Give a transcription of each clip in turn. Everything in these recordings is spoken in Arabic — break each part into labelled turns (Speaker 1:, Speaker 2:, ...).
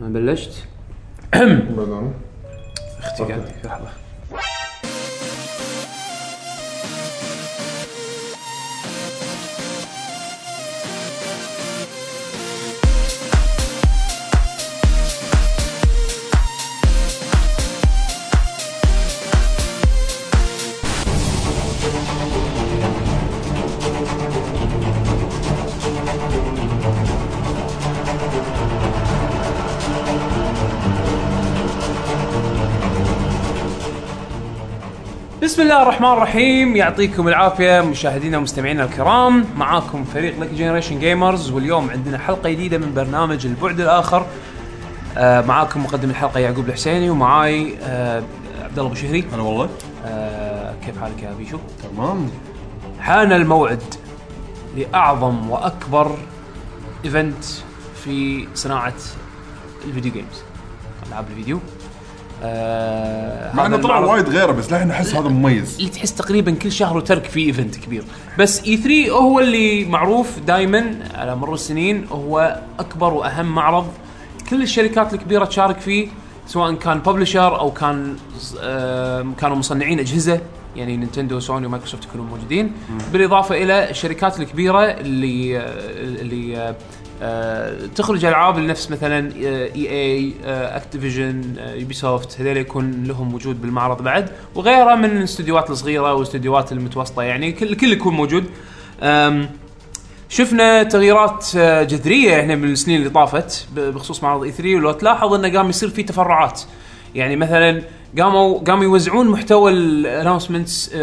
Speaker 1: انا بلشت
Speaker 2: بعدين
Speaker 1: اختي
Speaker 2: أوكي.
Speaker 1: قاعدة لحظه بسم الله الرحمن الرحيم يعطيكم العافيه مشاهدينا ومستمعينا الكرام معاكم فريق لك جنريشن جيمرز واليوم عندنا حلقه جديده من برنامج البعد الاخر آه معاكم مقدم الحلقه يعقوب الحسيني ومعاي آه عبد الله بشهري
Speaker 3: انا والله
Speaker 1: آه كيف حالك يا بيشو؟
Speaker 3: تمام
Speaker 1: حان الموعد لاعظم واكبر ايفنت في صناعه الفيديو جيمز العاب الفيديو آه
Speaker 3: مع
Speaker 1: هذا
Speaker 3: انه طلع
Speaker 1: المعرض-
Speaker 3: وايد غيره بس للحين احس هذا مميز
Speaker 1: اللي تحس تقريبا كل شهر وترك فيه ايفنت كبير بس اي 3 هو اللي معروف دائما على مر السنين هو اكبر واهم معرض كل الشركات الكبيره تشارك فيه سواء كان ببلشر او كان آه كانوا مصنعين اجهزه يعني نينتندو سوني ومايكروسوفت يكونون موجودين بالاضافه الى الشركات الكبيره اللي آه، اللي آه، آه، تخرج العاب لنفس مثلا اي اي اكتيفيجن يوبي سوفت هذول آه، يكون لهم وجود بالمعرض بعد وغيره من الاستديوهات الصغيره والاستديوهات المتوسطه يعني كل كل يكون موجود أم، شفنا تغييرات آه، جذريه احنا من السنين اللي طافت ب- بخصوص معرض اي 3 ولو تلاحظ انه قام يصير في تفرعات يعني مثلا قاموا قاموا يوزعون محتوى الانونسمنتس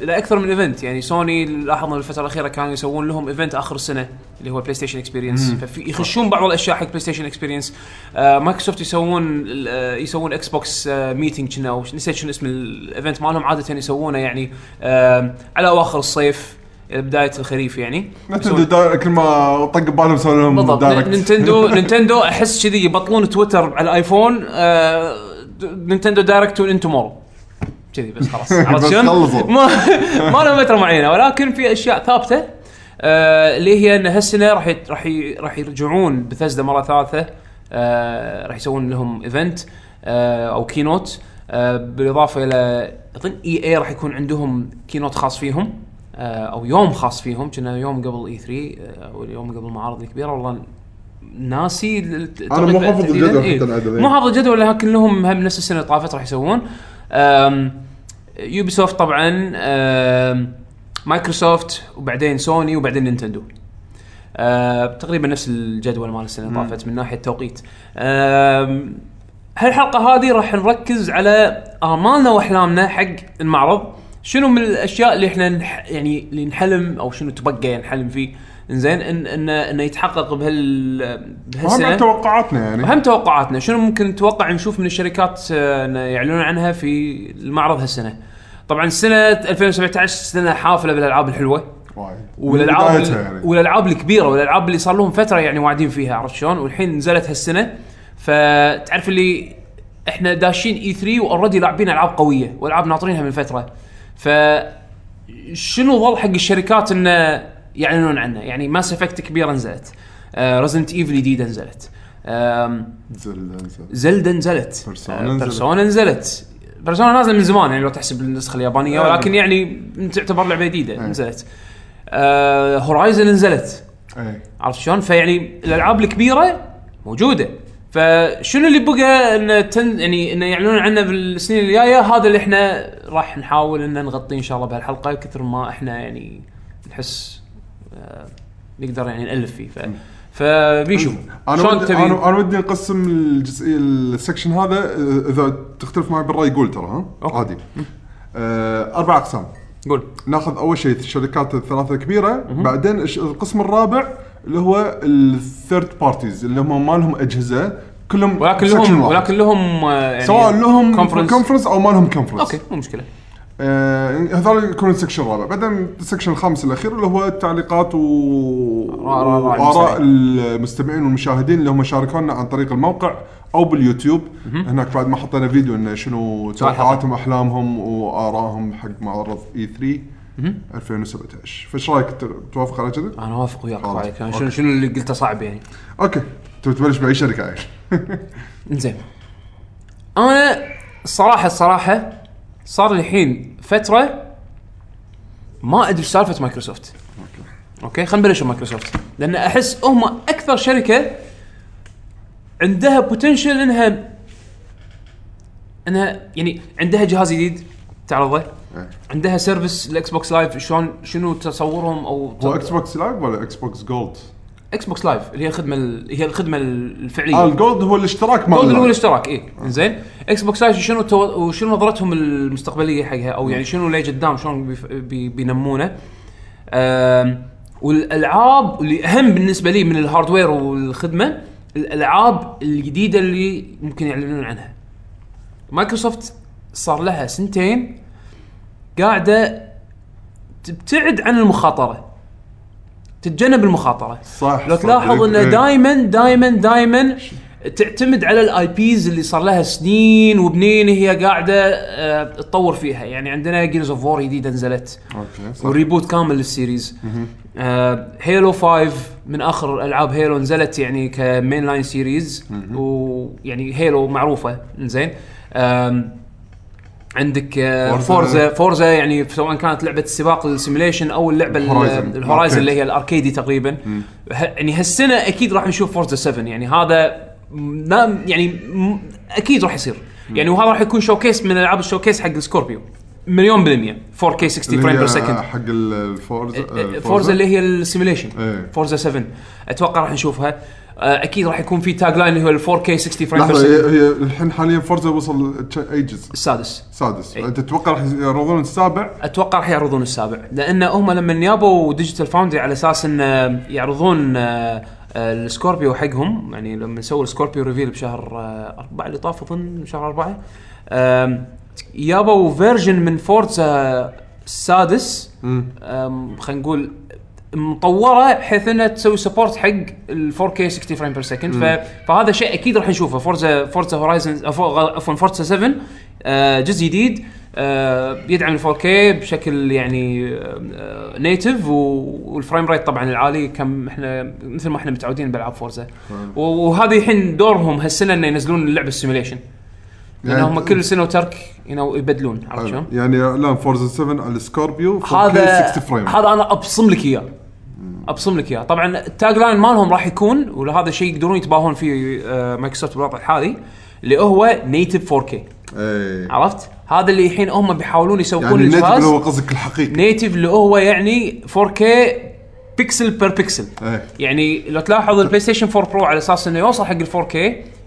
Speaker 1: لاكثر من ايفنت يعني سوني لاحظنا الفتره الاخيره كانوا يسوون لهم ايفنت اخر السنه اللي هو بلاي ستيشن اكسبيرينس فيخشون بعض الاشياء حق بلاي ستيشن اكسبيرينس مايكروسوفت يسوون ال- آه، يسوون اكس بوكس ميتنج كنا أو ش- نسيت شنو اسم الايفنت مالهم عاده يسوونه يعني آه، على اواخر الصيف بدايه الخريف يعني
Speaker 2: نتندو دا- كل ما طق بالهم سووا لهم
Speaker 1: بالضبط
Speaker 2: دايركت.
Speaker 1: نينتندو نينتندو احس كذي يبطلون تويتر على الايفون آه، د- نينتندو دايركت تون ان تومورو كذي بس خلاص عرفت
Speaker 2: بس خلصوا.
Speaker 1: شلون؟ ما ما لهم فتره معينه ولكن في اشياء ثابته آه، اللي هي ان هالسنه راح يت- راح ي- راح يرجعون بثزدا مره ثالثه آه، راح يسوون لهم آه، ايفنت او كينوت آه، بالاضافه الى اظن اي اي E راح يكون عندهم كينوت خاص فيهم آه، او يوم خاص فيهم كنا يوم قبل E اي 3 او اليوم قبل المعارض الكبيره والله ناسي
Speaker 2: أنا مو حافظ الجدول حتى العدد، إيه.
Speaker 1: مو حافظ الجدول لكن لهم هم نفس السنه اللي طافت راح يسوون أم، يوبي سوفت طبعا أم، مايكروسوفت وبعدين سوني وبعدين نينتندو أه، تقريبا نفس الجدول مال السنه اللي طافت من ناحيه توقيت أم، هالحلقه هذه راح نركز على امالنا واحلامنا حق المعرض شنو من الاشياء اللي احنا نح يعني اللي نحلم او شنو تبقى يعني نحلم فيه انزين ان ان انه يتحقق بهال
Speaker 2: هذا عن
Speaker 1: بهالسنه
Speaker 2: توقعاتنا يعني
Speaker 1: اهم توقعاتنا شنو ممكن نتوقع نشوف من الشركات آه، إنه يعلنون عنها في المعرض هالسنه طبعا سنه 2017 سنه حافله بالالعاب الحلوه
Speaker 2: وايد. من
Speaker 1: والالعاب
Speaker 2: بدايتها يعني.
Speaker 1: والالعاب الكبيره والالعاب اللي صار لهم فتره يعني واعدين فيها عرفت شلون والحين نزلت هالسنه فتعرف اللي احنا داشين اي 3 واوريدي لاعبين العاب قويه والعاب ناطرينها من فتره ف شنو ظل حق الشركات انه يعلنون عنه يعني ماس افكت كبيره نزلت آه، رزنت ايفل جديده نزلت آم،
Speaker 2: زل- زل.
Speaker 1: زلدا نزلت
Speaker 2: Persona
Speaker 1: آه،
Speaker 2: نزلت.
Speaker 1: Persona نزلت بيرسونا نازله من زمان يعني لو تحسب النسخه اليابانيه
Speaker 2: آه.
Speaker 1: ولكن يعني تعتبر لعبه جديده نزلت هورايزن نزلت
Speaker 2: إيه.
Speaker 1: عرفت شلون؟ فيعني الالعاب الكبيره موجوده فشنو اللي بقى ان تن يعني انه يعلنون عنه بالسنين الجايه هذا اللي احنا راح نحاول ان نغطيه ان شاء الله بهالحلقه كثر ما احنا يعني نحس آه، نقدر يعني نالف فيه ف فبيشو
Speaker 2: انا
Speaker 1: شلون
Speaker 2: ودي
Speaker 1: تبي
Speaker 2: انا أنا ودي نقسم الجزئيه السكشن هذا آه، اذا تختلف معي بالراي قول ترى ها
Speaker 1: أوكي.
Speaker 2: عادي آه، اربع اقسام
Speaker 1: قول
Speaker 2: ناخذ اول شيء الشركات الثلاثه الكبيره بعدين الش- القسم الرابع اللي هو الثيرد بارتيز اللي هم ما لهم اجهزه كلهم
Speaker 1: ولكن
Speaker 2: section
Speaker 1: لهم
Speaker 2: واحد.
Speaker 1: ولكن لهم آه، يعني
Speaker 2: سواء لهم
Speaker 1: كونفرنس
Speaker 2: كونفرنس او ما لهم كونفرنس
Speaker 1: اوكي مو مشكله
Speaker 2: آه هذول يكون السكشن الرابع بعدين السكشن الخامس الاخير اللي هو التعليقات و
Speaker 1: آراء- آراء
Speaker 2: واراء المستمعين والمشاهدين اللي هم شاركونا عن طريق الموقع او باليوتيوب هناك بعد ما حطينا فيديو انه شنو
Speaker 1: سؤال حلقة.
Speaker 2: توقعاتهم واحلامهم وارائهم حق معرض E اي 3 2017 فايش رايك ت- توافق على كذا؟
Speaker 1: انا اوافق وياك
Speaker 2: خلاص.
Speaker 1: رايك أنا شنو
Speaker 2: أوكي.
Speaker 1: شنو اللي قلته صعب يعني
Speaker 2: اوكي تبي تبلش باي شركه عايش
Speaker 1: زين انا الصراحه الصراحه صار لي الحين فتره ما ادري إيش سالفه مايكروسوفت اوكي خلينا نبلش بمايكروسوفت لان احس هم اكثر شركه عندها بوتنشل انها انها يعني عندها جهاز جديد تعرضه عندها سيرفس الاكس بوكس لايف شلون شنو تصورهم او
Speaker 2: هو اكس بوكس لايف ولا اكس بوكس جولد؟
Speaker 1: اكس بوكس لايف اللي هي الخدمه ال- هي الخدمه الفعليه
Speaker 2: اه الجولد هو الاشتراك مال
Speaker 1: جولد اللي إيه. هو
Speaker 2: اللايف.
Speaker 1: الاشتراك اي إيه. زين اكس بوكس لايف شنو تو... وشنو نظرتهم المستقبليه حقها او يعني شنو اللي قدام شلون بيف... بي... بينمونه أم... والالعاب اللي اهم بالنسبه لي من الهاردوير والخدمه الالعاب الجديده اللي ممكن يعلنون عنها مايكروسوفت صار لها سنتين قاعده تبتعد عن المخاطره تتجنب المخاطره
Speaker 2: صح
Speaker 1: لو
Speaker 2: صح.
Speaker 1: تلاحظ انه
Speaker 2: إيه.
Speaker 1: دائما دائما دائما تعتمد على الاي بيز اللي صار لها سنين وبنين هي قاعده آه، تطور فيها يعني عندنا جيرز اوف وور جديده نزلت
Speaker 2: اوكي صح.
Speaker 1: والريبوت كامل للسيريز آه هيلو 5 من اخر العاب هيلو نزلت يعني كمين لاين سيريز ويعني هيلو معروفه زين آم، عندك آه،
Speaker 2: Forza.
Speaker 1: فورزا فورزا يعني سواء كانت لعبه السباق السيميليشن او اللعبه ال-
Speaker 2: Horizon.
Speaker 1: الهورايزن اللي
Speaker 2: Arcade.
Speaker 1: هي الاركيدي تقريبا ه- يعني هالسنه اكيد راح نشوف فورزا 7 يعني هذا م- نام- يعني م- اكيد راح يصير يعني وهذا راح يكون شوكيس من العاب الشوكيس حق السكوربيو مليون بالمية 4K 60
Speaker 2: اللي
Speaker 1: فريم بير
Speaker 2: هي
Speaker 1: سكند
Speaker 2: حق ال- الفورز
Speaker 1: فورزا إيه، اللي هي السيميليشن
Speaker 2: آه، إيه.
Speaker 1: فورزا 7 اتوقع راح نشوفها آه، اكيد راح يكون في تاج لاين اللي هو ال 4K 60 فريم بير
Speaker 2: لحظه
Speaker 1: سكند
Speaker 2: هي- هي الحين حاليا فورزا وصل ايجز
Speaker 1: السادس
Speaker 2: سادس
Speaker 1: إيه.
Speaker 2: انت تتوقع راح يعرضون السابع
Speaker 1: اتوقع راح يعرضون السابع لان هم لما يابوا ديجيتال فاوندري على اساس ان آه، يعرضون آه، آه، السكوربيو حقهم يعني لما سووا السكوربيو ريفيل بشهر آه، أربعة اللي طاف اظن شهر أربعة آم، يابوا فيرجن من فورزا السادس آم، خلينا نقول مطوره بحيث انها تسوي سبورت حق ال 4K 60 فريم بير سكند فهذا شيء اكيد راح نشوفه فورزا فورزا هورايزن عفوا فورزا 7 آه، جزء جديد آه، بيدعم ال 4K بشكل يعني نيتف والفريم ريت طبعا العالي كم احنا مثل ما احنا متعودين بالعاب فورزا و- وهذه الحين دورهم هالسنه انه ينزلون اللعبه السيموليشن لان
Speaker 2: يعني-
Speaker 1: هم كل سنه وترك you know، يبدلون عرفت شلون؟
Speaker 2: يعني لا فورزا 7 على السكوربيو 4K
Speaker 1: هذا
Speaker 2: 60 فريم
Speaker 1: هذا انا ابصم لك اياه ابصم لك اياه طبعا التاج لاين مالهم راح يكون وهذا شيء يقدرون يتباهون فيه آه، مايكروسوفت بالوضع الحالي اللي هو نيتف 4K
Speaker 2: إيه.
Speaker 1: عرفت هذا اللي الحين هم بيحاولون يسوقون
Speaker 2: يعني النت
Speaker 1: الجهاز
Speaker 2: اللي هو قصدك الحقيقي
Speaker 1: نيتف اللي هو يعني 4K بيكسل بير بيكسل
Speaker 2: إيه.
Speaker 1: يعني لو تلاحظ البلاي ستيشن 4 برو على اساس انه يوصل حق ال 4K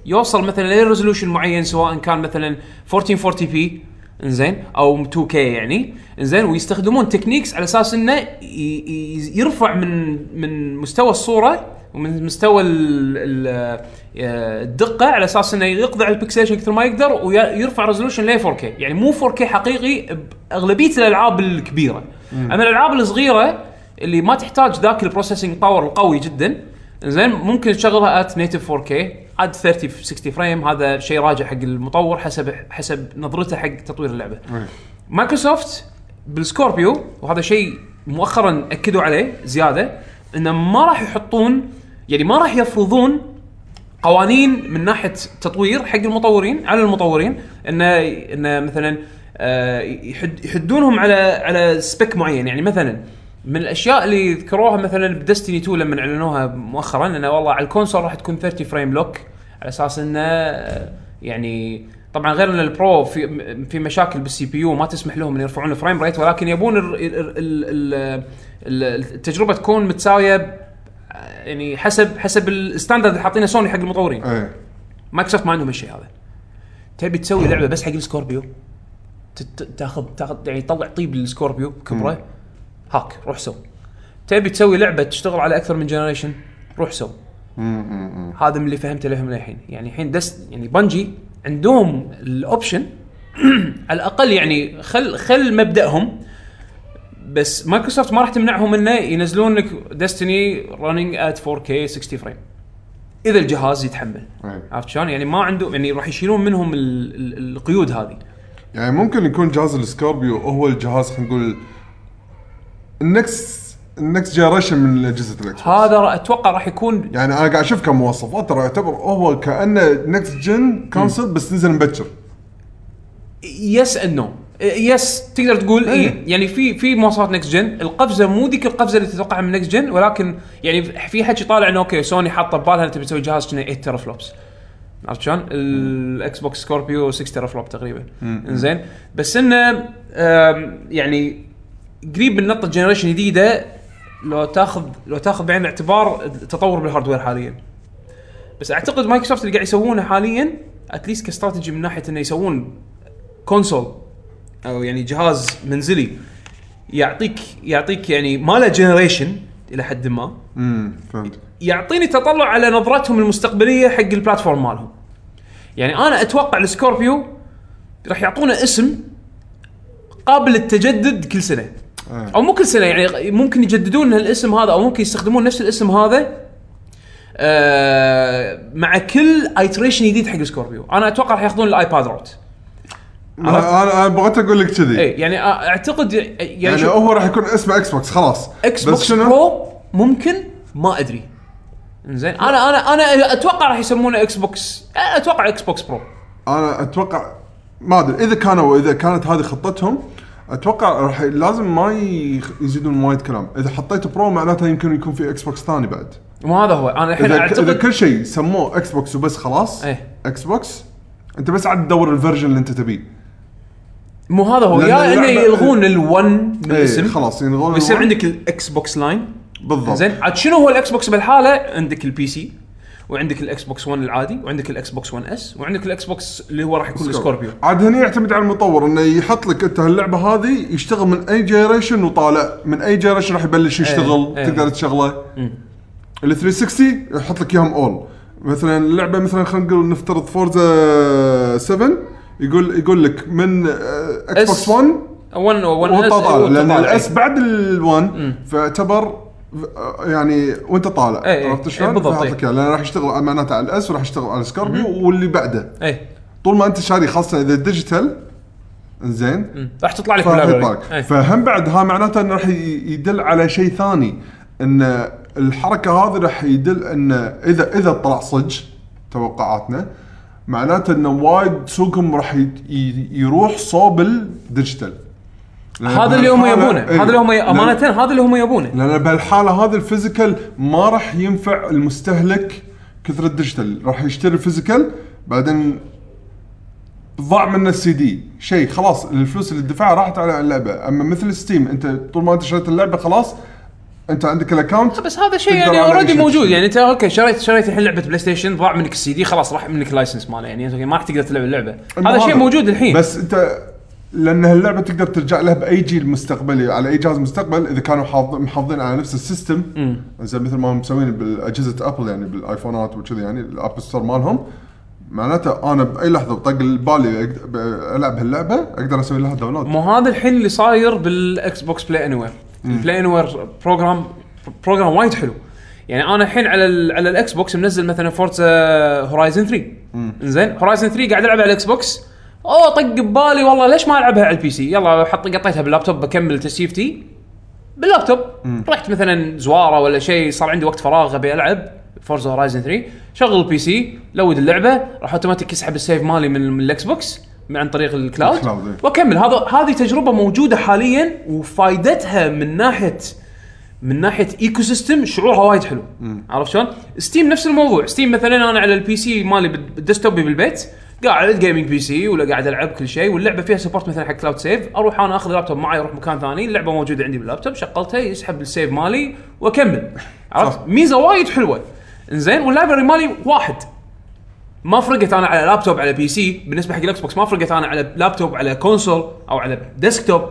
Speaker 1: يوصل مثلا لريزولوشن معين سواء كان مثلا 1440 بي انزين او 2K يعني انزين ويستخدمون تكنيكس على اساس انه ي- ي- يرفع من من مستوى الصوره ومن مستوى ال- ال- آه، الدقه على اساس انه يقضي على البكسليشن كثر ما يقدر ويرفع ريزولوشن ل 4K يعني مو 4K حقيقي باغلبيه الالعاب الكبيره اما الالعاب الصغيره اللي ما تحتاج ذاك البروسيسنج باور القوي جدا زين ممكن تشغلها ات نيتف 4K عاد 30 في 60 فريم هذا شيء راجع حق المطور حسب حسب نظرته حق تطوير اللعبه مايكروسوفت بالسكوربيو وهذا شيء مؤخرا اكدوا عليه زياده انه ما راح يحطون يعني ما راح يفرضون قوانين من ناحيه تطوير حق المطورين على المطورين انه انه مثلا آه، يحد يحدونهم على على سبيك معين يعني مثلا من الاشياء اللي ذكروها مثلا بدستني 2 لما اعلنوها مؤخرا انه والله على الكونسول راح تكون 30 فريم لوك على اساس انه آه، يعني طبعا غير ان البرو في م- في مشاكل بالسي بي يو ما تسمح لهم ان يرفعون الفريم ريت ولكن يبون ال- ال- ال- ال- ال- التجربه تكون متساويه يعني حسب حسب الستاندرد اللي حاطينه سوني حق المطورين
Speaker 2: ايه
Speaker 1: مايكروسوفت ما عندهم الشيء هذا تبي تسوي لعبه بس حق السكوربيو تت- تاخذ تاخذ يعني طلع طيب للسكوربيو كبره هاك روح سو تبي تسوي لعبه تشتغل على اكثر من جنريشن روح سو هذا من اللي فهمته لهم للحين يعني الحين دس يعني بنجي عندهم الاوبشن على الاقل يعني خل خل مبداهم بس مايكروسوفت ما راح تمنعهم انه ينزلون لك ديستني رننج ات 4K 60 فريم اذا الجهاز يتحمل
Speaker 2: إيه.
Speaker 1: عرفت شلون؟ يعني ما عنده يعني راح يشيلون منهم ال- ال- القيود هذه
Speaker 2: يعني ممكن يكون جهاز السكوربيو هو الجهاز خلينا نقول النكس النكست جنريشن من اجهزه الاكس بوكس
Speaker 1: هذا رأ- اتوقع راح يكون
Speaker 2: يعني انا قاعد اشوف كمواصفات ترى يعتبر هو كانه نكست جن كونسل بس نزل مبكر
Speaker 1: يس اند نو يس تقدر تقول اي يعني في في مواصفات نكست جن القفزه مو ذيك القفزه اللي تتوقعها من نكست جن ولكن يعني في حكي طالع انه اوكي سوني حاطه ببالها انها تبي تسوي جهاز كنا 8 تيرا فلوبس عرفت شلون؟ الاكس بوكس سكوربيو 6 تيرا فلوب تقريبا انزين بس انه آم، يعني قريب من نقطه جنريشن جديده لو تاخذ لو تاخذ بعين الاعتبار التطور بالهاردوير حاليا بس اعتقد مايكروسوفت اللي قاعد يسوونه حاليا اتليست كاستراتيجي من ناحيه انه يسوون كونسول او يعني جهاز منزلي يعطيك يعطيك يعني ما له جنريشن الى حد ما
Speaker 2: امم فهمت
Speaker 1: يعطيني تطلع على نظرتهم المستقبليه حق البلاتفورم مالهم يعني انا اتوقع السكوربيو راح يعطونا اسم قابل للتجدد كل سنه او مو كل سنه يعني ممكن يجددون هالاسم هذا او ممكن يستخدمون نفس الاسم هذا آه مع كل ايتريشن جديد حق سكوربيو انا اتوقع راح ياخذون الايباد روت عرفت؟
Speaker 2: انا انا بغيت اقول لك كذي
Speaker 1: اي يعني آه، اعتقد يعني,
Speaker 2: يعني
Speaker 1: شوف،
Speaker 2: هو راح يكون اسمه اكس بوكس خلاص
Speaker 1: اكس
Speaker 2: بس
Speaker 1: بوكس
Speaker 2: شنو؟
Speaker 1: برو ممكن ما ادري زين انا انا انا اتوقع راح يسمونه اكس بوكس اتوقع اكس بوكس برو
Speaker 2: انا اتوقع ما ادري اذا كانوا اذا كانت هذه خطتهم اتوقع راح لازم ما يخ- يزيدون وايد كلام اذا حطيت برو معناته يمكن يكون في اكس بوكس ثاني بعد
Speaker 1: مو هذا هو انا الحين
Speaker 2: اذا اذا
Speaker 1: اعتقد
Speaker 2: كل شيء سموه اكس بوكس وبس خلاص
Speaker 1: يعني إيه.
Speaker 2: اكس بوكس انت بس عاد تدور الفيرجن اللي انت تبيه
Speaker 1: مو هذا هو
Speaker 2: لأن
Speaker 1: يا انه
Speaker 2: اللعبة-
Speaker 1: يلغون الون من
Speaker 2: ايه
Speaker 1: الاسم
Speaker 2: خلاص ينغون
Speaker 1: ويصير
Speaker 2: الوان.
Speaker 1: عندك الاكس بوكس لاين
Speaker 2: بالضبط
Speaker 1: زين عاد شنو هو الاكس بوكس بالحاله عندك البي سي وعندك الاكس بوكس 1 العادي وعندك الاكس بوكس 1 اس وعندك الاكس بوكس اللي هو راح يكون السكوربيو
Speaker 2: عاد هني يعتمد على المطور انه يحط لك انت هاللعبه هذه يشتغل من اي جيريشن وطالع من اي جيريشن راح يبلش يشتغل
Speaker 1: إيه.
Speaker 2: تقدر تشغله ال 360 يحط لك اياهم اول مثلا اللعبه مثلا خلينا نقول نفترض فورزا 7 يقول يقول لك من آه، اكس بوكس
Speaker 1: S
Speaker 2: 1
Speaker 1: 1 1
Speaker 2: وانت
Speaker 1: اس
Speaker 2: طالع لان الاس
Speaker 1: الاس
Speaker 2: بعد ال1 فاعتبر يعني وانت طالع
Speaker 1: إيه،
Speaker 2: عرفت
Speaker 1: إيه،
Speaker 2: شلون؟
Speaker 1: بالضبط،
Speaker 2: فحط
Speaker 1: إيه.
Speaker 2: لك إياه، لان راح يشتغل معناته على الاس وراح يشتغل على السكوربيو واللي بعده
Speaker 1: اي
Speaker 2: طول ما انت شاري خاصه اذا ديجيتال زين
Speaker 1: راح تطلع لك
Speaker 2: فراح
Speaker 1: باللايبرري.
Speaker 2: يطلعك.
Speaker 1: إيه.
Speaker 2: فهم بعد ها معناته انه راح ي- يدل على شيء ثاني ان الحركه هذه راح يدل ان اذا اذا طلع صج توقعاتنا معناته انه وايد سوقهم راح ي- ي- يروح صوب الديجيتال لأن
Speaker 1: هذا اللي هم
Speaker 2: بهالحالة-
Speaker 1: يبونه
Speaker 2: إيه. نعم.
Speaker 1: هذا اللي هم ي-
Speaker 2: لأن-
Speaker 1: امانه هذا اللي هم يبونه
Speaker 2: لان بهالحاله هذا الفيزيكال ما راح ينفع المستهلك كثر الديجيتال راح يشتري الفيزيكال بعدين ضاع منه السي دي شيء خلاص الفلوس اللي دفعها راحت على اللعبه اما مثل ستيم انت طول ما انت شريت اللعبه خلاص انت عندك الاكونت
Speaker 1: بس هذا شيء
Speaker 2: تقدر
Speaker 1: يعني
Speaker 2: على
Speaker 1: اوريدي
Speaker 2: أي شيء
Speaker 1: موجود
Speaker 2: تشتري.
Speaker 1: يعني انت اوكي شريت شريت الحين لعبه بلاي ستيشن ضاع منك السي دي خلاص راح منك اللايسنس ماله يعني أنت ما راح تقدر تلعب اللعبه هذا شيء موجود الحين بس
Speaker 2: بس انت لان هاللعبه تقدر ترجع لها باي جيل مستقبلي على اي جهاز مستقبل اذا كانوا حاض- محافظين على نفس السيستم زين مثل ما هم مسوين بالاجهزه ابل يعني بالايفونات وكذي يعني الاب ستور مالهم معناته انا باي لحظه بطق بالي أقد- ب- العب هاللعبه اقدر اسوي لها داونلود
Speaker 1: مو هذا الحين اللي صاير بالاكس بوكس بلاي اني وير البلاي اني وير بروجرام بروجرام وايد حلو يعني انا الحين على ال على الاكس بوكس منزل مثلا فورتس هورايزن 3 زين هورايزن 3 قاعد العب على الاكس بوكس اوه طق ببالي والله ليش ما العبها على البي سي يلا حط قطيتها باللابتوب بكمل تسيفتي باللابتوب رحت مثلا زواره ولا شيء صار عندي وقت فراغ ابي العب فورزا هورايزن 3 شغل البي سي لود اللعبه راح اوتوماتيك يسحب السيف مالي من من الاكس بوكس من- عن طريق الكلاود
Speaker 2: الكلاود، إيه.
Speaker 1: واكمل هذا هذه تجربه موجوده حاليا وفائدتها من ناحيه من ناحيه ايكو سيستم شعورها وايد حلو عرفت شلون؟ ستيم نفس الموضوع ستيم مثلا انا على البي سي مالي بال- بالديسكتوبي بالبيت قاعد جيمنج بي سي ولا قاعد العب كل شيء واللعبه فيها سبورت مثلا حق كلاود سيف اروح انا اخذ اللابتوب معي اروح مكان ثاني اللعبه موجوده عندي باللابتوب شغلتها يسحب السيف مالي واكمل عرفت ميزه وايد حلوه انزين واللايبرري مالي واحد ما فرقت انا على لابتوب على بي سي بالنسبه حق الاكس بوكس ما فرقت انا على لابتوب على كونسول او على ديسكتوب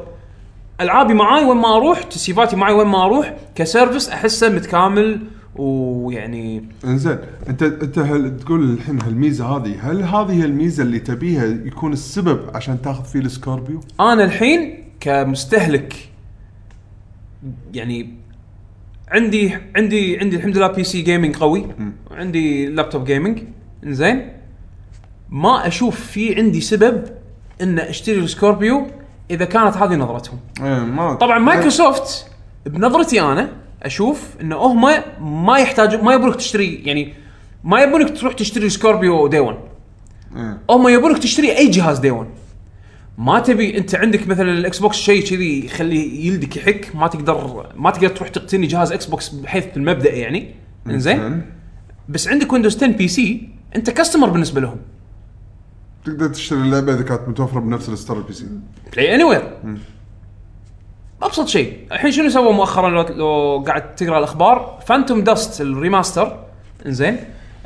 Speaker 1: العابي معاي وين ما اروح تسيفاتي معاي وين ما اروح كسيرفس احسه متكامل ويعني
Speaker 2: انزين انت انت هل تقول الحين هالميزه هذه هل هذه هي الميزه اللي تبيها يكون السبب عشان تاخذ فيه السكوربيو؟
Speaker 1: انا الحين كمستهلك يعني عندي عندي عندي الحمد لله بي سي جيمنج قوي وعندي لابتوب جيمنج زين ما اشوف في عندي سبب ان اشتري السكوربيو اذا كانت هذه نظرتهم
Speaker 2: ايه ما
Speaker 1: طبعا مايكروسوفت بنظرتي انا اشوف انه هم ما يحتاج ما يبونك تشتري يعني ما يبونك تروح تشتري سكوربيو دي 1
Speaker 2: إيه.
Speaker 1: هم يبونك تشتري اي جهاز دي 1 ما تبي انت عندك مثلا الاكس بوكس شيء كذي يخليه يلدك يحك ما تقدر ما تقدر تروح تقتني جهاز اكس بوكس بحيث بالمبدا يعني انزين بس عندك ويندوز 10 بي سي انت كاستمر بالنسبه لهم
Speaker 2: تقدر تشتري اللعبه اذا كانت متوفره بنفس الستار البي سي
Speaker 1: بلاي اني وير ابسط شيء الحين شنو سووا مؤخرا لو, لو قاعد تقرا الاخبار فانتوم داست الريماستر انزين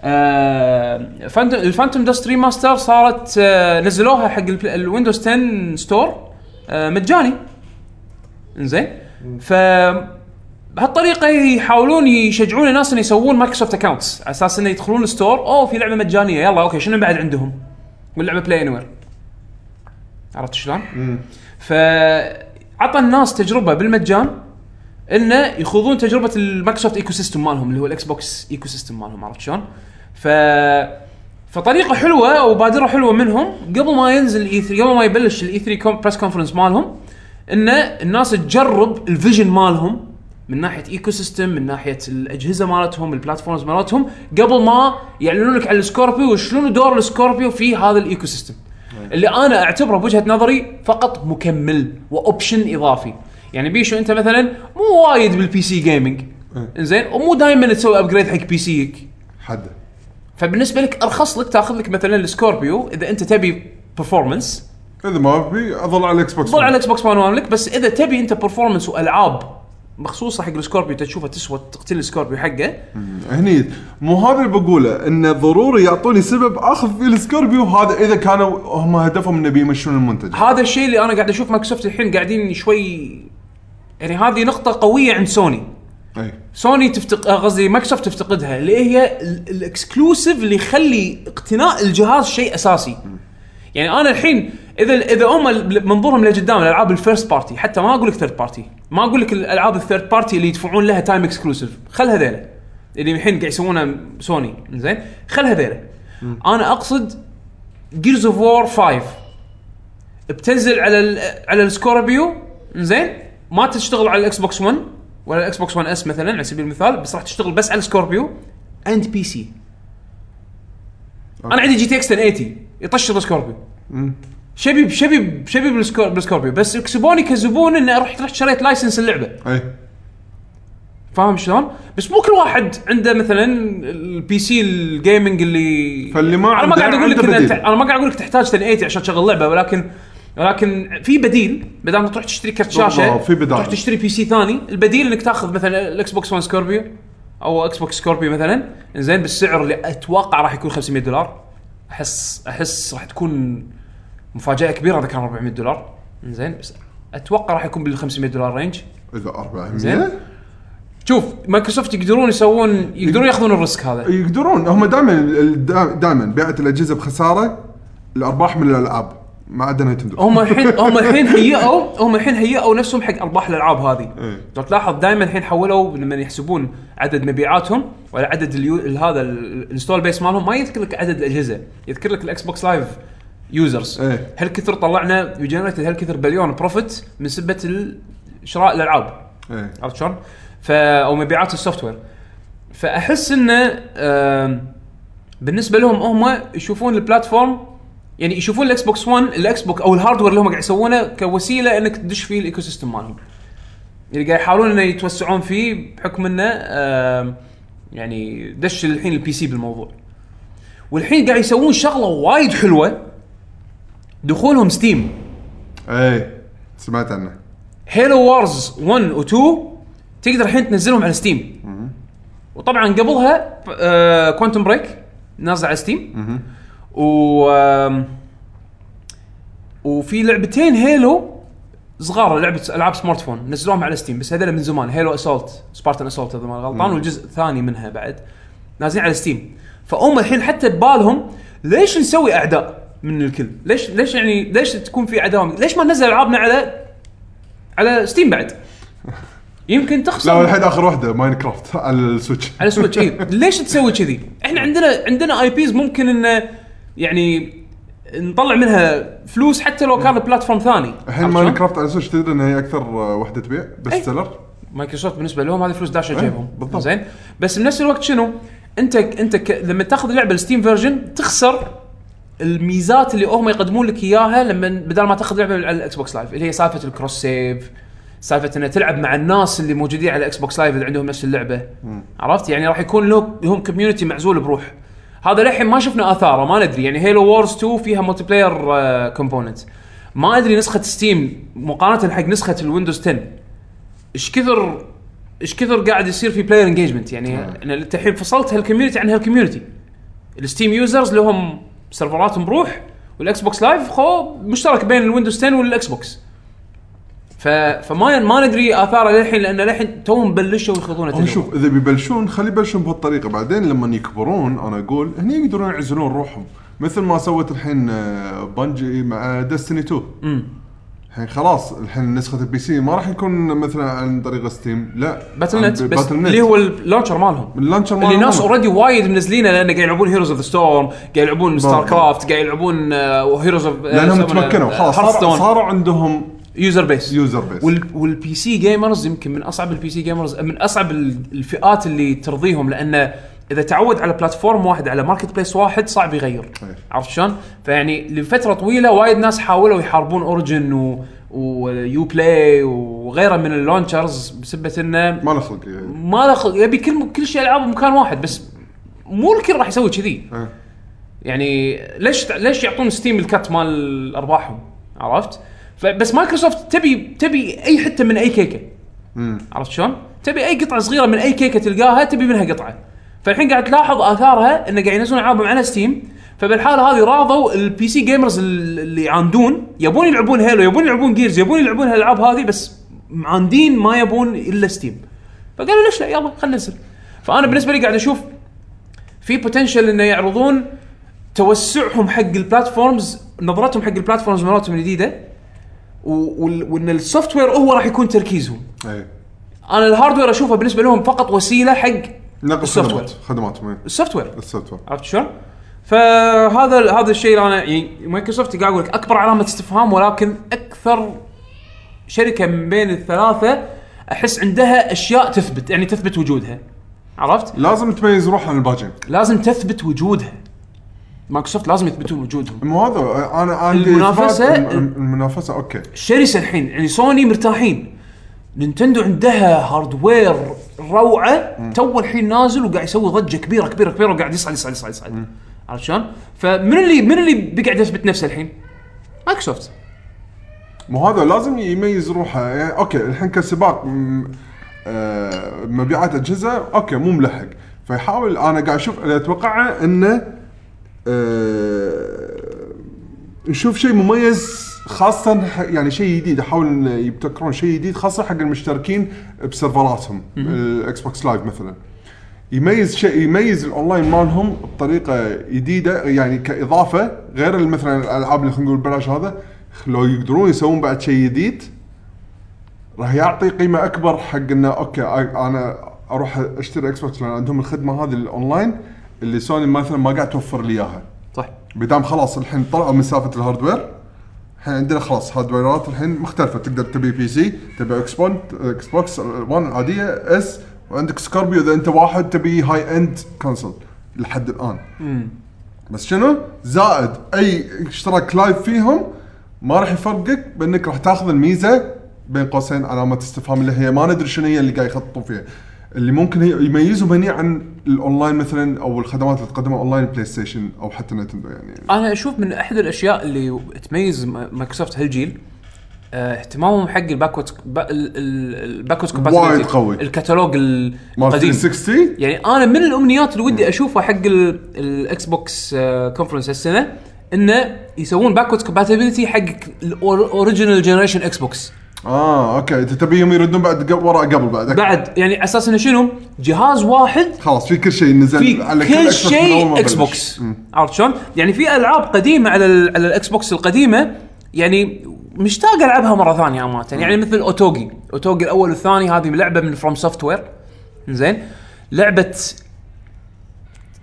Speaker 1: آه فانتوم الفانتوم داست ريماستر صارت آه نزلوها حق البل- الويندوز 10 ستور آه مجاني انزين ف بهالطريقه يحاولون يشجعون الناس ان يسوون مايكروسوفت اكونتس على اساس انه يدخلون الستور اوه في لعبه مجانيه يلا اوكي شنو بعد عندهم؟ واللعبه بلاي انوير عرفت شلون؟ فعطى الناس تجربه بالمجان انه يخوضون تجربه المايكروسوفت ايكو سيستم مالهم اللي هو الاكس بوكس ايكو سيستم مالهم عرفت شلون؟ ف فطريقه حلوه وبادره حلوه منهم قبل ما ينزل الاي 3 قبل ما يبلش E الاي 3 كون بريس كونفرنس مالهم ان الناس تجرب الفيجن مالهم من ناحيه ايكو سيستم من ناحيه الاجهزه مالتهم البلاتفورمز مالتهم قبل ما يعلنون لك على السكوربيو وشلون دور السكوربيو في هذا الايكو سيستم اللي انا اعتبره بوجهه نظري فقط مكمل واوبشن اضافي يعني بيشو انت مثلا مو وايد بالبي سي جيمنج زين ومو دائما تسوي ابجريد حق بي سيك
Speaker 2: حد
Speaker 1: فبالنسبه لك ارخص لك تاخذ لك مثلا السكوربيو اذا انت تبي برفورمانس
Speaker 2: اذا ما في اظل على الاكس بوكس
Speaker 1: تظل على الاكس بوكس 1 واملك بس اذا تبي انت برفورمانس والعاب مخصوصه حق السكوربيو تشوفها تسوى تقتل السكوربيو حقه
Speaker 2: هني مو هذا اللي بقوله انه ضروري يعطوني سبب اخذ فيه السكوربيو هذا اذا كانوا هم هدفهم انه بيمشون المنتج
Speaker 1: هذا الشيء اللي انا قاعد اشوف مايكروسوفت الحين قاعدين شوي يعني هذه نقطه قويه عند سوني
Speaker 2: اي
Speaker 1: سوني تفتق آه، قصدي مايكروسوفت تفتقدها اللي هي ال- الاكسكلوسيف اللي يخلي اقتناء الجهاز شيء اساسي يعني انا الحين اذا اذا هم ال- منظورهم لقدام الالعاب الفيرست بارتي حتى ما اقول لك ثيرد بارتي ما اقول لك الالعاب الثيرد بارتي اللي يدفعون لها تايم اكسكلوسيف خل هذيلا اللي الحين قاعد يسوونها سوني زين خل هذيلا انا اقصد جيرز اوف وور 5 بتنزل على ال على السكوربيو زين ما تشتغل على الاكس بوكس 1 ولا الاكس بوكس 1 اس مثلا على سبيل المثال بس راح تشتغل بس على السكوربيو اند بي سي انا عندي جي تي اكس 1080 يطشر السكوربيو شبيب شبيب شبيب بالسكور- بالسكوربيو بس كسبوني كزبون اني رحت رحت شريت لايسنس اللعبه
Speaker 2: اي
Speaker 1: فاهم شلون؟ بس مو كل واحد عنده مثلا البي سي الجيمنج اللي
Speaker 2: فاللي ما
Speaker 1: انا ما
Speaker 2: عنده-
Speaker 1: قاعد اقول لك
Speaker 2: عنده
Speaker 1: إن
Speaker 2: بديل.
Speaker 1: تع- انا ما قاعد اقول لك تحتاج 1080 عشان تشغل لعبه ولكن ولكن في بديل بدل ما تروح تشتري كرت
Speaker 2: بالضبط،
Speaker 1: شاشه
Speaker 2: في بدائل.
Speaker 1: تروح تشتري بي سي ثاني البديل انك تاخذ مثلا الاكس بوكس 1 سكوربيو او اكس بوكس سكوربيو مثلا زين بالسعر اللي اتوقع راح يكون 500 دولار احس احس راح تكون مفاجاه كبيره اذا كان 400 دولار زين بس اتوقع راح يكون بال 500 دولار رينج
Speaker 2: اذا 400
Speaker 1: زين. شوف مايكروسوفت يقدرون يسوون يقدرون ياخذون الريسك
Speaker 2: إيه.
Speaker 1: هذا
Speaker 2: يقدرون هم دائما دائما بيعه الاجهزه بخساره الارباح من الالعاب ما عدا نتندو
Speaker 1: هم الحين هم الحين هيئوا هم الحين هيئوا نفسهم حق ارباح الالعاب هذه
Speaker 2: إيه.
Speaker 1: لو تلاحظ دائما الحين حولوا لما يحسبون عدد مبيعاتهم ولا عدد اليو... هذا الانستول بيس مالهم ما يذكر لك عدد الاجهزه يذكر لك الاكس بوكس لايف يوزرز
Speaker 2: إيه.
Speaker 1: هل كثر طلعنا وجنريت هل كثر بليون بروفيت من سبه ال- شراء الالعاب
Speaker 2: إيه.
Speaker 1: عرفت شلون؟ ف او مبيعات السوفت وير فاحس انه آم، بالنسبه لهم هم يشوفون البلاتفورم يعني يشوفون الاكس بوكس 1 الاكس بوك او الهاردوير اللي هم قاعد يسوونه كوسيله انك تدش فيه الايكو سيستم مالهم. اللي قاعد يحاولون انه يتوسعون فيه بحكم انه آم، يعني دش الحين البي سي بالموضوع. والحين قاعد يسوون شغله وايد حلوه دخولهم ستيم
Speaker 2: اي سمعت عنه
Speaker 1: هيلو وارز 1 و 2 تقدر الحين تنزلهم على ستيم وطبعا قبلها كوانتم بريك نازل على ستيم و آم، وفي لعبتين هيلو صغار لعبه العاب سمارت فون نزلوهم على ستيم بس هذول من زمان هيلو اسولت سبارتن اسولت اذا ما غلطان والجزء الثاني منها بعد نازلين على ستيم فهم الحين حتى ببالهم ليش نسوي اعداء من الكل؟ ليش ليش يعني ليش تكون في عداوه؟ ليش ما ننزل العابنا على على ستيم بعد؟ يمكن تخسر
Speaker 2: لا الحين اخر واحده ماين كرافت على السويتش
Speaker 1: على سويتش اي ليش تسوي كذي؟ احنا عندنا عندنا اي بيز ممكن انه يعني نطلع منها فلوس حتى لو كان بلاتفورم ثاني
Speaker 2: الحين
Speaker 1: عرفت
Speaker 2: ماين
Speaker 1: شلون؟
Speaker 2: كرافت على السويتش تدري انها هي اكثر آه، وحده تبيع بست
Speaker 1: أي.
Speaker 2: سيلر
Speaker 1: مايكروسوفت بالنسبه لهم هذه فلوس داشه جيبهم
Speaker 2: بالضبط.
Speaker 1: زين بس بنفس الوقت شنو انت انت ك... لما تاخذ لعبه الستيم فيرجن تخسر الميزات اللي هم يقدمون لك اياها لما بدل ما تاخذ لعبه على الاكس بوكس لايف اللي هي سالفه الكروس سيف سالفه انه تلعب مع الناس اللي موجودين على الاكس بوكس لايف اللي عندهم نفس اللعبه عرفت يعني راح يكون له لهم كوميونتي معزول بروح هذا للحين ما شفنا اثاره ما ندري يعني هيلو وورز 2 فيها ملتي بلاير كومبوننت ما ادري نسخه ستيم مقارنه حق نسخه الويندوز 10 ايش كثر ايش كثر قاعد يصير في بلاير انجيجمنت يعني
Speaker 2: نعم.
Speaker 1: انا انت الحين فصلت هالكوميونتي عن هالكوميونتي الستيم يوزرز لهم سيرفراتهم بروح والاكس بوكس لايف خو مشترك بين الويندوز 10 والاكس بوكس ف... فما ما ندري اثاره للحين لان للحين توهم بلشوا يخوضون
Speaker 2: هم
Speaker 1: التجربه
Speaker 2: شوف اذا بيبلشون خلي يبلشون بهالطريقه بعدين لما يكبرون انا اقول هني يقدرون يعزلون روحهم مثل ما سوت الحين آه، بنجي مع ديستني 2 الحين خلاص الحين نسخه البي سي ما راح يكون مثلا عن طريق ستيم لا
Speaker 1: باتل
Speaker 2: عن
Speaker 1: نت بس
Speaker 2: باتل نت.
Speaker 1: اللي هو اللانشر مالهم
Speaker 2: اللانشر
Speaker 1: اللي
Speaker 2: مالهم.
Speaker 1: ناس اوريدي وايد منزلينه لان قاعد يلعبون هيروز اوف ذا ستورم قاعد يلعبون ستار كرافت قاعد يلعبون آه، هيروز اوف
Speaker 2: لانهم تمكنوا خلاص صار- صاروا عندهم
Speaker 1: يوزر بيس
Speaker 2: يوزر بيس
Speaker 1: وال والبي سي جيمرز يمكن من اصعب البي سي جيمرز من اصعب ال- الفئات اللي ترضيهم لان اذا تعود على بلاتفورم واحد على ماركت بليس واحد صعب يغير
Speaker 2: أي.
Speaker 1: عرفت شلون؟ فيعني لفتره طويله وايد ناس حاولوا يحاربون اوريجن و ويو بلاي وغيره من اللونشرز بسبه انه
Speaker 2: ما له خلق يعني.
Speaker 1: ما له خلق يبي كل كل شيء العاب بمكان واحد بس مو الكل راح يسوي كذي
Speaker 2: إيه.
Speaker 1: يعني ليش ليش يعطون ستيم الكت مال ارباحهم عرفت؟ فبس مايكروسوفت تبي تبي اي حته من اي كيكه عرفت شلون؟ تبي اي قطعه صغيره من اي كيكه تلقاها تبي منها قطعه فالحين قاعد تلاحظ اثارها انه قاعد ينزلون العابهم على ستيم فبالحاله هذه راضوا البي سي جيمرز ال- اللي يعاندون يبون يلعبون هيلو يبون يلعبون جيرز يبون يلعبون هالالعاب هذه بس معاندين ما يبون الا ستيم فقالوا ليش لا يلا خلينا ننزل فانا بالنسبه لي قاعد اشوف في بوتنشل انه يعرضون توسعهم حق البلاتفورمز نظرتهم حق البلاتفورمز مالتهم الجديده و- وال- وان السوفت وير هو راح يكون تركيزهم
Speaker 2: إيه.
Speaker 1: انا الهاردوير اشوفه بالنسبه لهم فقط وسيله حق
Speaker 2: نقل
Speaker 1: السوفت وير.
Speaker 2: خدمات خدمات إيه.
Speaker 1: السوفت وير
Speaker 2: السوفت وير
Speaker 1: عرفت شلون؟ فهذا هذا الشيء اللي انا يعني مايكروسوفت قاعد اقول لك اكبر علامه استفهام ولكن اكثر شركه من بين الثلاثه احس عندها اشياء تثبت يعني تثبت وجودها عرفت؟
Speaker 2: لازم تميز روح عن الباجين
Speaker 1: لازم تثبت وجودها مايكروسوفت لازم يثبتون وجودهم
Speaker 2: مو هذا انا عندي
Speaker 1: المنافسة-
Speaker 2: إثبات- الم- المنافسه اوكي
Speaker 1: الشرسه الحين يعني سوني مرتاحين نينتندو عندها هاردوير روعه تو الحين نازل وقاعد يسوي ضجه كبيره كبيره كبيره وقاعد يصعد يصعد يصعد يصعد عرفت شلون؟ فمن اللي من اللي بيقعد يثبت نفسه الحين؟ مايكروسوفت
Speaker 2: مو هذا لازم يميز روحه يعني اوكي الحين كسباق م- آه، مبيعات اجهزه اوكي مو ملحق فيحاول انا قاعد اشوف اللي اتوقعه انه آه، نشوف شيء مميز خاصة ح- يعني شيء جديد احاول إن يبتكرون شيء جديد خاصة حق المشتركين بسيرفراتهم الاكس بوكس لايف مثلا يميز شيء يميز الاونلاين مالهم بطريقه جديده يعني كاضافه غير ال- مثلا الالعاب اللي خلينا نقول بلاش هذا لو يقدرون يسوون بعد شيء جديد راح يعطي قيمه اكبر حق انه اوكي أ- انا اروح اشتري اكس بوكس لان عندهم الخدمه هذه الاونلاين اللي سوني مثلا ما قاعد توفر لي اياها
Speaker 1: صح
Speaker 2: بدام خلاص الحين طلعوا من سالفه الهاردوير الحين عندنا خلاص هاردويرات الحين مختلفه تقدر تبي بي سي تبي اكس بون اكس بوكس 1 العاديه اس وعندك سكوربيو اذا انت واحد تبي هاي اند كونسول لحد الان بس شنو زائد اي اشتراك لايف فيهم ما راح يفرقك بانك راح تاخذ الميزه بين قوسين علامه استفهام اللي هي ما ندري شنو هي اللي قاعد يخططون فيها اللي ممكن هي- يميزهم هني عن الاونلاين مثلا او الخدمات اللي تقدمها اونلاين بلاي ستيشن او حتى نتندو يعني
Speaker 1: انا اشوف من احد الاشياء اللي تميز ما- مايكروسوفت هالجيل آه، اهتمامهم حق الباكورد الباكورد
Speaker 2: وايد قوي.
Speaker 1: الكتالوج ال-
Speaker 2: مال
Speaker 1: القديم
Speaker 2: 360
Speaker 1: يعني انا من الامنيات اللي ودي اشوفها حق ال- الاكس بوكس آه، كونفرنس هالسنه انه يسوون باكورد كومباتيبلتي حق الاوريجنال جنريشن اكس بوكس
Speaker 2: اه اوكي انت تبيهم يردون بعد قبل وراء قبل بعد أوكي.
Speaker 1: بعد يعني على اساس انه شنو؟ جهاز واحد
Speaker 2: خلاص في كل شيء نزل
Speaker 1: في
Speaker 2: Xbox من
Speaker 1: كل
Speaker 2: أول ما
Speaker 1: شيء اكس
Speaker 2: بلش.
Speaker 1: بوكس عرفت شلون؟ يعني في العاب قديمه على ال على الاكس بوكس القديمه يعني مشتاق العبها مره ثانيه امانه يعني مثل اوتوجي اوتوجي الاول والثاني هذه لعبه من فروم سوفت وير زين لعبه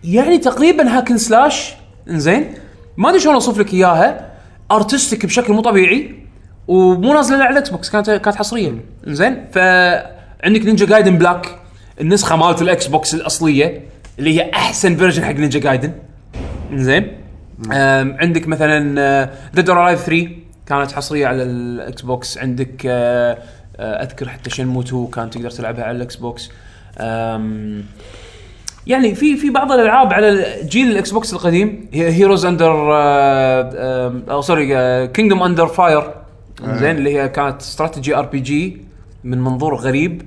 Speaker 1: يعني تقريبا هاكن سلاش زين ما ادري شلون اوصف لك اياها ارتستيك بشكل مو طبيعي ومو نازله على الاكس بوكس كانت كانت حصريه زين ف عندك نينجا جايدن بلاك النسخه مالت الاكس بوكس الاصليه اللي هي احسن فيرجن حق نينجا جايدن زين آم، عندك آه، مثلا ديد اور الايف 3 كانت حصريه على الاكس بوكس عندك آه، آه، اذكر حتى شنمو 2 كان تقدر تلعبها على الاكس بوكس آم، يعني في في بعض الالعاب على جيل الاكس بوكس القديم هي آه، هيروز اندر او سوري كينجدوم اندر فاير زين اللي هي كانت استراتيجي ار بي جي من منظور غريب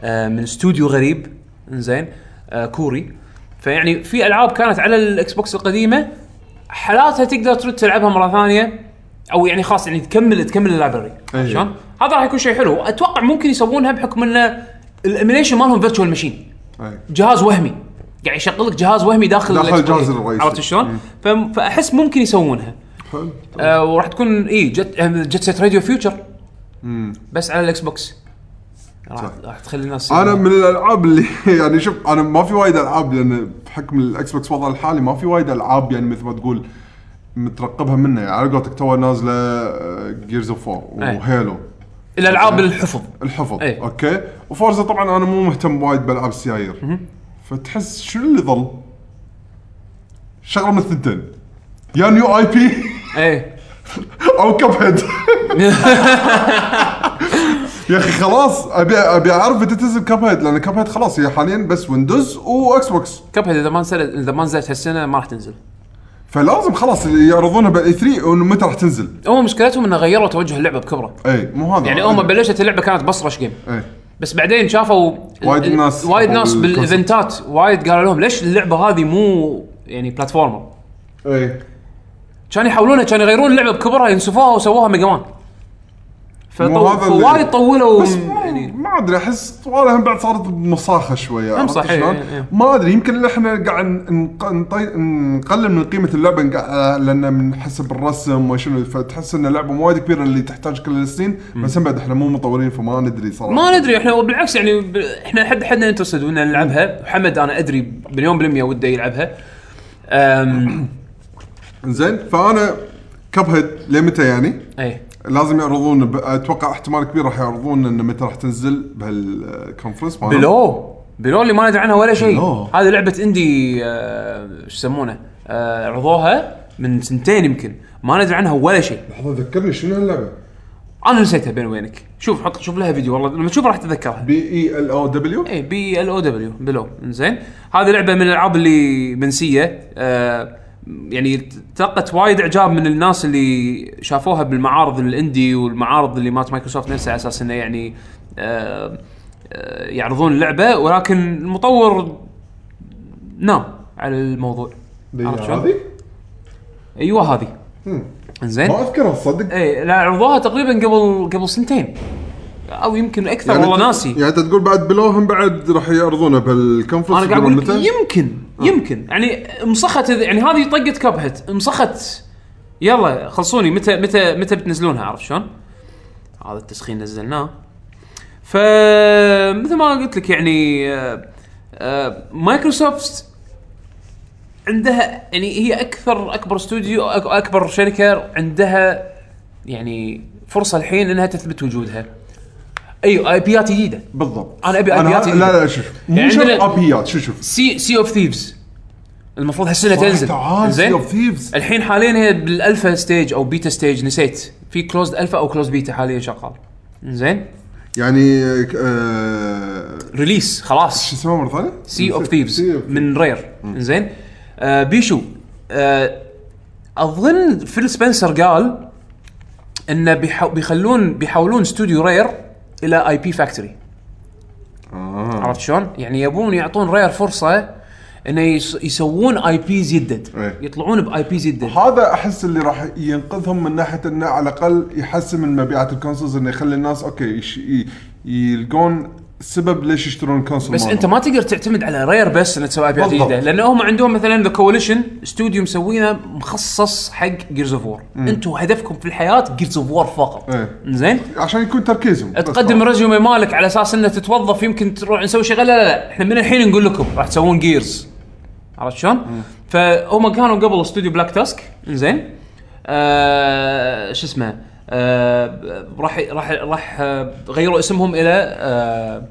Speaker 1: آه، من استوديو غريب زين آه، كوري فيعني في العاب كانت على الاكس بوكس القديمه حالاتها تقدر ترد تلعبها مره ثانيه او يعني خلاص يعني تكمل تكمل اللايبرري
Speaker 2: أيوة.
Speaker 1: شلون؟ هذا راح يكون شيء حلو اتوقع ممكن يسوونها بحكم انه الايميليشن مالهم فيرتشوال ماشين
Speaker 2: أي.
Speaker 1: جهاز وهمي قاعد يشغل لك جهاز وهمي داخل
Speaker 2: داخل
Speaker 1: الإكس بوكس.
Speaker 2: الجهاز الرئيسي.
Speaker 1: عرفت شلون؟ فم- فاحس ممكن يسوونها
Speaker 2: حلو
Speaker 1: آه وراح تكون اي جت آه، جت سيت راديو فيوتشر بس على الاكس بوكس راح
Speaker 2: صح.
Speaker 1: راح تخلي الناس
Speaker 2: انا من الالعاب اللي يعني شوف انا ما في وايد العاب لان بحكم الاكس بوكس وضع الحالي ما في وايد العاب يعني مثل ما تقول مترقبها منه يعني على قولتك آه، تو نازله جيرز اوف 4
Speaker 1: أي.
Speaker 2: وهيلو آه.
Speaker 1: الالعاب الحفظ
Speaker 2: الحفظ
Speaker 1: أي.
Speaker 2: اوكي وفورزا طبعا انا مو مهتم وايد بالعاب السيايير فتحس شنو اللي ظل؟ شغله من الثنتين يا نيو اي بي
Speaker 1: ايه
Speaker 2: او كب هيد يا اخي خلاص ابي ابي اعرف متى تنزل كب هيد لان كب هيد خلاص هي حاليا بس ويندوز واكس بوكس
Speaker 1: كب هيد اذا ما نزلت اذا ما نزلت هالسنه ما راح تنزل
Speaker 2: فلازم خلاص يعرضونها بالاي 3 انه متى راح تنزل
Speaker 1: هم مشكلتهم انه غيروا توجه اللعبه بكبره
Speaker 2: اي مو هذا إيه.
Speaker 1: يعني هم بلشت اللعبه كانت بس رش جيم
Speaker 2: اي
Speaker 1: بس بعدين شافوا
Speaker 2: وايد
Speaker 1: ال-
Speaker 2: ناس
Speaker 1: وايد
Speaker 2: حبوا
Speaker 1: ناس
Speaker 2: الكونسبت.
Speaker 1: بالايفنتات وايد قالوا لهم ليش اللعبه هذه مو يعني بلاتفورمر
Speaker 2: اي
Speaker 1: كان يحاولونها كان يغيرون اللعبه بكبرها ينسفوها وسووها ميجا مان
Speaker 2: مو هذا اللي-
Speaker 1: فوايد طولوا
Speaker 2: بس
Speaker 1: م-
Speaker 2: ما-
Speaker 1: يعني
Speaker 2: ما ادري احس طوالها هم بعد صارت بمصاخه شويه عرفت
Speaker 1: صحيح، إيه.
Speaker 2: شلون؟
Speaker 1: إي، إي.
Speaker 2: ما ادري يمكن احنا قاعد نق- نطي- نقلل من قيمه اللعبه نقع- لان آه، من حسب الرسم وشنو فتحس ان اللعبه مو وايد كبيره اللي تحتاج كل السنين بس هم بعد احنا مو مطورين فما ندري صراحه
Speaker 1: ما ندري احنا بالعكس يعني ب- احنا حد حدنا انترستد ودنا نلعبها وحمد انا ادري مليون بالميه وده يلعبها أم...
Speaker 2: زين فانا كب هيد لمتى يعني؟
Speaker 1: ايه
Speaker 2: لازم يعرضون ب... اتوقع احتمال كبير راح يعرضون انه متى راح تنزل بهالكونفرنس مالهم.
Speaker 1: بلو بلو اللي ما ندري عنها ولا شيء
Speaker 2: بلو.
Speaker 1: هذه لعبه اندي آه، شو يسمونه آه، عرضوها من سنتين يمكن ما ندري عنها ولا شيء
Speaker 2: لحظه ذكرني شنو هاللعبه؟
Speaker 1: انا نسيتها بين وينك شوف حط شوف لها فيديو والله لما تشوف راح تتذكرها
Speaker 2: بي اي ال او دبليو؟
Speaker 1: اي بي ال او دبليو بلو زين هذه لعبه من الالعاب اللي منسيه آه يعني تلقت وايد اعجاب من الناس اللي شافوها بالمعارض الاندي والمعارض اللي مالت مايكروسوفت نفسها على اساس انه يعني آه آه، يعرضون اللعبه ولكن المطور نام على الموضوع عرفت شلون؟
Speaker 2: هذه؟
Speaker 1: ايوه هذه زين
Speaker 2: ما اذكرها تصدق
Speaker 1: اي لا عرضوها تقريبا قبل قبل سنتين او يمكن اكثر والله
Speaker 2: أنت-
Speaker 1: ناسي
Speaker 2: يعني انت تقول بعد بلو هم بعد راح يعرضونه بالكونفرنس
Speaker 1: انا قاعد
Speaker 2: يقولون
Speaker 1: اقول لك يمكن يمكن يعني مسخت إذ- يعني هذه طقه كاب هيت مسخت يلا خلصوني متى متى متى بتنزلونها عرفت شلون؟ هذا التسخين نزلناه ف مثل ما قلت لك يعني آه، آه، مايكروسوفت عندها يعني هي اكثر اكبر استوديو أك- اكبر شركه عندها يعني فرصه الحين انها تثبت وجودها ايوه اي بيات جديده
Speaker 2: بالضبط
Speaker 1: أنا أبي أبيات
Speaker 2: لا
Speaker 1: جديدة.
Speaker 2: لا شوف مو
Speaker 1: يعني
Speaker 2: شرط
Speaker 1: عندنا-
Speaker 2: ابيات شو شوف
Speaker 1: سي سي اوف ثيفز المفروض هالسنه تنزل
Speaker 2: زين
Speaker 1: زين
Speaker 2: اوف ثيفز
Speaker 1: الحين حاليا هي بالالفا ستيج او بيتا ستيج نسيت في كلوزد الفا او كلوزد بيتا حاليا شغال زين
Speaker 2: يعني آه،
Speaker 1: ريليس
Speaker 2: شو
Speaker 1: خلاص
Speaker 2: اسمها مره ثانيه؟
Speaker 1: سي اوف ثيفز
Speaker 2: Sea of Thieves.
Speaker 1: من رير زين آه بيشو آه اظن فيل سبنسر قال انه بيحو بيخلون بيحولون استوديو رير الى اي بي فاكتوري
Speaker 2: آه.
Speaker 1: عرفت شلون؟ يعني يبون يعطون رير فرصه انه يس- يسوون اي بيز يدد
Speaker 2: إيه.
Speaker 1: يطلعون باي بيز يدد
Speaker 2: هذا احس اللي راح ينقذهم من ناحيه انه على الاقل يحسن من مبيعات الكونسولز انه يخلي الناس اوكي يش... ي- يلقون سبب ليش يشترون الكونسول
Speaker 1: بس
Speaker 2: مالهم.
Speaker 1: انت ما تقدر تعتمد على رير بس انك تسوي ابيات
Speaker 2: بالضبط.
Speaker 1: جديده لان هم عندهم مثلا ذا كوليشن استوديو مسوينه مخصص حق جيرز اوف وور انتم هدفكم في الحياه جيرز اوف وور فقط
Speaker 2: إيه.
Speaker 1: زين
Speaker 2: عشان يكون تركيزهم بس
Speaker 1: تقدم الريزومي مالك على اساس انه تتوظف يمكن تروح نسوي شغله لا لا لا احنا من الحين نقول لكم راح تسوون جيرز عرفت شلون؟ فهم كانوا قبل استوديو بلاك تاسك زين آه شو اسمه آه راح راح راح آه، غيروا اسمهم الى آه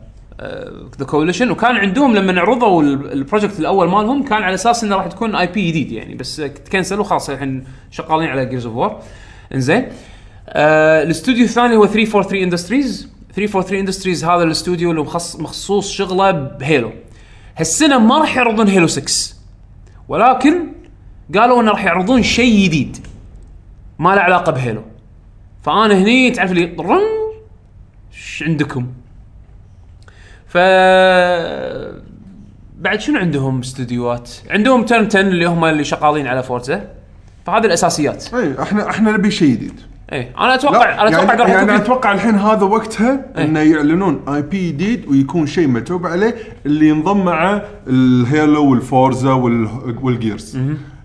Speaker 1: ذا كوليشن وكان عندهم لما عرضوا ال- البروجكت الاول مالهم كان على اساس انه راح تكون اي بي جديد يعني بس تكنسل وخلاص الحين شغالين على جيرز اوف وور انزين آه الاستوديو الثاني هو 343 اندستريز 343 اندستريز هذا الاستوديو اللي مخص- مخصوص شغله بهيلو هالسنه ما راح يعرضون هيلو 6 ولكن قالوا انه راح يعرضون شيء جديد ما له علاقه بهيلو فانا هني تعرف لي رن ايش عندكم ف بعد شنو عندهم استديوهات؟ عندهم تيرن 10 اللي هم اللي شغالين على فورزا فهذه الاساسيات
Speaker 2: اي احنا احنا إيه، نبي شيء جديد
Speaker 1: ايه انا اتوقع انا اتوقع
Speaker 2: يعني,
Speaker 1: قرر
Speaker 2: يعني
Speaker 1: كوبي-
Speaker 2: اتوقع الحين هذا وقتها
Speaker 1: إيه.
Speaker 2: انه يعلنون اي بي جديد ويكون شيء متعوب عليه اللي ينضم معه الهيلو والفورزا وال- والجيرز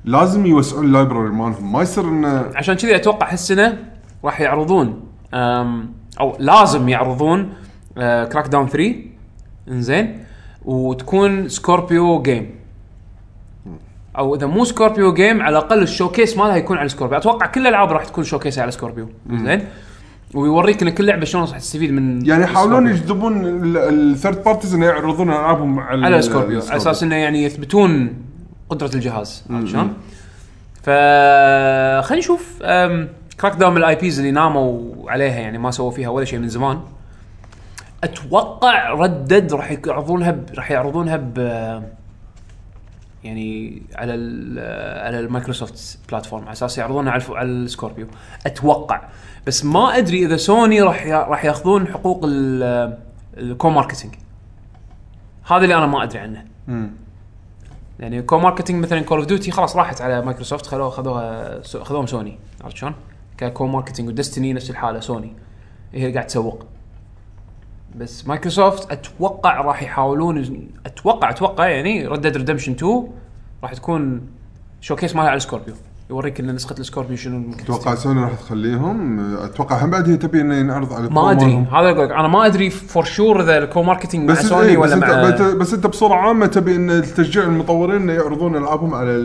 Speaker 2: لازم يوسعون اللايبرري مالهم ما يصير انه
Speaker 1: عشان كذي اتوقع هالسنه راح يعرضون أم، او لازم يعرضون آه، كراك داون 3 انزين وتكون سكوربيو جيم او اذا مو سكوربيو جيم على الاقل الشوكيس مالها يكون على سكوربيو اتوقع كل الالعاب راح تكون شوكيسها على سكوربيو زين ويوريك ان كل لعبه شلون راح تستفيد من
Speaker 2: يعني
Speaker 1: سكوربيو.
Speaker 2: يحاولون يجذبون الثيرد بارتيز انه يعرضون العابهم على
Speaker 1: على
Speaker 2: ال-
Speaker 1: سكوربيو على اساس انه يعني يثبتون قدره الجهاز عرفت شلون؟ ف خلينا نشوف كراك داون الاي بيز اللي ناموا عليها يعني ما سووا فيها ولا شيء من زمان اتوقع ردد راح يعرضونها ب... راح يعرضونها ب يعني على ال على المايكروسوفت بلاتفورم على اساس يعرضونها على, الف... على السكوربيو اتوقع بس ما ادري اذا سوني راح ي... راح ياخذون حقوق ال الكو ماركتينج هذا اللي انا ما ادري عنه يعني كو ماركتنج مثلا كول اوف ديوتي خلاص راحت على مايكروسوفت خلوها خذوها سو- خذوهم سوني عرفت شلون؟ ككو ماركتنج ودستني نفس الحاله سوني هي قاعد تسوق بس مايكروسوفت اتوقع راح يحاولون اتوقع اتوقع يعني ردد ريدمشن 2 راح تكون شوكيس مالها على سكوربيو يوريك ان نسخه السكوربيو شنو ممكن
Speaker 2: اتوقع
Speaker 1: تستخدم.
Speaker 2: سوني راح تخليهم اتوقع هم بعد هي تبي انه ينعرض على
Speaker 1: ما
Speaker 2: الكون
Speaker 1: ادري
Speaker 2: مالهم.
Speaker 1: هذا اللي أقولك، انا ما ادري فور شور اذا الكو ماركتنج مع
Speaker 2: بس إيه
Speaker 1: سوني
Speaker 2: بس
Speaker 1: ولا
Speaker 2: انت
Speaker 1: مع
Speaker 2: بت- بس انت بصوره عامه تبي ان تشجيع المطورين انه يعرضون العابهم على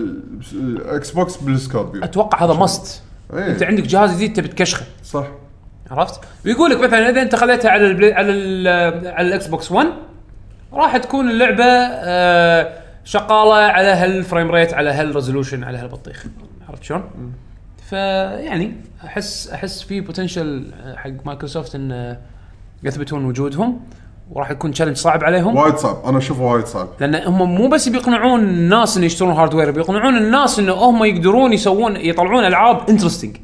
Speaker 2: الاكس بوكس بالسكوربيو
Speaker 1: اتوقع هذا ماست
Speaker 2: إيه.
Speaker 1: انت عندك جهاز جديد تبي تكشخه
Speaker 2: صح
Speaker 1: عرفت؟ ويقول لك مثلا اذا انت خذيتها على البلاي على ال على الاكس بوكس 1 راح تكون اللعبه آه، شغاله على هالفريم ريت على هالريزولوشن على هالبطيخ عرفت شلون؟ فيعني احس احس في بوتنشل حق مايكروسوفت ان يثبتون وجودهم وراح يكون تشالنج صعب عليهم
Speaker 2: وايد صعب انا اشوفه وايد صعب
Speaker 1: لان هم مو بس بيقنعون الناس ان يشترون هاردوير بيقنعون الناس انه هم يقدرون يسوون يطلعون العاب انترستنج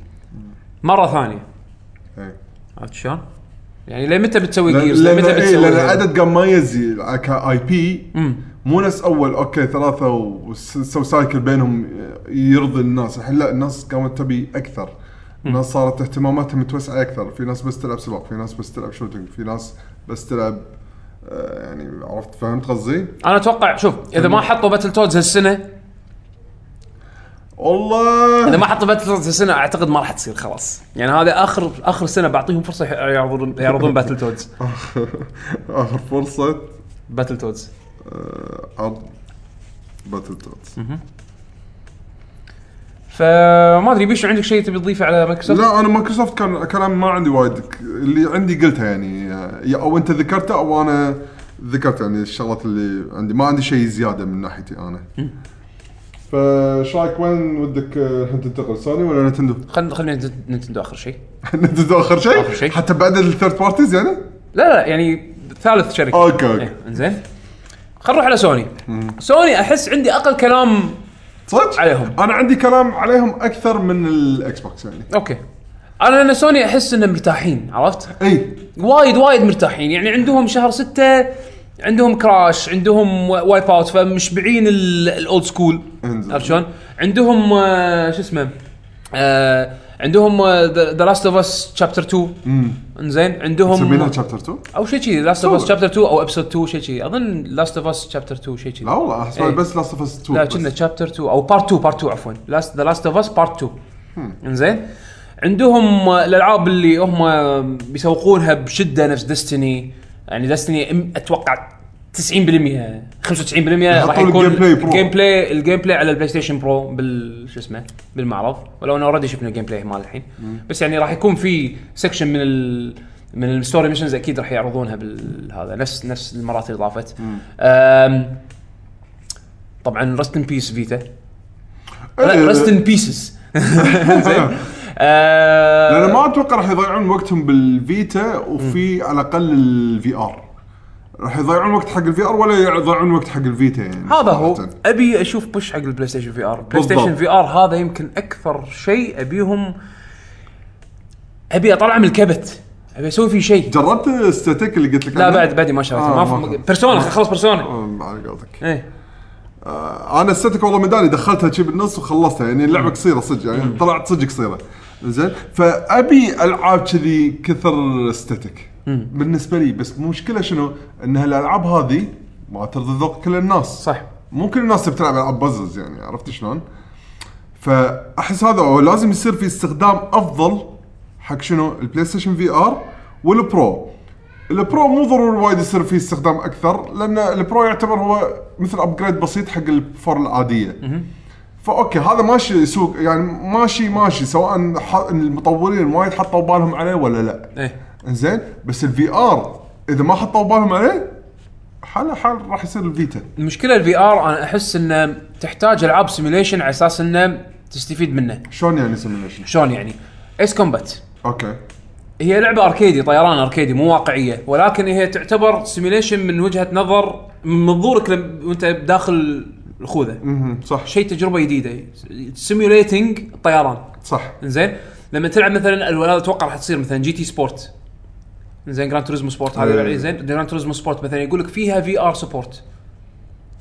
Speaker 1: مره ثانيه
Speaker 2: إيه.
Speaker 1: عرفت شلون؟ يعني لين متى بتسوي
Speaker 2: لان
Speaker 1: جيرز؟ لين متى
Speaker 2: إيه،
Speaker 1: بتسوي
Speaker 2: لأن
Speaker 1: هذا؟
Speaker 2: العدد قام ما يزي كاي بي مو نفس اول اوكي ثلاثه وسو سايكل بينهم يرضي الناس الحين لا الناس قامت تبي اكثر الناس صارت اهتماماتها متوسعه اكثر في ناس بس تلعب سباق في ناس بس تلعب شوتنج في ناس بس تلعب آه، يعني عرفت فهمت قصدي؟
Speaker 1: انا اتوقع شوف اذا ما حطوا باتل تودز هالسنه اذا
Speaker 2: والله
Speaker 1: ما حطوا باتل تودز هالسنه اعتقد ما راح تصير خلاص يعني هذا اخر اخر سنه بعطيهم فرصه يعرضون يعرضون باتل تودز
Speaker 2: اخر فرصه
Speaker 1: باتل تودز
Speaker 2: آه، عرض باتل تودز
Speaker 1: فما ادري بيشو عندك شيء تبي تضيفه على مايكروسوفت؟
Speaker 2: لا انا مايكروسوفت كان كلام ما عندي وايد ك- اللي عندي قلتها يعني يا- او انت ذكرته او انا ذكرت يعني الشغلات اللي عندي ما عندي شيء زياده من ناحيتي انا فايش رايك وين ودك آه، الحين تنتقل سوني ولا نتندو؟
Speaker 1: خلينا خلينا نت- نتندو اخر شيء
Speaker 2: نتندو اخر شيء؟
Speaker 1: آخر شيء.
Speaker 2: حتى بعد الثيرد بارتيز يعني؟
Speaker 1: لا لا يعني ثالث شركه
Speaker 2: اوكي اوكي
Speaker 1: إيه، انزين خلينا نروح على سوني سوني احس عندي اقل كلام
Speaker 2: صدق؟
Speaker 1: عليهم.
Speaker 2: انا عندي كلام عليهم اكثر من الاكس بوكس يعني
Speaker 1: اوكي انا لان سوني احس انهم مرتاحين عرفت؟
Speaker 2: اي
Speaker 1: وايد وايد مرتاحين يعني عندهم شهر ستة عندهم كراش عندهم وايب اوت فمشبعين ال- الاولد سكول
Speaker 2: انزين.
Speaker 1: عرفت شلون؟ عندهم آه، شو اسمه آه، عندهم ذا لاست اوف اس شابتر 2 انزين
Speaker 2: مسمينها
Speaker 1: عندهم
Speaker 2: شابتر 2
Speaker 1: او شيء كذي لاست اوف اس
Speaker 2: صور.
Speaker 1: شابتر 2 او ابسود 2 شيء كذي اظن لاست اوف اس شابتر 2 شيء كذي
Speaker 2: لا والله
Speaker 1: إيه.
Speaker 2: احسبها بس لاست اوف اس 2
Speaker 1: لا
Speaker 2: بس.
Speaker 1: كنا شابتر 2 او بارت 2 بارت 2 عفوا لاست ذا لاست اوف اس بارت 2 انزين عندهم الالعاب اللي هم بيسوقونها بشده نفس ديستني يعني ديستني اتوقع 90% 95% راح
Speaker 2: يحطون
Speaker 1: يكون
Speaker 2: الجيم بلاي برو.
Speaker 1: الجيم بلاي الجيم بلاي على البلاي ستيشن برو بال شو اسمه بالمعرض ولو انه اوريدي شفنا الجيم بلاي مال الحين بس يعني راح يكون في سكشن من ال من الستوري ميشنز اكيد راح يعرضونها بالهذا نفس نفس المرات اللي طافت أم، طبعا رست ان بيس فيتا
Speaker 2: إيه.
Speaker 1: رست ان بيسز زين آه،
Speaker 2: لان ما اتوقع راح يضيعون وقتهم بالفيتا وفي على الاقل الفي ار راح يضيعون وقت حق الفي ار ولا يضيعون وقت حق الفيتا يعني
Speaker 1: هذا هو
Speaker 2: صراحة.
Speaker 1: ابي اشوف بوش حق البلاي ستيشن في ار بلاي
Speaker 2: بالضبط.
Speaker 1: ستيشن في ار هذا يمكن اكثر شيء ابيهم ابي اطلع من الكبت ابي اسوي فيه شيء
Speaker 2: جربت ستاتيك اللي قلت لك
Speaker 1: لا
Speaker 2: عنه؟
Speaker 1: بعد بعدي ما شريته
Speaker 2: آه،
Speaker 1: ما
Speaker 2: ما
Speaker 1: ف...
Speaker 2: خلص.
Speaker 1: بيرسونا خلص بيرسونا
Speaker 2: أم، على قولتك
Speaker 1: ايه
Speaker 2: آه، انا ستاتيك والله مداني دخلتها شي بالنص وخلصتها يعني اللعبه قصيره صدق يعني طلعت صدق قصيره زين فابي العاب كذي كثر ستاتيك بالنسبه لي بس مشكله شنو ان هالالعاب هذه ما ترضي ذوق كل الناس
Speaker 1: صح.
Speaker 2: مو كل الناس تبي تلعب العاب بازلز يعني عرفت شلون؟ فاحس هذا هو لازم يصير في استخدام افضل حق شنو البلاي ستيشن في ار والبرو البرو مو ضروري وايد يصير فيه استخدام اكثر لان البرو يعتبر هو مثل ابجريد بسيط حق الفور العاديه فاوكي هذا ماشي سوق يعني ماشي ماشي سواء ح- المطورين وايد حطوا بالهم عليه ولا لا
Speaker 1: ايه
Speaker 2: زين بس الفي ار اذا ما حطوا بالهم عليه حاله حال راح يصير الفيتا
Speaker 1: المشكله الفي ار انا احس انه تحتاج العاب سيميوليشن على اساس انه تستفيد منه
Speaker 2: شلون يعني سيميليشن
Speaker 1: شلون يعني ايس كومبات
Speaker 2: اوكي
Speaker 1: هي لعبه اركيدي طيران اركيدي مو واقعيه ولكن هي تعتبر سيميليشن من وجهه نظر من منظورك لم- وانت داخل الخوذه
Speaker 2: مهم، صح
Speaker 1: شيء تجربه جديده سيميوليتنج الطيران
Speaker 2: صح
Speaker 1: زين لما تلعب مثلا الولاده اتوقع راح تصير مثلا جي تي سبورت زين جراند توريزمو سبورت هذا
Speaker 2: إيه.
Speaker 1: العيد، زين جراند توريزمو سبورت مثلا يقول لك فيها في ار سبورت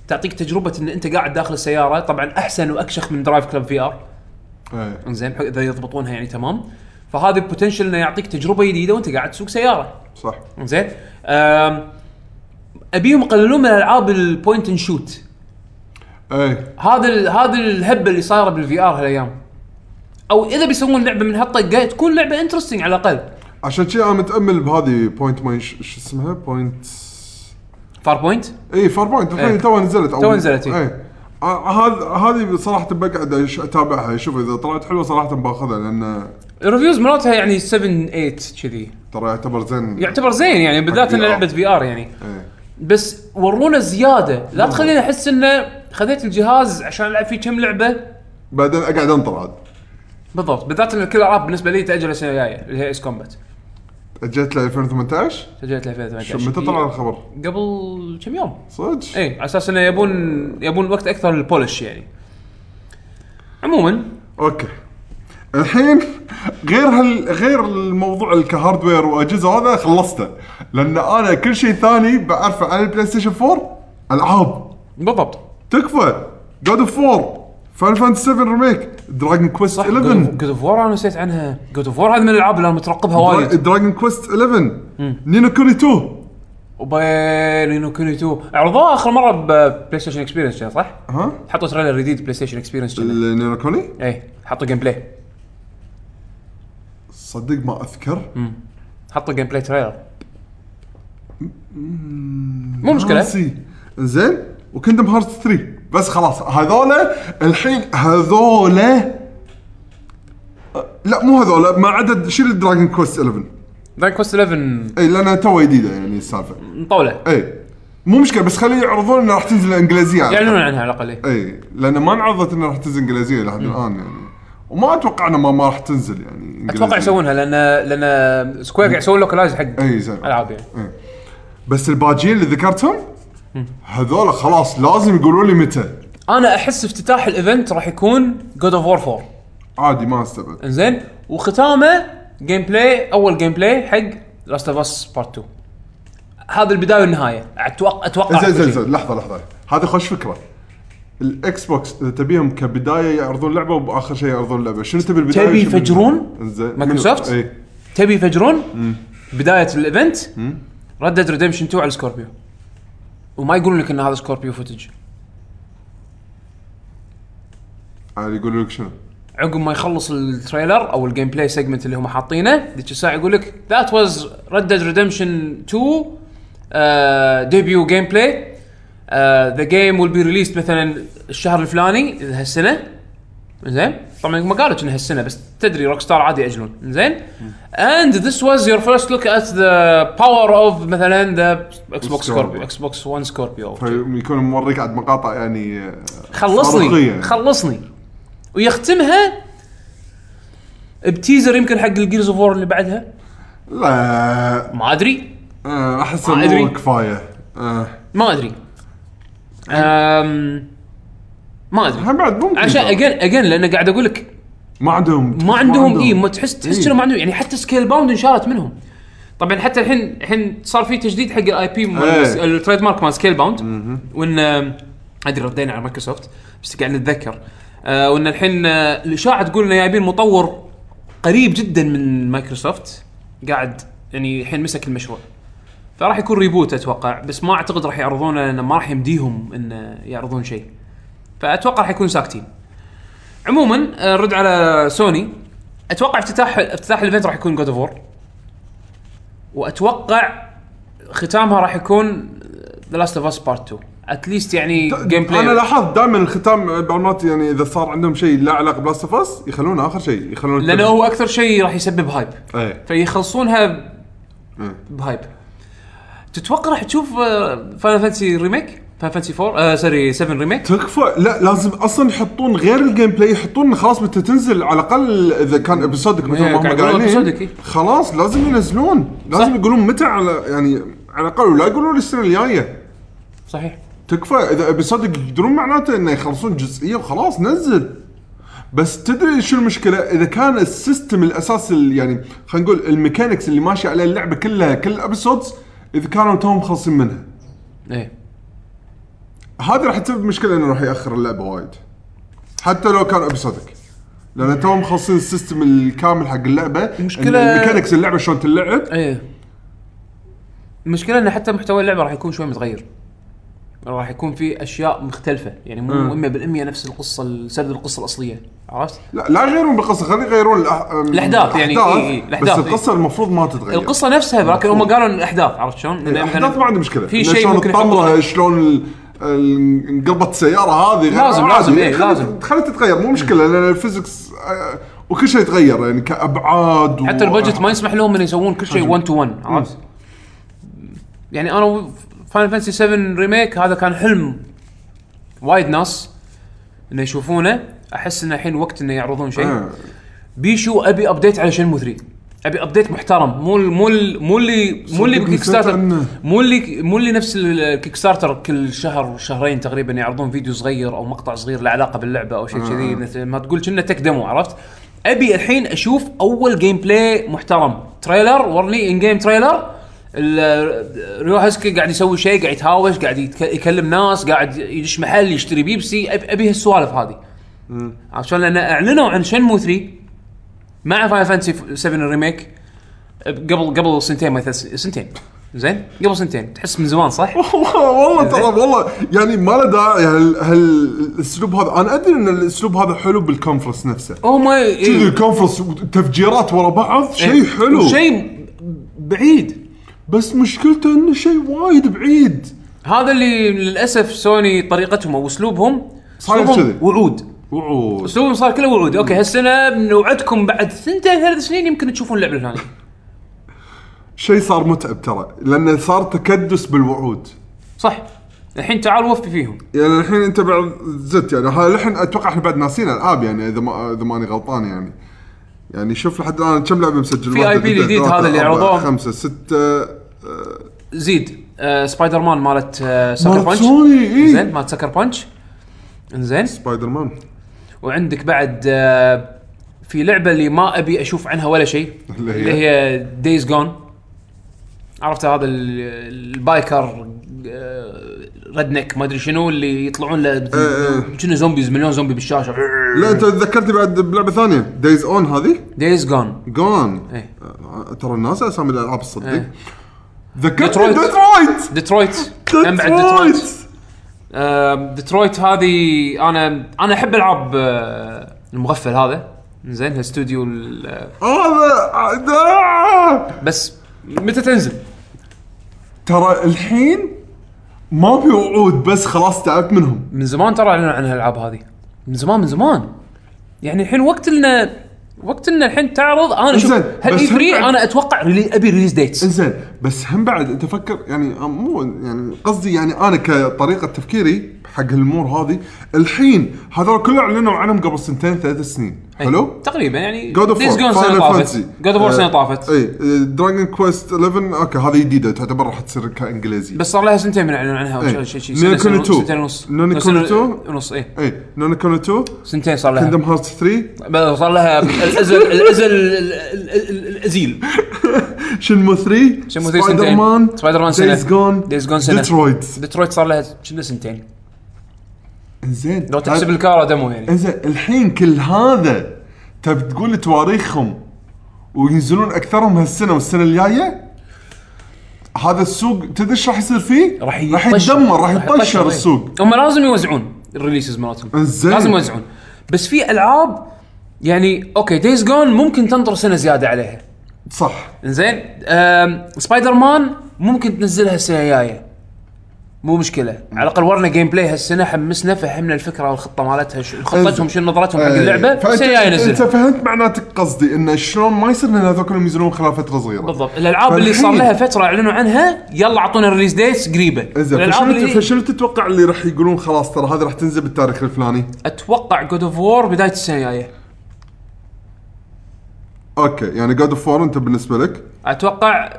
Speaker 1: تعطيك تجربه ان انت قاعد داخل السياره طبعا احسن واكشخ من درايف كلب في ار
Speaker 2: ايه
Speaker 1: زين اذا يضبطونها يعني تمام فهذا بوتنشل انه يعطيك تجربه جديده وانت قاعد تسوق سياره
Speaker 2: صح
Speaker 1: زين أم، ابيهم يقللون من العاب البوينت اند شوت
Speaker 2: ايه
Speaker 1: هذا ال- هذا الهبه اللي صايره بالفي ار هالايام او اذا بيسوون لعبه من هالطقه تكون لعبه انترستنج على الاقل
Speaker 2: عشان كذي انا متامل بهذه بوينت ما ش- شو اسمها بوينت
Speaker 1: فار بوينت
Speaker 2: اي فار بوينت الحين
Speaker 1: إيه.
Speaker 2: تو نزلت
Speaker 1: تو نزلت، إيه.
Speaker 2: اي هذا هذه صراحه بقعد أش- اتابعها اشوف اذا طلعت حلوه صراحه باخذها لان
Speaker 1: الريفيوز مراتها يعني 7 8 كذي
Speaker 2: ترى يعتبر زين
Speaker 1: يعتبر زين يعني بالذات
Speaker 2: حق
Speaker 1: ان
Speaker 2: VR.
Speaker 1: لعبه في ار يعني
Speaker 2: إيه.
Speaker 1: بس ورونا زياده لا تخليني احس انه خذيت الجهاز عشان العب فيه كم لعبه
Speaker 2: بعدين اقعد انطر عاد
Speaker 1: بالضبط بالذات ان كل الالعاب بالنسبه لي تاجل السنه الجايه اللي هي اس كومبات
Speaker 2: اجيت ل 2018
Speaker 1: سجلت لها
Speaker 2: شو
Speaker 1: 2018
Speaker 2: متى طلع الخبر؟
Speaker 1: قبل كم يوم
Speaker 2: صدق؟
Speaker 1: اي على اساس انه يبون يبون وقت اكثر للبولش يعني عموما
Speaker 2: اوكي الحين غير هال غير الموضوع كهاردوير واجهزه هذا خلصته لان انا كل شيء ثاني بعرفه على البلاي ستيشن 4 العاب
Speaker 1: بالضبط
Speaker 2: تكفى جود اوف 4 فان فانتسي 7 ريميك دراجون كويست 11
Speaker 1: جود اوف وور انا نسيت عنها جود اوف وور هذه من الالعاب اللي انا مترقبها وايد
Speaker 2: دراجون كويست 11 نينو كوني 2
Speaker 1: وبين انه كوني 2 عرضوها اخر مره ببلاي ستيشن اكسبيرينس كان، صح؟
Speaker 2: ها
Speaker 1: حطوا تريلر جديد بلاي ستيشن اكسبيرينس كان.
Speaker 2: نينو كوني
Speaker 1: اي إيه، حطوا جيم بلاي
Speaker 2: صدق ما اذكر
Speaker 1: حطوا جيم بلاي تريلر مو مشكلة
Speaker 2: ناسي. آه، زين وكندم هارت 3 بس خلاص هذولا الحين هذولا أه، لا مو هذولا ما عدا شيل دراجون كويست 11
Speaker 1: دراجون كوست 11
Speaker 2: اي لانها تو جديده يعني السالفه
Speaker 1: مطولة
Speaker 2: اي مو مشكله بس خليه يعرضون انها راح تنزل انجليزيه على
Speaker 1: يعلنون عنها على الاقل إيه.
Speaker 2: اي لان ما انعرضت انها راح تنزل انجليزيه لحد الان يعني وما اتوقع انها ما, ما راح تنزل يعني إنجليزية.
Speaker 1: اتوقع يسوونها لان لان سكوير قاعد يسوون لوكلايز حق
Speaker 2: اي زين
Speaker 1: العاب يعني
Speaker 2: بس الباجين اللي ذكرتهم هذول خلاص لازم يقولوا لي متى
Speaker 1: انا احس افتتاح الايفنت راح يكون جود اوف وور 4
Speaker 2: عادي ما استبعد
Speaker 1: انزين وختامه جيم بلاي اول جيم بلاي حق لاست اوف اس بارت 2 هذا البدايه والنهايه اتوقع اتوقع
Speaker 2: زين
Speaker 1: راح
Speaker 2: زين
Speaker 1: يكون شيء.
Speaker 2: زين لحظه لحظه هذه خوش فكره الاكس بوكس اذا تبيهم كبدايه يعرضون لعبه وباخر شيء يعرضون لعبه شنو تبي إيه. البدايه
Speaker 1: تبي
Speaker 2: وشنو النهاية؟
Speaker 1: يفجرون
Speaker 2: زين منو؟
Speaker 1: مايكروسوفت؟
Speaker 2: اي
Speaker 1: تبي يفجرون بدايه الايفنت ردد ريدمشن 2 على سكوربيو وما يقولون لك ان هذا سكوربيو فوتج
Speaker 2: عادي آه، يقولوا لك شنو
Speaker 1: عقب ما يخلص التريلر او الجيم بلاي سيجمنت اللي هم حاطينه ذيك الساعه يقول لك ذات واز ريد ديد ريدمشن 2 ديبيو جيم بلاي آه، ذا جيم ويل بي ريليست مثلا الشهر الفلاني هالسنه زين طبعا ما قالوا انها هالسنه بس تدري روك ستار عادي ياجلون زين اند ذس واز يور فيرست لوك ات ذا باور اوف مثلا ذا اكس بوكس سكوربيو
Speaker 2: سكوربيو.
Speaker 1: اكس بوكس 1 سكوربيو
Speaker 2: فيكون طيب، موريك عاد مقاطع يعني آه، صاروخية
Speaker 1: خلصني
Speaker 2: يعني.
Speaker 1: خلصني ويختمها بتيزر يمكن حق الجيرز اوف وور اللي بعدها
Speaker 2: لا
Speaker 1: ما ادري
Speaker 2: آه، احس
Speaker 1: ما أدري.
Speaker 2: مو كفايه آه،
Speaker 1: ما ادري أم... ما ادري
Speaker 2: هم بعد ممكن
Speaker 1: عشان
Speaker 2: ترى.
Speaker 1: اجين اجين لان قاعد اقول لك
Speaker 2: ما عندهم
Speaker 1: ما عندهم اي ما تحس تحس
Speaker 2: إيه.
Speaker 1: شنو ما عندهم يعني حتى سكيل باوند انشالت منهم طبعا حتى الحين الحين صار في تجديد حق الاي بي
Speaker 2: إيه.
Speaker 1: التريد مارك مال سكيل باوند وان آم، ادري آه، ردينا على مايكروسوفت بس قاعد نتذكر آه، وان الحين آه، الاشاعه تقول انه جايبين مطور قريب جدا من مايكروسوفت قاعد يعني الحين مسك المشروع فراح يكون ريبوت اتوقع بس ما اعتقد راح يعرضونه لانه ما راح يمديهم ان يعرضون شيء فاتوقع راح يكونوا ساكتين عموما آه، نرد على سوني اتوقع افتتاح افتتاح الايفنت راح يكون جود اوف وور واتوقع ختامها راح يكون آه، ذا لاست اوف اس بارت 2 اتليست يعني جيم بلاي
Speaker 2: انا لاحظت دائما الختام بالمات يعني اذا صار عندهم شيء لا علاقه بلاست اوف اس يخلونه اخر شيء يخلونه
Speaker 1: لانه هو اكثر شيء راح يسبب هايب
Speaker 2: ايه
Speaker 1: فيخلصونها
Speaker 2: مم.
Speaker 1: بهايب تتوقع راح تشوف آه، فاينل فانتسي ريميك فاينل فانتسي 4 آه سوري 7 ريميك
Speaker 2: تكفى لا لازم اصلا يحطون غير الجيم بلاي يحطون خلاص متى تنزل على الاقل اذا كان ابيسودك مثل
Speaker 1: إيه،
Speaker 2: ما هم
Speaker 1: قاعد يقولون episodic، إيه.
Speaker 2: قايلين خلاص لازم ينزلون لازم
Speaker 1: صح.
Speaker 2: يقولون متى على يعني على الاقل ولا يقولون السنه الجايه
Speaker 1: صحيح
Speaker 2: تكفى اذا ابيسودك يقدرون معناته انه يخلصون جزئيه وخلاص نزل بس تدري شو المشكله اذا كان السيستم الاساس ال- يعني خلينا نقول الميكانكس اللي ماشي عليه اللعبه كلها كل الابيسودز اذا كانوا توهم مخلصين منها
Speaker 1: ايه
Speaker 2: هذا راح تسبب مشكله انه راح ياخر اللعبه وايد حتى لو كان ابيسودك لان توهم مخلصين السيستم الكامل حق اللعبه
Speaker 1: المشكلة-
Speaker 2: ميكانكس اللعبه شلون تلعب
Speaker 1: ايه المشكله ان حتى محتوى اللعبه راح يكون شوي متغير راح يكون في اشياء مختلفه يعني مو 100% نفس القصه ال- سرد القصه الاصليه عرفت
Speaker 2: لا لا يغيرون بالقصه خليهم يغيرون الأح-
Speaker 1: الأحداث يعني،
Speaker 2: الأحداث،
Speaker 1: إي- إي،
Speaker 2: بس
Speaker 1: الأحداث، إي.
Speaker 2: القصه المفروض ما تتغير
Speaker 1: القصه نفسها لكن هم قالوا إن الاحداث عرفت شلون لأن مثلاً
Speaker 2: الاحداث ما عندي مشكله
Speaker 1: في
Speaker 2: إنه
Speaker 1: شيء
Speaker 2: شلون
Speaker 1: ممكن
Speaker 2: تطلع
Speaker 1: يحطونه.
Speaker 2: شلون ال- ال- انقلبت السياره هذه غير-
Speaker 1: لازم-
Speaker 2: عادي،
Speaker 1: لازم، إيه،
Speaker 2: خلي-
Speaker 1: لازم.
Speaker 2: خلي تتغير مو مشكله لان الفيزكس آه، وكل شيء تغير يعني كابعاد و-
Speaker 1: حتى البادجت ما يسمح لهم ان يسوون كل شيء 1 تو 1 عرفت يعني انا فاينل فانسي 7 ريميك هذا كان حلم وايد ناس انه يشوفونه احس انه الحين وقت انه يعرضون شيء
Speaker 2: آه.
Speaker 1: بيشو ابي ابديت على شنمو 3 ابي ابديت محترم مو ال- مو ال- مو اللي مو اللي
Speaker 2: صدقني
Speaker 1: بكيك ستارتر
Speaker 2: سمعت عنه.
Speaker 1: مو اللي مو اللي نفس ال- الكيك ستارتر كل شهر وشهرين تقريبا يعرضون فيديو صغير او مقطع صغير له علاقه باللعبه او شيء
Speaker 2: آه.
Speaker 1: كذي مثل ما تقول كنا تك دمو عرفت؟ ابي الحين اشوف اول جيم بلاي محترم تريلر ورني ان جيم تريلر ال- ريو هاسكي قاعد يسوي شيء قاعد يتهاوش قاعد يتك- يكلم ناس قاعد يدش محل يشتري بيبسي أب- ابي هالسوالف هذه عرفت شلون؟ لان اعلنوا عن شنمو 3 مع فاين فانتسي 7 الريميك قبل قبل سنتين ما ثلاث سن- سنتين زين قبل سنتين تحس من زمان صح؟
Speaker 2: والله والله ترى والله يعني ما له داعي هال- هالاسلوب هذا انا ادري ان الاسلوب هذا حلو بالكونفرنس نفسه
Speaker 1: هم إيه.
Speaker 2: كذي الكونفرنس تفجيرات ورا بعض شيء حلو
Speaker 1: شيء بعيد
Speaker 2: بس مشكلته انه شيء وايد بعيد
Speaker 1: هذا اللي للاسف سوني طريقتهم او اسلوبهم
Speaker 2: صاير
Speaker 1: أسلوبهم
Speaker 2: كذي.
Speaker 1: وعود
Speaker 2: وعود
Speaker 1: اسلوبهم صار كله وعود اوكي هالسنه بنوعدكم بعد سنتين ثلاث سنين يمكن تشوفون اللعبه الفلانيه
Speaker 2: شيء صار متعب ترى لانه صار تكدس بالوعود
Speaker 1: صح الحين تعال وفي فيهم
Speaker 2: يعني الحين انت بعد زدت يعني هاي الحين اتوقع احنا بعد ناسين العاب يعني اذا ما اذا ماني غلطان يعني يعني شوف لحد الان كم لعبه مسجل
Speaker 1: في IP الجديد هذا اللي عرضوه.
Speaker 2: خمسه سته
Speaker 1: زيد آه سبايدر مان مالت آه سكر
Speaker 2: مالت إيه.
Speaker 1: بانش
Speaker 2: سوني، إي.
Speaker 1: زين مالت سكر بانش انزين
Speaker 2: سبايدر مان
Speaker 1: وعندك بعد آه، في لعبه اللي ما ابي اشوف عنها ولا شيء
Speaker 2: اللي هي؟
Speaker 1: اللي هي دايز جون عرفت هذا ال- البايكر آه، ردنك ما ادري شنو اللي يطلعون له
Speaker 2: إيه.
Speaker 1: شنو زومبيز مليون زومبي بالشاشه
Speaker 2: لا انت ذكرتني بعد بلعبه ثانيه دايز اون هذه
Speaker 1: دايز جون
Speaker 2: جون
Speaker 1: إيه.
Speaker 2: آه، ترى الناس اسامي الالعاب الصدق
Speaker 1: إيه.
Speaker 2: ذكرتني
Speaker 1: ديترويت.
Speaker 2: ديترويت
Speaker 1: ديترويت هم نعم، بعد ديترويت
Speaker 2: ديترويت
Speaker 1: آه، ديترويت هذه انا انا احب العاب آه، المغفل هذا زين الاستوديو ال-
Speaker 2: هذا آه،
Speaker 1: بس متى تنزل؟
Speaker 2: ترى الحين ما في وعود بس خلاص تعبت منهم
Speaker 1: من زمان ترى اعلنوا عن هالالعاب هذه من زمان من زمان يعني الحين وقت لنا وقت ان الحين تعرض انا شوف
Speaker 2: زين،
Speaker 1: هل
Speaker 2: بس
Speaker 1: اي 3
Speaker 2: هم-
Speaker 1: انا اتوقع ريلي ابي ريليز ديتس
Speaker 2: انزين بس هم بعد انت فكر يعني أم- مو يعني قصدي يعني انا كطريقه تفكيري حق الامور هذه الحين هذول كله اعلنوا عنهم قبل سنتين ثلاث سنين حلو؟
Speaker 1: تقريبا إيه، يعني
Speaker 2: جود اوف
Speaker 1: Days Gone سنه طافت جود
Speaker 2: آه، Uh,
Speaker 1: اوف سنه طافت
Speaker 2: اي دراجون كويست 11 اوكي هذه جديده تعتبر راح تصير كانجليزي
Speaker 1: بس صار لها سنتين من اعلان عنها
Speaker 2: إيه.
Speaker 1: او شيء شيء
Speaker 2: نونو كونو 2.
Speaker 1: سنتين ونص
Speaker 2: نونو
Speaker 1: سنة
Speaker 2: كونو 2.
Speaker 1: ونص اي
Speaker 2: اي نونو كونو 2
Speaker 1: سنتين صار لها
Speaker 2: كيندم هارتس 3
Speaker 1: بس صار لها الازل الازل ال- ال- ال- الازيل
Speaker 2: شنمو 3
Speaker 1: شنمو 3
Speaker 2: سبايدر
Speaker 1: سنتين.
Speaker 2: مان
Speaker 1: سبايدر مان سنة.
Speaker 2: دايز جون
Speaker 1: Days Gone سنة.
Speaker 2: ديترويت
Speaker 1: ديترويت صار لها كنا سنتين
Speaker 2: انزين
Speaker 1: لو تحسب
Speaker 2: هذا-
Speaker 1: الكارا دمو يعني
Speaker 2: انزين الحين كل هذا تبي تقول تواريخهم وينزلون اكثرهم هالسنه والسنه الجايه هذا السوق تدري ايش راح يصير فيه؟ راح
Speaker 1: يطشر.
Speaker 2: يتدمر راح
Speaker 1: إيه.
Speaker 2: يطشر السوق
Speaker 1: هم لازم يوزعون الريليسز مالتهم
Speaker 2: إنزين.
Speaker 1: لازم يوزعون بس في العاب يعني اوكي دايز جون ممكن تنطر سنه زياده عليها
Speaker 2: صح
Speaker 1: زين سبايدر مان ممكن تنزلها السنه الجايه مو مشكله على الاقل ورنا جيم بلاي هالسنه حمسنا فهمنا الفكره والخطه مالتها شو- خطتهم شنو نظرتهم حق اللعبه
Speaker 2: إيه. فأنت-
Speaker 1: السنه الجايه
Speaker 2: انت
Speaker 1: نزلها
Speaker 2: فهمت معناتك قصدي انه شلون ما يصير ان هذول كلهم ينزلون خلال فتره صغيره
Speaker 1: بالضبط الالعاب اللي صار
Speaker 2: فالحين-
Speaker 1: لها فتره اعلنوا عنها يلا اعطونا الريليز ديتس قريبه
Speaker 2: زين
Speaker 1: الالعاب
Speaker 2: فشنو
Speaker 1: اللي
Speaker 2: فشنو تتوقع اللي راح يقولون خلاص ترى هذه راح تنزل بالتاريخ الفلاني؟
Speaker 1: اتوقع جود اوف وور بدايه السنه الجايه
Speaker 2: اوكي يعني جاد اوف انت بالنسبه لك
Speaker 1: اتوقع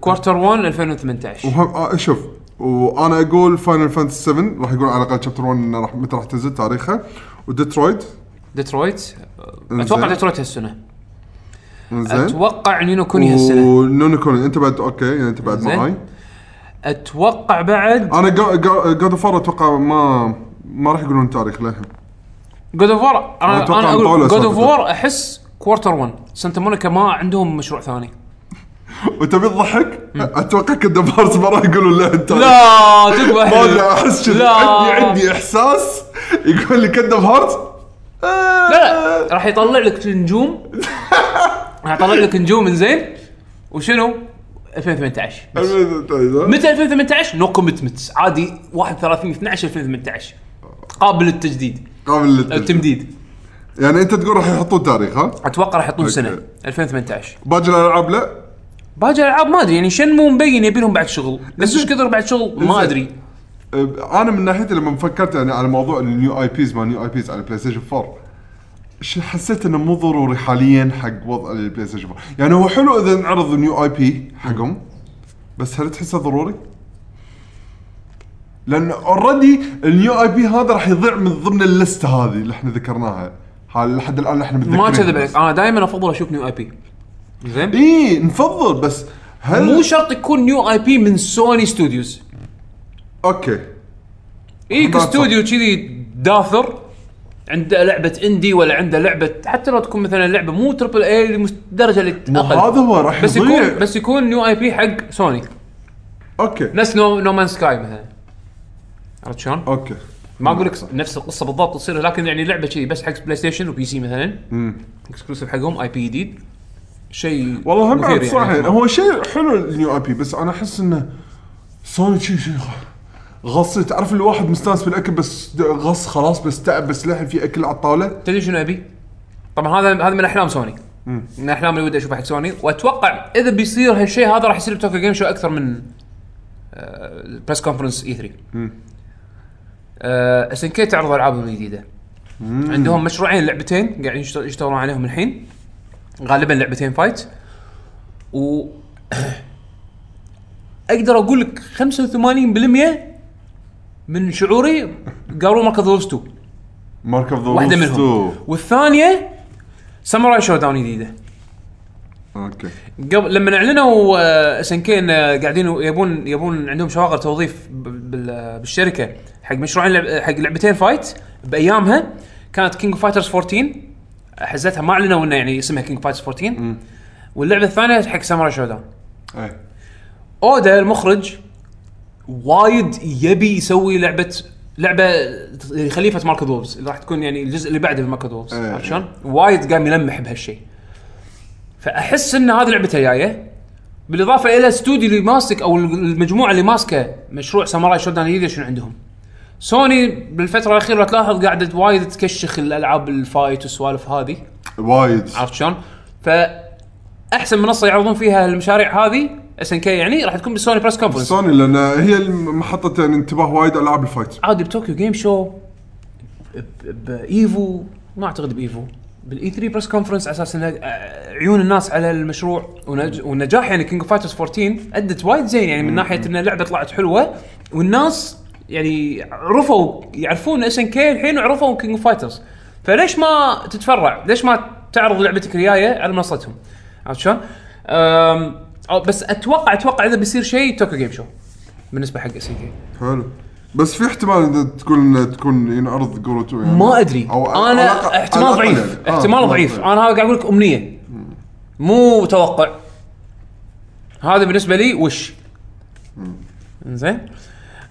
Speaker 1: كوارتر 1 2018
Speaker 2: وهم آه شوف وانا اقول فاينل فانتسي 7 راح يقول على الاقل شابتر 1 انه راح متى راح تنزل تاريخها وديترويت
Speaker 1: ديترويت اتوقع
Speaker 2: إنزين.
Speaker 1: ديترويت هالسنه
Speaker 2: زين
Speaker 1: اتوقع نينو كوني هالسنه
Speaker 2: ونونو كوني انت بعد اوكي يعني انت بعد
Speaker 1: إنزين.
Speaker 2: معاي
Speaker 1: اتوقع بعد
Speaker 2: انا جاد اوف اتوقع ما ما راح يقولون تاريخ للحين
Speaker 1: جود اوف وور انا
Speaker 2: أتوقع
Speaker 1: انا اقول
Speaker 2: مطولة
Speaker 1: جود اوف
Speaker 2: سالفة.
Speaker 1: وور احس كوارتر 1 سانتا مونيكا ما عندهم مشروع ثاني
Speaker 2: وتبي تضحك؟ اتوقع كندم هارتس ما راح يقولون لها انت
Speaker 1: لا تكبر
Speaker 2: ما ادري احس كذي.
Speaker 1: لا.
Speaker 2: عندي عندي احساس يقول لي كندم هارتس آه.
Speaker 1: لا لا راح يطلع لك نجوم راح يطلع لك نجوم من زين وشنو 2018 بس. متى 2018 نو كوميتمنتس عادي 31 12 2018 قابل للتجديد
Speaker 2: قابل
Speaker 1: او
Speaker 2: للتجديد
Speaker 1: التمديد
Speaker 2: يعني انت تقول راح يحطون تاريخ ها؟
Speaker 1: اتوقع راح يحطون
Speaker 2: أوكي.
Speaker 1: سنه 2018
Speaker 2: باقي الالعاب لا
Speaker 1: باقي الالعاب ما ادري يعني شنمو مبين يبي لهم بعد شغل بس ايش كثر بعد شغل ما
Speaker 2: إنزين.
Speaker 1: ادري
Speaker 2: أه، انا من ناحيتي لما فكرت يعني على موضوع النيو اي بيز ما نيو اي بيز على البلاي ستيشن 4 ش- حسيت انه مو ضروري حاليا حق وضع البلاي ستيشن 4 يعني هو حلو اذا نعرض نيو اي بي حقهم بس هل تحسه ضروري؟ لان اوريدي النيو اي بي هذا راح يضيع من ضمن اللسته هذه اللي احنا ذكرناها حال- لحد الان احنا متذكرينها
Speaker 1: ما اكذب عليك انا دائما افضل اشوف نيو اي بي زين
Speaker 2: اي إيه، نفضل بس هل
Speaker 1: مو شرط يكون نيو اي بي من سوني ستوديوز
Speaker 2: اوكي
Speaker 1: اي
Speaker 2: بالضبط.
Speaker 1: إيه، كاستوديو كذي داثر عنده لعبه اندي ولا عنده لعبه حتى لو تكون مثلا لعبه مو تربل اي الدرجه اللي
Speaker 2: مو
Speaker 1: اقل
Speaker 2: هذا هو راح
Speaker 1: بس
Speaker 2: يضيع
Speaker 1: يكون بس يكون نيو اي بي حق سوني
Speaker 2: اوكي
Speaker 1: نفس نو نو مان سكاي مثلا عرفت شلون؟
Speaker 2: اوكي
Speaker 1: ما اقول لك نفس القصه بالضبط تصير لكن يعني لعبه كذي بس حق بلاي ستيشن وبي سي مثلا اكسكلوسيف حقهم اي بي جديد شيء
Speaker 2: والله هم
Speaker 1: مثير
Speaker 2: بعد صح
Speaker 1: يعني.
Speaker 2: يعني هو شيء حلو النيو اي بي بس انا احس انه سوني شيء شيء غ- غصي تعرف الواحد مستانس بالاكل بس د- غص خلاص بس تعب بس لحن في اكل على الطاوله
Speaker 1: تدري شنو ابي؟ طبعا هذا هذا من احلام سوني من الاحلام اللي ودي اشوفها حق سوني واتوقع اذا بيصير هالشيء هذا راح يصير بتوكيو جيم شو اكثر من آه، بريس كونفرنس اي 3 اس ان كي تعرض العابهم الجديده عندهم مشروعين لعبتين قاعدين يشتغل- يشتغلون عليهم الحين غالبا لعبتين فايت و اقدر اقول لك 85% من شعوري قالوا مركز وولفز 2
Speaker 2: مارك اوف ذا
Speaker 1: واحده منهم والثانيه ساموراي شو داون جديده
Speaker 2: اوكي
Speaker 1: قبل لما اعلنوا اس ان كي آه، قاعدين يبون يبون عندهم شواغر توظيف ب- بال- بالشركه حق مشروعين لعب حق لعبتين فايت بايامها كانت كينج فايترز 14 حزتها ما اعلنوا انه يعني اسمها كينج فايترز 14 واللعبه الثانيه حق ساموراي شو داون إيه.
Speaker 2: ايه
Speaker 1: اودا المخرج وايد يبي يسوي لعبه لعبه خليفه ماركت وولفز اللي راح تكون يعني الجزء اللي بعده من ماركت وولفز
Speaker 2: إيه.
Speaker 1: عرفت شلون؟ وايد قام يلمح بهالشيء فاحس ان هذه لعبته جايه بالاضافه الى الاستوديو اللي ماسك او المجموعه اللي ماسكه مشروع ساموراي شودان جديده شنو عندهم؟ سوني بالفتره الاخيره لو تلاحظ قاعده وايد تكشخ الالعاب الفايت والسوالف هذه
Speaker 2: وايد
Speaker 1: عرفت شلون؟ فاحسن منصه يعرضون فيها المشاريع هذه اس ان كي يعني راح تكون بالسوني بريس كونفرنس
Speaker 2: سوني لان هي الم- محطه يعني انتباه وايد العاب الفايت
Speaker 1: عادي بطوكيو جيم شو ب- ب- بايفو ما اعتقد بايفو بالاي 3 بريس كونفرنس على اساس ان عيون الناس على المشروع ونج- ونجاح يعني كينج اوف فايترز 14 ادت وايد زين يعني من ناحيه ان اللعبه طلعت حلوه والناس يعني عرفوا يعرفون اس ان كي الحين وعرفوا كينج اوف فايترز فليش ما تتفرع؟ ليش ما تعرض لعبتك الجايه على منصتهم؟ عرفت شلون؟ أم، أو بس اتوقع اتوقع اذا بيصير شيء توكيو جيم شو بالنسبه حق اس ان كي
Speaker 2: حلو بس في احتمال ان تكون إن تكون ينعرض جورو 2 يعني
Speaker 1: ما ادري
Speaker 2: أو على الأقل-
Speaker 1: انا
Speaker 2: على
Speaker 1: احتمال
Speaker 2: الأقل
Speaker 1: ضعيف
Speaker 2: يعني. آه،
Speaker 1: احتمال ضعيف انا هذا قاعد اقول لك امنيه مو توقع هذا بالنسبه لي وش زين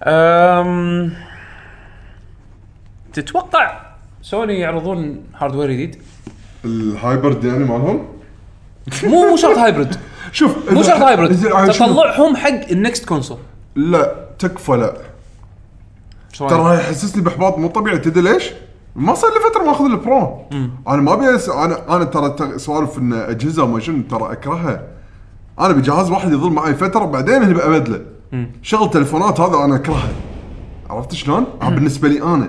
Speaker 1: أم... تتوقع سوني يعرضون هاردوير جديد
Speaker 2: الهايبرد يعني مالهم
Speaker 1: مو مو شرط هايبرد
Speaker 2: شوف
Speaker 1: مو شرط هايبرد
Speaker 2: إذا- شوف،
Speaker 1: تطلعهم حق النكست كونسول
Speaker 2: لا تكفى لا
Speaker 1: طيب.
Speaker 2: ترى يحسسني باحباط مو طبيعي تدري ليش؟ ما صار لي فتره ماخذ البرو انا ما ابي أس- انا انا ترى تغ- سوالف ان اجهزه وما شنو ترى اكرهها انا بجهاز واحد يظل معي فتره بعدين أبي ابدله شغل تليفونات هذا انا اكرهه عرفت شلون؟ آه، بالنسبه لي انا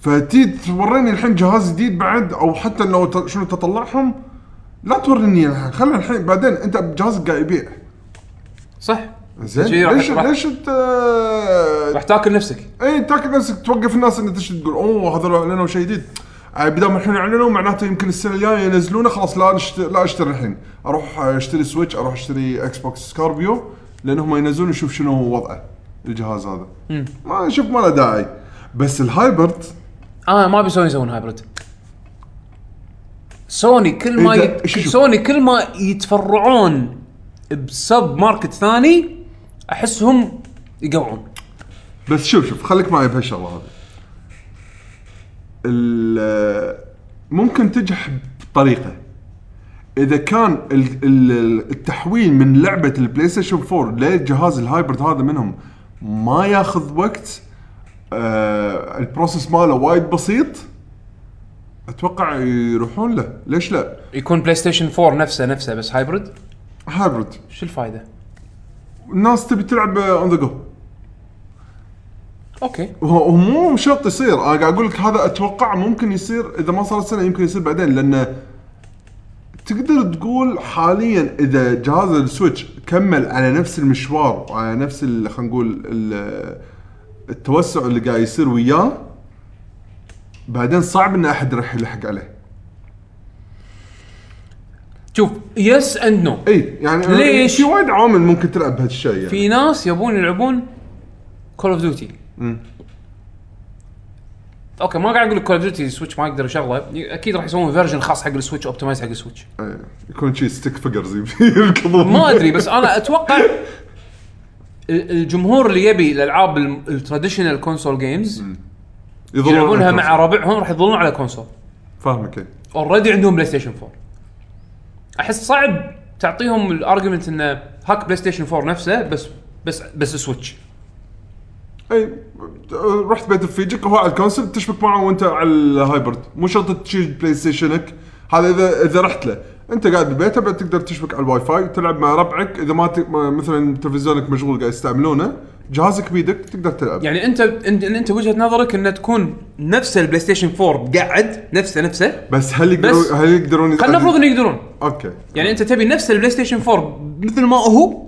Speaker 2: فتي توريني الحين جهاز جديد بعد او حتى لو ت- شنو تطلعهم لا توريني الحين خلي الحين بعدين انت بجهازك قاعد يبيع
Speaker 1: صح شي
Speaker 2: زين
Speaker 1: راح-
Speaker 2: ليش
Speaker 1: راح-
Speaker 2: ليش انت
Speaker 1: راح تاكل نفسك
Speaker 2: اي تاكل إيه، نفسك توقف الناس انها تشتري تقول اوه هذول اعلنوا شيء جديد بدام الحين اعلنوا معناته يمكن السنه الجايه ينزلونه خلاص لا نشتري لا اشتري الحين آه، اروح اشتري سويتش اروح اشتري اكس بوكس سكوربيو لان هم ينزلون نشوف شنو هو وضعه الجهاز هذا ما نشوف ما له داعي بس الهايبرد
Speaker 1: اه ما بيسوون يسوون هايبرد سوني كل ما
Speaker 2: إذا-
Speaker 1: يت...
Speaker 2: شوف.
Speaker 1: سوني كل ما يتفرعون بسب ماركت ثاني احسهم يقوعون
Speaker 2: بس شوف شوف خليك معي بهالشغله هذه ال- ممكن تنجح بطريقه اذا كان ال- ال- التحويل من لعبه البلاي ستيشن 4 لجهاز الهايبرد هذا منهم ما ياخذ وقت آه البروسس ماله وايد بسيط اتوقع يروحون له ليش لا
Speaker 1: يكون بلاي ستيشن 4 نفسه نفسه بس هايبرد
Speaker 2: هايبرد
Speaker 1: شو الفائده؟
Speaker 2: الناس تبي تلعب اون ذا جو
Speaker 1: اوكي
Speaker 2: هو هو مو شرط يصير انا قاعد اقول لك هذا اتوقع ممكن يصير اذا ما صارت سنه يمكن يصير بعدين لان تقدر تقول حاليا اذا جهاز السويتش كمل على نفس المشوار وعلى نفس ال- خلينا نقول ال- التوسع اللي قاعد يصير وياه بعدين صعب ان احد راح يلحق عليه
Speaker 1: شوف يس اند نو
Speaker 2: اي يعني
Speaker 1: ليش؟
Speaker 2: في وايد عوامل ممكن تلعب بهالشيء يعني
Speaker 1: في ناس يبون يلعبون كول اوف ديوتي اوكي ما قاعد اقول لك كول اوف ديوتي السويتش ما يقدر يشغله اكيد راح يسوون فيرجن خاص حق السويتش اوبتمايز حق السويتش
Speaker 2: إيه. يكون شيء ستيك فيجرز يركضون
Speaker 1: ما ادري بس انا اتوقع ال- الجمهور اللي يبي الالعاب الم- التراديشنال كونسول جيمز
Speaker 2: يظلون
Speaker 1: يلعبونها
Speaker 2: على
Speaker 1: مع
Speaker 2: الكونسول.
Speaker 1: ربعهم راح يظلون على كونسول
Speaker 2: فاهمك إيه.
Speaker 1: اوريدي عندهم بلاي ستيشن 4 احس صعب تعطيهم الارجيومنت انه هاك بلاي ستيشن 4 نفسه بس بس بس سويتش
Speaker 2: اي رحت بيت رفيجك وهو على الكونسل تشبك معه وانت على الهايبرد مو شرط تشيل بلاي ستيشنك هذا اذا اذا رحت له انت قاعد ببيته بعد تقدر تشبك على الواي فاي تلعب مع ربعك اذا ما ت... ما- مثلا تلفزيونك مشغول قاعد يستعملونه جهازك بيدك تقدر تلعب
Speaker 1: يعني انت انت, انت وجهه نظرك انه تكون نفس البلاي ستيشن 4 قاعد نفسه نفسه
Speaker 2: بس هل
Speaker 1: بس-
Speaker 2: يقدرون هل يقدرون
Speaker 1: خلينا نفرض انه يقدرون
Speaker 2: اوكي
Speaker 1: يعني انت تبي نفس البلاي ستيشن 4 مثل ما هو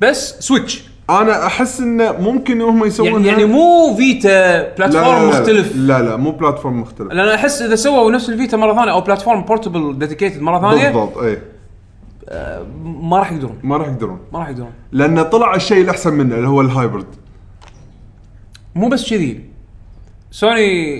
Speaker 1: بس سويتش
Speaker 2: انا احس انه ممكن هم يسوون
Speaker 1: يعني, يعني مو فيتا
Speaker 2: لا- لا-
Speaker 1: بلاتفورم
Speaker 2: لا-
Speaker 1: مختلف
Speaker 2: لا لا مو بلاتفورم مختلف
Speaker 1: لان احس اذا سووا نفس الفيتا مره ثانيه او بلاتفورم بورتبل ديديكيتد مره ثانيه
Speaker 2: بالضبط اي
Speaker 1: ما راح يقدرون
Speaker 2: ما راح يقدرون
Speaker 1: ما راح يقدرون
Speaker 2: لان طلع الشيء الاحسن منه اللي هو الهايبرد
Speaker 1: مو بس كذي سوني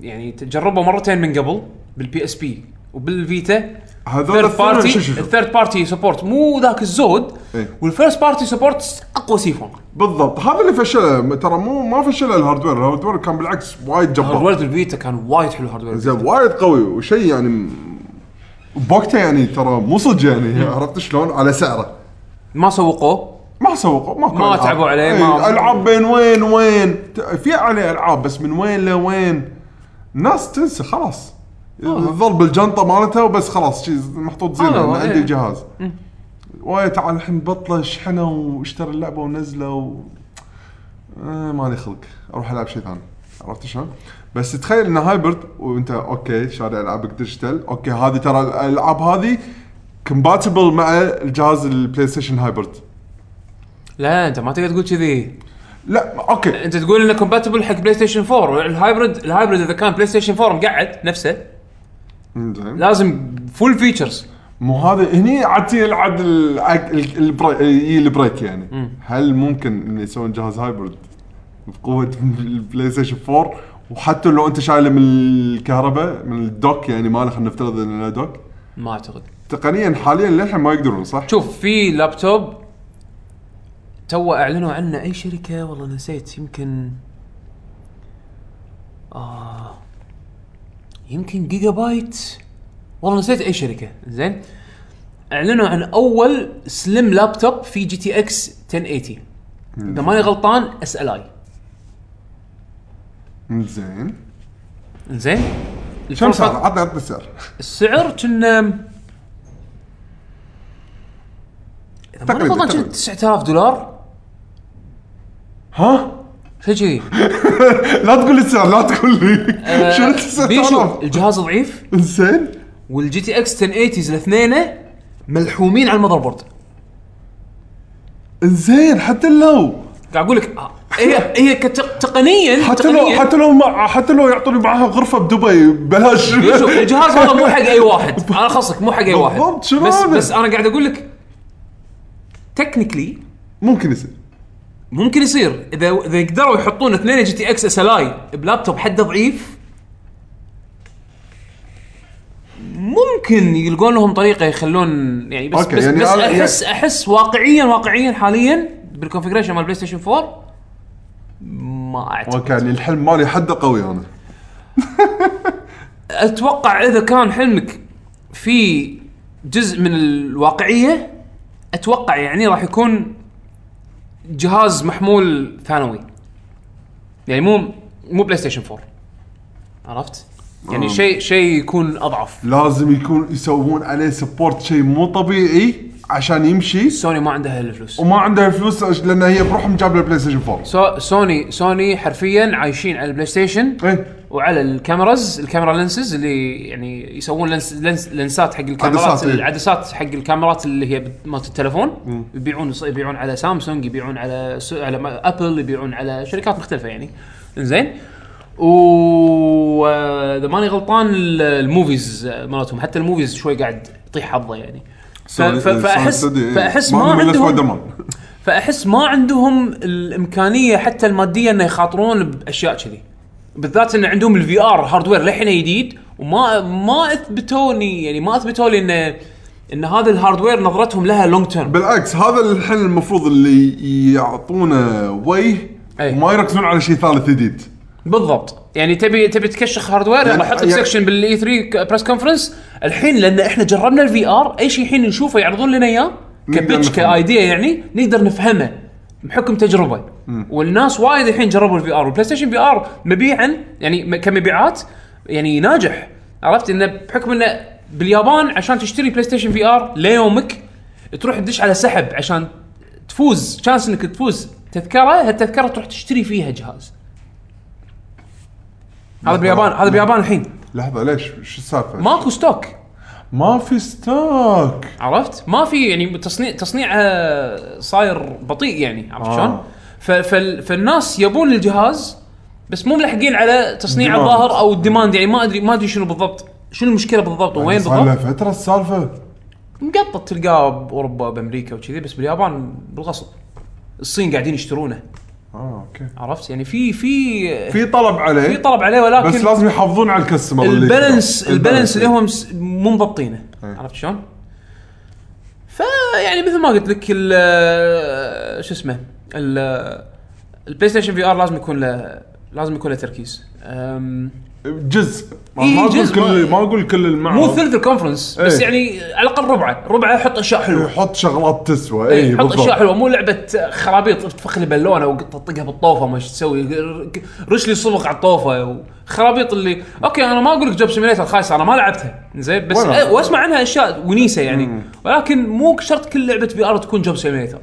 Speaker 1: يعني تجربوا مرتين من قبل بالبي اس بي وبالفيتا
Speaker 2: هذول الثنين-
Speaker 1: بارتي
Speaker 2: شو- شو- شو.
Speaker 1: الثيرد بارتي سبورت مو ذاك الزود
Speaker 2: إيه.
Speaker 1: والفيرست بارتي سبورت اقوى سيفون
Speaker 2: بالضبط هذا اللي فشله ترى مو ما فشله الهاردوير الهاردوير كان بالعكس وايد جبار
Speaker 1: هاردوير الفيتا كان وايد حلو هاردوير
Speaker 2: زين وايد قوي وشيء يعني م- بوقته يعني ترى مو صدق يعني عرفت شلون على سعره
Speaker 1: ما سوقوه
Speaker 2: ما سوقوا ماكو
Speaker 1: ما
Speaker 2: ألعاب.
Speaker 1: تعبوا عليه،
Speaker 2: إي،
Speaker 1: ما-
Speaker 2: العاب بين وين وين ت- في عليه العاب بس من وين لوين الناس تنسى خلاص
Speaker 1: آه.
Speaker 2: تظل بالجنطه مالتها وبس خلاص شي محطوط زينه
Speaker 1: هذا هو،
Speaker 2: أنا عندي
Speaker 1: إيه.
Speaker 2: الجهاز ويا تعال الحين بطله شحنه واشتري اللعبه ونزله و... آه مالي خلق اروح العب شيء ثاني عرفت شلون؟ بس تخيل ان هايبرد وانت اوكي شاري العابك ديجيتال اوكي هذه ترى الالعاب هذه كومباتبل مع الجهاز البلاي ستيشن هايبرد
Speaker 1: لا انت ما تقدر تقول كذي
Speaker 2: لا اوكي
Speaker 1: انت تقول انه كومباتبل حق بلاي ستيشن 4 الهايبرد الهايبرد اذا كان بلاي ستيشن 4 مقعد نفسه
Speaker 2: زين
Speaker 1: لازم فول فيتشرز
Speaker 2: مو هذا هني عاد يلعب البريك يعني هل ممكن ان يسوون جهاز هايبرد بقوه البلاي ستيشن 4 وحتى لو انت شايله من الكهرباء من الدوك يعني ماله خلينا نفترض انه دوك
Speaker 1: ما اعتقد
Speaker 2: تقنيا حاليا للحين ما يقدرون صح؟
Speaker 1: شوف في لابتوب تو اعلنوا عنه اي شركه والله نسيت يمكن آه يمكن جيجا بايت والله نسيت اي شركه زين اعلنوا عن اول سليم لابتوب في جي تي اكس 1080 اذا ماني غلطان اس ال اي
Speaker 2: زين
Speaker 1: زين
Speaker 2: كم سعر؟ عطنا عطنا السعر
Speaker 1: السعر كنا اذا ماني
Speaker 2: تقريباً،
Speaker 1: غلطان كنا
Speaker 2: تقريباً.
Speaker 1: 9000 دولار
Speaker 2: ها؟
Speaker 1: شيء كذي
Speaker 2: لا تقول لي السعر لا تقول لي شنو
Speaker 1: آه، بيشو
Speaker 2: السعر؟
Speaker 1: الجهاز ضعيف
Speaker 2: زين
Speaker 1: والجي تي اكس 1080 الاثنين ملحومين على المذر بورد
Speaker 2: زين حتى لو
Speaker 1: قاعد اقول لك آه، هي هي كتق- تقنيا
Speaker 2: حتى لو
Speaker 1: تقنياً،
Speaker 2: حتى لو ما حتى لو يعطوني معاها غرفه بدبي ببلاش
Speaker 1: بيشو الجهاز هذا مو حق اي واحد انا خصك مو حق اي واحد
Speaker 2: بالضبط، شنو
Speaker 1: بس
Speaker 2: هذا؟
Speaker 1: بس انا قاعد اقول لك تكنيكلي
Speaker 2: ممكن يصير
Speaker 1: ممكن يصير اذا اذا قدروا يحطون اثنين جي تي اكس اس ال اي بلابتوب حده ضعيف ممكن يلقون لهم طريقه يخلون يعني بس
Speaker 2: أوكي،
Speaker 1: بس,
Speaker 2: يعني
Speaker 1: يعني بس
Speaker 2: على-
Speaker 1: احس احس واقعيا واقعيا حاليا بالكونفجريشن مال بلاي ستيشن 4 ما اعتقد
Speaker 2: اوكي يعني الحلم مالي حده قوي انا
Speaker 1: اتوقع اذا كان حلمك في جزء من الواقعيه اتوقع يعني راح يكون جهاز محمول ثانوي يعني مو مو بلاي ستيشن 4 عرفت؟ يعني شيء شيء يكون اضعف
Speaker 2: لازم يكون يسوون عليه سبورت شيء مو طبيعي عشان يمشي
Speaker 1: سوني ما عندها الفلوس
Speaker 2: وما عندها فلوس أش- لان هي بروحهم جاب البلاي ستيشن 4
Speaker 1: سو سوني سوني حرفيا عايشين على البلاي ستيشن
Speaker 2: ايه
Speaker 1: وعلى الكاميرز الكاميرا لينسز اللي يعني يسوون لنس لنس لنسات حق الكاميرات
Speaker 2: عدسات، إيه.
Speaker 1: العدسات حق الكاميرات اللي هي بت- مالت التلفون يبيعون يبيعون على سامسونج يبيعون على س- على ما- ابل يبيعون على شركات مختلفه يعني زين و اذا ماني غلطان ال- الموفيز مالتهم حتى الموفيز شوي قاعد يطيح حظه يعني ف- ف- فاحس
Speaker 2: إيه.
Speaker 1: فاحس ما عندهم فاحس ما عندهم الامكانيه حتى الماديه انه يخاطرون باشياء كذي بالذات ان عندهم الفي ار هاردوير للحين جديد وما ما اثبتوني يعني ما اثبتوا لي ان ان هذا الهاردوير نظرتهم لها لونج تيرم
Speaker 2: بالعكس هذا الحين المفروض اللي يعطونه وجه
Speaker 1: أي.
Speaker 2: وما يركزون على شيء ثالث جديد
Speaker 1: بالضبط يعني تبي تبي تكشخ هاردوير
Speaker 2: يعني-
Speaker 1: يلا حط لك
Speaker 2: يعني-
Speaker 1: سكشن بالاي 3 بريس كونفرنس الحين لان احنا جربنا الفي ار اي شيء الحين نشوفه يعرضون لنا اياه
Speaker 2: نقدر
Speaker 1: كبتش
Speaker 2: نفهمه.
Speaker 1: كايديا يعني نقدر نفهمه بحكم تجربه والناس وايد الحين جربوا الفي ار والبلاي ستيشن في ار مبيعا يعني م- كمبيعات يعني ناجح عرفت انه بحكم انه باليابان عشان تشتري بلاي ستيشن في ار ليومك تروح تدش على سحب عشان تفوز شانس انك تفوز تذكره هالتذكره تروح تشتري فيها جهاز هذا باليابان هذا باليابان الحين
Speaker 2: لحظه ليش شو السالفه؟ ما,
Speaker 1: ماكو ستوك
Speaker 2: ما في ستوك
Speaker 1: عرفت؟ ما في يعني تصنيع تصنيعها صاير بطيء يعني عرفت
Speaker 2: آه.
Speaker 1: شلون؟ ف- فال- فالناس يبون الجهاز بس مو ملحقين على تصنيع
Speaker 2: Demand.
Speaker 1: الظاهر او الديماند يعني ما ادري ما ادري شنو بالضبط شنو المشكله بالضبط وين
Speaker 2: صار لها
Speaker 1: بالضبط؟
Speaker 2: فتره السالفه
Speaker 1: مقطط تلقاه باوروبا بامريكا وكذي بس باليابان بالغصب الصين قاعدين يشترونه
Speaker 2: اه اوكي
Speaker 1: عرفت يعني في في
Speaker 2: في طلب عليه
Speaker 1: في طلب عليه ولكن
Speaker 2: بس لازم يحافظون على الكاستمر اللي
Speaker 1: البالانس
Speaker 2: يقدر.
Speaker 1: البالانس اللي هم مس- مو مضبطينه عرفت شلون؟ فيعني مثل ما قلت لك ال- آه، شو اسمه ال- البلاي ستيشن في ار لازم يكون له لازم يكون له تركيز أم،
Speaker 2: جزء ما
Speaker 1: إي،
Speaker 2: ما اقول
Speaker 1: إيه، جزء.
Speaker 2: كل ما اقول كل المعرض
Speaker 1: مو ثلث الكونفرنس بس
Speaker 2: آه. إيه.
Speaker 1: يعني على الاقل ربعه ربعه يحط اشياء حلوه
Speaker 2: يحط شغلات تسوى اي
Speaker 1: إيه، حط
Speaker 2: إيه، بالضبط
Speaker 1: اشياء حلوه مو لعبه خرابيط تفخ لي بالونه وتطقها بالطوفه ما شو تسوي رش لي صبغ على الطوفه وخرابيط اللي اوكي انا ما اقول لك جوب سيميليتر خايسه انا ما لعبتها زين بس
Speaker 2: ولا.
Speaker 1: أه، واسمع عنها اشياء ونيسه يعني ولكن مو شرط كل لعبه بي ار تكون جوب سيميليتر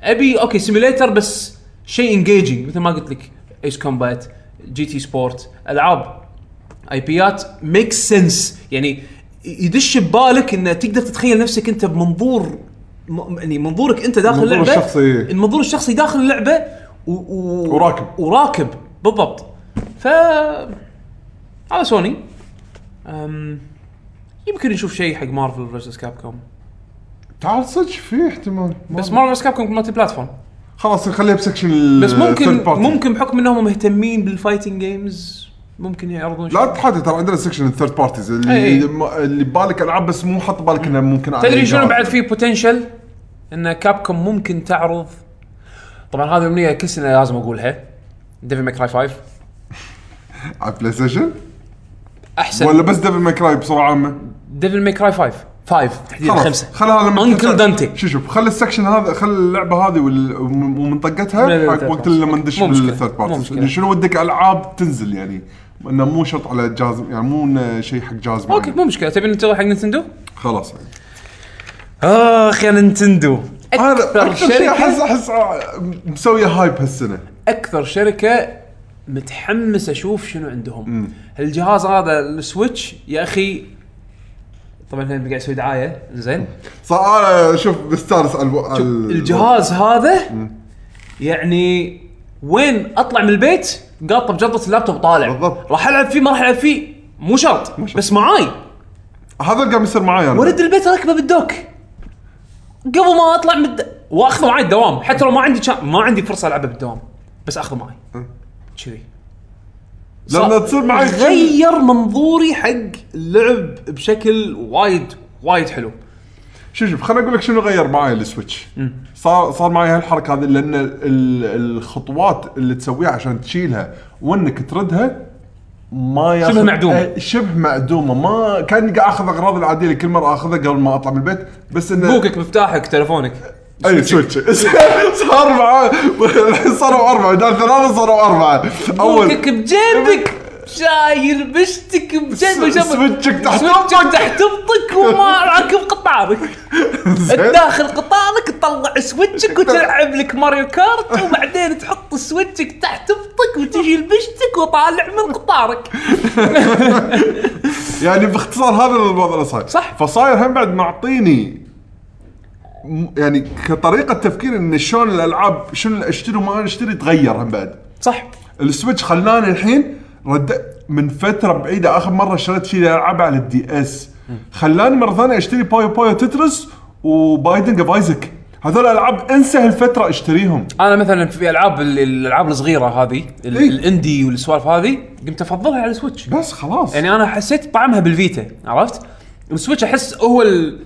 Speaker 1: ابي اوكي سيميليتر بس شيء انجيجنج مثل ما قلت لك ايس كومبات جي تي سبورت العاب اي بيات ميك سنس يعني يدش ببالك انه تقدر تتخيل نفسك انت بمنظور م- يعني منظورك انت داخل
Speaker 2: المنظور
Speaker 1: اللعبه
Speaker 2: الشخصي.
Speaker 1: المنظور الشخصي داخل اللعبه و... و...
Speaker 2: وراكب.
Speaker 1: وراكب بالضبط ف هذا سوني أم... يمكن نشوف شيء حق مارفل فيرسس كاب كوم
Speaker 2: تعال صدق في احتمال ما
Speaker 1: بس مارفل فيرسس كاب كوم مالتي بلاتفورم
Speaker 2: خلاص نخليها بسكشن ال-
Speaker 1: بس ممكن
Speaker 2: آه، third party.
Speaker 1: ممكن بحكم انهم مهتمين بالفايتنج جيمز ممكن يعرضون
Speaker 2: لا
Speaker 1: شيء
Speaker 2: تحدث ترى عندنا سكشن الثيرد بارتيز
Speaker 1: إي.
Speaker 2: اللي ما- اللي ببالك العاب بس مو حط بالك انه ممكن على
Speaker 1: إيه، تدري شنو
Speaker 2: إيجار.
Speaker 1: بعد في بوتنشل ان كابكم ممكن تعرض طبعا هذه امنيه كل سنه لازم اقولها ديفل ماكراي 5
Speaker 2: على بلاي ستيشن
Speaker 1: احسن
Speaker 2: ولا بس ديفل ماي كراي بصوره عامه
Speaker 1: ديفل ماكراي 5 5 تحديدا
Speaker 2: خلاص
Speaker 1: خمسه
Speaker 2: خلها لما
Speaker 1: Uncle
Speaker 2: تنزل.
Speaker 1: Dante.
Speaker 2: شو شوف خلي السكشن هذا خلي اللعبه هذه وال- وم- ومن
Speaker 1: لا، لا،
Speaker 2: طقتها
Speaker 1: لا،
Speaker 2: حق
Speaker 1: لا،
Speaker 2: وقت اللي
Speaker 1: لا.
Speaker 2: لما ندش
Speaker 1: مو مشكلة.
Speaker 2: بالثيرد
Speaker 1: مو مشكلة.
Speaker 2: بارتي شنو ودك العاب تنزل يعني انه مو شرط على جهاز يعني مو إنه شيء حق جهاز
Speaker 1: اوكي
Speaker 2: معين.
Speaker 1: مو مشكله تبي ننتقل حق نينتندو؟
Speaker 2: خلاص يعني.
Speaker 1: اخ يا نينتندو
Speaker 2: هذا
Speaker 1: اكثر
Speaker 2: اكثر شيء احس
Speaker 1: شركه
Speaker 2: احس مسويه هايب هالسنه
Speaker 1: اكثر شركه متحمس اشوف شنو عندهم الجهاز هذا السويتش يا اخي طبعا هنا قاعد يسوي دعايه زين
Speaker 2: صار انا آه، شوف مستانس على الو- على ال-
Speaker 1: الجهاز هذا يعني وين اطلع من البيت قاطه بجنطه اللابتوب طالع
Speaker 2: بالضبط.
Speaker 1: راح العب فيه ما راح العب فيه مو شرط بس معاي
Speaker 2: هذا اللي قام يصير معي انا
Speaker 1: ولد البيت راكبه بالدوك قبل ما اطلع من الد... واخذه معاي الدوام حتى لو ما عندي شا... ما عندي فرصه العبه بالدوام بس اخذه معاي كذي
Speaker 2: لما تصير معي
Speaker 1: غير منظوري حق اللعب بشكل وايد وايد حلو
Speaker 2: شوف شوف خليني اقول لك شنو غير معي السويتش صار صار معي هالحركه هذه لان ال- الخطوات اللي تسويها عشان تشيلها وانك تردها ما ياخذ
Speaker 1: شبه معدومة.
Speaker 2: آه، شبه معدومه ما كان قاعد اخذ اغراض العاديه اللي كل مره اخذها قبل ما اطلع من البيت بس انه
Speaker 1: بوكك مفتاحك تلفونك
Speaker 2: اي سويتش صار معاه الحين صاروا اربعه بدال ثلاثه صاروا اربعه اول
Speaker 1: بوكك بجيبك شايل بشتك بجيبك
Speaker 2: س- سويتشك تحت
Speaker 1: سويتشك تحت بطك وما راكب قطارك داخل قطارك تطلع سويتشك وتلعب لك ماريو كارت وبعدين تحط سويتشك تحت بطك وتجي لبشتك وطالع من قطارك
Speaker 2: يعني باختصار هذا الوضع اللي صاير
Speaker 1: صح.
Speaker 2: فصاير هم بعد معطيني م- يعني كطريقه تفكير ان شلون الالعاب شنو اللي اشتري وما اشتري تغير هم بعد
Speaker 1: صح
Speaker 2: السويتش خلاني الحين رد من فتره بعيده اخر مره اشتريت شيء العاب على الدي اس خلاني مره ثانيه اشتري بايو بايو تترس وبايدنج اوف ايزك هذول الالعاب انسى هالفتره اشتريهم
Speaker 1: انا مثلا في العاب ال- الالعاب الصغيره هذه ال-
Speaker 2: إيه.
Speaker 1: الاندي والسوالف هذه قمت افضلها على السويتش
Speaker 2: بس خلاص
Speaker 1: يعني انا حسيت طعمها بالفيتا عرفت؟ السويتش احس هو ال-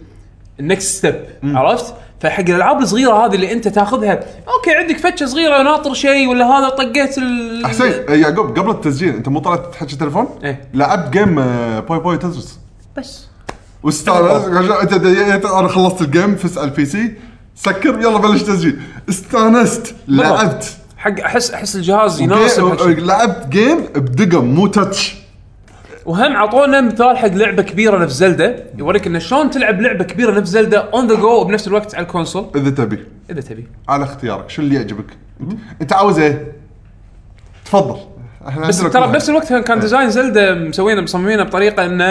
Speaker 1: النكست ستيب عرفت؟ فحق الالعاب الصغيره هذه اللي انت تاخذها اوكي عندك فتشه صغيره ناطر شيء ولا هذا طقيت ال
Speaker 2: حسين آه، يعقوب قبل التسجيل انت مو طلعت تحكي تليفون؟
Speaker 1: إيه.
Speaker 2: لعبت جيم آه، بايو بايو تترس
Speaker 1: بس
Speaker 2: واستانس انت دقيقة، انا خلصت الجيم فس على البي سي سكر يلا بلش تسجيل استانست لعبت
Speaker 1: حق احس احس الجهاز يناسب
Speaker 2: جيم-
Speaker 1: هالشيء.
Speaker 2: لعبت جيم بدقم مو تاتش
Speaker 1: وهم عطونا مثال حق لعبه كبيره نفس زلده يوريك انه شلون تلعب لعبه كبيره نفس زلده اون ذا جو بنفس الوقت على الكونسول
Speaker 2: اذا تبي
Speaker 1: اذا تبي
Speaker 2: على اختيارك شو اللي يعجبك انت عاوز ايه تفضل احنا
Speaker 1: بس
Speaker 2: عندنا
Speaker 1: ترى
Speaker 2: كل
Speaker 1: بنفس
Speaker 2: واحد.
Speaker 1: الوقت كان ديزاين زلدا مسوينه مصممينه بطريقه انه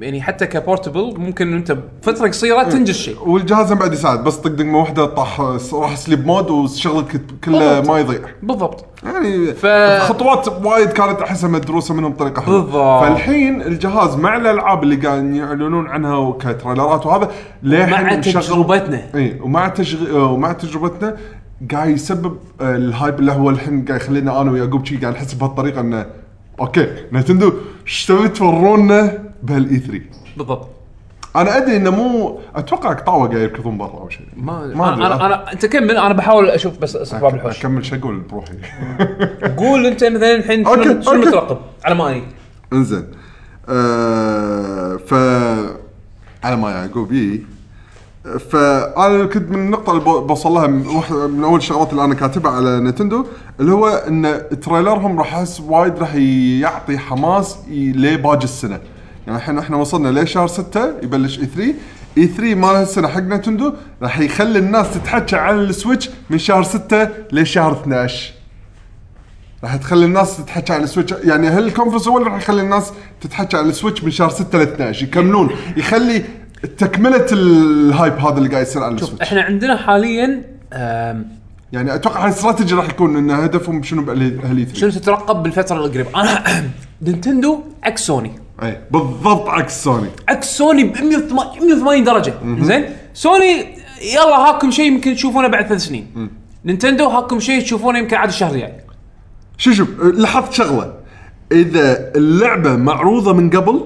Speaker 1: يعني حتى كبورتبل ممكن انت بفتره قصيره تنجز شيء
Speaker 2: والجهاز هم بعد يساعد بس طق دقمه واحده طاح راح سليب مود وشغلك كله
Speaker 1: بالضبط.
Speaker 2: ما يضيع
Speaker 1: بالضبط
Speaker 2: يعني ف...
Speaker 1: ف-
Speaker 2: خطوات وايد كانت احسها مدروسه منهم بطريقه حلوه
Speaker 1: بالضبط.
Speaker 2: فالحين الجهاز مع الالعاب اللي قاعد يعلنون عنها وكتريلرات وهذا
Speaker 1: مع
Speaker 2: للحين مشغل-
Speaker 1: تجربتنا
Speaker 2: اي ومع تشغ... آه، ومع تجربتنا قاعد يسبب آه، الهايب اللي هو الحين قاعد يخلينا انا ويعقوب شي قاعد نحس بهالطريقه انه اوكي نتندو ايش تبي تورونا بهالاي 3
Speaker 1: بالضبط
Speaker 2: انا ادري انه مو اتوقع قطاوه قاعد يركضون برا او شيء
Speaker 1: ما,
Speaker 2: ما
Speaker 1: أنا,
Speaker 2: أدري.
Speaker 1: انا انا انت كمل انا بحاول اشوف بس اسباب الحوش
Speaker 2: اكمل شو اقول بروحي
Speaker 1: قول انت مثلا الحين شنو
Speaker 2: أوكي،
Speaker 1: شنو
Speaker 2: أوكي.
Speaker 1: مترقب على ما اني
Speaker 2: انزين آه ف على ما يعقوب بي فانا كنت من النقطه اللي بو- بوصل لها من, واحد- من اول الشغلات اللي انا كاتبها على نتندو اللي هو ان تريلرهم راح احس وايد راح يعطي حماس ي- لباقي السنه يعني الحين احنا وصلنا لشهر 6 يبلش اي 3 اي 3 مال هالسنه حق نتندو راح يخلي الناس تتحكى عن السويتش من شهر 6 لشهر 12 راح تخلي الناس تتحكى على السويتش يعني هل الكونفرنس هو اللي راح يخلي الناس تتحكى على السويتش من شهر 6 ل 12 يكملون يخلي تكمله الهايب هذا اللي قاعد يصير على السويتش
Speaker 1: احنا عندنا حاليا آم،
Speaker 2: يعني اتوقع الاستراتيجي راح يكون ان هدفهم شنو باهلي
Speaker 1: شنو تترقب بالفتره القريبه انا نينتندو عكس سوني
Speaker 2: اي إيه، بالضبط عكس سوني
Speaker 1: عكس سوني ب 180 درجه زين سوني يلا هاكم شيء يمكن تشوفونه بعد ثلاث سنين نينتندو هاكم شيء تشوفونه يمكن عاد الشهر الجاي
Speaker 2: شو شوف لاحظت شغله اذا اللعبه معروضه من قبل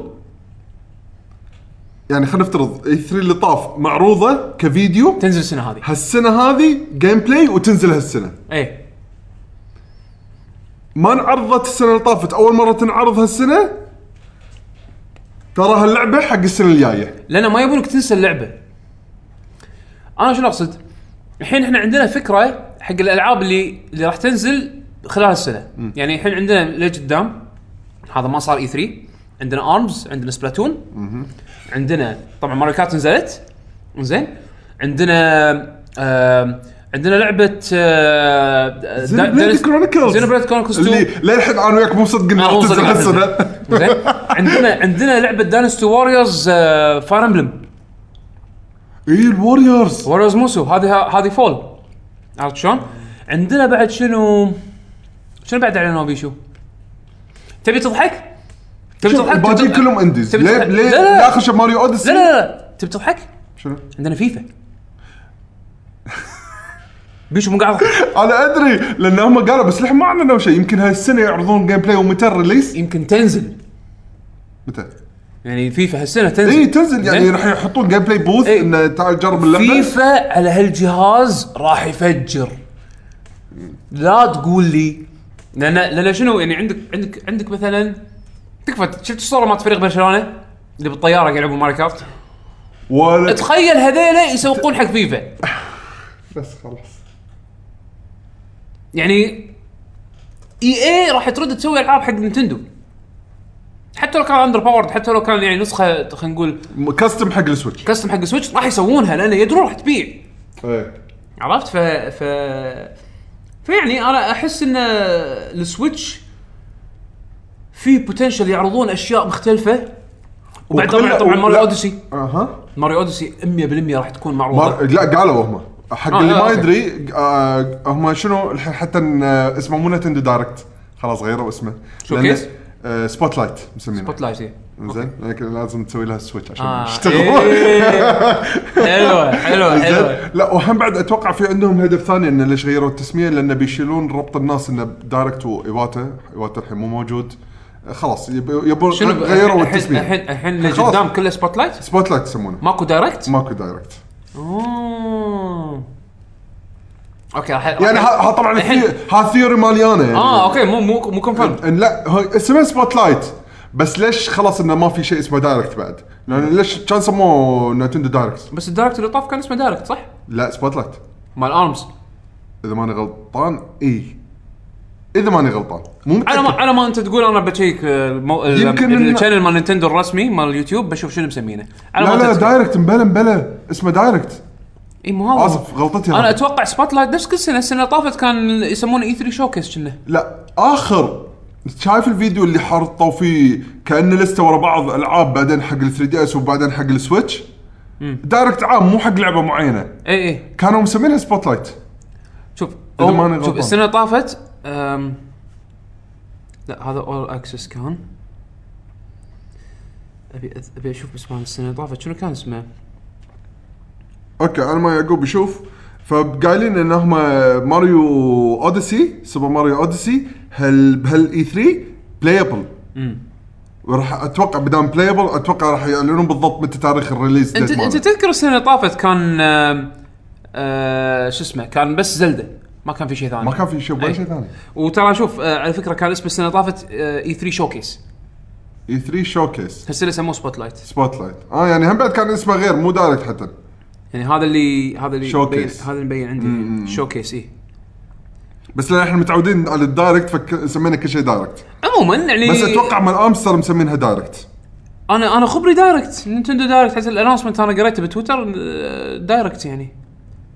Speaker 2: يعني خلينا نفترض اي 3 اللي طاف معروضه كفيديو
Speaker 1: تنزل السنه هذه
Speaker 2: هالسنه هذه جيم بلاي وتنزل هالسنه
Speaker 1: اي
Speaker 2: ما انعرضت السنه اللي طافت اول مره تنعرض هالسنه ترى هاللعبه حق السنه الجايه
Speaker 1: لان ما يبونك تنسى اللعبه انا شنو اقصد الحين احنا عندنا فكره حق الالعاب اللي اللي راح تنزل خلال السنه يعني الحين عندنا لقدام هذا ما صار اي 3 عندنا ارمز عندنا سبلاتون عندنا طبعا ماريو كارت نزلت زين عندنا آم، عندنا لعبه
Speaker 2: زينوبليد كرونيكلز
Speaker 1: زينوبليد كرونيكلز 2
Speaker 2: اللي للحين انا وياك مو مصدقين
Speaker 1: أنا
Speaker 2: انها
Speaker 1: مو
Speaker 2: تنزل
Speaker 1: مصدق
Speaker 2: هالسنه
Speaker 1: زين عندنا عندنا لعبه داينستي ووريرز فاير امبلم
Speaker 2: اي الوريورز
Speaker 1: ووريرز موسو هذه هذه فول عرفت شلون؟ عندنا بعد شنو شنو بعد اعلنوا بيشو؟ تبي تضحك؟ تبي تضحك؟
Speaker 2: الباقيين
Speaker 1: تبي-
Speaker 2: كلهم انديز
Speaker 1: تبي
Speaker 2: ليه
Speaker 1: تضحك؟
Speaker 2: ليه
Speaker 1: لا، لا.
Speaker 2: لا اخر شيء ماريو
Speaker 1: لا
Speaker 2: اوديسي
Speaker 1: لا لا تبي تضحك؟
Speaker 2: شنو؟
Speaker 1: عندنا فيفا بيشو مو قاعد أضحك.
Speaker 2: انا ادري لان هم قالوا بس للحين ما اعلنوا شيء يمكن هالسنه يعرضون جيم بلاي ومتى الريليس
Speaker 1: يمكن تنزل
Speaker 2: متى؟
Speaker 1: يعني فيفا هالسنه تنزل
Speaker 2: اي تنزل يعني
Speaker 1: زين؟ إيه.
Speaker 2: راح يحطون جيم بلاي بوث
Speaker 1: إي.
Speaker 2: انه تعال جرب اللعبه
Speaker 1: فيفا على هالجهاز راح يفجر لا تقول لي لان لان شنو يعني عندك عندك عندك مثلا تكفى شفت الصوره مالت فريق برشلونه اللي بالطياره قاعد يلعبون ماري كارت
Speaker 2: ولا
Speaker 1: تخيل هذيلا يسوقون حق فيفا
Speaker 2: بس خلاص
Speaker 1: يعني اي اي راح ترد تسوي العاب حق نينتندو حتى لو كان اندر باورد حتى لو كان يعني نسخه خلينا نقول
Speaker 2: كاستم حق السويتش
Speaker 1: كاستم حق سويتش راح يسوونها لان يدرون راح تبيع
Speaker 2: إي.
Speaker 1: عرفت ف ف فيعني انا احس ان السويتش في بوتنشل يعرضون اشياء مختلفه وبعد طبعا
Speaker 2: وكل-
Speaker 1: طبعا
Speaker 2: و-
Speaker 1: ماريو
Speaker 2: لا.
Speaker 1: اوديسي
Speaker 2: اها
Speaker 1: ماريو اوديسي 100% راح تكون معروضه
Speaker 2: مار... لا قالوا هم حق
Speaker 1: آه،
Speaker 2: اللي
Speaker 1: آه،
Speaker 2: ما
Speaker 1: أوكي.
Speaker 2: يدري آه هم شنو الحين حتى إن، آه، اسمه مو نتندو دايركت خلاص غيروا اسمه
Speaker 1: شو
Speaker 2: لأن-
Speaker 1: كيس؟
Speaker 2: آه سبوت لايت مسمينه
Speaker 1: سبوت لايت إيه.
Speaker 2: زين لكن لازم تسوي لها سويتش عشان
Speaker 1: آه.
Speaker 2: يشتغل
Speaker 1: إيه. حلوه حلوه حلوه
Speaker 2: زين؟ لا وهم بعد اتوقع في عندهم هدف ثاني انه ليش غيروا التسميه لانه بيشيلون ربط الناس انه دايركت وايواتا ايواتا الحين مو موجود آه، خلاص يب- يبون
Speaker 1: شنو
Speaker 2: غيروا
Speaker 1: الحين
Speaker 2: التسميه
Speaker 1: الحين الحين اللي
Speaker 2: خلاص.
Speaker 1: قدام كله سبوت لايت
Speaker 2: سبوت لايت يسمونه
Speaker 1: ماكو دايركت
Speaker 2: ماكو دايركت
Speaker 1: أوه. اوكي راح
Speaker 2: يعني ها ها طبعا
Speaker 1: الحين-
Speaker 2: الثي- ها ثيوري ماليانه يعني
Speaker 1: اه اوكي مو مو مو كونفيرم
Speaker 2: إن لا هو اسمه سبوت لايت بس ليش خلاص انه ما في شيء اسمه دايركت بعد؟ لان ليش كان سموه نتندو دايركت؟
Speaker 1: بس الدايركت اللي طاف كان اسمه دايركت صح؟
Speaker 2: لا سبوت لايت
Speaker 1: مال ارمز
Speaker 2: اذا ماني غلطان اي اذا ماني غلطان مو
Speaker 1: على ما
Speaker 2: متاكد
Speaker 1: على ما انت تقول انا بشيك آه، المو...
Speaker 2: يمكن إن-
Speaker 1: يمكن الشانل مال نينتندو الرسمي مال اليوتيوب بشوف شنو مسمينه على
Speaker 2: لا
Speaker 1: ما
Speaker 2: لا
Speaker 1: أنت تقول.
Speaker 2: دايركت مبلا مبلا اسمه دايركت
Speaker 1: اي مو هذا
Speaker 2: آسف، غلطتي
Speaker 1: انا
Speaker 2: هذا.
Speaker 1: اتوقع سبوت لايت نفس كل سنه السنه اللي طافت كان يسمونه اي 3 شوكيس كنا
Speaker 2: لا اخر شايف الفيديو اللي حطوا فيه كانه لسته ورا بعض العاب بعدين حق ال 3 دي اس وبعدين حق السويتش دايركت عام مو حق لعبه معينه
Speaker 1: اي اي
Speaker 2: كانوا مسمينها سبوت لايت
Speaker 1: شوف
Speaker 2: إذا
Speaker 1: أو-
Speaker 2: ماني
Speaker 1: شوف
Speaker 2: غلطان.
Speaker 1: السنه اللي طافت أم... لا هذا اول اكسس كان ابي أذ- ابي اشوف بس مال السنه اللي طافت شنو كان اسمه؟
Speaker 2: اوكي انا ما يعقوب يشوف فقايلين ان هم ماريو اوديسي سوبر ماريو اوديسي هل بهال اي 3 بلايبل وراح اتوقع بدام بلايبل اتوقع راح يعلنون بالضبط متى تاريخ الريليز
Speaker 1: انت
Speaker 2: date ماله.
Speaker 1: انت تذكر السنه اللي طافت كان آم، آه، شو اسمه كان بس زلده ما كان في شيء ثاني
Speaker 2: ما كان في شيء ولا
Speaker 1: أي.
Speaker 2: شيء ثاني
Speaker 1: آه، E وترى شوف آه، على فكره كان اسم السنه اللي طافت اي 3 شوكيس
Speaker 2: اي 3 شو كيس
Speaker 1: هالسنه سموه سبوت لايت
Speaker 2: سبوت لايت اه يعني هم بعد كان اسمه غير مو دايركت حتى
Speaker 1: يعني هذا اللي هذا اللي
Speaker 2: Showcase.
Speaker 1: مبين- هذا اللي مبين عندي إيه. شو كيس اي
Speaker 2: بس لان احنا متعودين على الدايركت فك... سمينا كل شيء دايركت
Speaker 1: عموما يعني
Speaker 2: بس اتوقع مال امستر مسمينها دايركت
Speaker 1: انا انا خبري دايركت نينتندو دايركت حتى الانونسمنت انا قريته بتويتر آه، دايركت يعني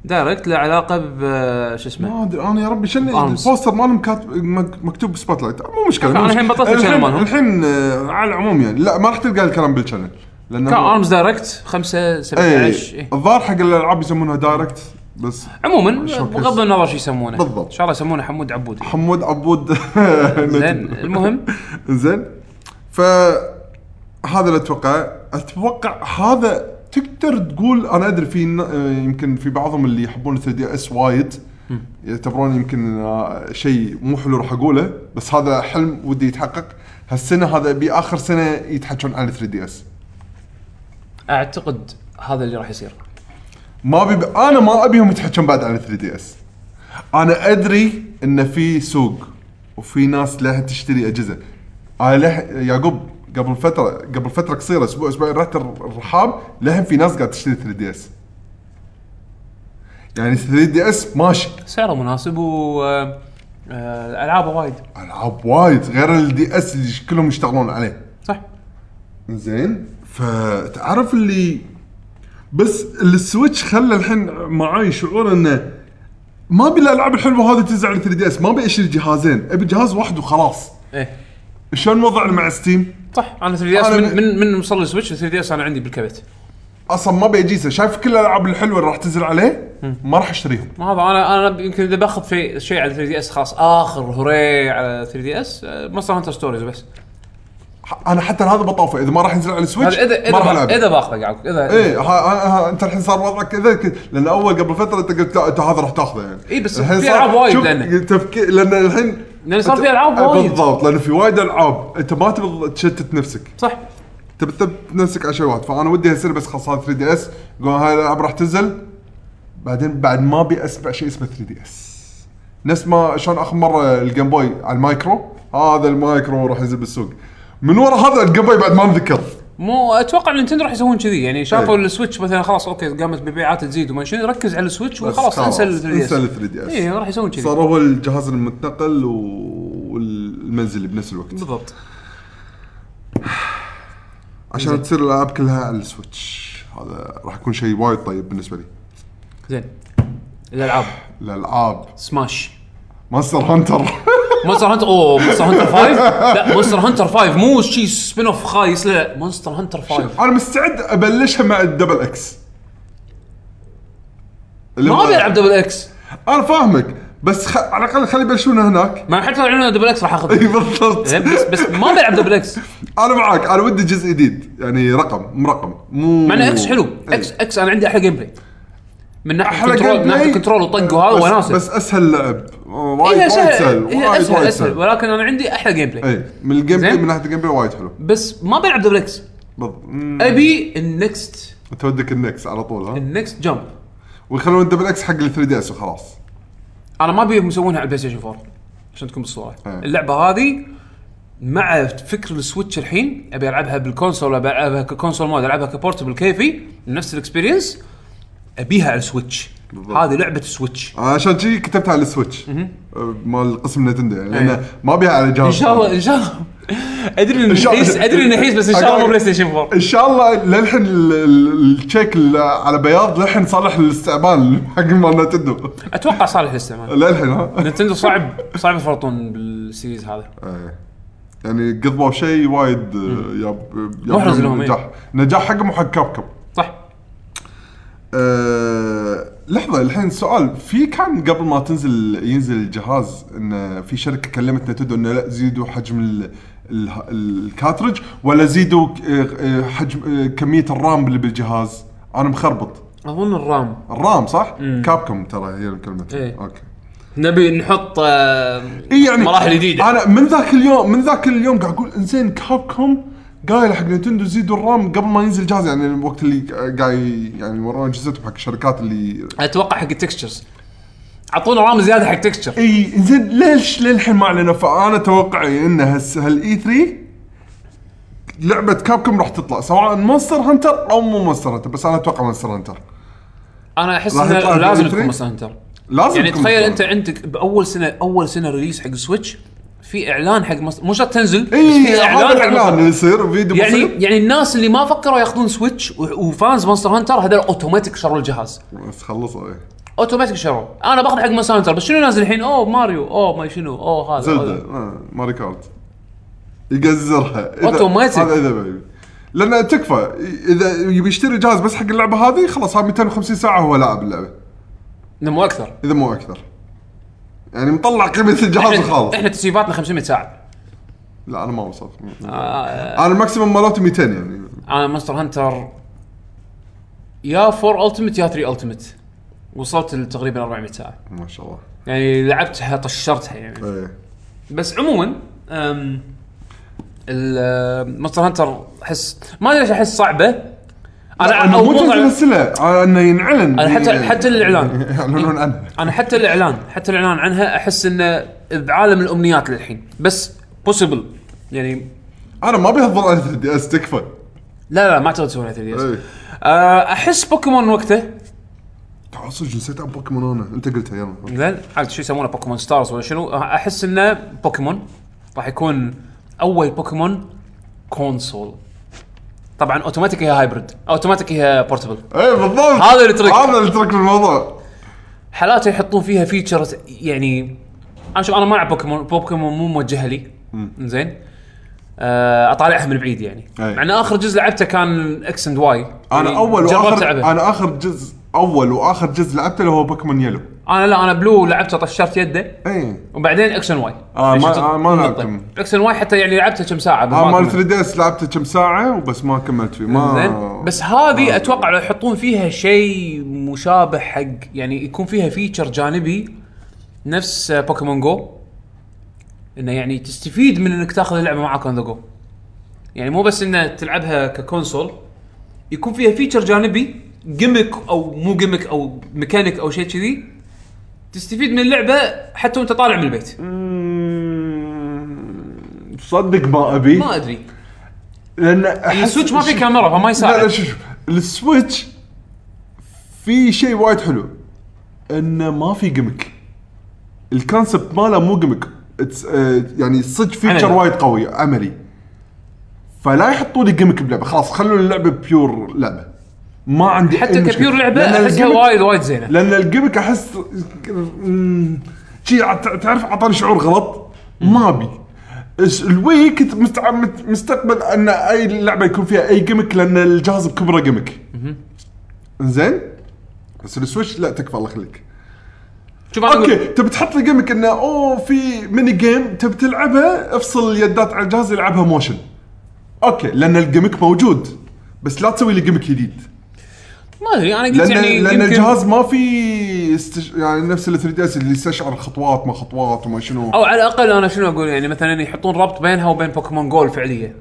Speaker 1: دايركت له علاقه ب آه، شو اسمه
Speaker 2: ما ادري انا يا ربي شنو
Speaker 1: Arms.
Speaker 2: البوستر مالهم كاتب مك- مكتوب سبوت لايت مو مشكله
Speaker 1: أنا
Speaker 2: مو مشكلة.
Speaker 1: الحين بطلت الشانل
Speaker 2: الحين,
Speaker 1: مالهم.
Speaker 2: الحين آه، على العموم يعني لا ما راح تلقى الكلام بالشانل لانه
Speaker 1: كان ارمز دايركت 5 17
Speaker 2: اي
Speaker 1: إيه.
Speaker 2: الظاهر حق الالعاب يسمونها دايركت بس
Speaker 1: عموما
Speaker 2: Showcase.
Speaker 1: بغض النظر شو يسمونه
Speaker 2: بالضبط.
Speaker 1: ان شاء الله يسمونه حمود عبودي
Speaker 2: حمود عبود
Speaker 1: زين المهم
Speaker 2: زين ف هذا اللي اتوقع اتوقع هذا تقدر تقول انا ادري في ن- آه، يمكن في بعضهم اللي يحبون 3 دي اس وايد يعتبرون يمكن آه، شيء مو حلو راح اقوله بس هذا حلم ودي يتحقق هالسنه هذا باخر سنه يتحكون عن 3 دي اس
Speaker 1: اعتقد هذا اللي راح يصير
Speaker 2: ما بي... انا ما ابيهم يتحكون بعد عن 3 دي اس انا ادري ان في سوق وفي ناس لها تشتري اجهزه انا له... يعقوب قبل فتره قبل فتره قصيره اسبوع اسبوعين رحت الر- الرحاب لهم في ناس قاعد تشتري 3 دي اس يعني 3 دي اس ماشي
Speaker 1: سعره مناسب و آه، آه، العابه وايد
Speaker 2: العاب وايد غير الدي اس اللي كلهم يشتغلون عليه
Speaker 1: صح
Speaker 2: زين فتعرف اللي بس السويتش خلى الحين معاي شعور انه ما ابي الالعاب الحلوه هذه تنزل على 3 دي اس ما ابي اشتري جهازين ابي جهاز واحد وخلاص
Speaker 1: ايه
Speaker 2: شلون وضعنا مع ستيم
Speaker 1: صح انا 3 دي اس
Speaker 2: أنا
Speaker 1: من
Speaker 2: ب-
Speaker 1: من من وصل السويتش 3 دي اس انا عندي بالكبت
Speaker 2: اصلا ما ابي اجيسه شايف كل الالعاب الحلوه اللي راح تنزل عليه ما راح اشتريهم
Speaker 1: ما هذا انا انا يمكن اذا باخذ في شيء على 3 دي اس خاص اخر هوري على 3 دي آه، اس مونستر هانتر ستوريز بس
Speaker 2: ح- انا حتى هذا بطوفه اذا ما راح ينزل على السويتش
Speaker 1: هذا اذا
Speaker 2: ما
Speaker 1: اذا
Speaker 2: راح
Speaker 1: بأ-
Speaker 2: العبه
Speaker 1: اذا باخذه قاعد اذا
Speaker 2: ايه ها ها ها انت الحين صار وضعك كذا ك- لان اول قبل فتره انت قلت لا انت هذا راح تاخذه يعني
Speaker 1: إيه، بس
Speaker 2: الحين
Speaker 1: في
Speaker 2: صار-
Speaker 1: ألعاب وايد
Speaker 2: شوف،
Speaker 1: لأنه.
Speaker 2: تفكير لان الحين
Speaker 1: لأن صار
Speaker 2: أنت-
Speaker 1: في ألعاب
Speaker 2: آه،
Speaker 1: وايد.
Speaker 2: بالضبط لان في وايد العاب انت ما تبي تشتت نفسك
Speaker 1: صح
Speaker 2: تبي تثبت نفسك على شيء واحد فانا ودي هالسنه بس خلاص هذا 3 دي اس قول هاي الالعاب راح تنزل بعدين بعد ما ابي اسمع شيء اسمه 3 دي اس نفس ما شلون اخر مره الجيم بوي على المايكرو هذا المايكرو راح ينزل بالسوق من ورا هذا الجيم بوي بعد ما نذكر
Speaker 1: مو اتوقع نينتندو راح يسوون كذي يعني شافوا
Speaker 2: إيه.
Speaker 1: السويتش مثلا خلاص اوكي قامت ببيعات تزيد وما شنو ركز على السويتش
Speaker 2: بس
Speaker 1: وخلاص انسى ال 3 دي إيه، اس
Speaker 2: انسى ال 3 دي اس
Speaker 1: اي راح يسوون كذي
Speaker 2: صار هو الجهاز المتنقل و- والمنزلي بنفس الوقت
Speaker 1: بالضبط
Speaker 2: عشان تصير الالعاب كلها على السويتش هذا راح يكون شيء وايد طيب بالنسبه لي
Speaker 1: زين الالعاب
Speaker 2: الالعاب
Speaker 1: سماش
Speaker 2: ماستر هانتر
Speaker 1: مونستر هانتر اوه مونستر هانتر 5 لا مونستر هانتر 5 مو شي سبين اوف خايس لا مونستر هانتر 5
Speaker 2: انا مستعد ابلشها مع الدبل اكس
Speaker 1: ما ابي العب دبل اكس
Speaker 2: انا فاهمك بس خ... على الاقل خلي يبلشونها هناك
Speaker 1: ما حتى لو يعلنون دبل اكس راح
Speaker 2: اي
Speaker 1: اخذ
Speaker 2: بالضبط
Speaker 1: بس بس ما بلعب دبل اكس
Speaker 2: انا معاك انا ودي جزء جديد يعني رقم مرقم مو إيه.
Speaker 1: مع انه اكس حلو
Speaker 2: إي.
Speaker 1: اكس اكس انا عندي احلى جيم بلاي من ناحيه
Speaker 2: احلى
Speaker 1: كنترول
Speaker 2: جيم
Speaker 1: من
Speaker 2: بلاي.
Speaker 1: ناحيه كنترول وطق وهذا
Speaker 2: بس-
Speaker 1: وناسه
Speaker 2: بس
Speaker 1: بس
Speaker 2: اسهل لعب وايد
Speaker 1: هي
Speaker 2: وايد
Speaker 1: سهل
Speaker 2: سهل
Speaker 1: هي اسهل
Speaker 2: وايد وايد
Speaker 1: اسهل
Speaker 2: سهل أيوه.
Speaker 1: ولكن انا عندي احلى جيم بلاي
Speaker 2: اي من الجيم بلاي
Speaker 1: زين.
Speaker 2: من ناحيه الجيم بلاي وايد حلو
Speaker 1: بس ما بلعب دبل اكس
Speaker 2: بالضبط مم.
Speaker 1: ابي النكست
Speaker 2: انت ودك النكس على طول ها
Speaker 1: النكست جمب
Speaker 2: ويخلون الدبل اكس حق ال 3 دي اس وخلاص
Speaker 1: انا ما ابيهم يسوونها على البلاي ستيشن 4 عشان تكون بالصوره
Speaker 2: إيه.
Speaker 1: اللعبه هذه مع فكر السويتش الحين ابي العبها بالكونسول ابي العبها ككونسول مود العبها كبورتبل كيفي نفس الاكسبيرينس ابيها على السويتش
Speaker 2: بالضبط.
Speaker 1: هذه لعبه السويتش
Speaker 2: عشان شي كتبتها على السويتش أه، مال قسم نتندو يعني
Speaker 1: أي.
Speaker 2: لانه ما بيها على جهاز
Speaker 1: ان إيه. شاء الله ان شاء الله ادري اني
Speaker 2: إن شاء-
Speaker 1: نحيس ادري اني نحيس بس ان شاء الله مو بلاي ستيشن 4
Speaker 2: ان شاء الله للحين ال- ال- التشيك ال- على بياض للحين صالح الاستعمال حق مال نتندو
Speaker 1: اتوقع صالح الاستعمال
Speaker 2: للحين ها
Speaker 1: نتندو صعب صعب يفرطون بالسيريز هذا
Speaker 2: أي. يعني قضوا شيء وايد أه، ياب ياب يعني
Speaker 1: محرز لهم، إيه. أي.
Speaker 2: نجاح نجاح حقهم وحق كابكم
Speaker 1: صح
Speaker 2: أه لحظه الحين سؤال في كان قبل ما تنزل ينزل الجهاز ان في شركه كلمت نتندو انه لا زيدوا حجم ال ال الكاترج ولا زيدوا ك- أه، أه، حجم أه، كميه الرام اللي بالجهاز انا مخربط
Speaker 1: اظن الرام
Speaker 2: الرام صح؟ كابكم ترى هي اللي كلمت
Speaker 1: إيه.
Speaker 2: اوكي
Speaker 1: نبي نحط آه،
Speaker 2: اي يعني
Speaker 1: مراحل جديده
Speaker 2: انا من ذاك اليوم من ذاك اليوم قاعد اقول انزين كابكم قايل حق نتندو زيدوا الرام قبل ما ينزل الجهاز يعني الوقت اللي قاعد يعني يورونا اجهزتهم حق الشركات اللي
Speaker 1: اتوقع حق التكستشرز اعطونا رام زياده حق تكستشر
Speaker 2: اي E زين ليش للحين ما اعلنوا فانا توقعي ان هس هالاي 3 لعبه كابكم راح تطلع سواء مونستر هانتر او مو مونستر هانتر بس انا اتوقع مونستر هانتر
Speaker 1: انا احس
Speaker 2: راح
Speaker 1: انه
Speaker 2: يطلع
Speaker 1: لازم تكون
Speaker 2: بإي 3.
Speaker 1: مونستر هانتر
Speaker 2: لازم
Speaker 1: يعني
Speaker 2: تكون
Speaker 1: تخيل انت
Speaker 2: مونستر
Speaker 1: عندك باول سنه اول سنه ريليس حق سويتش في اعلان حق مص... مو شرط تنزل بس
Speaker 2: اي
Speaker 1: في
Speaker 2: هذا
Speaker 1: اعلان حق مص-
Speaker 2: الاعلان اللي يصير فيديو
Speaker 1: يعني يعني الناس اللي ما فكروا ياخذون سويتش و- وفانز مونستر هانتر هذول اوتوماتيك شروا الجهاز
Speaker 2: بس خلصوا ايه
Speaker 1: اوتوماتيك شروا انا باخذ حق مونستر هانتر بس شنو نازل الحين اوه ماريو اوه ما شنو اوه هذا
Speaker 2: زلدة
Speaker 1: هذا.
Speaker 2: آه، ماري كارت يقزرها إذا-
Speaker 1: أوتوماتيك.
Speaker 2: هذا اذا بي- لان تكفى اذا يبي يشتري جهاز بس حق اللعبه هذه خلاص هاي 250 ساعه هو لاعب اللعبه
Speaker 1: إنه مو اكثر
Speaker 2: اذا مو اكثر يعني مطلع قيمه الجهاز
Speaker 1: احنا
Speaker 2: وخلاص
Speaker 1: احنا تسييفاتنا 500 ساعه
Speaker 2: لا انا ما وصلت
Speaker 1: آه،
Speaker 2: انا الماكسيمم مالوتي 200 يعني
Speaker 1: انا مونستر آه، هانتر يا 4 التمت يا 3 التمت وصلت تقريبا 400 ساعه
Speaker 2: ما شاء الله
Speaker 1: يعني لعبتها طشرتها يعني
Speaker 2: ايه
Speaker 1: بس عموما أم، ال- مونستر هانتر احس ما ادري ليش احس صعبه انا
Speaker 2: انا مو
Speaker 1: أول مرة-
Speaker 2: تنزل السلة على انه ينعلن
Speaker 1: أنا حتى-
Speaker 2: يعني-
Speaker 1: حتى الإعلان.
Speaker 2: يعلنون عنها
Speaker 1: انا حتى الاعلان حتى الاعلان عنها احس انه بعالم الامنيات للحين بس بوسيبل يعني
Speaker 2: انا ما ابي اظل على 3 دي اس تكفى
Speaker 1: لا لا ما تقدر تسوي لها 3
Speaker 2: إيه.
Speaker 1: دي احس بوكيمون وقته
Speaker 2: تعال صدق نسيت عن بوكيمون انا انت قلتها يلا
Speaker 1: زين عاد شو يسمونه بوكيمون ستارز ولا شنو احس انه بوكيمون راح يكون اول بوكيمون كونسول طبعا اوتوماتيك هي هايبرد اوتوماتيك هي بورتبل
Speaker 2: اي إيه، بالضبط
Speaker 1: هذا الترك.
Speaker 2: هذا الترك بالموضوع
Speaker 1: حالات يحطون فيها فيتشر يعني انا شوف انا ما العب بوكيمون بوكيمون مو موجهه لي زين آه، اطالعها من بعيد يعني
Speaker 2: أي.
Speaker 1: مع ان اخر جزء لعبته كان اكس اند واي
Speaker 2: انا اول واخر
Speaker 1: انا
Speaker 2: انا اخر جزء اول واخر جزء لعبته اللي هو بوكيمون يلو
Speaker 1: انا لا انا بلو لعبته طشرت يده
Speaker 2: اي
Speaker 1: وبعدين اكشن واي
Speaker 2: آه، ما- آه، ما لعبتهم.
Speaker 1: اكشن واي حتى يعني لعبته كم ساعه بس
Speaker 2: ها
Speaker 1: ما
Speaker 2: مال
Speaker 1: كملت.
Speaker 2: 3 دي اس لعبته كم ساعه وبس ما كملت فيه ما
Speaker 1: زين بس
Speaker 2: آه.
Speaker 1: هذه اتوقع لو يحطون فيها شيء مشابه حق يعني يكون فيها فيتشر جانبي نفس آه، بوكيمون جو انه يعني تستفيد من انك تاخذ اللعبه معك اون ذا جو يعني مو بس انه تلعبها ككونسول يكون فيها فيتشر جانبي جيمك او مو جيمك او ميكانيك او شيء كذي تستفيد من اللعبه حتى وانت طالع من البيت
Speaker 2: مم، صدق ما ابي
Speaker 1: ما ادري
Speaker 2: لان أحس-
Speaker 1: إيه، السويتش ما في كاميرا فما
Speaker 2: لا لا
Speaker 1: يساعد
Speaker 2: شوف شوف السويتش في شيء وايد حلو انه ما في جيمك الكونسبت ماله مو جيمك It's, آه، يعني صدق فيتشر
Speaker 1: عملي.
Speaker 2: وايد قوي عملي فلا يحطوا لي جيمك بلعبه خلاص خلوا اللعبه بيور لعبه ما عندي أي
Speaker 1: حتى
Speaker 2: مشكلة.
Speaker 1: كبير لعبه
Speaker 2: لأن
Speaker 1: احسها
Speaker 2: الجيمك-
Speaker 1: وايد وايد زينه
Speaker 2: لان الجيمك احس مم، شي ع- تعرف اعطاني شعور غلط ما ابي الس- الوي كنت مستع- مت- مستقبل ان اي لعبه يكون فيها اي جيمك لان الجهاز بكبره جيمك زين بس السويتش لا تكفى الله يخليك
Speaker 1: شوف أنا أقول-
Speaker 2: اوكي تبي تحط لي جيمك انه اوه في ميني جيم تبي تلعبها افصل اليدات على الجهاز يلعبها موشن اوكي لان الجيمك موجود بس لا تسوي لي جيمك جديد
Speaker 1: ما ادري انا قلت
Speaker 2: لان
Speaker 1: يعني
Speaker 2: لان
Speaker 1: يمكن-
Speaker 2: الجهاز ما في استش... يعني نفس ال 3 دي اس اللي يستشعر خطوات ما خطوات وما شنو
Speaker 1: او على الاقل انا شنو اقول يعني مثلا يحطون ربط بينها وبين بوكيمون جول فعليه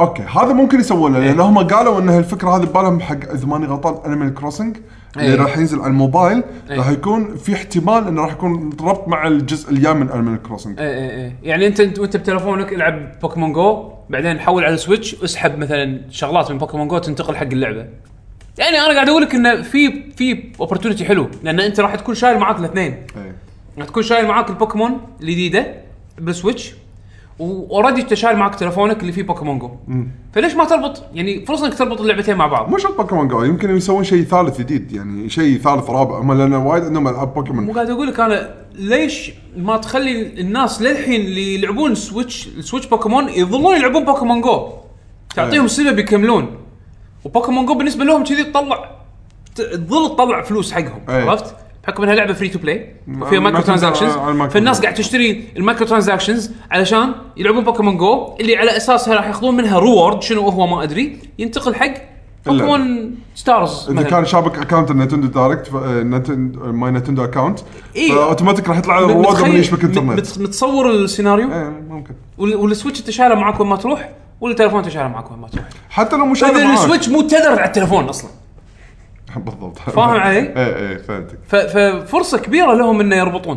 Speaker 2: اوكي هذا ممكن يسوونه
Speaker 1: إيه.
Speaker 2: لان هم قالوا ان هالفكره هذه ببالهم حق اذا ماني غلطان انيمال كروسنج اللي
Speaker 1: إيه.
Speaker 2: راح ينزل على الموبايل
Speaker 1: إيه.
Speaker 2: راح يكون في احتمال انه راح يكون ربط مع الجزء الجاي من انيمال كروسنج
Speaker 1: اي اي اي يعني انت انت وانت بتلفونك العب بوكيمون جو بعدين حول على سويتش اسحب مثلا شغلات من بوكيمون جو تنتقل حق اللعبه يعني انا قاعد اقول لك انه في في اوبورتونيتي حلو لان انت راح تكون شايل معاك الاثنين
Speaker 2: إيه.
Speaker 1: راح تكون شايل معاك البوكيمون الجديده بالسويتش واوريدي انت شايل معاك تلفونك اللي فيه بوكيمون جو فليش ما تربط يعني فرصه انك تربط اللعبتين مع بعض
Speaker 2: مو شرط بوكيمون جو يمكن يسوون شيء ثالث جديد يعني شيء ثالث رابع هم لان وايد عندهم العاب
Speaker 1: مو
Speaker 2: بوكيمون
Speaker 1: قاعد اقول لك انا ليش ما تخلي الناس للحين اللي يلعبون سويتش سويتش بوكيمون يظلون يلعبون بوكيمون جو تعطيهم
Speaker 2: أي.
Speaker 1: سبب يكملون وبوكيمون جو بالنسبه لهم كذي تطلع ت- تظل تطلع فلوس حقهم
Speaker 2: أي.
Speaker 1: عرفت؟ بحكم انها لعبه فري تو بلاي وفيها
Speaker 2: إيه. ما
Speaker 1: مايكرو
Speaker 2: تنزل
Speaker 1: ترانزاكشنز
Speaker 2: على المايكرو
Speaker 1: فالناس
Speaker 2: ترانزاكشنز.
Speaker 1: قاعد تشتري المايكرو ترانزاكشنز علشان يلعبون بوكيمون جو اللي على اساسها راح ياخذون منها ريورد شنو هو ما ادري ينتقل حق بوكيمون ستارز
Speaker 2: اذا
Speaker 1: مثلاً.
Speaker 2: كان شابك اكونت نتندو دايركت ف- آه، نتن- آه، ماي نتندو اكونت
Speaker 1: إيه.
Speaker 2: اوتوماتيك راح يطلع الرواد
Speaker 1: متخيل-
Speaker 2: من يشبك انترنت
Speaker 1: مت- متصور السيناريو
Speaker 2: ايه ممكن
Speaker 1: وال- والسويتش انت شايله معاك وين ما تروح والتليفون انت شايله معاك وين ما تروح
Speaker 2: حتى لو مش
Speaker 1: اذا
Speaker 2: طيب، معاك.
Speaker 1: السويتش مو تذر على التليفون اصلا
Speaker 2: بالضبط
Speaker 1: فاهم علي؟
Speaker 2: ايه ايه فهمتك
Speaker 1: ف- ففرصه كبيره لهم انه يربطون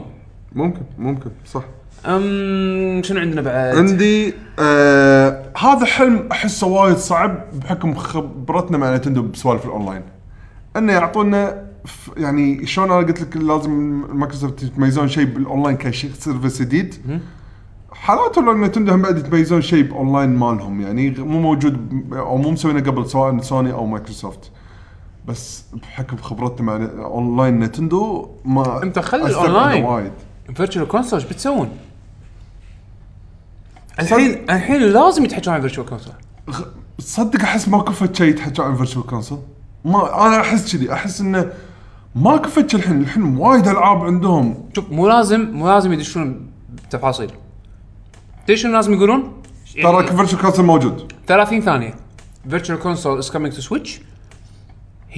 Speaker 2: ممكن ممكن صح
Speaker 1: أم شنو عندنا بعد؟
Speaker 2: عندي آه هذا حلم احسه وايد صعب بحكم خبرتنا مع نتندو بسوالف الاونلاين انه يعطونا ف- يعني شلون انا قلت لك لازم مايكروسوفت يتميزون شيء بالاونلاين كشيء سيرفيس جديد حالاته لو نتندو هم بعد يتميزون شيء باونلاين مالهم يعني غ- مو موجود ب- او مو مسوينه قبل سواء سوني او مايكروسوفت بس بحكم خبرتنا مع ن- اونلاين نتندو ما
Speaker 1: أنت خلي
Speaker 2: أستبعده
Speaker 1: الأونلاين.
Speaker 2: وايد
Speaker 1: فيرتشوال كونسول ايش بتسوون؟ الحين الحين لازم يتحكون عن فيرتشوال كونسول
Speaker 2: تصدق احس ما كفت شيء يتحكى عن فيرتشوال كونسول ما انا احس كذي احس انه ما كفت شي الحين الحين وايد العاب عندهم
Speaker 1: شوف مو لازم مو لازم يدشون بتفاصيل تدري شنو لازم يقولون؟
Speaker 2: إيه. ترى فيرتشوال كونسول موجود
Speaker 1: 30 ثانية Virtual console is coming to Switch.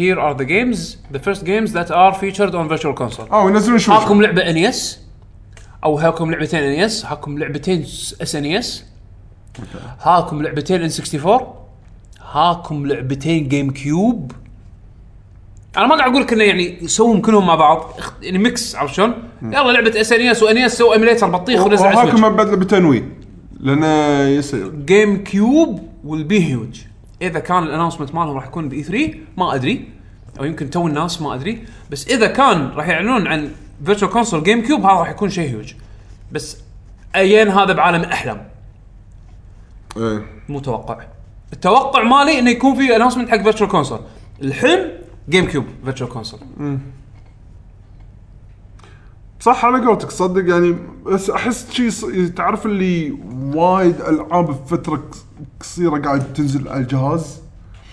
Speaker 1: Here are the games, the first games that are featured on Virtual console.
Speaker 2: اه وينزلون شو
Speaker 1: هاكم لعبة NES او هاكم لعبتين NES، هاكم لعبتين SNES. هاكم لعبتين N64. هاكم لعبتين جيم كيوب. انا ما قاعد اقول لك انه يعني سوهم كلهم مع بعض اخت- يعني ميكس عرفت شلون؟ يلا لعبه اس ان اس وان اس E سووا ايميليتر بطيخ ونزل على
Speaker 2: وهاكم
Speaker 1: Switch.
Speaker 2: بعد لعبتين وي لان يصير
Speaker 1: جيم كيوب ويل بي هيوج اذا كان الانونسمنت مالهم راح يكون باي 3 ما ادري او يمكن تو الناس ما ادري بس اذا كان راح يعلنون عن فيرتشوال كونسول جيم كيوب هذا راح يكون شيء هيوج بس ايين هذا بعالم احلام
Speaker 2: ايه
Speaker 1: مو توقع التوقع مالي انه يكون في انونسمنت حق فيرتشوال كونسول الحلم جيم كيوب فيرتشوال كونسول
Speaker 2: صح على قولتك صدق يعني بس احس شيء ص- تعرف اللي وايد العاب بفتره قص- قصيره قاعد تنزل على الجهاز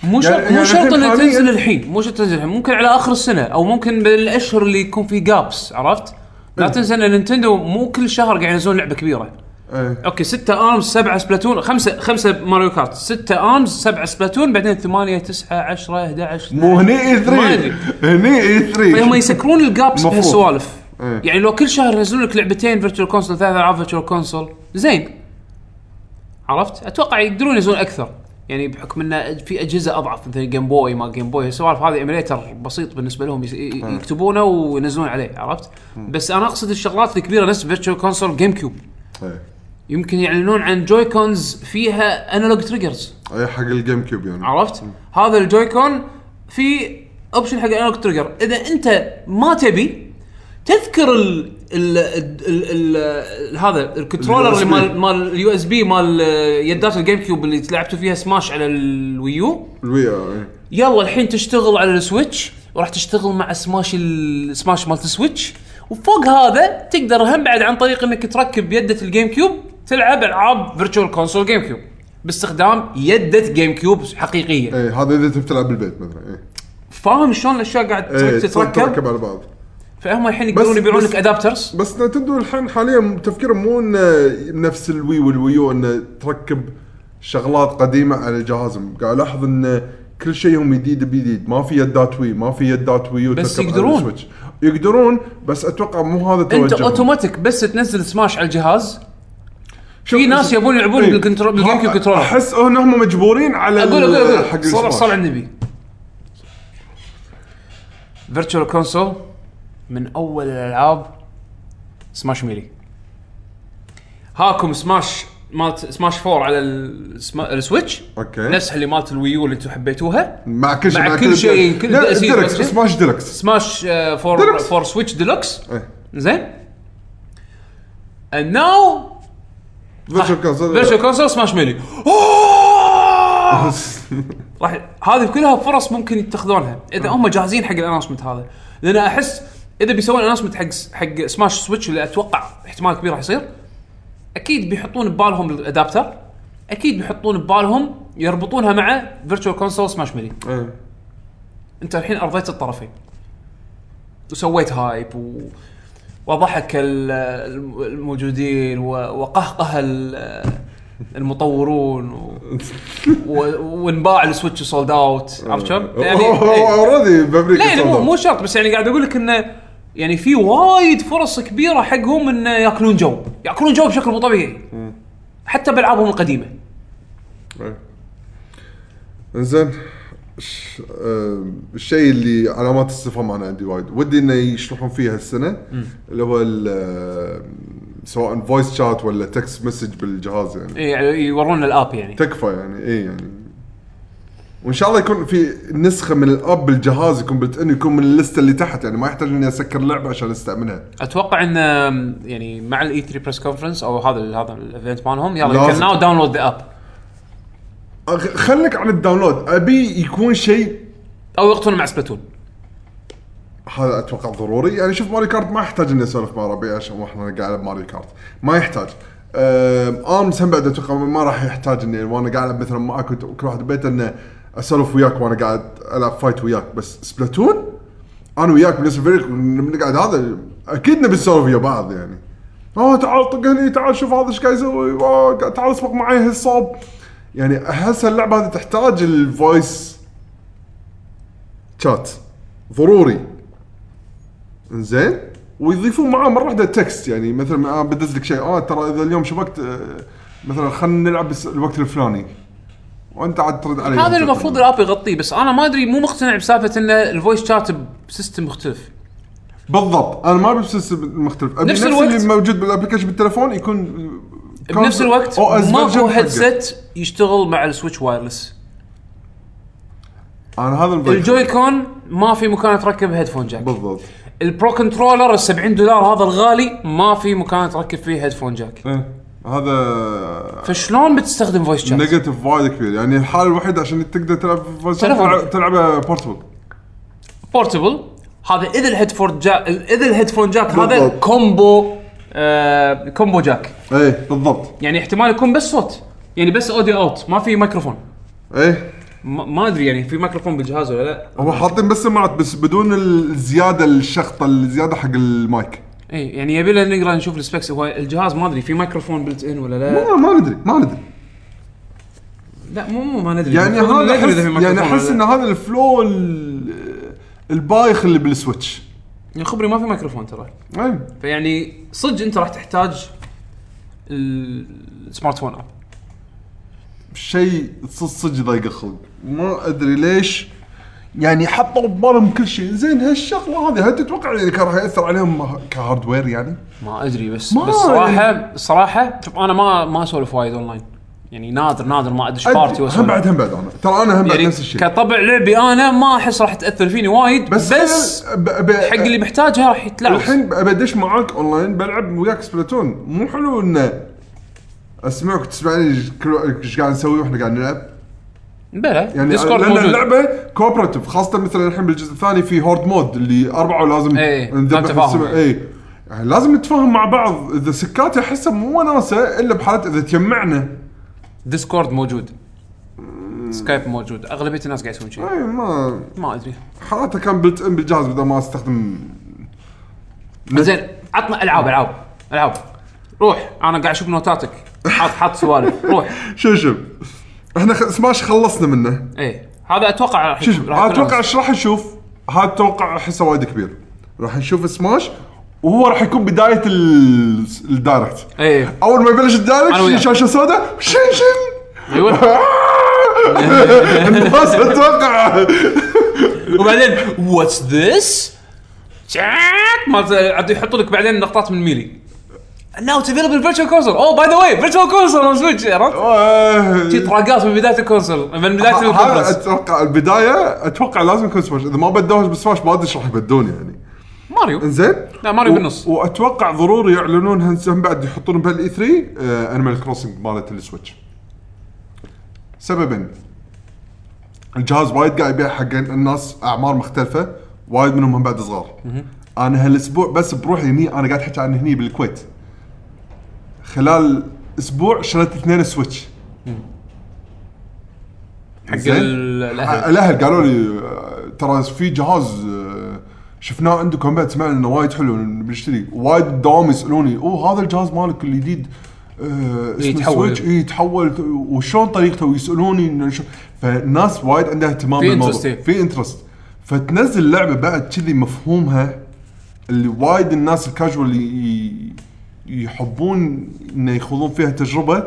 Speaker 1: مو شرط
Speaker 2: يعني
Speaker 1: مو شرط
Speaker 2: الحين
Speaker 1: انها
Speaker 2: حالياً-
Speaker 1: تنزل الحين مو شرط تنزل الحين ممكن على اخر السنه او ممكن بالاشهر اللي يكون في جابس عرفت؟ لا تنسى ان نينتندو مو كل شهر قاعد ينزلون لعبه كبيره
Speaker 2: ايه
Speaker 1: اوكي ستة ارمز سبعة سبلاتون خمسة خمسة ماريو كارت ستة ارمز سبعة سبلاتون بعدين ثمانية تسعة عشرة 11
Speaker 2: مو هني اي
Speaker 1: ما
Speaker 2: 3
Speaker 1: أدري.
Speaker 2: هني E إيه. اي 3
Speaker 1: فهم يسكرون الجابس
Speaker 2: مفروض.
Speaker 1: بهالسوالف
Speaker 2: إيه.
Speaker 1: يعني لو كل شهر ينزلون لك لعبتين فيرتشوال كونسول ثلاث العاب فيرتشوال كونسول زين عرفت؟ اتوقع يقدرون ينزلون اكثر يعني بحكم انه في اجهزه اضعف مثل جيم بوي ما جيم بوي السوالف هذه ايميليتر بسيط بالنسبه لهم يس-
Speaker 2: إيه.
Speaker 1: ي- يكتبونه وينزلون عليه عرفت؟ بس انا اقصد الشغلات الكبيره نفس فيرتشوال كونسول جيم كيوب
Speaker 2: إيه.
Speaker 1: يمكن يعلنون عن جوي كونز فيها انالوج تريجرز
Speaker 2: اي إيه، حق الجيم كيوب يعني
Speaker 1: عرفت؟ هذا الجويكون في اوبشن حق انالوج تريجر، اذا انت ما تبي تذكر ال ال ال- ال- ال- هذا الكنترولر اللي
Speaker 2: USB.
Speaker 1: مال مال اليو اس بي مال آه، يدات الجيم كيوب اللي لعبتوا فيها سماش على الويو
Speaker 2: الويا إيه.
Speaker 1: يلا الحين تشتغل على السويتش وراح تشتغل مع سماش ال- سماش مالت السويتش وفوق هذا تقدر هم بعد عن طريق انك تركب يده الجيم كيوب تلعب العاب فيرتشوال كونسول جيم كيوب باستخدام يده جيم كيوب حقيقيه
Speaker 2: ايه هذا اذا تبي تلعب بالبيت مثلا ايه
Speaker 1: فاهم شلون الاشياء قاعد
Speaker 2: ايه
Speaker 1: تتركب
Speaker 2: تركب على بعض
Speaker 1: فهم الحين يقدرون
Speaker 2: بس-
Speaker 1: يبيعون
Speaker 2: بس-
Speaker 1: لك ادابترز
Speaker 2: بس نتندو الحين حاليا تفكيرهم مو انه نفس الوي والويو انه تركب شغلات قديمه على جهازهم قاعد الاحظ ان كل شيء هم جديد بجديد ما في يدات وي ما في يدات ويو
Speaker 1: بس
Speaker 2: تركب على
Speaker 1: يقدرون.
Speaker 2: السويتش. يقدرون بس اتوقع مو هذا
Speaker 1: انت
Speaker 2: توجههم.
Speaker 1: اوتوماتيك بس تنزل سماش على الجهاز
Speaker 2: شوف-
Speaker 1: في ناس يبون يلعبون
Speaker 2: إيه.
Speaker 1: بالكنترول- بالجيم كيوب كنترولر.
Speaker 2: احس انهم مجبورين على
Speaker 1: اقول
Speaker 2: ال-
Speaker 1: اقول
Speaker 2: حق
Speaker 1: اقول صل
Speaker 2: السماش.
Speaker 1: صل على النبي فيرتشوال كونسول من اول الالعاب سماش ميلي هاكم سماش مالت سماش 4 على السما- السويتش
Speaker 2: اوكي
Speaker 1: نفس اللي مالت الويو اللي انتم حبيتوها
Speaker 2: مع كل شيء
Speaker 1: مع كل شيء، كل
Speaker 2: لا،
Speaker 1: تأثير
Speaker 2: ديلكس
Speaker 1: بس-
Speaker 2: سماش ديلكس
Speaker 1: سماش آه، فور
Speaker 2: ديلوكس.
Speaker 1: فور سويتش ديلوكس
Speaker 2: ايه
Speaker 1: زين and now
Speaker 2: فيرتشوال كونسول
Speaker 1: فيرتشوال كونسول سماش ميلي أوه! راح هذه كلها فرص ممكن يتخذونها اذا هم جاهزين حق الانونسمنت هذا لان احس اذا بيسوون انونسمنت حق حق سماش سويتش اللي اتوقع احتمال كبير راح يصير اكيد بيحطون ببالهم الادابتر اكيد بيحطون ببالهم يربطونها مع فيرتشوال كونسول سماش ميلي
Speaker 2: إيه.
Speaker 1: انت الحين ارضيت الطرفين وسويت هايب و... وضحك ال- الم- الموجودين و... وقهقه ال- المطورون و... و... وانباع السويتش سولد اوت عرفت شلون؟ يعني
Speaker 2: أه،
Speaker 1: إيه.
Speaker 2: اوريدي بامريكا
Speaker 1: لا يعني مو
Speaker 2: صدر.
Speaker 1: مو شرط بس يعني قاعد اقول لك انه يعني في وايد فرص كبيره حقهم انه ياكلون جو ياكلون جو بشكل مو طبيعي حتى بالعابهم القديمه
Speaker 2: إيه. انزين ش- آم، الشيء اللي علامات استفهام انا عندي وايد ودي انه يشرحون فيه هالسنه اللي هو ال- آم، أه، سواء فويس شات ولا تكست مسج بالجهاز يعني
Speaker 1: إي، يعني يورونا الاب يعني
Speaker 2: تكفى يعني اي يعني وان شاء الله يكون في نسخه من الاب بالجهاز يكون بلت ان يكون من الليسته اللي تحت يعني ما يحتاج اني اسكر لعبه عشان استعملها
Speaker 1: اتوقع ان آم، يعني مع الاي 3 بريس كونفرنس او هذا ال- هذا الايفنت مالهم يلا
Speaker 2: لازم.
Speaker 1: يمكن ناو داونلود ذا اب
Speaker 2: أخ- خليك عن الداونلود ابي يكون شيء
Speaker 1: او يقتلون مع سبلاتون
Speaker 2: هذا اتوقع ضروري يعني شوف ماري كارت ما احتاج اني اسولف مع ربيع عشان احنا قاعد العب ماري كارت ما يحتاج آه، أم، ارمز هم بعد اتوقع ما راح يحتاج اني وانا قاعد العب مثلا معك وت- كل واحد بيته انه اسولف وياك وانا قاعد العب فايت وياك بس سبلاتون انا وياك بنفس الفريق بنقعد هذا اكيد نبي نسولف ويا بعض يعني اه تعال طق هني تعال شوف هذا ايش قاعد يسوي آه، تعال اسبق معي هالصوب يعني احس اللعبه هذه تحتاج الفويس شات ضروري زين ويضيفون معاه مره واحده تكست يعني مثلا آه بدز لك شيء اه ترى اذا اليوم شبكت آه مثلا خلينا نلعب بس الوقت الفلاني وانت عاد ترد علي
Speaker 1: هذا اللي المفروض الاب يغطيه بس انا ما ادري مو مقتنع بسالفه ان الفويس شات بسيستم مختلف
Speaker 2: بالضبط انا ما ابي بسيستم مختلف ابي
Speaker 1: نفس
Speaker 2: نفس,
Speaker 1: الوقت.
Speaker 2: اللي موجود بالابلكيشن بالتليفون يكون
Speaker 1: بنفس الوقت ماكو هيدسيت يشتغل مع السويتش وايرلس
Speaker 2: انا هذا المضيق.
Speaker 1: الجوي كون ما في مكان تركب هيدفون جاك
Speaker 2: بالضبط
Speaker 1: البرو كنترولر ال 70 دولار هذا الغالي ما في مكان تركب فيه هيدفون جاك
Speaker 2: إيه. هذا
Speaker 1: فشلون بتستخدم فويس شات؟
Speaker 2: نيجاتيف وايد كبير يعني الحاله الوحيده عشان تقدر تلعب فويس شات
Speaker 1: تلفون.
Speaker 2: تلعب- تلعبه بورتبل
Speaker 1: بورتبل هذا اذا الهيدفون جاك اذا الهيدفون جاك هذا
Speaker 2: بالضبط.
Speaker 1: كومبو آه كومبو جاك
Speaker 2: ايه بالضبط
Speaker 1: يعني احتمال يكون بس صوت يعني بس اوديو اوت ما في ميكروفون
Speaker 2: ايه
Speaker 1: ما ما ادري يعني في ميكروفون بالجهاز ولا لا
Speaker 2: هو حاطين بس سماعات بس بدون الزياده الشخطه الزياده حق المايك
Speaker 1: اي يعني يبي لنا نقرا نشوف السبيكس هو الجهاز ما ادري في مايكروفون بلت ان ولا لا
Speaker 2: ما ما ندري ما ندري
Speaker 1: لا مو مو ما ندري
Speaker 2: يعني
Speaker 1: المفروض
Speaker 2: هذا
Speaker 1: ندري إذا في
Speaker 2: أحس- يعني
Speaker 1: مايكروفون ولا
Speaker 2: احس
Speaker 1: لا.
Speaker 2: ان هذا الفلو ال- البايخ اللي بالسويتش
Speaker 1: يعني خبري ما في مايكروفون ترى
Speaker 2: ايه
Speaker 1: فيعني صدق انت راح تحتاج ال- السمارت فون اب
Speaker 2: شيء صدق صدق ضايق الخلق ما ادري ليش يعني حطوا ببالهم كل شيء زين هالشغله هذه هل تتوقع يعني كان راح ياثر عليهم كهاردوير يعني؟
Speaker 1: ما ادري بس
Speaker 2: ما
Speaker 1: بس صراحه
Speaker 2: يعني-
Speaker 1: صراحه شوف انا ما ما اسولف وايد اونلاين يعني نادر نادر ما ادش بارتي
Speaker 2: أدري. هم
Speaker 1: واسولف
Speaker 2: بعد هم بعد انا ترى انا هم بعد
Speaker 1: يعني
Speaker 2: نفس الشيء
Speaker 1: كطبع لعبي انا ما احس راح تاثر فيني وايد بس, بس
Speaker 2: أنا ب- ب-
Speaker 1: حق اللي محتاجها راح يتلعب
Speaker 2: الحين ب- بدش معاك اونلاين بلعب وياك سبلاتون مو حلو انه اسمعك تسمعني كل- ايش قاعد نسوي واحنا قاعد نلعب
Speaker 1: بلى
Speaker 2: يعني
Speaker 1: ديسكورد
Speaker 2: لان
Speaker 1: موجود
Speaker 2: اللعبه كوبراتيف خاصه مثلا الحين بالجزء الثاني في هورد مود اللي اربعه لازم
Speaker 1: إيه،
Speaker 2: نذبح
Speaker 1: لازم تفاهم.
Speaker 2: بالسبع- اي يعني لازم نتفاهم مع بعض اذا سكات احسها مو وناسه الا بحالات اذا تجمعنا
Speaker 1: ديسكورد موجود سكايب موجود اغلبيه الناس قاعد يسوون شيء
Speaker 2: اي إيه، ما
Speaker 1: ما ادري
Speaker 2: حالاتها كان بلت ان بالجهاز بدل ما استخدم
Speaker 1: زين عطنا العاب العاب العاب روح انا قاعد اشوف نوتاتك حاط حاط سوالف روح
Speaker 2: شوف شوف احنا خ- سماش خلصنا منه
Speaker 1: ايه هذا اتوقع راح
Speaker 2: شوف شوف
Speaker 1: راح يكون
Speaker 2: اتوقع
Speaker 1: أمس.
Speaker 2: ايش راح نشوف؟ هذا اتوقع احسه وايد كبير راح نشوف سماش وهو راح يكون بدايه ال- الدايركت
Speaker 1: ايه
Speaker 2: اول ما يبلش
Speaker 1: أنا وياك.
Speaker 2: الدايركت شاشه سوداء شن شن
Speaker 1: ايوه
Speaker 2: الناس اتوقع
Speaker 1: وبعدين واتس ذس مالت عاد يحطوا لك بعدين نقطات من ميلي ناو افيلبل فيرتشوال كونسول اوه باي ذا واي فيرتشوال كونسول اون سويتش عرفت؟ شي طراقات من بدايه الكونسول من بدايه
Speaker 2: هذا
Speaker 1: الكونفرنس
Speaker 2: اتوقع البدايه اتوقع لازم يكون سماش اذا ما بدوها بسماش ما ادري إيش راح يبدون يعني
Speaker 1: ماريو
Speaker 2: انزين
Speaker 1: لا، ماريو
Speaker 2: و-
Speaker 1: بالنص.
Speaker 2: واتوقع ضروري يعلنون هنس- هم بعد يحطون بهالاي 3 آه انيمال كروسنج مالت السويتش سببين الجهاز وايد قاعد يبيع حق الناس اعمار مختلفه وايد منهم هم بعد صغار انا هالاسبوع بس بروحي هني انا قاعد احكي عن هني بالكويت خلال اسبوع شريت اثنين سويتش
Speaker 1: حق
Speaker 2: زين.
Speaker 1: ال- الاهل
Speaker 2: الاهل قالوا لي آه، ترى في جهاز آه، شفناه عندكم بعد سمعنا انه وايد حلو بنشتري وايد دوام يسالوني اوه هذا الجهاز مالك الجديد آه، اسمه
Speaker 1: يتحول.
Speaker 2: سويتش اي تحول وشلون طريقته ويسالوني إنه شو- فالناس وايد عندها اهتمام
Speaker 1: في
Speaker 2: بالموضوع.
Speaker 1: interest، إيه.
Speaker 2: في انترست فتنزل لعبه بعد كذي مفهومها اللي وايد الناس الكاجوال ي- يحبون انه يخوضون فيها تجربه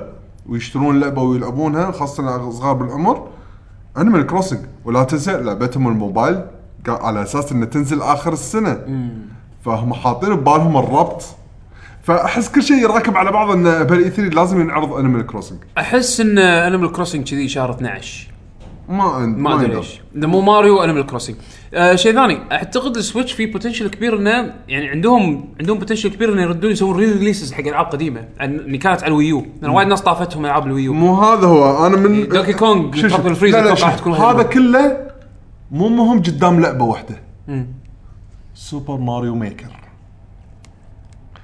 Speaker 2: ويشترون لعبه ويلعبونها خاصه صغار بالعمر انيمال كروسنج ولا تنسى لعبتهم الموبايل قا- على اساس انها تنزل اخر السنه فهم حاطين ببالهم الربط فاحس كل شيء يركب على بعض انه بالاي 3 لازم ينعرض انيمال كروسنج
Speaker 1: احس ان انيمال كروسنج كذي شهر 12
Speaker 2: ما أن-
Speaker 1: ما ادري
Speaker 2: يندر.
Speaker 1: ليش إنه مو ماريو انيمال كروسنج آه شيء ثاني اعتقد السويتش فيه بوتنشل كبير انه يعني عندهم عندهم بوتنشل كبير انه يردون يسوون ري ريليسز حق العاب قديمه عن- اللي كانت على الويو لان وايد ناس طافتهم العاب الويو
Speaker 2: مو هذا هو انا من
Speaker 1: دوكي كونغ،
Speaker 2: شوف- شوف.
Speaker 1: ترابل فريز،
Speaker 2: لا، لا،
Speaker 1: أتوقع
Speaker 2: شوف.
Speaker 1: تكون
Speaker 2: هذا
Speaker 1: هايلايت.
Speaker 2: كله مو مهم قدام لعبه واحده سوبر ماريو ميكر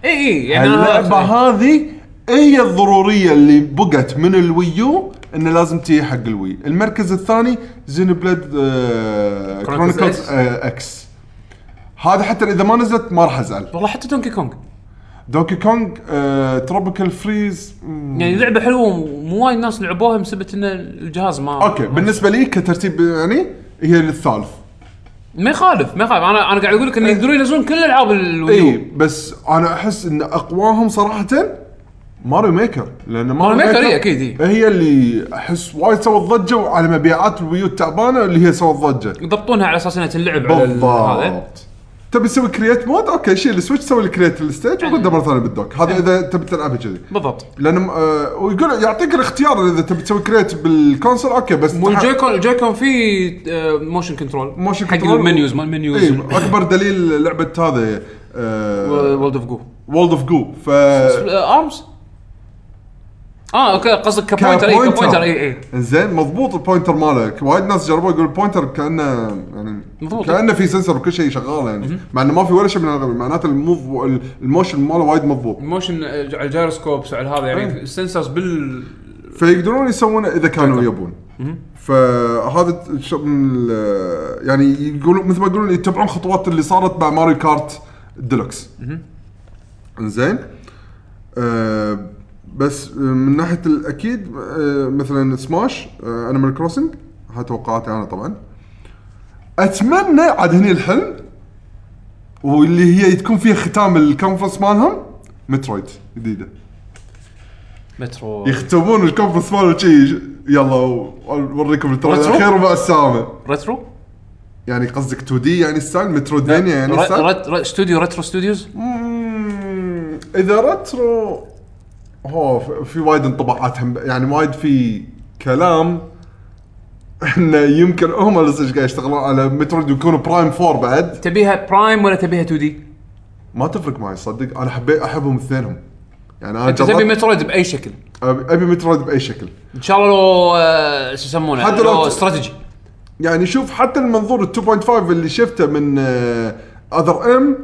Speaker 1: اي اي يعني
Speaker 2: اللعبه
Speaker 1: أنا-
Speaker 2: هذه هي الضروريه اللي بقت من الويو انه لازم تيجي حق الوي المركز الثاني آه، زين بلاد
Speaker 1: Chronicles
Speaker 2: كرونيكلز اكس آه، هذا حتى اذا ما نزلت ما راح ازعل
Speaker 1: والله حتى دونكي كونغ
Speaker 2: دوكي كونج آه، تروبيكال فريز
Speaker 1: يعني لعبه حلوه ومو وايد ناس لعبوها بسبب ان الجهاز ما
Speaker 2: اوكي بالنسبه لي كترتيب يعني هي الثالث
Speaker 1: ما يخالف ما يخالف انا انا قاعد اقول لك
Speaker 2: إيه.
Speaker 1: انه يقدرون ينزلون كل العاب الويو
Speaker 2: اي إيه، بس انا احس ان اقواهم صراحه ماريو ميكر لان ماريو
Speaker 1: ميكر إي، أكيد إيه. إي.
Speaker 2: هي اللي احس وايد سوت ضجه وعلى مبيعات الويو التعبانه اللي هي سوت ضجه
Speaker 1: يضبطونها على اساس انها تنلعب على ال- هذا
Speaker 2: بالضبط تبي تسوي كرييت مود اوكي شيل السويتش سوي الكرييت الستيج
Speaker 1: إيه.
Speaker 2: وقدها مره ثانيه بالدوك هذا اذا تبي تلعبها كذي
Speaker 1: بالضبط
Speaker 2: لان آه ويقول يعطيك الاختيار اذا تبي تسوي كرييت بالكونسول اوكي بس
Speaker 1: والجويكون الجويكون فيه آه، موشن كنترول
Speaker 2: موشن
Speaker 1: حق
Speaker 2: كنترول.
Speaker 1: المنيوز مال المنيوز
Speaker 2: اي اكبر إيه، دليل آه، لعبه هذا
Speaker 1: وولد اوف جو
Speaker 2: وولد اوف جو ف
Speaker 1: ارمز اه اوكي قصدك كبوينتر اي كبوينتر إيه، اي اي
Speaker 2: زين مضبوط البوينتر مالك وايد ناس جربوا يقول البوينتر كانه يعني
Speaker 1: مضبوط.
Speaker 2: كانه في سنسر وكل شيء شغال يعني مع انه ما في ولا شيء من هذا معناته الموف الموشن ماله وايد مضبوط
Speaker 1: الموشن آه، على الجيروسكوبس وعلى هذا يعني
Speaker 2: إيه.
Speaker 1: السنسرز بال
Speaker 2: فيقدرون يسوونه اذا كانوا يبون فهذا الش- من ال- يعني يقولون مثل ما يقولون يتبعون خطوات اللي صارت مع ماريو كارت ديلوكس زين آه بس آه، من ناحيه الاكيد آه مثلا سماش آه انيمال كروسنج هاي توقعاتي انا طبعا اتمنى عاد هني الحلم واللي هي تكون فيها ختام الكونفرنس مالهم مترويد جديده
Speaker 1: مترو
Speaker 2: إيه. يختمون الكونفرنس مالهم شي يلا و- نوريكم التريلر
Speaker 1: مترو؟
Speaker 2: الاخير ومع السلامه
Speaker 1: ريترو
Speaker 2: يعني قصدك 2 دي يعني ستايل مترودفينيا يعني
Speaker 1: ر-
Speaker 2: ستايل
Speaker 1: رت- رت- استوديو ريترو ستوديوز
Speaker 2: مم، اذا رترو هو ف- في وايد انطباعات هم- يعني وايد في كلام انه يمكن هم اللي صدق قاعد يشتغلون على مترويد ويكونوا برايم 4 بعد
Speaker 1: تبيها برايم ولا تبيها 2 دي؟
Speaker 2: ما تفرق معي صدق انا حبيت احبهم اثنينهم يعني انا
Speaker 1: انت تبي
Speaker 2: جربت
Speaker 1: مترويد باي شكل
Speaker 2: ابي أبي مترويد باي شكل
Speaker 1: ان شاء الله لو آه، شو يسمونه
Speaker 2: حتى لو-
Speaker 1: لو استراتيجي
Speaker 2: يعني شوف حتى المنظور ال 2.5 اللي شفته من اذر ام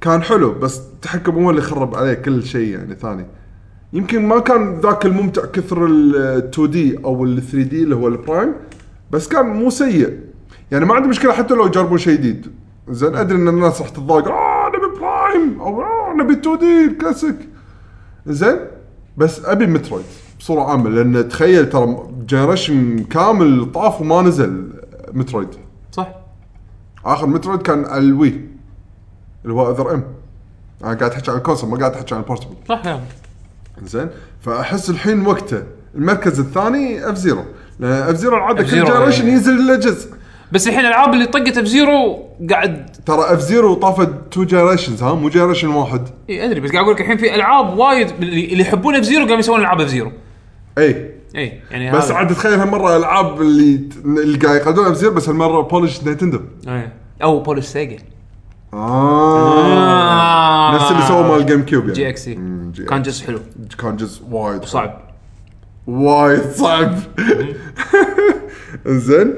Speaker 2: كان حلو بس التحكم هو اللي خرب عليه كل شيء يعني ثاني يمكن ما كان ذاك الممتع كثر ال آه، 2 دي او ال 3 دي اللي هو البرايم بس كان مو سيء يعني ما عندي مشكله حتى لو جربوا شيء جديد زين ادري ان الناس راح تتضايق اه نبي برايم او اه نبي 2 دي كلاسيك زين بس ابي مترويد بصوره عامه لان تخيل ترى جنريشن كامل طاف وما نزل مترويد
Speaker 1: صح
Speaker 2: اخر مترويد كان على الوي اللي هو اذر ام انا قاعد احكي عن الكونسل ما قاعد احكي عن البورتبل
Speaker 1: صح يلا
Speaker 2: زين فاحس الحين وقته المركز الثاني اف زيرو لان اف زيرو العاده كل
Speaker 1: F-Zero
Speaker 2: جنريشن
Speaker 1: يعني.
Speaker 2: ينزل له جزء
Speaker 1: بس الحين الالعاب اللي طقت بزيرو قاعد
Speaker 2: ترى اف زيرو طافت تو جنريشنز ها مو جنريشن واحد
Speaker 1: اي ادري بس قاعد اقول لك الحين في العاب وايد اللي اللي يحبون بزيرو قاموا يسوون العاب بزيرو
Speaker 2: اي
Speaker 1: اي يعني
Speaker 2: إيه. بس
Speaker 1: هذا.
Speaker 2: عاد تخيل هالمره العاب اللي اللي قاعد يقلدون اف زيرو بس هالمره بولش نينتندو
Speaker 1: إي. او بولش سيجا
Speaker 2: آه.
Speaker 1: آه.
Speaker 2: نفس اللي سووه مال جيم كيوب يعني
Speaker 1: جي اكس اي
Speaker 2: مم، جي
Speaker 1: كان
Speaker 2: إكس.
Speaker 1: جزء حلو
Speaker 2: كان جزء وايد
Speaker 1: صعب
Speaker 2: وايد صعب زين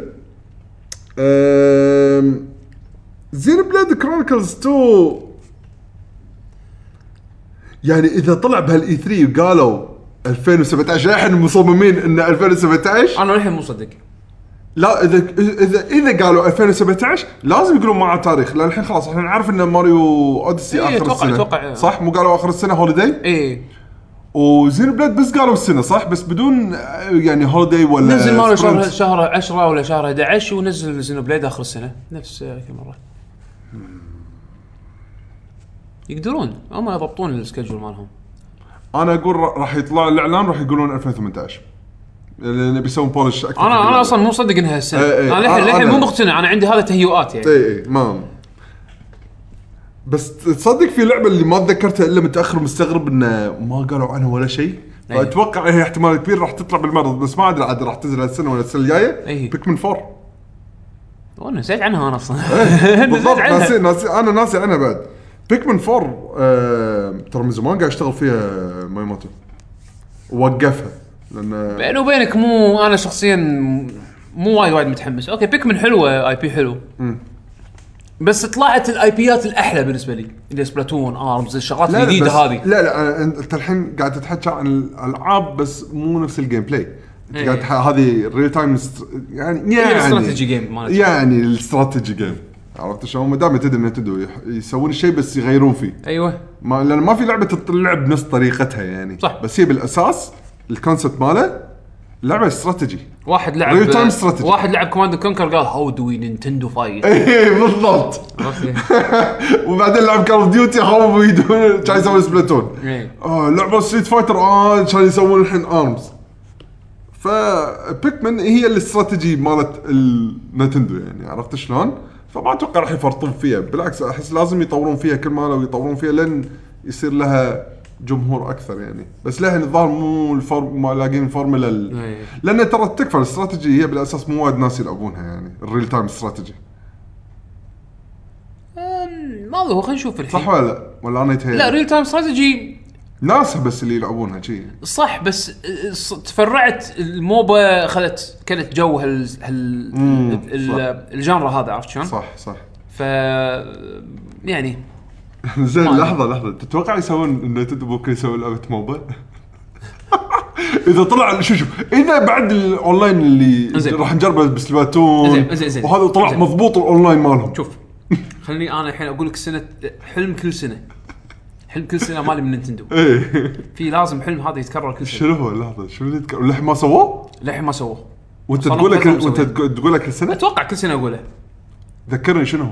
Speaker 2: زين بلاد كرونيكلز 2 يعني اذا طلع بهالاي 3 وقالوا 2017 احنا مصممين ان 2017
Speaker 1: انا للحين مو مصدق
Speaker 2: لا اذا اذا اذا قالوا 2017 لازم يقولون معاه تاريخ لان الحين خلاص احنا نعرف ان ماريو اوديسي
Speaker 1: إيه،
Speaker 2: اخر
Speaker 1: أتوقع-
Speaker 2: السنه
Speaker 1: أتوقع.
Speaker 2: صح مو قالوا اخر السنه هوليداي
Speaker 1: اي
Speaker 2: وزين بلاد بس قالوا السنه صح بس بدون آه، يعني هوليداي ولا
Speaker 1: نزل ماريو شهر
Speaker 2: سبرنت.
Speaker 1: شهر 10 ولا شهر 11 ونزل زينو بليد اخر السنه نفس آه، كل مره يقدرون هم يضبطون السكجول مالهم
Speaker 2: انا اقول را- راح يطلع الاعلان راح يقولون 2018 لان بيسوون بولش اكثر
Speaker 1: انا انا اصلا مو مصدق انها السنه
Speaker 2: إي، إي.
Speaker 1: انا للحين
Speaker 2: إيه، أنا- طيب.
Speaker 1: للحين
Speaker 2: أنا-
Speaker 1: مو مقتنع انا عندي هذا تهيؤات يعني
Speaker 2: اي اي ما إيه، بس تصدق في لعبه اللي ما تذكرتها الا متاخر مستغرب انه ما قالوا عنها ولا شيء
Speaker 1: أي.
Speaker 2: فاتوقع هي احتمال كبير راح تطلع بالمرض بس ما ادري عاد راح تنزل السنه ولا السنه
Speaker 1: أي.
Speaker 2: الجايه بيكمن 4
Speaker 1: وانا نسيت عنها انا اصلا
Speaker 2: إيه،
Speaker 1: نسيت
Speaker 2: بالضبط
Speaker 1: عنها
Speaker 2: ناسي ناسي انا ناسي عنها بعد بيكمن 4 آه، ترى من زمان قاعد اشتغل فيها مايموتو وقفها لان
Speaker 1: بيني وبينك مو انا شخصيا مو وايد وايد متحمس اوكي بيكمن حلوه اي بي حلو بس طلعت الاي بيات الاحلى بالنسبه لي اللي سبلاتون ارمز الشغلات
Speaker 2: لا، لا،
Speaker 1: الجديده
Speaker 2: بس-
Speaker 1: هذه
Speaker 2: لا لا أنا- انت الحين قاعد تتحكى عن الالعاب بس مو نفس الجيم بلاي انت
Speaker 1: إيه.
Speaker 2: قاعد تح- هذه ريل تايم است- يعني يعني
Speaker 1: الاستراتيجي جيم مالتها.
Speaker 2: يعني الاستراتيجي جيم عرفت شلون؟ ما دام تدري انه تدري يح- يسوون الشيء بس يغيرون فيه
Speaker 1: ايوه
Speaker 2: ما لان ما في لعبه تلعب بنفس طريقتها يعني
Speaker 1: صح.
Speaker 2: بس هي بالاساس الكونسبت ماله لعبه استراتيجي
Speaker 1: واحد لعب
Speaker 2: Real time strategy.
Speaker 1: واحد لعب كوماند كونكر قال هاو دو وي نينتندو فايت
Speaker 2: ايه بالضبط وبعدين لعب كول اوف ديوتي هاو ويدون كان يسوي سبلاتون
Speaker 1: إيه.
Speaker 2: اه لعبه ستريت فايتر اه كان يسوون الحين ارمز فبيكمن هي الاستراتيجي مالت النتندو يعني عرفت شلون؟ فما اتوقع راح يفرطون فيها بالعكس احس لازم يطورون فيها كل ما لو يطورون فيها لين يصير لها جمهور اكثر يعني بس للحين الظاهر مو الفورم ما لاقين الفورمولا ال...
Speaker 1: إيه.
Speaker 2: لان ترى تكفى الاستراتيجي هي بالاساس مو وايد ناس يلعبونها يعني الريل تايم استراتيجي
Speaker 1: ما هو خلينا نشوف
Speaker 2: صح
Speaker 1: الحين
Speaker 2: ولا لا؟ ولا انا يتهيأ
Speaker 1: لا ريل تايم استراتيجي
Speaker 2: ناس بس اللي يلعبونها شي
Speaker 1: صح بس آه، ص- تفرعت الموبا خلت كلت جو هال هال
Speaker 2: مم،
Speaker 1: ال-
Speaker 2: صح.
Speaker 1: ال- الجانرا هذا عرفت شلون؟
Speaker 2: صح صح
Speaker 1: ف يعني
Speaker 2: زين
Speaker 1: ما
Speaker 2: لحظه لحظه تتوقع يسوون النتندو ممكن يسوون لعبه موبا؟ اذا طلع شو شو هنا بعد الاونلاين اللي
Speaker 1: زين.
Speaker 2: راح نجربه بسبلاتون
Speaker 1: زين، زين، زين.
Speaker 2: وهذا طلع
Speaker 1: زين.
Speaker 2: مضبوط الاونلاين مالهم
Speaker 1: شوف خليني انا الحين اقول لك سنه حلم كل سنه حلم كل سنه مالي من نينتندو
Speaker 2: ايه
Speaker 1: في لازم حلم هذا يتكرر كل سنه
Speaker 2: شنو هو لحظه شنو اللي تك- للحين ما سووه؟
Speaker 1: للحين ما سووه
Speaker 2: وانت
Speaker 1: صار
Speaker 2: تقول لك
Speaker 1: لهم فترة
Speaker 2: وانت
Speaker 1: مسويين.
Speaker 2: تقول- تقول لك السنه؟
Speaker 1: اتوقع كل سنه اقوله
Speaker 2: ذكرني شنو هو؟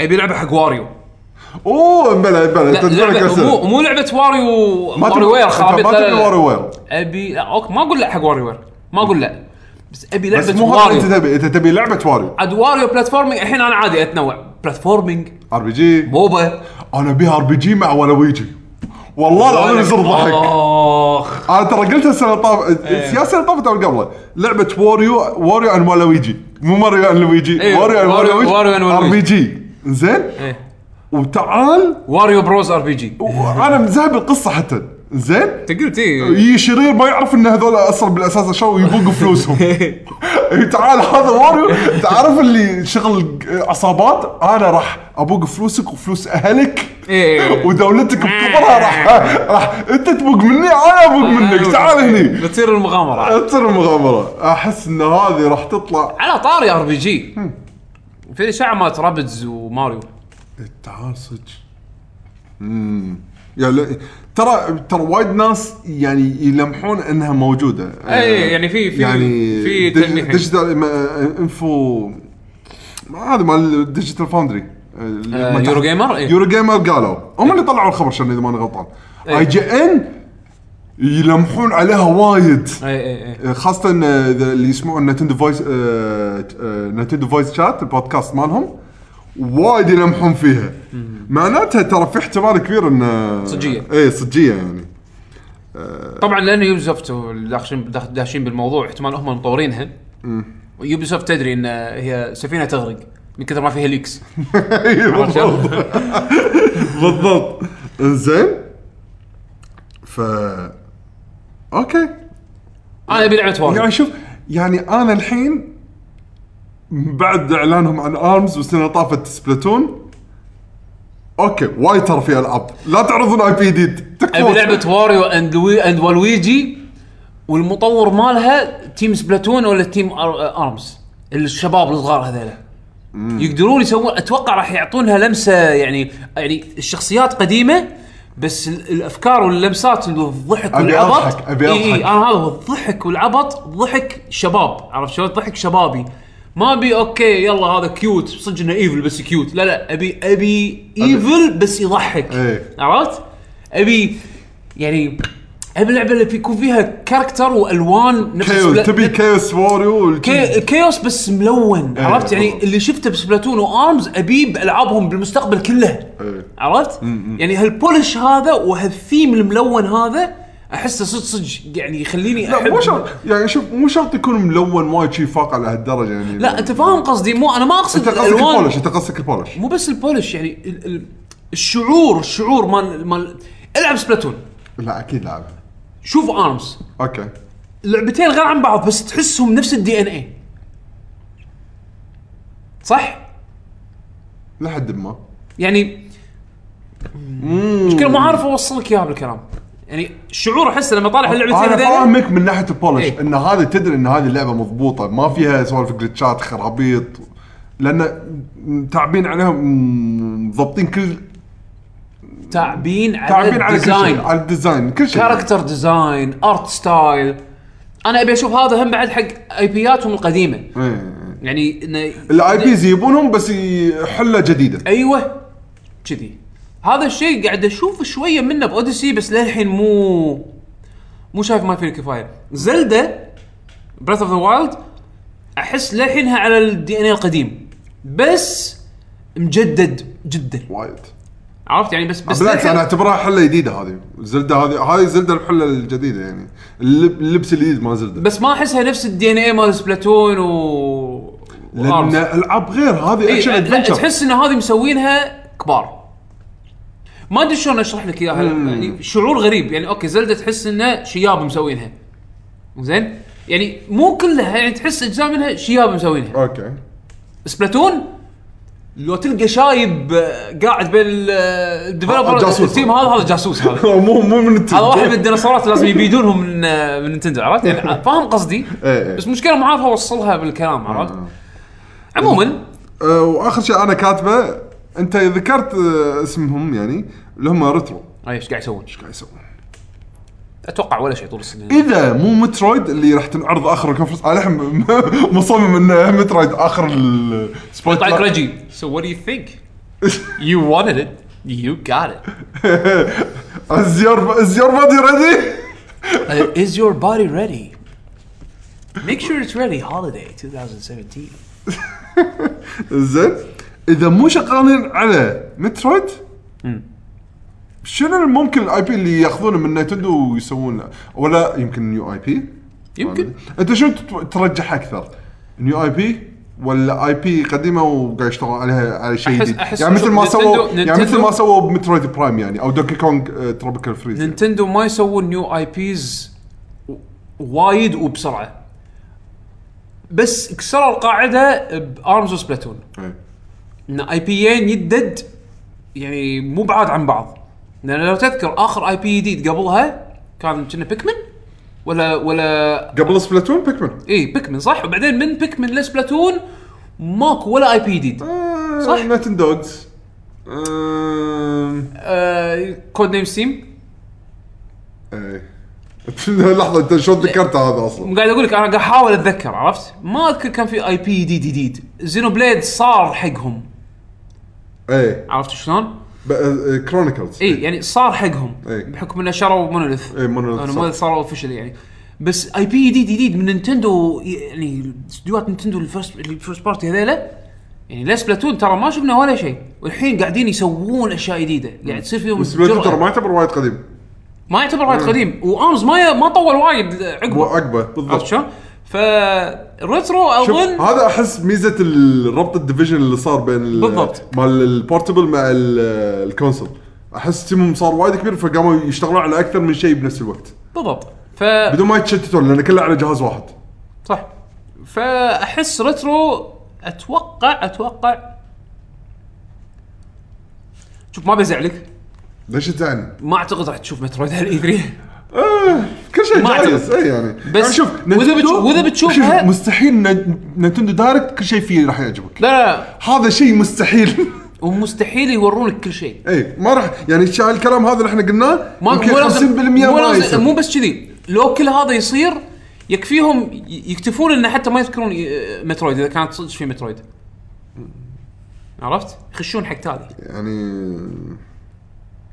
Speaker 1: ابي لعبه حق واريو
Speaker 2: اوه بلا بلا
Speaker 1: لا
Speaker 2: انت تقول لك
Speaker 1: لعبه مو
Speaker 2: السنه
Speaker 1: مو لعبه واريو
Speaker 2: ما تبي
Speaker 1: واريو وير خرابيط
Speaker 2: ما
Speaker 1: لا، لا،
Speaker 2: تبي
Speaker 1: لا.
Speaker 2: واري وير
Speaker 1: ابي لا اوكي ما اقول لا حق واريو وير ما اقول لا بس ابي
Speaker 2: بس
Speaker 1: لعبه
Speaker 2: مو هذا
Speaker 1: واريو
Speaker 2: انت تبي انت تبي لعبه واري
Speaker 1: عاد واريو بلاتفورمينج الحين انا عادي اتنوع بلاتفورمينج
Speaker 2: ار بي جي
Speaker 1: موبا
Speaker 2: انا بيها ار بي جي مع ولويجي والله العظيم زر ضحك
Speaker 1: آه. اخ
Speaker 2: انا ترى قلت السنه طاف
Speaker 1: إيه.
Speaker 2: يا سنه طافت او اللي قبله لعبه واريو واريو عن مالويجي مو ماريو عن لويجي
Speaker 1: أيوه،
Speaker 2: واريو عن
Speaker 1: واريو-
Speaker 2: مالويجي
Speaker 1: واريو عن
Speaker 2: ار بي
Speaker 1: مالويجي.
Speaker 2: جي زين
Speaker 1: إيه.
Speaker 2: وتعال
Speaker 1: واريو بروز ار بي جي
Speaker 2: انا مذهب القصه حتى زين
Speaker 1: انت قلت ايه
Speaker 2: يجي شرير ما يعرف ان هذول اصلا بالاساس شو يبوق فلوسهم إيه، تعال هذا واريو تعرف اللي شغل عصابات انا راح ابوق فلوسك وفلوس اهلك
Speaker 1: إيه.
Speaker 2: ودولتك بكبرها راح راح انت تبوق مني انا ابوق
Speaker 1: إيه.
Speaker 2: منك تعال هني أه.
Speaker 1: بتصير المغامره
Speaker 2: تصير مغامرة احس ان هذه راح تطلع
Speaker 1: على طاري ار بي جي في اشاعه مالت رابدز وماريو
Speaker 2: تعال صدق امم يا لا- ترى ترى وايد ناس يعني يلمحون انها موجوده
Speaker 1: أي، يعني في- في-
Speaker 2: يعني
Speaker 1: في
Speaker 2: ديج-
Speaker 1: تلميح.
Speaker 2: ديجيتال ما- انفو ما هذا مال ديجيتال فاوندري
Speaker 1: آه، يورو جيمر؟ إيه.
Speaker 2: يورو جيمر قالوا هم اللي طلعوا الخبر عشان اذا ماني غلطان اي
Speaker 1: إيه.
Speaker 2: جي ان يلمحون عليها وايد
Speaker 1: اي اي اي
Speaker 2: خاصة آه، إذا اللي يسمعون نتندو فويس آه، آه، نتندو فويس شات البودكاست مالهم وايد يلمحون فيها معناتها ترى في احتمال كبير ان آه،
Speaker 1: صجية.
Speaker 2: اي صجية يعني
Speaker 1: طبعا لان يوبي سوفت داخلين داخ- داشين بالموضوع احتمال هم مطورينها يوبي سوفت تدري ان هي سفينه تغرق من كثر ما فيها ليكس
Speaker 2: إي، إيه، بالضبط بالضبط انزين ف اوكي
Speaker 1: انا ابي لعبه واريو
Speaker 2: يعني شوف يعني انا الحين بعد اعلانهم عن ارمز والسنه اللي طافت سبلاتون اوكي وايد ترى في العاب لا تعرضون اي بي جديد تكفون
Speaker 1: ابي لعبه واريو اند لوي اند والويجي والمطور مالها تيم سبلاتون ولا تيم أر... ارمز الشباب الصغار هذيلا يقدرون يسوون اتوقع راح يعطونها لمسه يعني يعني الشخصيات قديمه بس ال- الافكار واللمسات والضحك
Speaker 2: أبي
Speaker 1: والعبط
Speaker 2: أضحك، أبي
Speaker 1: إي
Speaker 2: أضحك.
Speaker 1: إي انا هذا هو الضحك والعبط ضحك شباب عرفت شلون ضحك شبابي ما ابي اوكي يلا هذا كيوت صدق انه ايفل بس كيوت لا لا ابي ابي ايفل بس يضحك
Speaker 2: إيه.
Speaker 1: عرفت؟ ابي يعني ابي لعبه اللي بيكون فيها كاركتر والوان نفس
Speaker 2: كيوس
Speaker 1: سبلا-
Speaker 2: تبي كيوس واريو وال-
Speaker 1: كي... كيوس بس ملون
Speaker 2: إيه،
Speaker 1: عرفت يعني
Speaker 2: بالضبط.
Speaker 1: اللي شفته بسبلاتون وارمز ابيه بالعابهم بالمستقبل كله
Speaker 2: إيه.
Speaker 1: عرفت يعني هالبولش هذا وهالثيم الملون هذا احسه صدق صدق يعني يخليني
Speaker 2: لا
Speaker 1: احب
Speaker 2: مو شرط يعني شوف مو شرط يكون ملون وايد شي فاقع لهالدرجه يعني
Speaker 1: لا انت فاهم قصدي مو انا ما اقصد
Speaker 2: انت قصدك البولش انت قصدك البولش
Speaker 1: مو بس البولش يعني ال... ال... الشعور الشعور مال مال العب سبلاتون
Speaker 2: لا اكيد لعبها
Speaker 1: شوف ارمز
Speaker 2: اوكي
Speaker 1: لعبتين غير عن بعض بس تحسهم نفس الدي ان اي صح؟
Speaker 2: لحد ما
Speaker 1: يعني مشكلة ما عارف اوصلك اياها بالكلام يعني شعور احسه لما طالع اللعبتين
Speaker 2: انا
Speaker 1: هذول
Speaker 2: فاهمك من ناحيه البولش
Speaker 1: إيه.
Speaker 2: إيه؟ ان هذا تدري ان هذه اللعبه مضبوطه ما فيها سوالف جلتشات خرابيط لان تعبين عليها م- ضابطين كل
Speaker 1: تعبين على
Speaker 2: تعبين على كل شيء
Speaker 1: الديزاين
Speaker 2: على الديزاين كل شيء
Speaker 1: كاركتر ديزاين ارت ستايل انا ابي اشوف هذا هم بعد حق اي بياتهم القديمه
Speaker 2: إيه.
Speaker 1: يعني إنه-
Speaker 2: الاي بيز يبونهم بس ي- حله جديده
Speaker 1: ايوه كذي هذا الشيء قاعد اشوف شويه منه باوديسي بس للحين مو مو شايف ما فيه الكفايه زلدا بريث اوف ذا وايلد احس للحينها على الدي ان اي القديم بس مجدد جدا
Speaker 2: وايد
Speaker 1: عرفت يعني بس بس
Speaker 2: بالعكس
Speaker 1: للحين-
Speaker 2: انا اعتبرها حله جديده هذه الزلده هذه هذه الزلده الحله الجديده يعني اللب- اللبس الجديد ما زلده
Speaker 1: بس ما احسها نفس الدي ان اي مال سبلاتون و
Speaker 2: لان
Speaker 1: وArms.
Speaker 2: العاب غير هذه
Speaker 1: إيه،
Speaker 2: اكشن
Speaker 1: لا،
Speaker 2: ادفنشر
Speaker 1: تحس ان هذه مسوينها كبار ما ادري شلون اشرح لك اياها
Speaker 2: مم.
Speaker 1: يعني شعور غريب يعني اوكي زلده تحس انه شياب مسوينها زين يعني مو كلها يعني تحس اجزاء منها شياب مسوينها
Speaker 2: اوكي
Speaker 1: سبلاتون لو تلقى شايب آه، قاعد بين ال- آه، الديفلوبر
Speaker 2: جاسوس.
Speaker 1: التيم هذا هذا جاسوس هذا
Speaker 2: مو مو من
Speaker 1: هذا واحد من الديناصورات لازم يبيدونهم من آه، من نتندو عرفت يعني فاهم قصدي
Speaker 2: إيه.
Speaker 1: بس مشكله ما عارف اوصلها بالكلام عرفت عموما
Speaker 2: آه، واخر شيء انا كاتبه انت ذكرت آه، اسمهم يعني اللي هم ريترو
Speaker 1: ايش قاعد يسوون؟
Speaker 2: قاعد يسوون
Speaker 1: اتوقع ولا شيء طول السنه
Speaker 2: اذا مو مترويد اللي راح تنعرض اخر الكونفرنس انا الحين م- مصمم انه مترويد اخر السبوت
Speaker 1: طلعت رجي So what do you think? طيب، You wanted it. You got it.
Speaker 2: الزيار الزيار بادي ريدي
Speaker 1: Uh, is your body ready? Make sure it's ready. Holiday 2017.
Speaker 2: زين اذا مو شغالين على مترويد شنو الممكن الاي بي اللي ياخذونه من نينتندو ويسوون له؟ ولا يمكن نيو اي بي
Speaker 1: يمكن.
Speaker 2: انت شنو تت- ترجح اكثر نيو اي بي ولا اي بي قديمه وقاعد يشتغل عليها على شيء
Speaker 1: أحس-
Speaker 2: جديد
Speaker 1: أحس
Speaker 2: يعني مثل ما
Speaker 1: نينتندو-
Speaker 2: سووا يعني مثل
Speaker 1: نينتندو-
Speaker 2: ما سووا بمترويد برايم يعني او دوكي كونج تروبيكال فريز يعني.
Speaker 1: نينتندو ما يسوون نيو اي بيز وايد وبسرعه. بس كسروا القاعده بارمز وسبلاتون.
Speaker 2: إيه.
Speaker 1: ان اي بيين يدد يعني مو بعاد عن بعض لان لو تذكر اخر اي بي جديد قبلها كان كنا بيكمن ولا ولا
Speaker 2: قبل سبلاتون بيكمن
Speaker 1: اي بيكمن صح وبعدين من بيكمن لسبلاتون ماكو ولا اي بي جديد
Speaker 2: آه،
Speaker 1: صح.
Speaker 2: نتندوجز أمم.
Speaker 1: آه كود نيم ستيم
Speaker 2: ايه لحظه انت شلون ذكرت هذا اصلا؟
Speaker 1: قاعد اقول لك انا قاعد احاول اتذكر عرفت ما اذكر كان في اي بي جديد جديد زينو بليد صار حقهم
Speaker 2: ايه
Speaker 1: عرفت شلون؟
Speaker 2: آه، كرونيكلز
Speaker 1: اي يعني صار حقهم
Speaker 2: إي.
Speaker 1: بحكم انه شروا مونوليث
Speaker 2: إي، إيه، Monolith صار.
Speaker 1: مونوليث صاروا اوفشلي يعني بس اي بي جديد جديد من نينتندو يعني استديوهات نينتندو الفيرست الفيرست بارتي هذيلا يعني لا سبلاتون ترى ما شفنا ولا شيء والحين قاعدين يسوون اشياء جديده قاعد تصير فيهم
Speaker 2: سبلاتون
Speaker 1: جرأة.
Speaker 2: ترى ما يعتبر وايد قديم
Speaker 1: ما يعتبر وايد قديم وارمز ما ما طول وايد
Speaker 2: هو
Speaker 1: عقبه
Speaker 2: عقبه
Speaker 1: عرفت
Speaker 2: بالضبط
Speaker 1: شلون؟ فالريترو
Speaker 2: شوف
Speaker 1: اظن
Speaker 2: هذا احس ميزه الربط الديفيجن اللي صار بين ال-
Speaker 1: بالضبط.
Speaker 2: مال البورتبل مع ال- الكونسول احس تيمهم صار وايد كبير فقاموا يشتغلون على اكثر من شيء بنفس الوقت
Speaker 1: بالضبط ف
Speaker 2: بدون ما يتشتتون لان كله على جهاز واحد
Speaker 1: صح فاحس ريترو اتوقع اتوقع شوف ما بزعلك
Speaker 2: ليش تزعلني؟
Speaker 1: ما اعتقد راح تشوف مترويد هالاي 3
Speaker 2: آه، كل شيء
Speaker 1: ما
Speaker 2: جايز اي يعني يعني شوف
Speaker 1: وإذا
Speaker 2: نتندو-
Speaker 1: بتشوف- وإذا بتشوفها-
Speaker 2: شوف، مستحيل ن- نتندو دايركت كل شيء فيه راح يعجبك
Speaker 1: لا لا
Speaker 2: هذا شيء مستحيل
Speaker 1: ومستحيل يورونك كل شيء
Speaker 2: اي ما راح يعني الشيء- الكلام هذا اللي احنا قلناه
Speaker 1: ما
Speaker 2: يمكن
Speaker 1: مو
Speaker 2: 50%
Speaker 1: لازم مو,
Speaker 2: ما
Speaker 1: لازم مو
Speaker 2: يصير
Speaker 1: بس كذي لو كل هذا يصير يكفيهم ي- يكتفون انه حتى ما يذكرون ي- مترويد اذا كانت صدق في مترويد عرفت؟ يخشون حق تالي
Speaker 2: يعني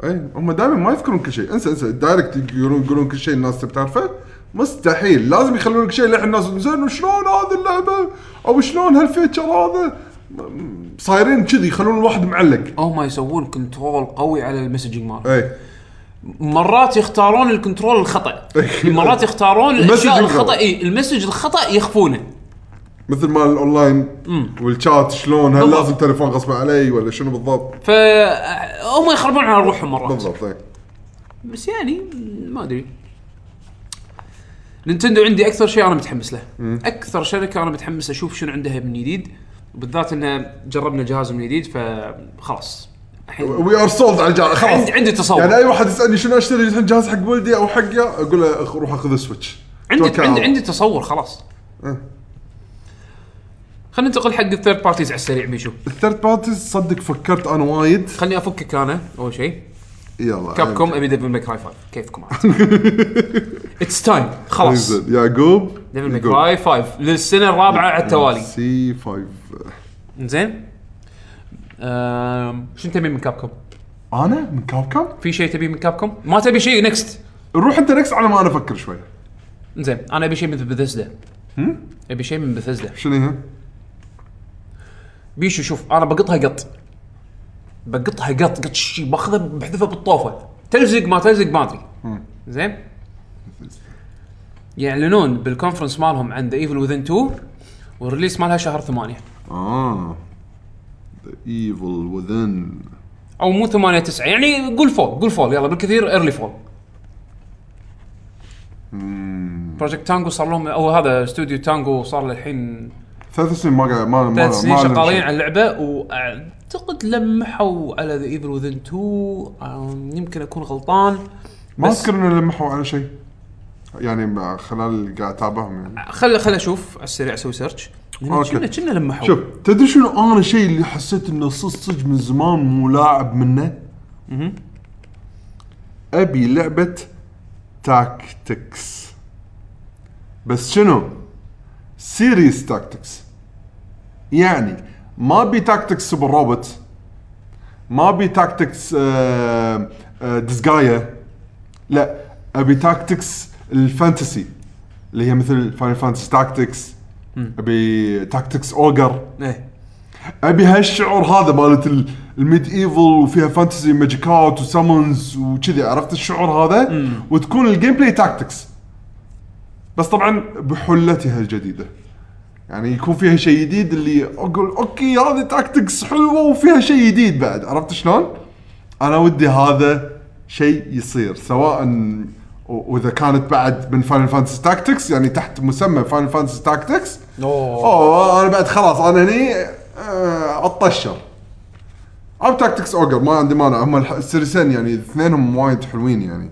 Speaker 2: اي هم دائما ما يذكرون كل شيء انسى انسى دايركت يقولون يقولون كل شيء الناس تبي تعرفه مستحيل لازم يخلون لك شيء للحين الناس تقول زين شلون هذه اللعبه او شلون هالفيتشر هذا م- صايرين كذي يخلون الواحد معلق
Speaker 1: او ما يسوون كنترول قوي على المسجنج مال
Speaker 2: اي
Speaker 1: مرات يختارون الكنترول الخطا مرات يختارون
Speaker 2: المسج
Speaker 1: الاشياء
Speaker 2: الخطأ.
Speaker 1: الخطا اي المسج الخطا يخفونه
Speaker 2: مثل مال الاونلاين والشات شلون هل
Speaker 1: بالضبط.
Speaker 2: لازم تليفون غصب علي ولا شنو بالضبط
Speaker 1: ف هم يخربون على روحهم مرات
Speaker 2: بالضبط اي
Speaker 1: بس يعني ما ادري نينتندو عندي اكثر شيء انا متحمس له اكثر شركه انا متحمس اشوف شنو عندها من جديد بالذات ان جربنا جهازهم الجديد فخلاص الحين
Speaker 2: وي ار سولد على الجهاز خلاص
Speaker 1: عندي عندي تصور
Speaker 2: يعني اي واحد يسالني شنو اشتري الحين جهاز حق ولدي او حقه اقول له أخ- روح اخذ سويتش
Speaker 1: عندي
Speaker 2: توكل على
Speaker 1: عندي,
Speaker 2: الله.
Speaker 1: عندي تصور خلاص
Speaker 2: إيه.
Speaker 1: خلينا ننتقل حق الثيرد بارتيز على السريع بيشو
Speaker 2: الثيرد بارتيز صدق فكرت انا وايد
Speaker 1: خليني افكك انا اول شيء
Speaker 2: يلا
Speaker 1: كاب كوم ابي ديفل ميك راي 5 كيفكم عاد اتس تايم خلاص
Speaker 2: انزل يعقوب آه،
Speaker 1: ديفل ميك راي 5 للسنه الرابعه على التوالي
Speaker 2: سي 5
Speaker 1: زين أم، شنو تبي من كابكم؟
Speaker 2: انا من كاب كوم
Speaker 1: في شيء تبي من كابكم؟ ما تبي شيء نكست
Speaker 2: روح انت نكس على ما انا افكر شوي
Speaker 1: زين انا ابي شيء من بثزدا ابي شيء من بثزدا
Speaker 2: شنو هي؟
Speaker 1: بيشو شوف انا بقطها قط بقطها قط قط شي باخذها بحذفها بالطوفه تلزق ما تلزق ما ادري زين يعلنون بالكونفرنس مالهم عن ذا ايفل وذن 2 والريليس مالها شهر 8
Speaker 2: اه ذا ايفل وذن
Speaker 1: او مو 8 9 يعني قول فول قول فول يلا بالكثير ايرلي فول بروجكت تانجو صار لهم او هذا استوديو تانجو صار للحين
Speaker 2: ثلاث سنين ما قاعد ما ما
Speaker 1: ثلاث سنين
Speaker 2: ما- ما-
Speaker 1: شغالين على اللعبه واعتقد لمحوا على ذا ايفل وذن 2 آم، يمكن اكون غلطان
Speaker 2: ما
Speaker 1: بس-
Speaker 2: اذكر انه لمحوا على شيء يعني مع- خلال اللي قاعد اتابعهم يعني
Speaker 1: خل خل اشوف على السريع اسوي سيرش
Speaker 2: أوكي.
Speaker 1: كنا كنا لمحوا
Speaker 2: شوف تدري شنو انا شيء اللي حسيت انه صج صج من زمان مو لاعب منه؟ ابي لعبه تاكتكس بس شنو؟ سيريس تاكتكس يعني ما ابي تاكتكس سوبر روبوت ما ابي تاكتكس آه، آه، دزقايه لا ابي تاكتكس الفانتسي اللي هي مثل فاينل فانتسي تاكتكس ابي تاكتكس اوجر
Speaker 1: ايه
Speaker 2: ابي هالشعور هذا مالت ال- الميد ايفل وفيها فانتسي ماجيكات وسامونز وكذي عرفت الشعور هذا وتكون الجيم بلاي تاكتكس بس طبعا بحلتها الجديده يعني يكون فيها شيء جديد اللي اقول اوكي هذه تاكتكس حلوه وفيها شيء جديد بعد عرفت شلون؟ انا ودي هذا شيء يصير سواء و- واذا كانت بعد من فاينل فانتسي تاكتكس يعني تحت مسمى فاينل فانتسي تاكتكس
Speaker 1: اوه
Speaker 2: اوه انا بعد خلاص انا هني آه، اتطشر او تاكتكس اوجر ما عندي مانع هم الح- السيرسين يعني اثنينهم وايد حلوين يعني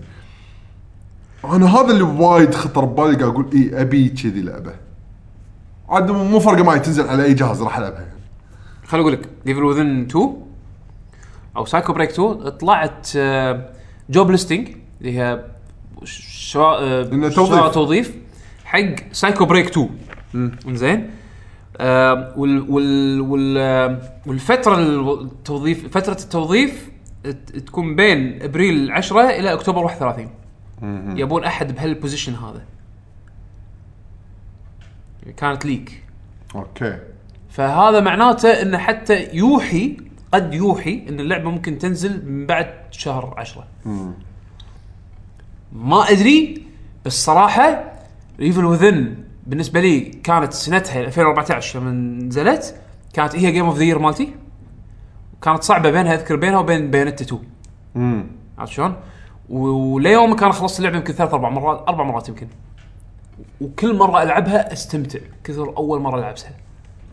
Speaker 2: انا هذا اللي وايد خطر ببالي قاعد اقول اي ابي كذي لعبه عاد مو فارقه معي تنزل على اي جهاز راح العبها يعني
Speaker 1: خل اقول لك ديفل وذن 2 او سايكو بريك 2 طلعت جوب ليستنج اللي هي شراء آه،
Speaker 2: إنه توظيف.
Speaker 1: شراء توظيف حق سايكو بريك 2 زين آه، وال وال وال آه، والفتره التوظيف فتره التوظيف ت- تكون بين ابريل 10 الى اكتوبر 31 يبون احد بهالبوزيشن هذا كانت ليك
Speaker 2: اوكي
Speaker 1: فهذا معناته انه حتى يوحي قد يوحي ان اللعبه ممكن تنزل من بعد شهر عشرة ما ادري بس صراحه ايفل وذن بالنسبه لي كانت سنتها 2014 لما نزلت كانت هي جيم اوف ذا يير مالتي وكانت صعبه بينها اذكر بينها وبين بيانتا 2
Speaker 2: امم
Speaker 1: عرفت شلون؟ و- وليوم كان خلصت اللعبه يمكن ثلاث اربع مرات اربع مرات يمكن وكل مره العبها استمتع كثر اول مره العبها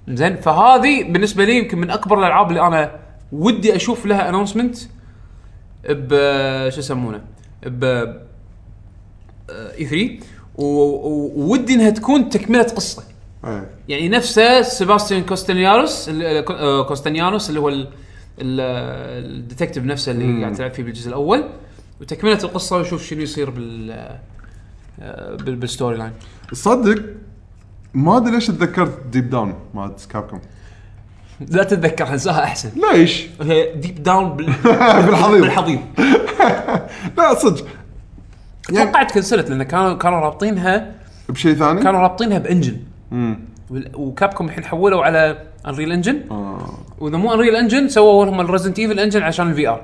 Speaker 1: زين فهذه بالنسبه لي يمكن من اكبر الالعاب اللي انا ودي اشوف لها انونسمنت ب شو يسمونه ب آه، اي 3 وودي انها تكون تكمله قصه
Speaker 2: ايه
Speaker 1: يعني نفسه سيباستيان كوستانيانوس ال- آه، كوستانيانوس اللي هو ال- ال- آه، الديتكتيف نفسه اللي قاعد تلعب فيه بالجزء الاول وتكمله القصه ونشوف شنو يصير بال آه، بال- بالستوري لاين
Speaker 2: صدق ما ادري ليش تذكرت ديب داون مالت كابكم
Speaker 1: لا تتذكر انساها احسن
Speaker 2: ليش؟
Speaker 1: هي ديب داون بال...
Speaker 2: بالحضيض.
Speaker 1: بالحضيض
Speaker 2: لا صدق يعني-
Speaker 1: توقعت كنسلت لان كانوا كانوا رابطينها
Speaker 2: بشيء ثاني؟
Speaker 1: كانوا رابطينها بانجن وكابكم الحين حولوا على انريل انجن
Speaker 2: آه.
Speaker 1: واذا مو انريل انجن سووا لهم الريزنت ايفل انجن عشان الفي ار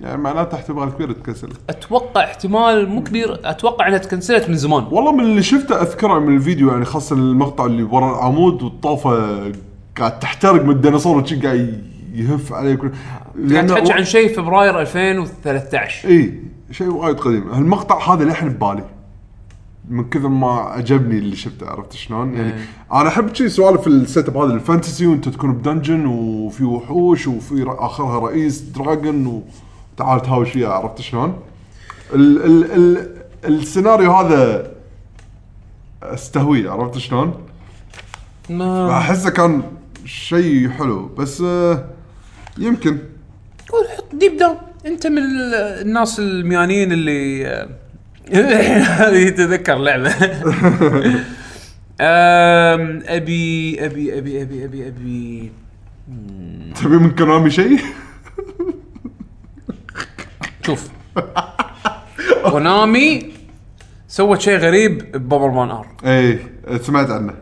Speaker 2: يعني معناته احتمال كبير تكسل
Speaker 1: اتوقع احتمال مو كبير اتوقع انها تكنسلت من زمان
Speaker 2: والله من اللي شفته اذكره من الفيديو يعني خاصه المقطع اللي ورا العمود والطوفه قاعد تحترق من الديناصور وشي قاعد يهف عليه كل
Speaker 1: قاعد
Speaker 2: لأنه
Speaker 1: يعني تحكي
Speaker 2: و-
Speaker 1: عن شيء فبراير 2013
Speaker 2: اي شيء وايد قديم هالمقطع هذا للحين ببالي من كثر ما عجبني اللي شفته عرفت شلون؟ يعني انا احب شي سوالف السيت اب هذا الفانتسي وانت تكون بدنجن وفي وحوش وفي ر- اخرها رئيس دراجون وتعال تهاوش وياه عرفت شلون؟ ال ال ال السيناريو هذا استهويه عرفت شلون؟
Speaker 1: ما
Speaker 2: احسه كان شيء حلو بس آه، يمكن
Speaker 1: قول حط ديب داون انت من ال- الناس الميانين اللي اللي يتذكر لعبه أم، ابي ابي ابي ابي ابي ابي
Speaker 2: تبي من كونامي شيء؟
Speaker 1: شوف كونامي سوت شيء غريب ببوبرمان ار
Speaker 2: اي إيه، سمعت عنه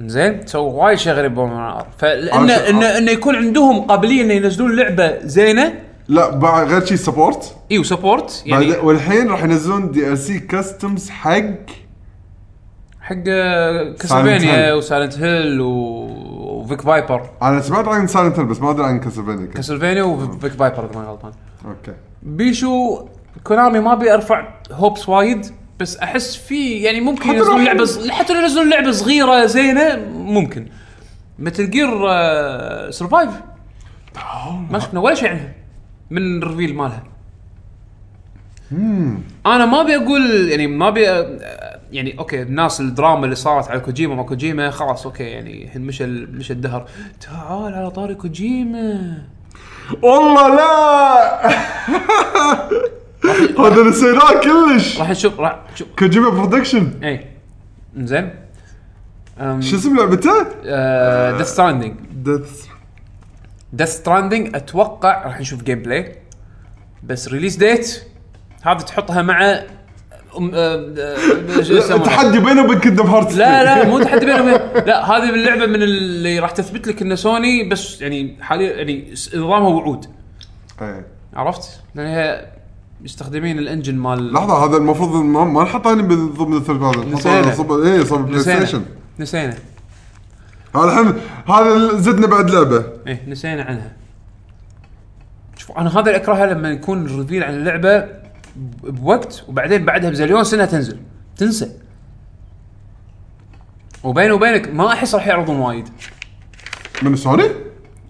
Speaker 1: زين سووا وايد شيء غريب ببوبرمان ار فلان
Speaker 2: عشان-
Speaker 1: انه انه يكون عندهم قابليه انه ينزلون لعبه زينه
Speaker 2: لا بعد غير شيء سبورت
Speaker 1: اي وسبورت
Speaker 2: يعني
Speaker 1: يعني
Speaker 2: والحين راح ينزلون دي ال سي كاستمز حق
Speaker 1: حق كاسلفينيا
Speaker 2: هيل.
Speaker 1: وسايلنت هيل و- وفيك فايبر
Speaker 2: انا سمعت عن سايلنت بس ما ادري عن كاسلفينيا كان.
Speaker 1: كاسلفينيا وفيك فايبر اذا ما غلطان
Speaker 2: اوكي
Speaker 1: بيشو كونامي ما ابي ارفع هوبس وايد بس احس في يعني ممكن
Speaker 2: حتى
Speaker 1: ينزلون
Speaker 2: لو-
Speaker 1: لعبه ص- حتى لو ينزلون لعبه صغيره زينه ممكن متل جير آه، سرفايف ما شفنا ولا شيء عنها من الريفيل مالها انا ما ابي اقول يعني ما ابي أ- يعني اوكي الناس الدراما اللي صارت على كوجيما ما كوجيما خلاص اوكي يعني الحين مشى ال- مشى الدهر تعال على طاري كوجيما
Speaker 2: والله لا هذا نسيناه كلش
Speaker 1: راح نشوف راح شوف
Speaker 2: كوجيما برودكشن
Speaker 1: اي زين
Speaker 2: شو اسم لعبته؟
Speaker 1: ديث ستراندنج
Speaker 2: ديث
Speaker 1: ديث ستراندنج اتوقع راح نشوف جيم بلاي بس ريليس ديت هذا تحطها مع أم- آه، آه، شو يسمونه؟
Speaker 2: تحدي بينه وبين كيندم هارتس
Speaker 1: لا لا مو تحدي بينهم لا هذه اللعبه من اللي راح تثبت لك ان سوني بس يعني حاليا يعني س- نظامها وعود
Speaker 2: إيه.
Speaker 1: عرفت؟ لان هي مستخدمين الانجن مال
Speaker 2: لحظه هذا المفروض ما, ما نحطه هنا من ضمن الثيرد بارتي
Speaker 1: نسينا.
Speaker 2: نحطه صب- ايه صب بلاي
Speaker 1: نسينا
Speaker 2: ستيشن
Speaker 1: نسينا
Speaker 2: هذا الحين هذا زدنا بعد لعبه
Speaker 1: ايه نسينا عنها شوف انا هذا اللي اكرهه لما يكون الريفيل عن اللعبه ب- بوقت وبعدين بعدها بزليون سنه تنزل تنسى وبيني وبينك ما احس راح يعرضون وايد
Speaker 2: من سوني؟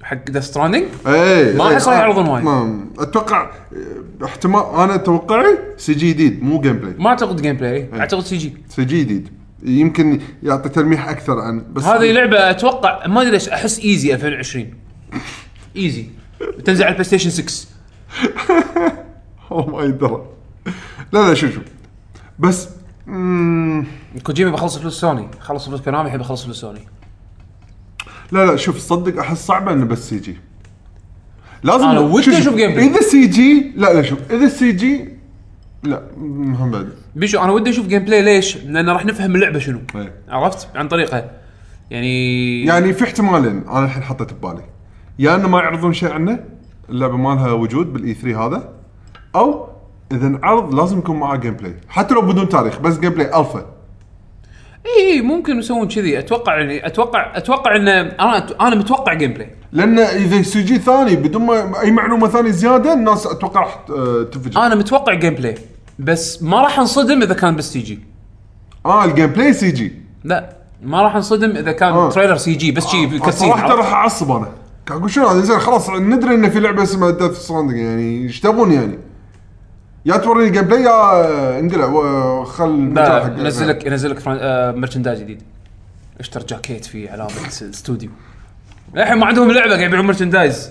Speaker 1: حق ذا ستراندنج
Speaker 2: اي
Speaker 1: ما أحس راح يعرضون وايد.
Speaker 2: إيه. ما اتوقع اه، احتمال انا توقعي سي جي جديد مو جيم بلاي
Speaker 1: ما اعتقد جيم بلاي اعتقد سي جي
Speaker 2: سي جي جديد يمكن يعطي تلميح اكثر عن بس
Speaker 1: هذه لعبه اتوقع ما ادري ليش احس ايزي 2020 ايزي تنزل على البلاي ستيشن 6
Speaker 2: والله ما يدرى لا لا شوف شوف بس مم،
Speaker 1: كوجيما بخلص فلوس سوني خلص فلوس كونامي الحين بخلص فلوس سوني
Speaker 2: لا لا شوف صدق احس صعبه انه بس سي جي لازم
Speaker 1: أنا ودي
Speaker 2: شوف-
Speaker 1: أشوف
Speaker 2: شوف،
Speaker 1: جيم بلاي.
Speaker 2: اذا سي جي لا لا شوف اذا سي جي لا مهم بعد
Speaker 1: بيشو انا ودي اشوف جيم بلاي ليش؟ لان راح نفهم اللعبه شنو
Speaker 2: إيه.
Speaker 1: عرفت؟ عن طريقها يعني
Speaker 2: يعني في احتمالين انا الحين حطيت ببالي يا انه ما يعرضون شيء عنه اللعبه ما لها وجود بالاي 3 هذا او اذا انعرض لازم يكون معاه جيم بلاي حتى لو بدون تاريخ بس جيم بلاي الفا
Speaker 1: اي اي إيه، ممكن يسوون كذي اتوقع يعني اتوقع اتوقع ان انا أت- انا متوقع جيم بلاي
Speaker 2: لان اذا سي جي ثاني بدون ما اي معلومه ثانيه زياده الناس اتوقع راح ت- آه، تنفجر
Speaker 1: انا متوقع جيم بلاي بس ما راح انصدم اذا كان بس سي جي
Speaker 2: اه الجيم بلاي سي جي
Speaker 1: لا ما راح انصدم اذا كان
Speaker 2: آه.
Speaker 1: تريلر سي جي بس شي كاسين
Speaker 2: صراحه راح اعصب انا قاعد اقول شنو هذا زين خلاص ندري انه في لعبه اسمها ديث ستراندنج يعني ايش تبون يعني يا توريني جيم بلاي يا انقلع و- آه، خل المجال
Speaker 1: لا
Speaker 2: حق-
Speaker 1: ينزل لك ينزل لك فران- آه، مرشندايز جديد اشتر جاكيت في علامه استوديو الحين ما عندهم لعبه قاعد يبيعون مرشندايز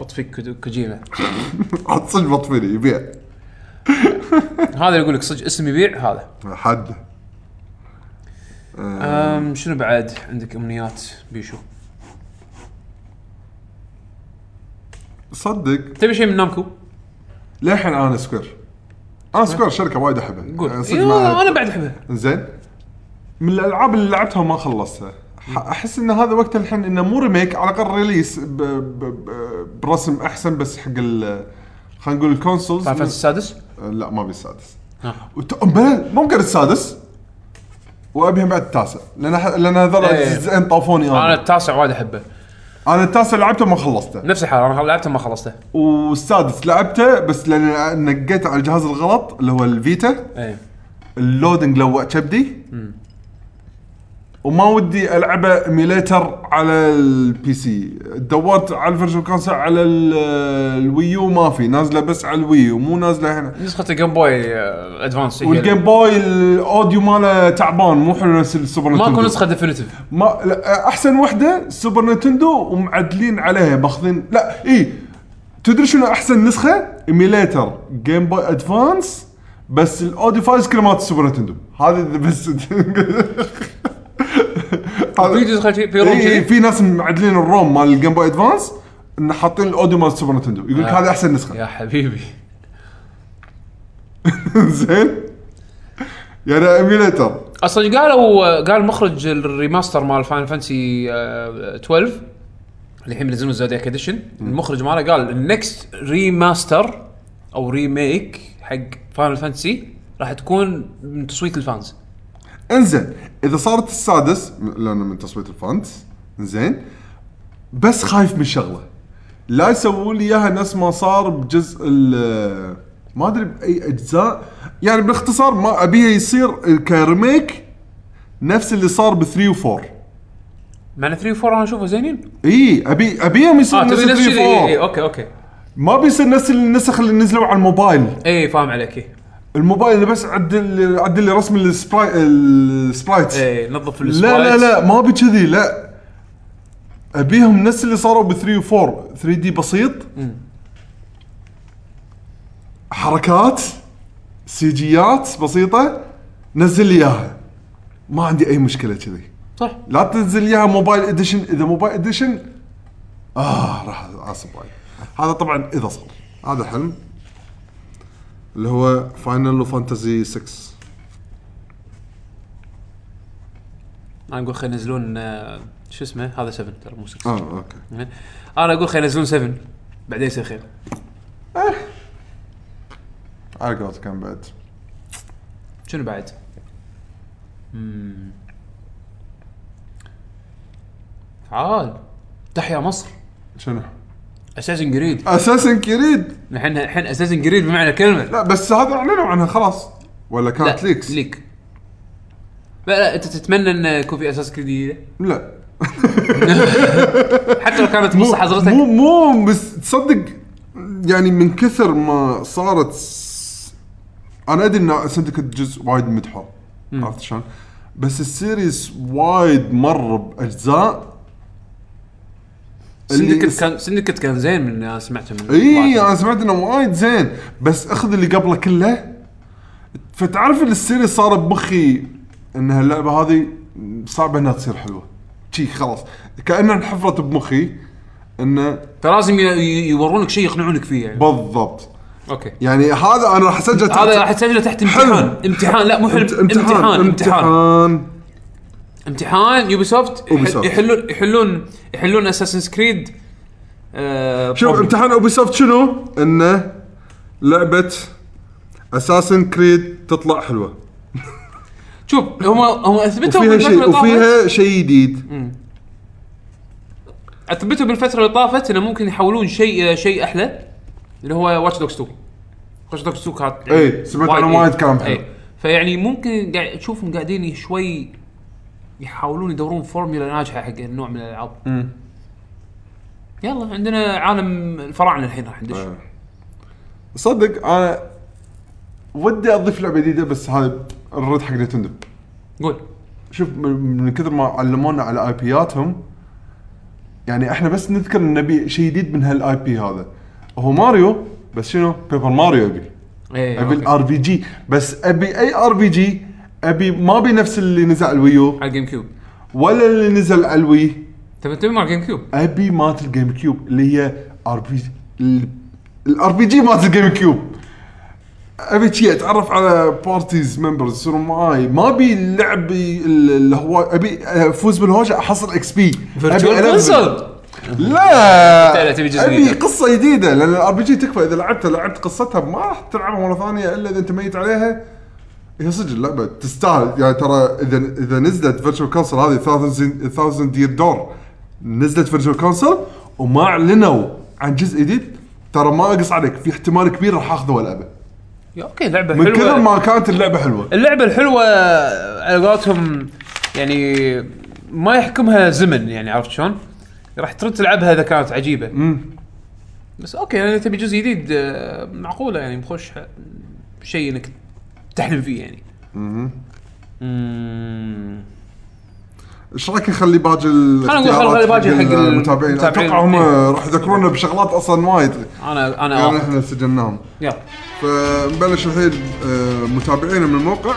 Speaker 1: بط فيك كو- كوجيما
Speaker 2: عاد صدق بطفيلي يبيع
Speaker 1: هذا اللي يقول لك صدق اسم يبيع هذا
Speaker 2: حد
Speaker 1: أم شنو بعد عندك امنيات بيشو
Speaker 2: صدق
Speaker 1: تبي شيء من نامكو
Speaker 2: للحين انا سكوير انا سكوير شركه وايد احبها
Speaker 1: قول
Speaker 2: يعني صدق ما-
Speaker 1: يلا، انا بعد احبها
Speaker 2: زين من الالعاب اللي لعبتها وما خلصتها ح- احس ان هذا وقت الحين انه مو ريميك على الاقل ريليس ب... ب... ب... برسم احسن بس حق ال خلينا نقول الكونسولز
Speaker 1: فاينل السادس
Speaker 2: لا ما ابي السادس
Speaker 1: آه.
Speaker 2: وت... بلا، ممكن السادس وابيهم بعد التاسع لان ح... لان هذول
Speaker 1: إيه.
Speaker 2: جزئين طافوني
Speaker 1: انا
Speaker 2: انا
Speaker 1: التاسع وايد احبه
Speaker 2: انا التاسع لعبته ما خلصته
Speaker 1: نفس الحال انا لعبته ما خلصته
Speaker 2: والسادس لعبته بس لان نقيت على الجهاز الغلط اللي هو الفيتا
Speaker 1: ايه
Speaker 2: اللودنج لوع كبدي وما ودي العبه ايميليتر على البي سي دورت على الفيرجن كونسل على ال- الويو ما في نازله بس على الويو مو نازله هنا
Speaker 1: نسخه الجيم بوي آه، ادفانس هي
Speaker 2: والجيم بوي الاوديو ماله تعبان مو حلو نفس السوبر نتندو
Speaker 1: ماكو نسخه ديفينيتيف
Speaker 2: ما لا احسن وحده سوبر نينتندو ومعدلين عليها ماخذين لا اي تدري شنو احسن نسخه؟ ايميليتر جيم بوي ادفانس بس الاوديو فايلز كلها مالت السوبر نينتندو هذه بس
Speaker 1: في نسخه شي- في روم
Speaker 2: إي، إي،
Speaker 1: كذي
Speaker 2: إيه، في ناس معدلين الروم مال الجيم بوي ادفانس انه حاطين الاوديو مال السوبر نينتندو يقول لك
Speaker 1: آه.
Speaker 2: هذه احسن نسخه
Speaker 1: يا حبيبي
Speaker 2: زين يعني ايميليتر
Speaker 1: اصلا قالوا قال مخرج الريماستر مال فاينل فانسي 12 الحين بينزلون زودياك اديشن المخرج ماله قال النكست ريماستر او ريميك حق فاينل فانسي راح تكون من تصويت الفانز
Speaker 2: انزين اذا صارت السادس م- لانه من تصويت الفانتس زين بس خايف من شغله لا يسووا لي اياها نفس ما صار بجزء ال ما ادري باي اجزاء يعني باختصار ما ابيه يصير كريميك نفس اللي صار ب 3 و 4
Speaker 1: معنى 3 و 4 انا اشوفه زينين
Speaker 2: اي ابي ابيهم يصير
Speaker 1: اه
Speaker 2: نفس
Speaker 1: تبي نفس
Speaker 2: 3
Speaker 1: الشيء إي، إي،
Speaker 2: و 4
Speaker 1: اوكي اوكي
Speaker 2: ما بيصير نفس النسخ اللي نزلوا على الموبايل
Speaker 1: اي إيه، فاهم عليك إي.
Speaker 2: الموبايل اللي بس عدل عدل لي رسم السبراي السبرايتس
Speaker 1: اي إيه، نظف
Speaker 2: لا لا لا ما ابي كذي لا ابيهم نفس اللي صاروا ب 3 و 4 3 دي بسيط حركات سيجيات بسيطه نزل لي اياها ما عندي اي مشكله كذي
Speaker 1: صح
Speaker 2: لا تنزل اياها موبايل اديشن اذا موبايل اديشن اه راح اعصب رايي هذا طبعا اذا صار هذا حلم اللي هو فاينل فانتزي 6
Speaker 1: انا اقول خلينا ينزلون آه، شو اسمه هذا 7 ترى مو 6
Speaker 2: اه اوكي
Speaker 1: انا اقول خلينا ينزلون 7 بعدين يصير خير
Speaker 2: على قولتك كان بعد
Speaker 1: شنو بعد؟ مم. تعال تحيا مصر
Speaker 2: شنو؟
Speaker 1: اساسن جريد
Speaker 2: اساسن كريد
Speaker 1: الحين الحين اساسن جريد بمعنى الكلمه
Speaker 2: لا بس هذا اعلنوا عنها خلاص ولا كانت ليكس
Speaker 1: ليك لا لا انت تتمنى ان يكون في اساس جريد جديده
Speaker 2: لا
Speaker 1: حتى لو كانت نص حضرتك
Speaker 2: مو مو بس تصدق يعني من كثر ما صارت س- انا ادري ان سنتكت جزء وايد مدحور عرفت شلون؟ بس السيريس وايد مر باجزاء اللي- إيه، يعني-
Speaker 1: سندكت كان سندكت كان زين من اللي انا سمعته من
Speaker 2: اي
Speaker 1: بعض.
Speaker 2: انا سمعت انه وايد زين بس اخذ اللي قبله كله فتعرف ان السيريس صار بمخي ان هاللعبه هذه صعبه انها تصير حلوه شي خلاص كانها انحفرت بمخي انه
Speaker 1: فلازم ي- ي- يورونك شيء يقنعونك فيه يعني
Speaker 2: بالضبط
Speaker 1: اوكي
Speaker 2: يعني هذا انا راح اسجل تحت-
Speaker 1: هذا راح تسجله تحت امتحان امتحان لا مو حلم امتحان امتحان
Speaker 2: امتحان
Speaker 1: امتحان يوبي سوفت
Speaker 2: Ubisoft.
Speaker 1: يحلون يحلون يحلون اساسن كريد آه
Speaker 2: شوف
Speaker 1: problem.
Speaker 2: امتحان اوبي سوفت شنو؟ انه لعبه اساسن كريد تطلع حلوه
Speaker 1: شوف هم هم اثبتوا
Speaker 2: وفيها شيء
Speaker 1: اللي طافت
Speaker 2: وفيها شيء جديد
Speaker 1: اثبتوا بالفتره اللي طافت انه ممكن يحولون شيء شيء احلى اللي هو واتش دوكس 2 واتش دوكس 2 كانت يعني
Speaker 2: إي، إيه، سمعت عنه وايد كان حلو.
Speaker 1: إي. إيه. فيعني ممكن قاعد تشوفهم قاعدين شوي يحاولون يدورون فورميلا ناجحه حق النوع من الالعاب يلا عندنا عالم الفراعنه الحين راح ندش
Speaker 2: آه. صدق انا ودي اضيف لعبه جديده بس هذا الرد حق نتندو
Speaker 1: قول
Speaker 2: شوف من من كثر ما علمونا على اي بياتهم يعني احنا بس نذكر ان نبي شيء جديد من هالاي بي هذا هو ماريو بس شنو بيبر ماريو ابي
Speaker 1: ايه أوكي.
Speaker 2: ابي الار بي جي بس ابي اي ار بي جي ابي ما ابي نفس اللي نزل على الويو
Speaker 1: على الجيم كيوب
Speaker 2: ولا اللي نزل على الوي
Speaker 1: تبي تبي مع الجيم كيوب
Speaker 2: ابي مالت الجيم كيوب اللي هي ار بي الار بي جي مالت الجيم كيوب ابي شي اتعرف على بارتيز ممبرز يصيرون معاي ما ابي اللعب ال- اللي هو آه، ابي افوز بالهوشه احصل اكس بي
Speaker 1: فيرتشوال كونسول
Speaker 2: لا
Speaker 1: لا، تبي جزء
Speaker 2: ابي
Speaker 1: جديد.
Speaker 2: قصه جديده لان الار بي جي تكفى اذا لعبتها لعبت قصتها ما راح تلعبها مره ثانيه الا اذا انت ميت عليها هي صدق اللعبه تستاهل يعني ترى اذا اذا نزلت فيرتشوال كونسل هذه 1000 دير دور نزلت فيرتشوال كونسل وما اعلنوا عن جزء جديد ترى ما اقص عليك في احتمال كبير راح اخذه والعبه
Speaker 1: يا اوكي لعبه
Speaker 2: من كثر
Speaker 1: حلوه
Speaker 2: ما كانت اللعبه حلوه
Speaker 1: اللعبه الحلوه على قولتهم يعني ما يحكمها زمن يعني عرفت شلون؟ راح ترد تلعبها اذا كانت عجيبه بس اوكي يعني تبي جزء جديد آه، معقوله يعني بخش شيء انك تحلم فيه يعني امم
Speaker 2: ايش رايك نخلي باقي ال-
Speaker 1: خلينا نقول
Speaker 2: الاختيارات
Speaker 1: خلي باقي حق
Speaker 2: المتابعين
Speaker 1: المتابعين. إيه.
Speaker 2: اتوقع هم راح يذكرونا بشغلات اصلا وايد
Speaker 1: انا انا
Speaker 2: يعني
Speaker 1: آه.
Speaker 2: احنا سجلناهم
Speaker 1: يلا
Speaker 2: فنبلش الحين آه، متابعينا من الموقع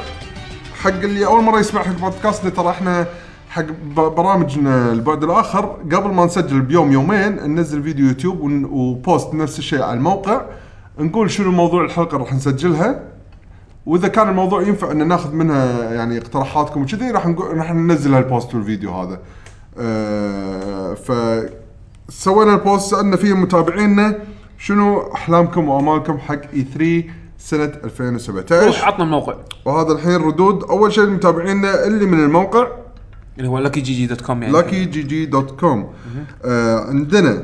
Speaker 2: حق اللي اول مره يسمع حق بودكاستنا ترى احنا حق ب- برامجنا البعد الاخر قبل ما نسجل بيوم يومين ننزل فيديو يوتيوب ون- وبوست نفس الشيء على الموقع نقول شنو موضوع الحلقه اللي راح نسجلها واذا كان الموضوع ينفع ان ناخذ منها يعني اقتراحاتكم وكذي راح نقول راح ننزل هالبوست والفيديو هذا. أه ف سوينا البوست سالنا فيه متابعينا شنو احلامكم وامالكم حق E اي 3 سنه 2017
Speaker 1: روح عطنا الموقع
Speaker 2: وهذا الحين ردود اول شيء متابعينا اللي من الموقع
Speaker 1: اللي هو لكي جي جي دوت كوم يعني
Speaker 2: لاكي جي جي دوت كوم آه عندنا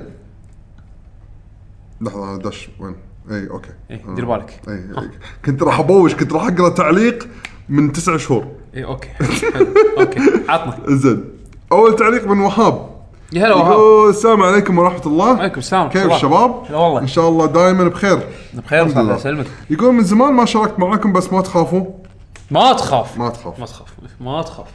Speaker 2: لحظه دش وين؟ اي اوكي
Speaker 1: إيه، دير بالك
Speaker 2: اي إي. إيه. كنت راح ابوش كنت راح اقرا تعليق من تسع شهور
Speaker 1: اي اوكي حلو. اوكي إيه، عطنا
Speaker 2: زين اول تعليق من وهاب
Speaker 1: يا هلا وهاب
Speaker 2: يقول السلام عليكم ورحمه الله
Speaker 1: عليكم السلام ورحمة
Speaker 2: كيف
Speaker 1: الله.
Speaker 2: الشباب؟
Speaker 1: هلا والله.
Speaker 2: ان شاء الله دائما بخير
Speaker 1: بخير
Speaker 2: الحمد
Speaker 1: الله
Speaker 2: لله.
Speaker 1: يسلمك
Speaker 2: يقول من زمان ما شاركت معاكم بس ما تخافوا
Speaker 1: ما تخاف
Speaker 2: ما تخاف
Speaker 1: ما تخاف ما تخاف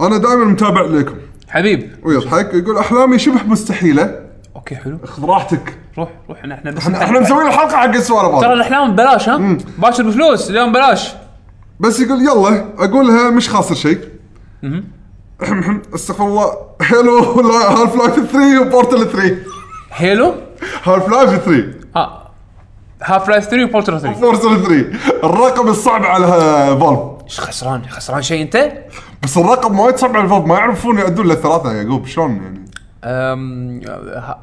Speaker 2: انا دائما متابع لكم
Speaker 1: حبيب
Speaker 2: ويضحك يقول احلامي شبه مستحيله
Speaker 1: اوكي حلو
Speaker 2: خذ راحتك
Speaker 1: روح روح إن احنا بس
Speaker 2: احنا احنا مسويين الحلقه حق السوالف
Speaker 1: ترى
Speaker 2: هذه.
Speaker 1: الاحلام ببلاش ها باشر بفلوس اليوم ببلاش
Speaker 2: بس يقول يلا اقولها مش خاسر شيء استغفر الله حلو هالف لايف 3 وبورتل 3
Speaker 1: هيلو
Speaker 2: هالف لايف 3
Speaker 1: ها هاف لايف 3 وبورتر 3
Speaker 2: بورتل 3 الرقم الصعب على فالف
Speaker 1: ايش خسران خسران شيء انت؟
Speaker 2: بس الرقم وايد صعب على فالف ما يعرفون يعدون للثلاثه يا يعقوب شلون يعني
Speaker 1: أم، ها-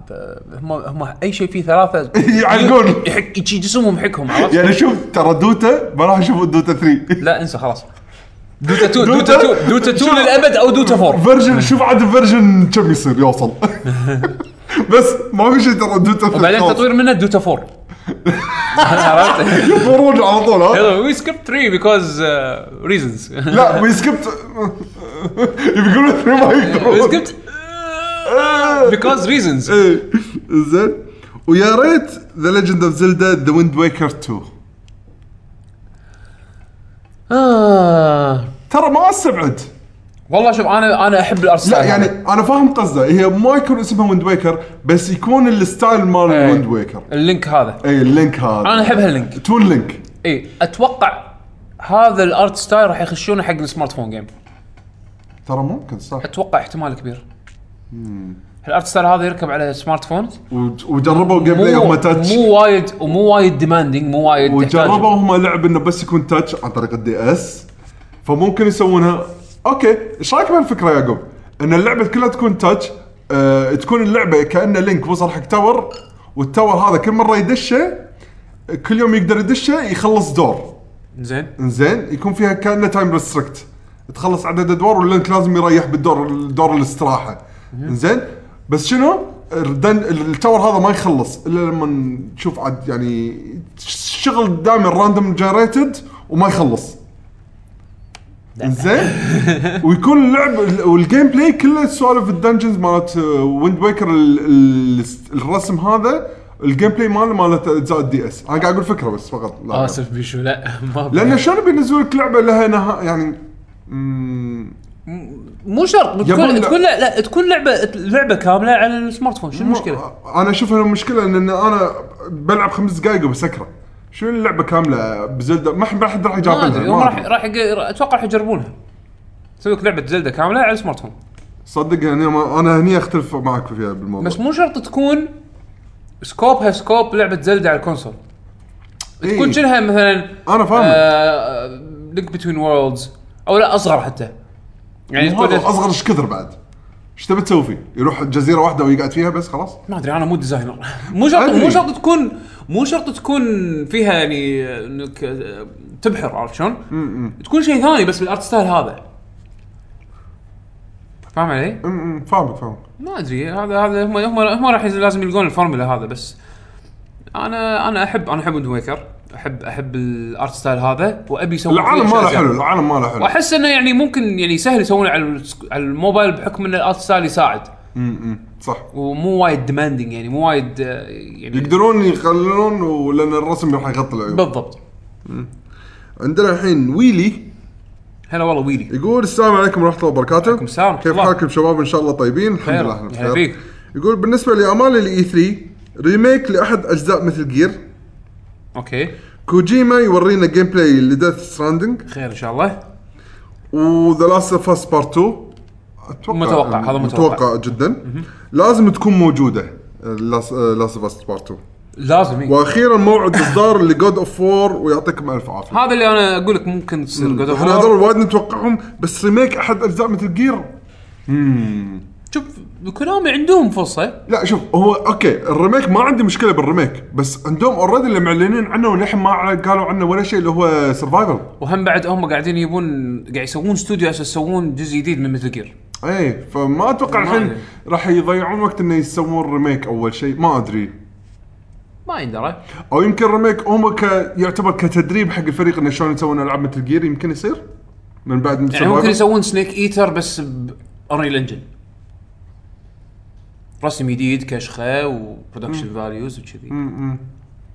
Speaker 1: هم هم اي شيء فيه ثلاثه
Speaker 2: يعلقون.
Speaker 1: يحك يجي جسمهم يحكهم عرفت؟
Speaker 2: يعني شوف ترى دوتا ما راح يشوفون دوتا 3
Speaker 1: لا انسى خلاص دوتا 2
Speaker 2: دوتا؟
Speaker 1: دوتا 2 دوتا 2 للابد او دوتا 4
Speaker 2: فيرجن شوف عاد فيرجن كم يصير يوصل بس ما في شيء ترى دوتا 3
Speaker 1: وبعدين
Speaker 2: خلاص.
Speaker 1: تطوير منه دوتا 4 عرفت؟
Speaker 2: يفورون على طول ها
Speaker 1: يلا وي سكيب 3 بيكوز uh, ريزونز
Speaker 2: لا وي سكبت يقولون اثنين ما
Speaker 1: وي
Speaker 2: يقدرون
Speaker 1: سكيبت بيكوز ريزونز
Speaker 2: إيه. زين ويا ريت ذا ليجند اوف زلدا ذا ويند ويكر 2 ترى ما استبعد
Speaker 1: آه. والله شوف انا انا احب الارت
Speaker 2: لا يعني انا فاهم قصده هي ما يكون اسمها ويند ويكر بس يكون الستايل مال
Speaker 1: إيه.
Speaker 2: ويند ويكر
Speaker 1: اللينك هذا
Speaker 2: اي اللينك هذا
Speaker 1: انا احب هاللينك
Speaker 2: تون لينك
Speaker 1: اي اتوقع هذا الارت ستايل راح يخشونه حق السمارت فون جيم
Speaker 2: ترى ممكن صح
Speaker 1: اتوقع احتمال كبير الارت ستايل هذا يركب على سمارت فون
Speaker 2: وج- وجربوا جيم بلاي
Speaker 1: مو
Speaker 2: هم تاتش
Speaker 1: مو وايد ومو وايد ديماندينج مو وايد
Speaker 2: وجربوا
Speaker 1: تحتاج.
Speaker 2: هم لعب انه بس يكون تاتش عن طريق الدي اس فممكن يسوونها اوكي ايش رايك بهالفكره يا يعقوب؟ ان اللعبه كلها تكون تاتش آه، تكون اللعبه كانه لينك وصل حق تاور والتاور هذا كل مره يدشه كل يوم يقدر يدشه يخلص دور
Speaker 1: زين
Speaker 2: زين يكون فيها كانه تايم ريستريكت تخلص عدد ادوار واللينك لازم يريح بالدور دور الاستراحه زين بس شنو الدن التاور هذا ما يخلص الا لما نشوف عاد يعني شغل دائما راندوم جنريتد وما يخلص زين ويكون اللعب والجيم بلاي كله سوالف الدنجنز مالت آه، ويند ويكر الرسم هذا الجيم بلاي ماله مالت اجزاء الدي اس انا قاعد اقول فكره بس فقط لا
Speaker 1: اسف بيشو لا ما
Speaker 2: لان شلون بينزلوا لك لعبه لها نها يعني مم،
Speaker 1: مو شرط
Speaker 2: يبون
Speaker 1: بتكون
Speaker 2: لا.
Speaker 1: تكون لا لا تكون لعبه لعبه كامله على السمارت فون شو المشكله؟
Speaker 2: انا اشوفها المشكله ان انا بلعب خمس دقائق وبسكره شنو اللعبه كامله بزلدة ما حد ما حد راح
Speaker 1: ما
Speaker 2: يجاوب
Speaker 1: ادري هم راح راح يق- اتوقع راح يجربونها تسوي لك لعبه زلده كامله على السمارت فون
Speaker 2: صدق يعني ما- انا هني اختلف معك فيها بالموضوع
Speaker 1: بس مو شرط تكون سكوبها سكوب لعبه زلدة على الكونسول
Speaker 2: إيه.
Speaker 1: تكون آه، شنها مثلا
Speaker 2: أنا فاهمك.
Speaker 1: لينك بتوين وورلدز او لا اصغر حتى يعني تكون
Speaker 2: وهذا اصغر ايش كثر بعد ايش تبي تسوي فيه؟ يروح جزيره واحده ويقعد فيها بس خلاص؟
Speaker 1: ما ادري انا مو ديزاينر مو شرط
Speaker 2: أدري.
Speaker 1: مو شرط تكون مو شرط تكون فيها يعني انك آه، تبحر عرفت شلون؟ تكون شيء ثاني بس بالارت ستايل هذا فاهم علي؟
Speaker 2: أمم، فاهمك فاهمك
Speaker 1: ما ادري هذا هذا هم هم هم راح يز- لازم يلقون الفورمولا هذا بس انا انا احب انا احب ويند ويكر احب احب الارت ستايل هذا وابي يسوي
Speaker 2: العالم ماله حلو العالم ماله حلو
Speaker 1: واحس انه يعني ممكن يعني سهل يسوونه على السك- على الموبايل بحكم ان الارت ستايل يساعد
Speaker 2: صح
Speaker 1: ومو وايد ديماندنج يعني مو وايد آه، يعني
Speaker 2: يقدرون يخلون ولان الرسم راح يغطي العيون
Speaker 1: بالضبط
Speaker 2: عندنا الحين ويلي
Speaker 1: هلا والله ويلي
Speaker 2: يقول السلام عليكم ورحمه الله وبركاته عليكم
Speaker 1: السلام ورحمة
Speaker 2: كيف
Speaker 1: الله.
Speaker 2: حالكم شباب ان شاء الله طيبين الحمد
Speaker 1: خير.
Speaker 2: لله احنا
Speaker 1: هلا
Speaker 2: بخير.
Speaker 1: فيك.
Speaker 2: يقول بالنسبه لامال الاي 3 ريميك لاحد اجزاء مثل جير
Speaker 1: اوكي
Speaker 2: كوجيما يورينا جيم بلاي لديث ستراندنج
Speaker 1: خير ان شاء الله
Speaker 2: وذا لاست اوف اس بارت 2 اتوقع
Speaker 1: متوقع، هذا متوقع.
Speaker 2: متوقع جدا لازم تكون آه، موجوده لاست اوف اس بارت 2
Speaker 1: لازم إيه.
Speaker 2: واخيرا موعد اصدار لجود اوف وور ويعطيكم الف عافيه
Speaker 1: هذا اللي انا اقول لك ممكن تصير God of
Speaker 2: احنا
Speaker 1: War.
Speaker 2: هذول وايد نتوقعهم بس ريميك احد اجزاء مثل جير
Speaker 1: شوف كونامي عندهم فرصه
Speaker 2: لا شوف هو اوكي الريميك ما عندي مشكله بالريميك بس عندهم اوريدي اللي معلنين عنه وللحين ما قالوا عنه ولا شيء اللي هو سرفايفل
Speaker 1: وهم بعد هم قاعدين يبون قاعد يسوون استوديو عشان يسوون جزء جديد من مثل جير
Speaker 2: اي إيه، فما اتوقع
Speaker 1: ما
Speaker 2: الحين
Speaker 1: أدري.
Speaker 2: راح يضيعون وقت انه يسوون ريميك اول شيء ما ادري
Speaker 1: ما يندرى
Speaker 2: او يمكن ريميك هم ك... يعتبر كتدريب حق الفريق انه شلون يسوون العاب مثل جير يمكن يصير من بعد من
Speaker 1: يعني ممكن
Speaker 2: Survivor.
Speaker 1: يسوون سنيك ايتر بس بانريل انجن رسم جديد كشخه وبرودكشن فاليوز وكذي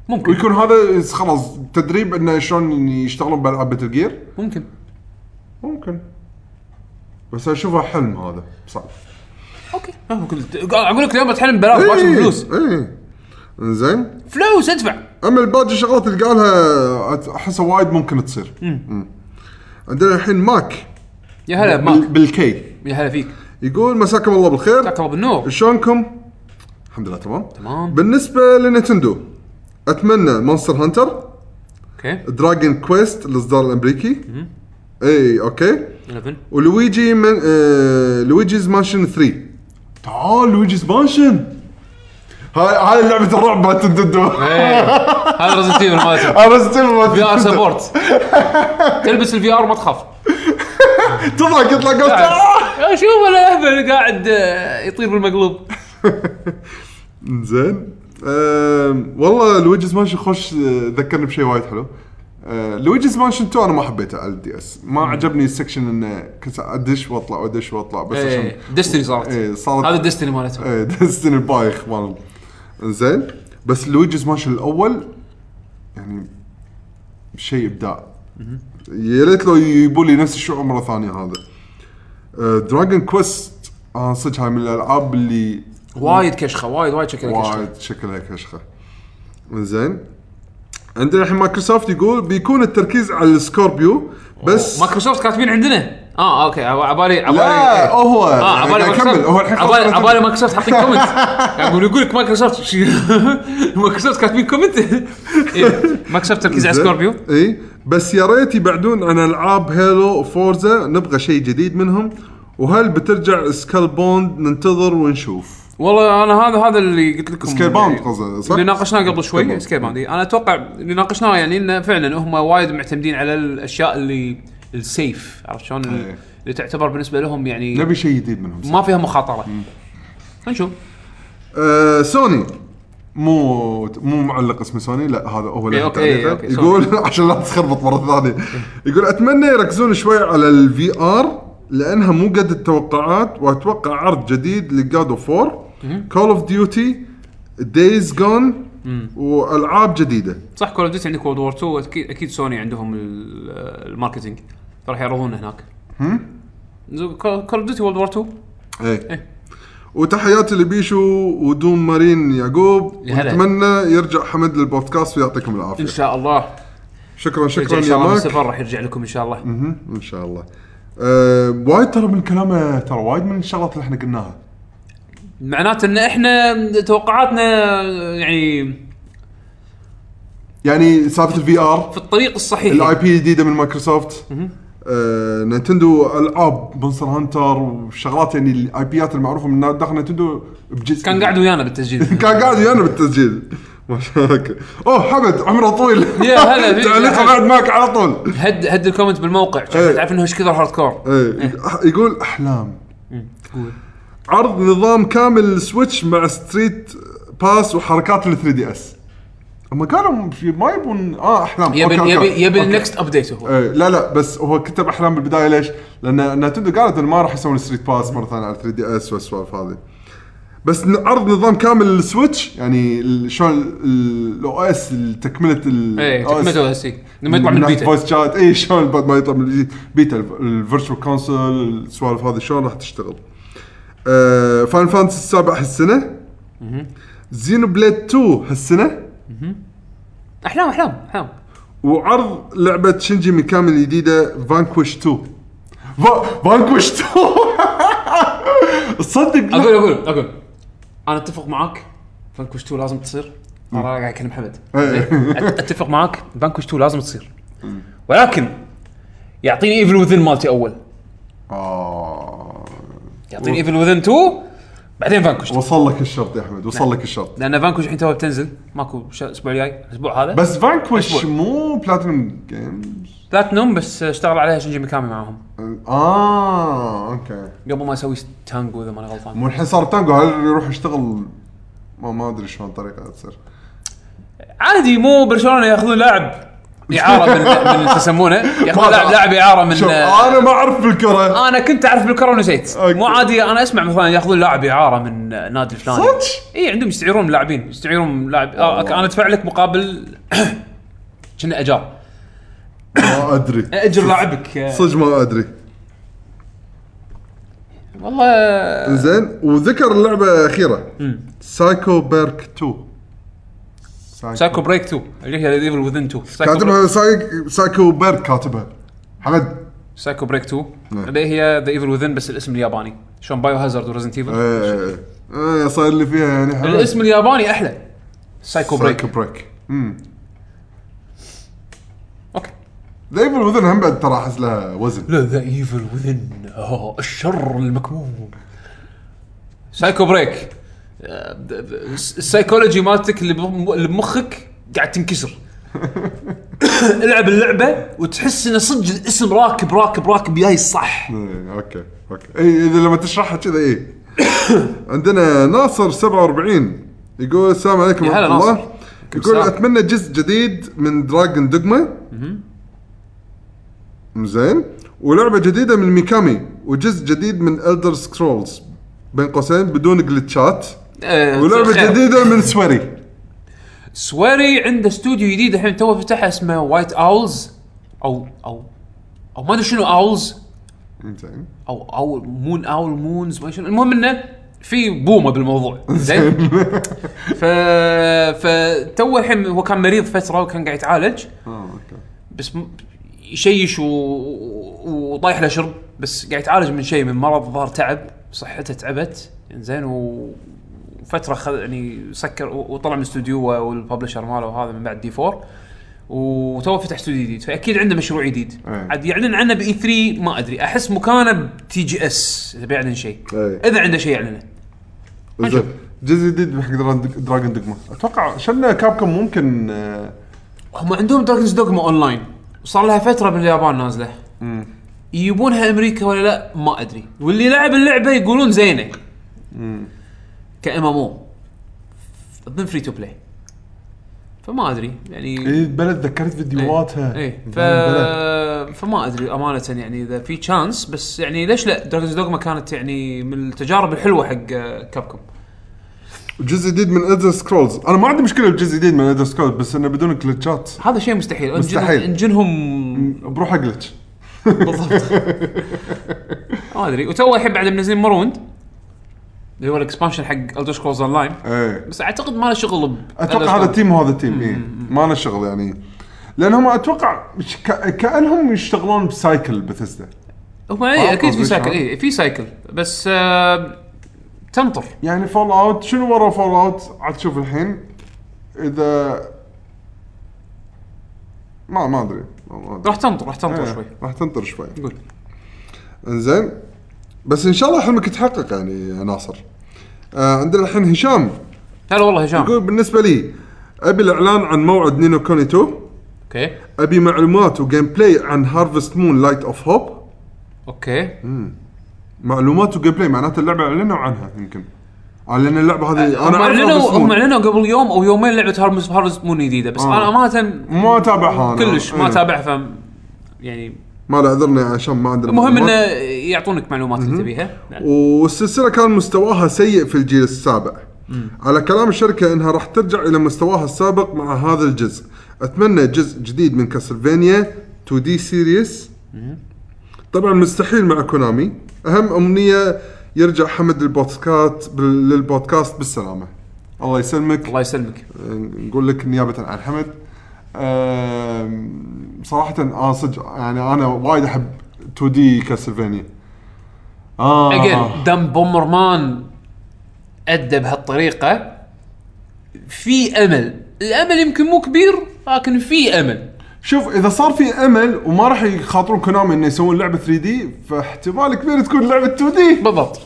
Speaker 1: ممكن
Speaker 2: ويكون هذا خلاص تدريب انه شلون يشتغلون بالعاب مثل جير
Speaker 1: ممكن
Speaker 2: ممكن بس اشوفها حلم هذا صعب
Speaker 1: اوكي ما هو كل- اقول آه، لك اليوم بتحلم بلاش باكر فلوس
Speaker 2: ايه انزين
Speaker 1: فلوس ادفع
Speaker 2: اما الباقي الشغلات اللي قالها أت- احسها وايد ممكن تصير مم. عندنا الحين ماك
Speaker 1: يا هلا
Speaker 2: بال-
Speaker 1: بماك
Speaker 2: بالكي
Speaker 1: يا هلا فيك
Speaker 2: يقول مساكم الله بالخير
Speaker 1: تكره بالنور
Speaker 2: شلونكم؟ الحمد لله تمام
Speaker 1: تمام.
Speaker 2: بالنسبه لنتندو اتمنى مونستر هانتر
Speaker 1: اوكي
Speaker 2: دراجون كويست الاصدار الامريكي اي اوكي
Speaker 1: 11
Speaker 2: ولويجي من آه لويجيز مانشن 3 تعال لويجيز مانشن هاي هاي لعبه الرعب مالت الددو
Speaker 1: إيه. هذا رزنت ايفل مالته
Speaker 2: ارستيل مالت
Speaker 1: في ار
Speaker 2: الددو.
Speaker 1: سبورت تلبس الفي ار ما تخاف
Speaker 2: تضحك يطلع قلت
Speaker 1: يا شوف الاهبل قاعد آه، يطير بالمقلوب
Speaker 2: زين آم، والله لويجيز مانشن خوش آه، ذكرني بشيء وايد حلو آه، لويجيز مانشن 2 انا ما حبيته على الدي اس ما عجبني السكشن انه كنت ادش واطلع وادش واطلع بس عشان
Speaker 1: ديستني صارت
Speaker 2: ايه صارت
Speaker 1: إيه، هذا ديستني مالتهم
Speaker 2: ايه دستني البايخ مال زين بس لويجيز مانشن الاول يعني شيء ابداع يا ريت لو يجيبوا لي نفس الشعور مره ثانيه هذا دراجون كويست انا صدق هاي من الالعاب اللي
Speaker 1: وايد كشخه وايد وايد شكلها كشخه
Speaker 2: إيه. وايد شكلها كشخه زين عندنا الحين مايكروسوفت يقول بيكون التركيز على السكوربيو بس
Speaker 1: مايكروسوفت كاتبين عندنا اه اوكي عب- عبالي عبالي
Speaker 2: لا
Speaker 1: إيه.
Speaker 2: هو
Speaker 1: اه عبالي
Speaker 2: كمل هو
Speaker 1: مايكروسوفت
Speaker 2: الحين
Speaker 1: عبالي
Speaker 2: خلاص
Speaker 1: عبالي مايكروسوفت حاطين يعني كومنت اقول يقول لك مايكروسوفت شي- مايكروسوفت كاتبين كومنت إيه، مايكروسوفت تركيز على سكوربيو
Speaker 2: اي إيه، بس يا ريت يبعدون عن العاب هيلو وفورزا نبغى شيء جديد منهم وهل بترجع سكال بوند ننتظر ونشوف إيه.
Speaker 1: والله انا هذا هذا اللي قلت لكم
Speaker 2: سكيل باوند قصده صح؟
Speaker 1: اللي ناقشناه قبل شوي
Speaker 2: سكيل
Speaker 1: سكيل باوند إيه. انا اتوقع اللي ناقشناه يعني انه فعلا هم وايد معتمدين على الاشياء اللي السيف عرفت شلون
Speaker 2: إيه.
Speaker 1: اللي تعتبر بالنسبه لهم يعني
Speaker 2: نبي شيء جديد منهم
Speaker 1: ما فيها مخاطره نشوف
Speaker 2: آه سوني مو مو معلق اسمه سوني لا هذا هو اللي
Speaker 1: إيه،
Speaker 2: أنت
Speaker 1: أوكي،
Speaker 2: عليه.
Speaker 1: أوكي،
Speaker 2: يقول عشان لا تخربط مره ثانيه يقول اتمنى يركزون شوي على الفي ار لانها مو قد التوقعات واتوقع عرض جديد لجاد اوف 4 كول اوف ديوتي دايز جون والعاب جديده
Speaker 1: صح كول اوف ديوتي عندك وورد وور 2 اكيد اكيد سوني عندهم ال- الماركتينج فراح يعرضونه هناك زو- كول اوف ديوتي وورد وور 2 إيه.
Speaker 2: ايه وتحياتي لبيشو ودوم مارين يعقوب
Speaker 1: يا هلا.
Speaker 2: اتمنى يرجع حمد للبودكاست ويعطيكم العافيه
Speaker 1: ان شاء الله
Speaker 2: شكرا
Speaker 1: يرجع
Speaker 2: شكرا
Speaker 1: ان
Speaker 2: يا
Speaker 1: شاء الله من
Speaker 2: ماك
Speaker 1: السفر راح يرجع لكم ان شاء الله
Speaker 2: مهم. ان شاء الله أه وايد ترى من كلامه ترى وايد من الشغلات اللي احنا قلناها
Speaker 1: معناته ان احنا توقعاتنا يعني
Speaker 2: يعني سالفه الفي ار
Speaker 1: في الطريق الصحيح
Speaker 2: الاي بي الجديده من مايكروسوفت آه، نينتندو العاب مونستر هانتر وشغلات يعني الاي بيات المعروفه من داخل نينتندو بجزء
Speaker 1: كان قاعد ويانا بالتسجيل
Speaker 2: كان قاعد ويانا بالتسجيل ما شاء الله أوكي. اوه حمد عمره طويل
Speaker 1: يا هلا فيك.
Speaker 2: تعليقه قاعد معك على طول
Speaker 1: هد هد الكومنت بالموقع
Speaker 2: إيه.
Speaker 1: تعرف انه ايش كثر هارد كور
Speaker 2: إيه، يقول احلام
Speaker 1: إيه،
Speaker 2: عرض نظام كامل سويتش مع ستريت باس وحركات ال 3 دي اس هم قالوا في- ما يبون اه احلام
Speaker 1: يبي
Speaker 2: أوكي،
Speaker 1: يبي
Speaker 2: أوكي.
Speaker 1: يبي
Speaker 2: أوكي.
Speaker 1: النكست ابديت هو
Speaker 2: إيه، لا لا بس هو كتب احلام بالبدايه ليش؟ لان نتندو قالت انه ما راح يسوون ستريت باس مره ثانيه على 3 دي اس والسوالف هذه. بس ن- عرض نظام كامل السويتش يعني ال- شلون الاو اس تكمله ال
Speaker 1: ايه
Speaker 2: OS
Speaker 1: تكملته اسي لما يطلع من البيتا
Speaker 2: فويس شات اي إيه، شلون بعد ما يطلع من البيتا- بيتا الفيرتشوال كونسول السوالف هذه شلون راح تشتغل آه فان فانتسي السابع هالسنه زينو بليد 2 هالسنه
Speaker 1: احلام احلام احلام
Speaker 2: وعرض لعبه شنجي ميكامي الجديده فانكوش 2 فا- فانكوش 2 تصدق
Speaker 1: اقول
Speaker 2: لا.
Speaker 1: اقول اقول انا اتفق معاك فانكوش 2 لازم تصير انا قاعد اكلم حمد
Speaker 2: إيه.
Speaker 1: أت- اتفق معاك فانكوش 2 لازم تصير ولكن يعطيني ايفل وذن مالتي اول
Speaker 2: آه.
Speaker 1: يعطيني ايفل وذن 2 بعدين فانكوش 2
Speaker 2: وصل لك الشرط يا احمد
Speaker 1: نعم.
Speaker 2: وصل لك الشرط
Speaker 1: لان فانكوش الحين توها بتنزل ماكو ش- الاسبوع الجاي الاسبوع هذا
Speaker 2: بس فانكوش مو بلاتينوم جيمز
Speaker 1: بلاتنوم بس اشتغل عليها شنجي ميكامي معاهم
Speaker 2: آه، اه اوكي
Speaker 1: قبل ما اسوي تانجو اذا ماني غلطان
Speaker 2: مو الحين صار تانجو هل يروح يشتغل ما ما ادري شلون الطريقه تصير
Speaker 1: عادي مو برشلونه ياخذون لاعب اعاره من من شو يسمونه ياخذون لاعب لاعب اعاره من
Speaker 2: شوف انا ما اعرف بالكره
Speaker 1: انا كنت اعرف بالكره ونسيت
Speaker 2: أوكي.
Speaker 1: مو عادي انا اسمع مثلا ياخذون لاعب اعاره من نادي الفلاني
Speaker 2: صدق؟
Speaker 1: اي عندهم يستعيرون لاعبين يستعيرون لاعب آه
Speaker 2: والله.
Speaker 1: انا ادفع لك مقابل كنا اجار
Speaker 2: ما ادري
Speaker 1: اجر لاعبك آه،
Speaker 2: صدق ما ادري
Speaker 1: والله آه،
Speaker 2: زين وذكر اللعبه الاخيره سايكو بيرك 2
Speaker 1: سايكو بريك 2 اللي هي ديفل وذن 2 سايكو بريك-
Speaker 2: كاتبها سايك- سايكو بيرك كاتبها حمد
Speaker 1: سايكو بريك 2
Speaker 2: نعم.
Speaker 1: اللي هي ذا ايفل وذن بس الاسم الياباني شلون بايو هازارد وريزنت ايفل
Speaker 2: إيه، إيه، إيه. إيه، صاير لي فيها يعني حمد
Speaker 1: الاسم الياباني احلى سايكو بريك
Speaker 2: سايكو بريك امم
Speaker 1: اوكي
Speaker 2: دايما الوذن هم بعد ترى احس لها وزن
Speaker 1: لا ذا ايفل وذن آه، الشر المكموم سايكو بريك آه، د- د- الس- السايكولوجي مالتك اللي بم- اللي بمخك قاعد تنكسر العب اللعبه وتحس انه صدق الاسم راكب راكب راكب جاي الصح
Speaker 2: إيه، اوكي اوكي اي اذا لما تشرحها كذا اي عندنا ناصر 47 يقول السلام عليكم
Speaker 1: يا هلا
Speaker 2: ورحمه
Speaker 1: ناصر.
Speaker 2: الله يقول
Speaker 1: السلام.
Speaker 2: اتمنى جزء جديد من دراجون دوجما زين ولعبه جديده من ميكامي وجزء جديد من الدر سكرولز بين قوسين بدون جلتشات
Speaker 1: آه،
Speaker 2: ولعبه
Speaker 1: خير.
Speaker 2: جديده من سوري
Speaker 1: سويري عنده استوديو جديد الحين تو فتحه اسمه وايت اولز او او او ما ادري شنو اولز
Speaker 2: زين
Speaker 1: او او مون اول مونز ما شنو المهم انه في بومه بالموضوع زين ف فتو الحين هو كان مريض فتره وكان قاعد يتعالج
Speaker 2: اه اوكي
Speaker 1: بس م- يشيش و... و- وطايح له شرب بس قاعد يتعالج من شيء من مرض ظهر تعب صحته تعبت زين و... وفتره خل... يعني سكر و- وطلع من استوديو والببلشر ماله وهذا من بعد دي 4 وتو فتح استوديو جديد فاكيد عنده مشروع جديد
Speaker 2: أي.
Speaker 1: عاد يعلن عنه باي 3 ما ادري احس مكانه بتي جي اس اذا بيعلن شيء
Speaker 2: أي.
Speaker 1: اذا عنده شيء يعلنه نشوف.
Speaker 2: زين جزء جديد حق دراجون دوجما اتوقع شلنا كابكم ممكن آه،
Speaker 1: هم عندهم دراجونز دوغما اون لاين وصار لها فتره باليابان نازله يجيبونها امريكا ولا لا ما ادري واللي لعب اللعبه يقولون زينه كامامو اظن فري تو بلاي فما ادري يعني
Speaker 2: اي إيه، بلد ذكرت فيديوهاتها يعني
Speaker 1: ايه ف...
Speaker 2: بلد.
Speaker 1: فما ادري امانه يعني اذا في تشانس بس يعني ليش لا دراجونز دوغما كانت يعني من التجارب الحلوه حق كابكوم
Speaker 2: جزء جديد من الدر سكرولز انا ما عندي مشكله بجزء جديد من الدر سكرولز بس انه بدون جلتشات
Speaker 1: هذا شيء مستحيل إنجن-
Speaker 2: مستحيل.
Speaker 1: انجنهم
Speaker 2: بروح اجلتش
Speaker 1: بالضبط ما ادري وتو الحين بعد منزلين مروند اللي هو الاكسبانشن حق الدر سكرولز اون لاين
Speaker 2: ايه
Speaker 1: بس اعتقد ما له شغل ب
Speaker 2: اتوقع هذا التيم وهذا التيم اي ما له شغل يعني لان هم اتوقع ش- ك- كانهم يشتغلون بسايكل بثيسدا
Speaker 1: هم اي اكيد إيه، في
Speaker 2: قصدي
Speaker 1: سايكل
Speaker 2: شلون؟
Speaker 1: اي في سايكل بس آه تنطر
Speaker 2: يعني فول اوت شنو ورا فول اوت عاد تشوف الحين اذا ما ما ادري ما- ما أدري.
Speaker 1: راح تنطر راح تنطر
Speaker 2: إيه،
Speaker 1: شوي
Speaker 2: راح تنطر شوي
Speaker 1: قول
Speaker 2: انزين بس ان شاء الله حلمك يتحقق يعني يا ناصر آه عندنا الحين هشام
Speaker 1: هلا والله هشام
Speaker 2: يقول بالنسبه لي ابي الاعلان عن موعد نينو كوني 2
Speaker 1: اوكي
Speaker 2: ابي معلومات وجيم بلاي عن هارفست مون لايت اوف هوب
Speaker 1: اوكي
Speaker 2: معلومات وجيم بلاي معناته اللعبه اعلنوا عنها يمكن اعلن اللعبه هذه
Speaker 1: هم
Speaker 2: انا أعرف
Speaker 1: اعلنوا
Speaker 2: Harvest Moon.
Speaker 1: هم اعلنوا قبل يوم او يومين لعبه هارمز هارفست مون جديده بس
Speaker 2: آه.
Speaker 1: انا امانه
Speaker 2: ما اتابعها انا
Speaker 1: كلش ما
Speaker 2: إيه.
Speaker 1: اتابعها ف يعني
Speaker 2: ما لا اعذرني عشان ما عندنا
Speaker 1: المهم انه
Speaker 2: معلومات.
Speaker 1: يعطونك معلومات اللي تبيها نعم.
Speaker 2: والسلسله كان مستواها سيء في الجيل السابع على كلام الشركه انها راح ترجع الى مستواها السابق مع هذا الجزء اتمنى جزء جديد من كاسلفينيا 2 دي سيريس طبعا مستحيل مع كونامي اهم امنيه يرجع حمد البودكاست بال- للبودكاست بالسلامه الله يسلمك أه،
Speaker 1: الله يسلمك
Speaker 2: نقول لك نيابه عن حمد أم، صراحه انا صدق يعني انا وايد احب 2 دي كاسلفينيا اه
Speaker 1: اجين دم بومر مان ادى بهالطريقه في امل الامل يمكن مو كبير لكن في امل
Speaker 2: شوف اذا صار في امل وما راح يخاطرون كونامي انه يسوون لعبه 3 دي فاحتمال كبير تكون لعبه 2 دي
Speaker 1: بالضبط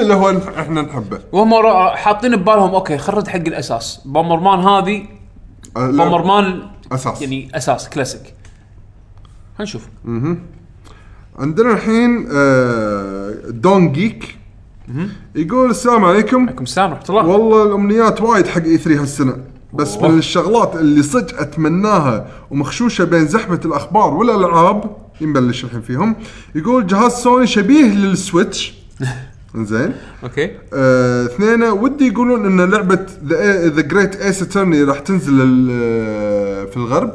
Speaker 2: اللي هو احنا نحبه
Speaker 1: وهم را- حاطين ببالهم اوكي خرد حق الاساس بومر مان هذه
Speaker 2: أه، لا،
Speaker 1: بومر مان
Speaker 2: اساس
Speaker 1: يعني اساس كلاسيك هنشوف
Speaker 2: عندنا الحين آه، دون جيك يقول السلام عليكم
Speaker 1: عليكم السلام ورحمه الله
Speaker 2: والله الامنيات وايد حق اي 3 هالسنه بس
Speaker 1: أوه.
Speaker 2: من الشغلات اللي صدق اتمناها ومخشوشه بين زحمه الاخبار والالعاب نبلش الحين فيهم يقول جهاز سوني شبيه للسويتش زين
Speaker 1: اوكي
Speaker 2: آه، اثنين ودي يقولون ان لعبه ذا جريت ايس اترني راح تنزل ال- في الغرب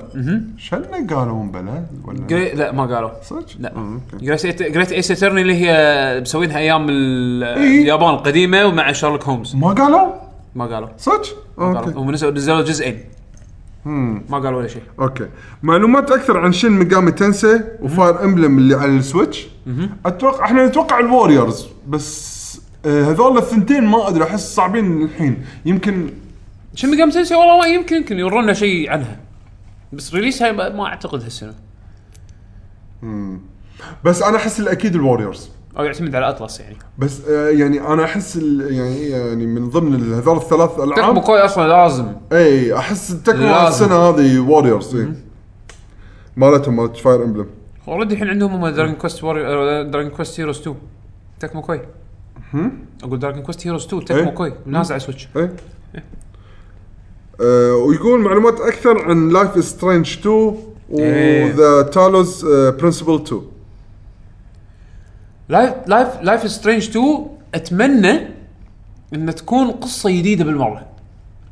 Speaker 2: شلنا قالوا بلا ولا
Speaker 1: جري... لا ما قالوا
Speaker 2: صدق؟
Speaker 1: لا.
Speaker 2: آه، أوكي.
Speaker 1: جريت جريت ايس اترني اللي هي مسوينها ايام ال-
Speaker 2: إيه.
Speaker 1: اليابان القديمه ومع شارلوك هومز
Speaker 2: ما قالوا
Speaker 1: ما قالوا
Speaker 2: صدق؟ آه،
Speaker 1: ما قالوا.
Speaker 2: اوكي
Speaker 1: هم نزلوا نزلوا جزئين ما قالوا ولا شيء
Speaker 2: اوكي معلومات اكثر عن شن ميجامي تنسي وفاير امبلم اللي على السويتش اتوقع احنا نتوقع الوريورز بس آه، هذول الثنتين ما ادري احس صعبين الحين يمكن
Speaker 1: شن ميجام تنسي والله ما يمكن يمكن يورونا شيء عنها بس ريليسها ما ما اعتقد هالسنه
Speaker 2: بس انا احس الاكيد الوريورز
Speaker 1: او يعتمد على اطلس يعني
Speaker 2: بس آه، يعني انا احس ال- يعني يعني من ضمن ال- هذول الثلاث العاب
Speaker 1: تكبو كوي اصلا لازم
Speaker 2: اي احس التكمله
Speaker 1: لازم.
Speaker 2: السنه هذه ووريرز اي مالتهم مالت فاير امبلم
Speaker 1: اوريدي الحين عندهم هم دراجون كويست واري دراجون كويست هيروز 2 تكمو كوي اقول دراجون كويست هيروز 2 تكمو
Speaker 2: إيه.
Speaker 1: كوي نازل على سويتش
Speaker 2: اي إيه. آه ويقول معلومات اكثر عن لايف سترينج 2
Speaker 1: إيه.
Speaker 2: وذا تالوز برنسبل 2
Speaker 1: لايف لايف لايف سترينج 2 اتمنى ان تكون قصه جديده بالمره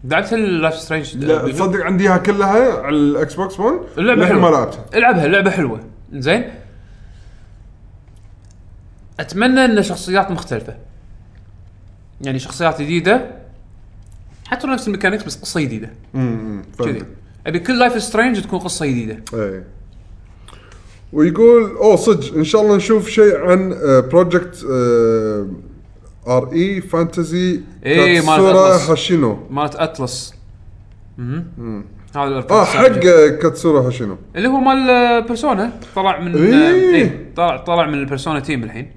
Speaker 1: لعبت لايف سترينج
Speaker 2: لا تصدق عندي اياها كلها على الاكس بوكس 1
Speaker 1: اللعبه
Speaker 2: للحين
Speaker 1: حلوه
Speaker 2: ما لعبتها
Speaker 1: العبها اللعبه حلوه زين اتمنى ان شخصيات مختلفه يعني شخصيات جديده حتى لو نفس الميكانيكس بس قصه جديده
Speaker 2: امم
Speaker 1: كذي ابي كل لايف سترينج تكون قصه جديده
Speaker 2: اي إيه. ويقول اوه صدق ان شاء الله نشوف شيء عن آه، بروجكت ار اي فانتزي
Speaker 1: إيه، مال Atlas.
Speaker 2: هاشينو
Speaker 1: مالت اتلس اها هذا الأركان
Speaker 2: اه
Speaker 1: السابقة.
Speaker 2: حق كاتسورا هاشينو
Speaker 1: اللي هو مال بيرسونا طلع من
Speaker 2: إيه.
Speaker 1: إيه، طلع طلع من البيرسونا تيم الحين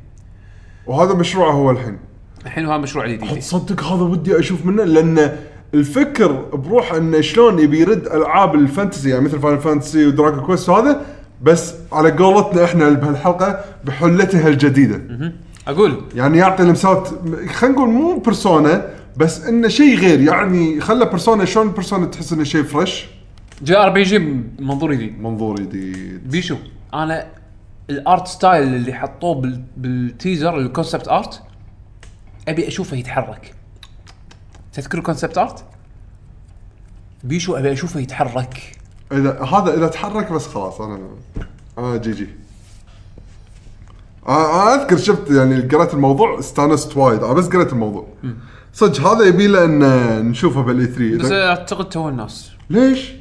Speaker 2: وهذا مشروعه هو الحين
Speaker 1: الحين هو مشروع جديد
Speaker 2: تصدق هذا ودي اشوف منه لان الفكر بروح انه شلون يبي يرد العاب الفانتسي يعني مثل فاينل فانتسي ودراجون كويست وهذا بس على قولتنا احنا بهالحلقه بحلتها الجديده
Speaker 1: اقول
Speaker 2: يعني يعطي لمسات خلينا نقول مو بيرسونا بس انه شيء غير يعني خلى بيرسونا شلون بيرسونا تحس انه شيء فريش
Speaker 1: جي ار بي جي منظور جديد
Speaker 2: منظور جديد
Speaker 1: بيشو انا الارت ستايل اللي حطوه بال... بالتيزر الكونسبت ارت ابي اشوفه يتحرك تذكر الكونسبت ارت؟ بيشو ابي اشوفه يتحرك
Speaker 2: اذا هذا اذا تحرك بس خلاص انا انا جي جي انا اذكر شفت يعني قريت الموضوع استانست وايد انا بس قريت الموضوع صدق هذا يبي له ان نشوفه بالاي 3
Speaker 1: بس
Speaker 2: إذا-
Speaker 1: اعتقد تو الناس
Speaker 2: ليش؟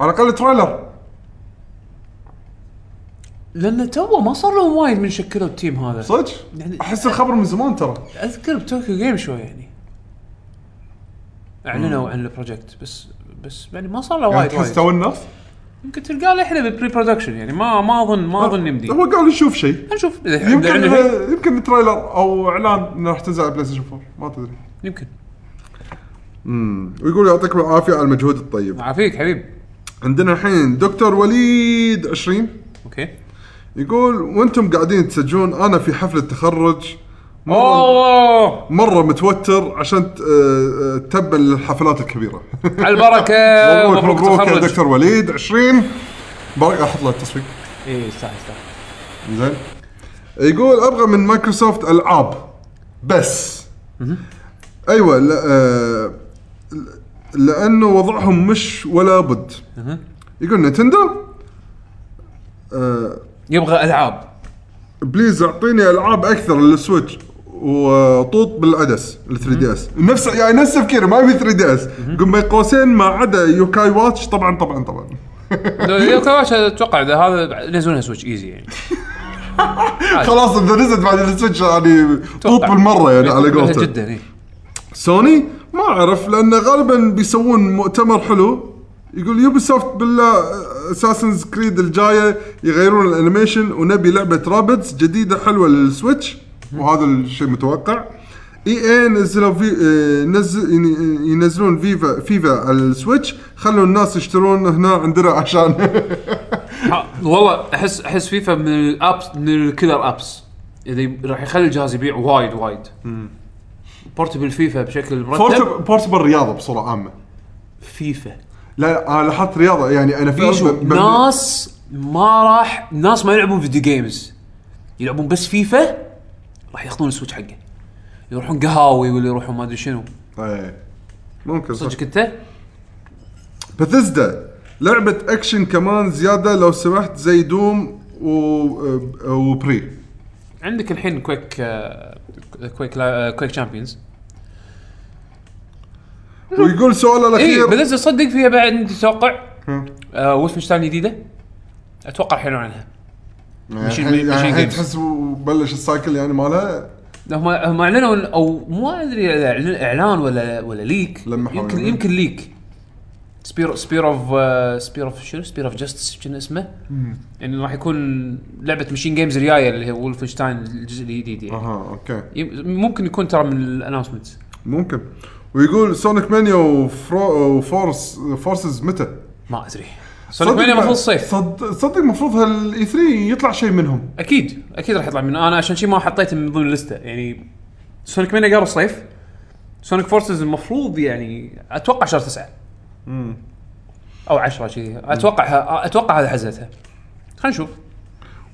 Speaker 2: على الاقل تريلر
Speaker 3: لان تو ما صار لهم وايد من شكلوا التيم هذا
Speaker 1: صدق؟
Speaker 3: يعني-
Speaker 1: احس الخبر من زمان ترى
Speaker 3: اذكر بتوكيو جيم شو يعني اعلنوا عن البروجكت بس بس يعني ما صار له
Speaker 1: يعني
Speaker 3: وايد
Speaker 1: تحس
Speaker 3: وايد
Speaker 1: تو الناس
Speaker 3: يمكن تلقاه للحين ببري برودكشن يعني ما ما اظن ما اظن يمدي
Speaker 1: هو قال يشوف شيء
Speaker 3: نشوف اذا إحنا
Speaker 1: يمكن
Speaker 3: إيه. عندنا-
Speaker 1: يمكن تريلر او اعلان انه راح تنزل على بلاي ستيشن 4 ما تدري
Speaker 3: يمكن
Speaker 2: ويقول يعطيكم العافيه على المجهود الطيب
Speaker 3: عافيك حبيب
Speaker 2: عندنا الحين دكتور وليد 20
Speaker 3: اوكي
Speaker 2: يقول وانتم قاعدين تسجلون انا في حفله تخرج مره
Speaker 3: اوه
Speaker 2: مره متوتر عشان ت- آه، آه، تبا للحفلات الكبيره
Speaker 3: على البركه
Speaker 2: مبروك مبروك يا
Speaker 3: تخرج
Speaker 2: دكتور وليد 20 بركه احط له التصوير
Speaker 3: اي
Speaker 1: إيه،
Speaker 3: يستاهل يستاهل
Speaker 2: زين يقول ابغى من مايكروسوفت العاب بس ايوه لا آه لانه وضعهم مش ولا بد يقول نتندو آه
Speaker 3: يبغى العاب
Speaker 2: بليز اعطيني العاب اكثر للسويتش وطوط بالعدس ال 3 دي اس نفس يعني نفس تفكيري ما يبي 3 دي اس قم بين قوسين ما عدا يوكاي واتش طبعا طبعا طبعا
Speaker 3: كواش اتوقع إذا هذا ينزلونها سويتش ايزي يعني
Speaker 2: خلاص اذا نزلت بعد السويتش يعني طوط
Speaker 3: أتوقع. إيه.
Speaker 2: بالمره يعني على
Speaker 3: يتقبلها
Speaker 2: قولته
Speaker 3: جدا اي
Speaker 2: سوني ما اعرف لان غالبا بيسوون مؤتمر حلو يقول يوبي سوفت بالله اساسنز كريد الجايه يغيرون الانيميشن ونبي لعبه رابتس جديده حلوه للسويتش وهذا الشيء متوقع اي اي نزلوا في آه، نزل ين- ينزلون فيفا فيفا على السويتش خلوا الناس يشترون هنا عندنا عشان
Speaker 3: ها، والله احس احس فيفا من الابس من الكلر ابس اللي راح يخلي الجهاز يبيع وايد وايد بورتبل فيفا بشكل مرتب
Speaker 1: بورت- بورتبل رياضه بصوره عامه
Speaker 3: فيفا
Speaker 1: لا لا انا لاحظت رياضه يعني انا في
Speaker 3: بيشو
Speaker 1: ب- ب-
Speaker 3: ناس ما راح ناس ما يلعبون فيديو جيمز يلعبون بس فيفا راح ياخذون السويتش حقه يروحون قهاوي ولا يروحون ما ادري شنو
Speaker 2: إيه. ممكن صح
Speaker 3: صدق انت؟
Speaker 2: بثزدا لعبة اكشن كمان زيادة لو سمحت زي دوم و... آه، وبري
Speaker 3: عندك الحين كويك آه، كويك لا- آه، كويك شامبيونز
Speaker 2: ويقول سؤال
Speaker 3: اي
Speaker 2: الاخير
Speaker 3: بدأت تصدق فيها بعد عندي توقع
Speaker 2: ها.
Speaker 3: آه ولفنشتاين جديده اتوقع حلو عنها ماشين-
Speaker 2: يعني
Speaker 3: ماشين
Speaker 2: يعني الحين
Speaker 3: games.
Speaker 2: تحس بلش السايكل يعني مالها
Speaker 3: هم هم اعلنوا ال- او مو ادري إذا إعلن- اعلان ولا ولا ليك
Speaker 2: لمحوا
Speaker 3: يمكن
Speaker 2: يعني.
Speaker 3: يمكن ليك سبير سبير اوف سبير اوف آه، شنو سبير اوف جاستس شنو اسمه؟ يعني راح يكون لعبه ماشين جيمز الجايه اللي هي ولفنشتاين الجزء الجديد يعني
Speaker 2: اها اوكي
Speaker 3: يم- ممكن يكون ترى من الانونسمنت
Speaker 2: ممكن ويقول سونيك مانيا وفرو... وفورس فورسز متى؟
Speaker 3: ما ادري سونيك مانيا المفروض الصيف
Speaker 2: صد... صدق المفروض هالاي 3 يطلع شيء منهم
Speaker 3: اكيد اكيد راح يطلع من انا عشان شي ما حطيته من ضمن الليسته يعني سونيك مانيا قالوا الصيف سونيك فورسز المفروض يعني اتوقع شهر تسعة او 10 شيء اتوقع اتوقع هذا حزتها خلينا نشوف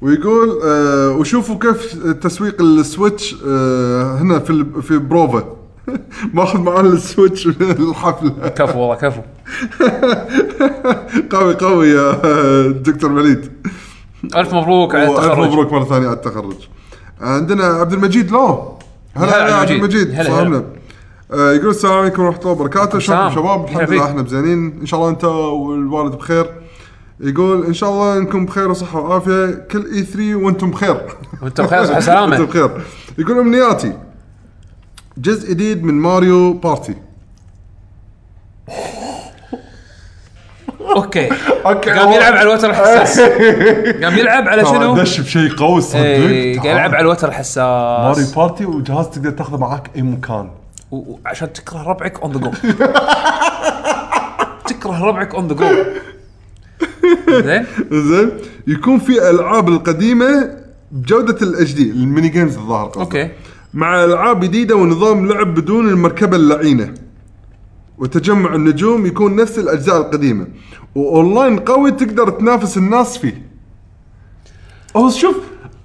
Speaker 2: ويقول آه وشوفوا كيف تسويق السويتش آه هنا في ال... في بروفا ماخذ معانا السويتش من الحفله
Speaker 3: كفو والله كفو
Speaker 2: قوي قوي يا دكتور وليد
Speaker 3: الف مبروك على
Speaker 2: والف
Speaker 3: التخرج
Speaker 2: مبروك مره ثانيه على التخرج عندنا عبد المجيد لو
Speaker 3: هلا
Speaker 2: هلا يا
Speaker 3: عبد
Speaker 2: عبد
Speaker 3: المجيد.
Speaker 2: المجيد
Speaker 3: هلا،
Speaker 2: صاحبنا آه، يقول السلام عليكم ورحمه الله وبركاته شلونكم
Speaker 3: السلام.
Speaker 2: شباب الحمد
Speaker 3: مرحبا
Speaker 2: لله
Speaker 3: فيك.
Speaker 2: احنا بزينين ان شاء الله انت والوالد بخير يقول ان شاء الله انكم بخير وصحه وعافيه كل اي 3 وانتم بخير
Speaker 3: وانت بخير صحة سلامة.
Speaker 2: وانتم بخير يقول امنياتي جزء جديد من ماريو بارتي
Speaker 3: اوكي
Speaker 1: اوكي
Speaker 3: قام يلعب على الوتر الحساس قام يلعب على
Speaker 1: ترى
Speaker 3: شنو؟
Speaker 1: دش بشيء قوي صدق
Speaker 3: إيه، قام
Speaker 1: تعال.
Speaker 3: يلعب على الوتر
Speaker 1: ماري
Speaker 3: الحساس
Speaker 1: بارتي وجهاز تقدر تاخذه معاك اي مكان
Speaker 3: و- وعشان تكره ربعك اون ذا جو تكره ربعك اون ذا جو زين
Speaker 2: زين يكون في العاب القديمه بجوده الاتش دي الميني جيمز الظاهر قصدي.
Speaker 3: اوكي
Speaker 2: مع العاب جديده ونظام لعب بدون المركبه اللعينه وتجمع النجوم يكون نفس الاجزاء القديمه واونلاين قوي تقدر تنافس الناس فيه
Speaker 1: هو شوف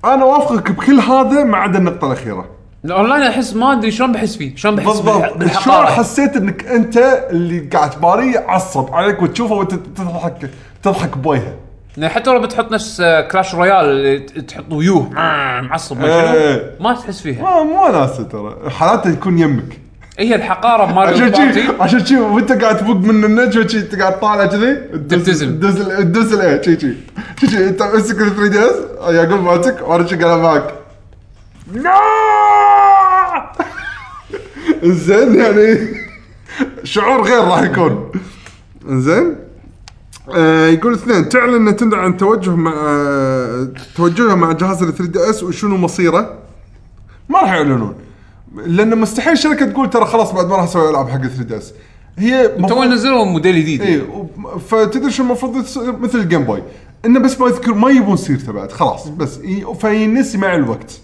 Speaker 1: انا وافقك بكل هذا ما عدا النقطه الاخيره
Speaker 3: الاونلاين احس ما ادري شلون بحس فيه شلون بحس بالح-
Speaker 1: بالضبط شلون
Speaker 3: بالحقارة
Speaker 1: حسيت انك انت اللي قاعد تباريه عصب عليك وتشوفه وانت تضحك تضحك بويها
Speaker 3: يعني حتى لو بتحط نفس آه، كلاش رويال اللي ت- تحط ويوه معصب ما شنو
Speaker 1: إيه.
Speaker 3: ما تحس فيها
Speaker 1: ما مو ناسه ترى حالاته يكون يمك
Speaker 3: هي الحقاره بماريو
Speaker 1: عشان
Speaker 3: بارتي
Speaker 1: شي عشان شي وانت قاعد تفوق من النجوه شي انت قاعد طالع كذي
Speaker 3: تبتسم.
Speaker 1: تدز ال- تدز الايه شي شي شي شي انت امسك 3 دي اس يعقوب ماسك وانا شي قاعد معك
Speaker 2: زين يعني شعور غير راح يكون زين آه يقول اثنين تعلن نتندو عن توجه مع آه توجهها مع جهاز ال 3 دي اس وشنو مصيره
Speaker 1: ما راح يعلنون لان مستحيل شركه تقول ترى خلاص بعد ما راح اسوي العاب حق 3 دي اس هي
Speaker 3: تو نزلوا موديل جديد
Speaker 1: اي إيه، فتدري شو المفروض يصير مثل الجيم بوي انه بس ما يذكر ما يبون سيرته بعد خلاص بس ي- فينسي مع الوقت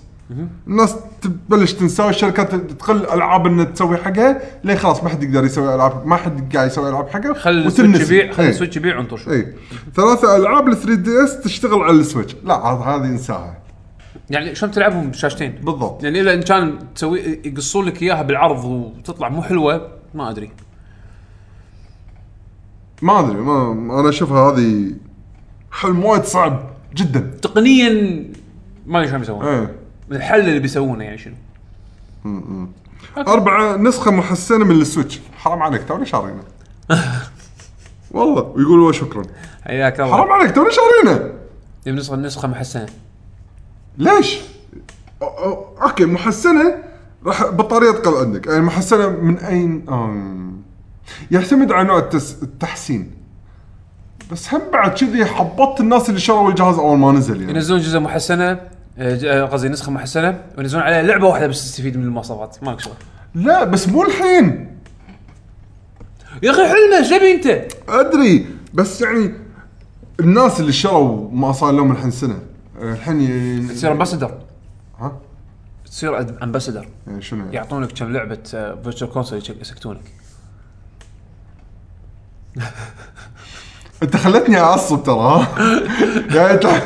Speaker 1: الناس تبلش تنساه الشركات تقل العاب انها تسوي حقها ليه خلاص ما حد يقدر يسوي العاب ما حد قاعد يسوي العاب حقه
Speaker 3: خل
Speaker 1: وتنسي.
Speaker 3: السويتش يبيع خل
Speaker 1: إيه.
Speaker 3: السويتش يبيع انطر شوي
Speaker 2: اي ثلاثه العاب ال 3 دي اس تشتغل على السويتش
Speaker 1: لا عاد هذه انساها
Speaker 3: يعني شلون تلعبهم بشاشتين
Speaker 1: بالضبط.
Speaker 3: يعني اذا ان كان تسوي يقصون لك اياها بالعرض وتطلع مو حلوه ما ادري
Speaker 2: ما ادري ما انا اشوفها هذه
Speaker 1: حلم وايد صعب جدا
Speaker 3: تقنيا ما ادري شلون بيسوون
Speaker 1: ايه
Speaker 3: الحل اللي بيسوونه يعني شنو
Speaker 2: اربعه نسخه محسنه من السويتش
Speaker 1: حرام عليك توني شارينا
Speaker 2: والله ويقولوا شكرا
Speaker 3: حياك الله
Speaker 1: حرام عليك توني شارينا
Speaker 3: يبي نسخه نسخه محسنه
Speaker 1: ليش؟
Speaker 2: أو- أو- اوكي محسنه راح بطاريه تقل عندك يعني محسنه من اين
Speaker 1: أم. يعتمد على نوع التس... التحسين بس هم بعد كذي حبطت الناس اللي شروا الجهاز اول ما نزل يعني
Speaker 3: ينزلون جزء محسنه آه، ج- آه، قصدي نسخه محسنه وينزلون عليها لعبه واحده بس تستفيد من المواصفات مالك شغل
Speaker 1: لا بس مو الحين
Speaker 3: يا اخي حلمه ايش تبي انت؟
Speaker 2: ادري بس يعني
Speaker 1: الناس اللي شروا ما صار لهم الحين سنه الحين ي...
Speaker 3: تصير امباسدر
Speaker 1: ها؟
Speaker 3: تصير امباسدر
Speaker 1: يعني شنو يعني؟
Speaker 3: يعطونك كم آه، لعبه فيرتشوال كونسول يسكتونك
Speaker 1: انت خلتني اعصب ترى ها؟ يعني تع-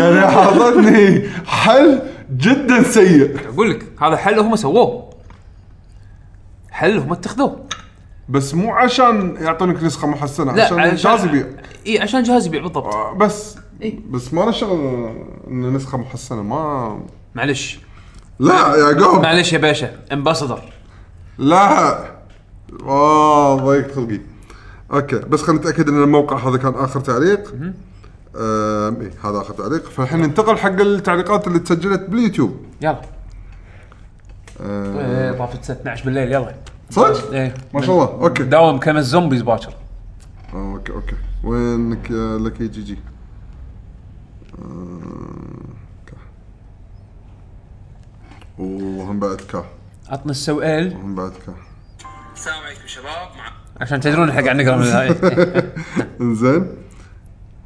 Speaker 1: يعني حاطتني حل جدا سيء
Speaker 3: اقول لك هذا حل هم سووه حل هم اتخذوه
Speaker 1: بس مو عشان يعطونك نسخه محسنه
Speaker 3: لا
Speaker 1: عشان الجهاز يبيع
Speaker 3: اي عشان جهاز يبيع بالضبط
Speaker 1: آه، بس
Speaker 3: إيه.
Speaker 1: بس ما له شغل ان نسخه محسنه ما
Speaker 3: معلش
Speaker 2: لا يا يعقوب
Speaker 3: معلش يا باشا امباسدر
Speaker 2: لا اه ضيقت خلقي اوكي بس خلينا نتاكد ان الموقع هذا كان اخر تعليق آم، إيه هذا اخر تعليق فالحين ننتقل حق التعليقات اللي تسجلت باليوتيوب
Speaker 3: يلا
Speaker 2: آه،
Speaker 3: إيه، طافت الساعه 12 بالليل يلا
Speaker 2: صدق؟
Speaker 3: ايه
Speaker 2: ما شاء الله اوكي
Speaker 3: داوم كم الزومبيز باكر
Speaker 2: آه، اوكي اوكي وينك يا لكي جي جي؟ آه، كا. اوه هم بعد كا
Speaker 3: عطنا السؤال
Speaker 2: هم بعد كا
Speaker 4: السلام عليكم شباب مع
Speaker 3: عشان تدرون احنا قاعد نقرا من الهاي
Speaker 2: انزين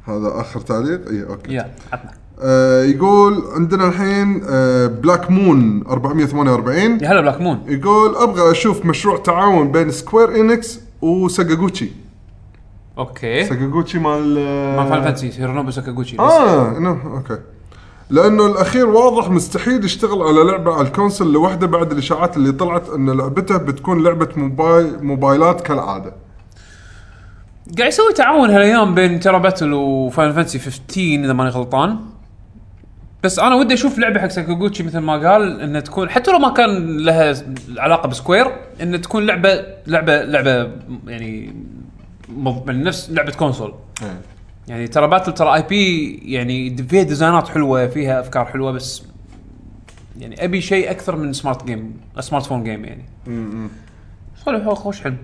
Speaker 2: هذا اخر تعليق إيه، اي اوكي
Speaker 3: يلا عطنا
Speaker 2: آه يقول عندنا الحين آه بلاك مون 448
Speaker 3: يا هلا بلاك مون
Speaker 2: يقول ابغى اشوف مشروع تعاون بين سكوير انكس وساجاغوتشي
Speaker 3: اوكي
Speaker 1: ساكاغوتشي مال
Speaker 3: ما فان فانتسي هيرونوبو ساكاغوتشي
Speaker 2: اه إنه- اوكي لانه الاخير واضح مستحيل يشتغل على لعبه على الكونسل لوحده بعد الاشاعات اللي طلعت ان لعبته بتكون لعبه موبايل موبايلات كالعاده
Speaker 3: قاعد يسوي تعاون هالايام بين تيرا باتل وفاينل فانتسي 15 اذا ماني غلطان بس انا ودي اشوف لعبه حق ساكاغوتشي مثل ما قال ان تكون حتى لو ما كان لها علاقه بسكوير ان تكون لعبه لعبه لعبه يعني مض- من نفس لعبه كونسول يعني ترى باتل ترى اي بي يعني د- فيها ديزاينات حلوه فيها افكار حلوه بس يعني ابي شيء اكثر من سمارت جيم سمارت فون جيم يعني حلو خوش حلو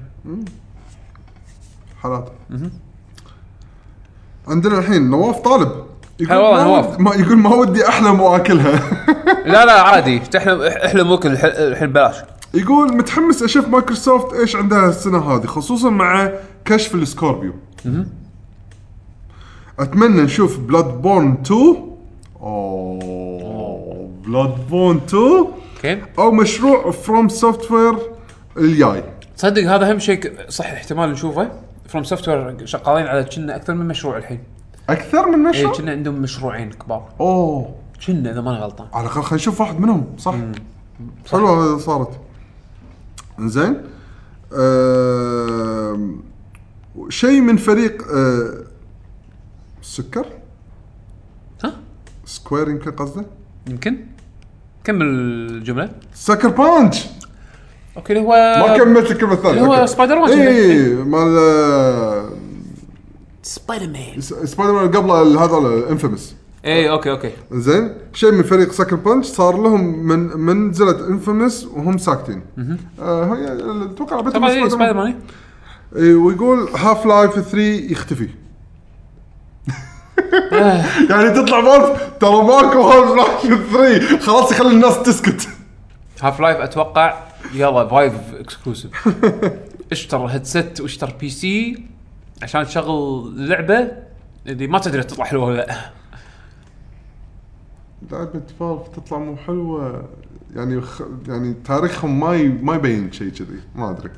Speaker 2: حالات عندنا الحين نواف طالب يقول
Speaker 3: هلا والله
Speaker 2: ما
Speaker 3: نواف.
Speaker 2: ود- ما يقول ما ودي احلم واكلها
Speaker 3: لا لا عادي تحلم احلم وكل الحين بلاش
Speaker 2: يقول متحمس اشوف مايكروسوفت ايش عندها السنه هذه خصوصا مع كشف السكوربيو اتمنى نشوف بلاد بورن 2 اوه بلاد بورن 2
Speaker 3: اوكي
Speaker 2: او مشروع فروم سوفت وير الجاي
Speaker 3: تصدق هذا اهم شيء ك- صح احتمال نشوفه فروم سوفت وير شغالين على كنا اكثر من مشروع الحين
Speaker 2: اكثر من
Speaker 3: اي
Speaker 2: مشروع
Speaker 1: إيه،
Speaker 3: كنا عندهم مشروعين كبار
Speaker 2: اوه
Speaker 3: كنا اذا ماني غلطان
Speaker 2: على الاقل خلينا نشوف واحد منهم صح حلوه هذه صارت زين آم، شيء من فريق آه، السكر
Speaker 3: ها
Speaker 2: سكوير يمكن قصده
Speaker 3: يمكن كمل الجمله
Speaker 2: سكر بانش
Speaker 1: اوكي هو
Speaker 2: ما كملت الكلمه الثانيه
Speaker 1: آه، هو
Speaker 2: أوكي.
Speaker 1: سبايدر يعني. مان.
Speaker 2: اي مال آه،
Speaker 1: سبايدر مان
Speaker 2: س- سبايدر مان قبل هذا الانفيمس
Speaker 1: اي إيه، اوكي اوكي
Speaker 2: زين شيء من فريق سكر بانش صار لهم من منزله انفيمس وهم ساكتين آه، هي- اتوقع باتمان
Speaker 1: طبعا إيه،
Speaker 2: سبايدر مان.
Speaker 1: سبايدر مان
Speaker 2: إيه، ويقول هاف لايف 3 يختفي يعني تطلع مالف ترى ماكو هاف لايف 3 خلاص يخلي الناس تسكت
Speaker 1: هاف لايف اتوقع يلا فايف اكسكلوسيف اشتر هيدسيت واشتر بي سي عشان تشغل اللعبه اللي ما تدري تطلع حلوه ولا لا
Speaker 2: لعبة فالف تطلع مو حلوة يعني خ... يعني تاريخهم ما ي... ما يبين شيء كذي ما ادري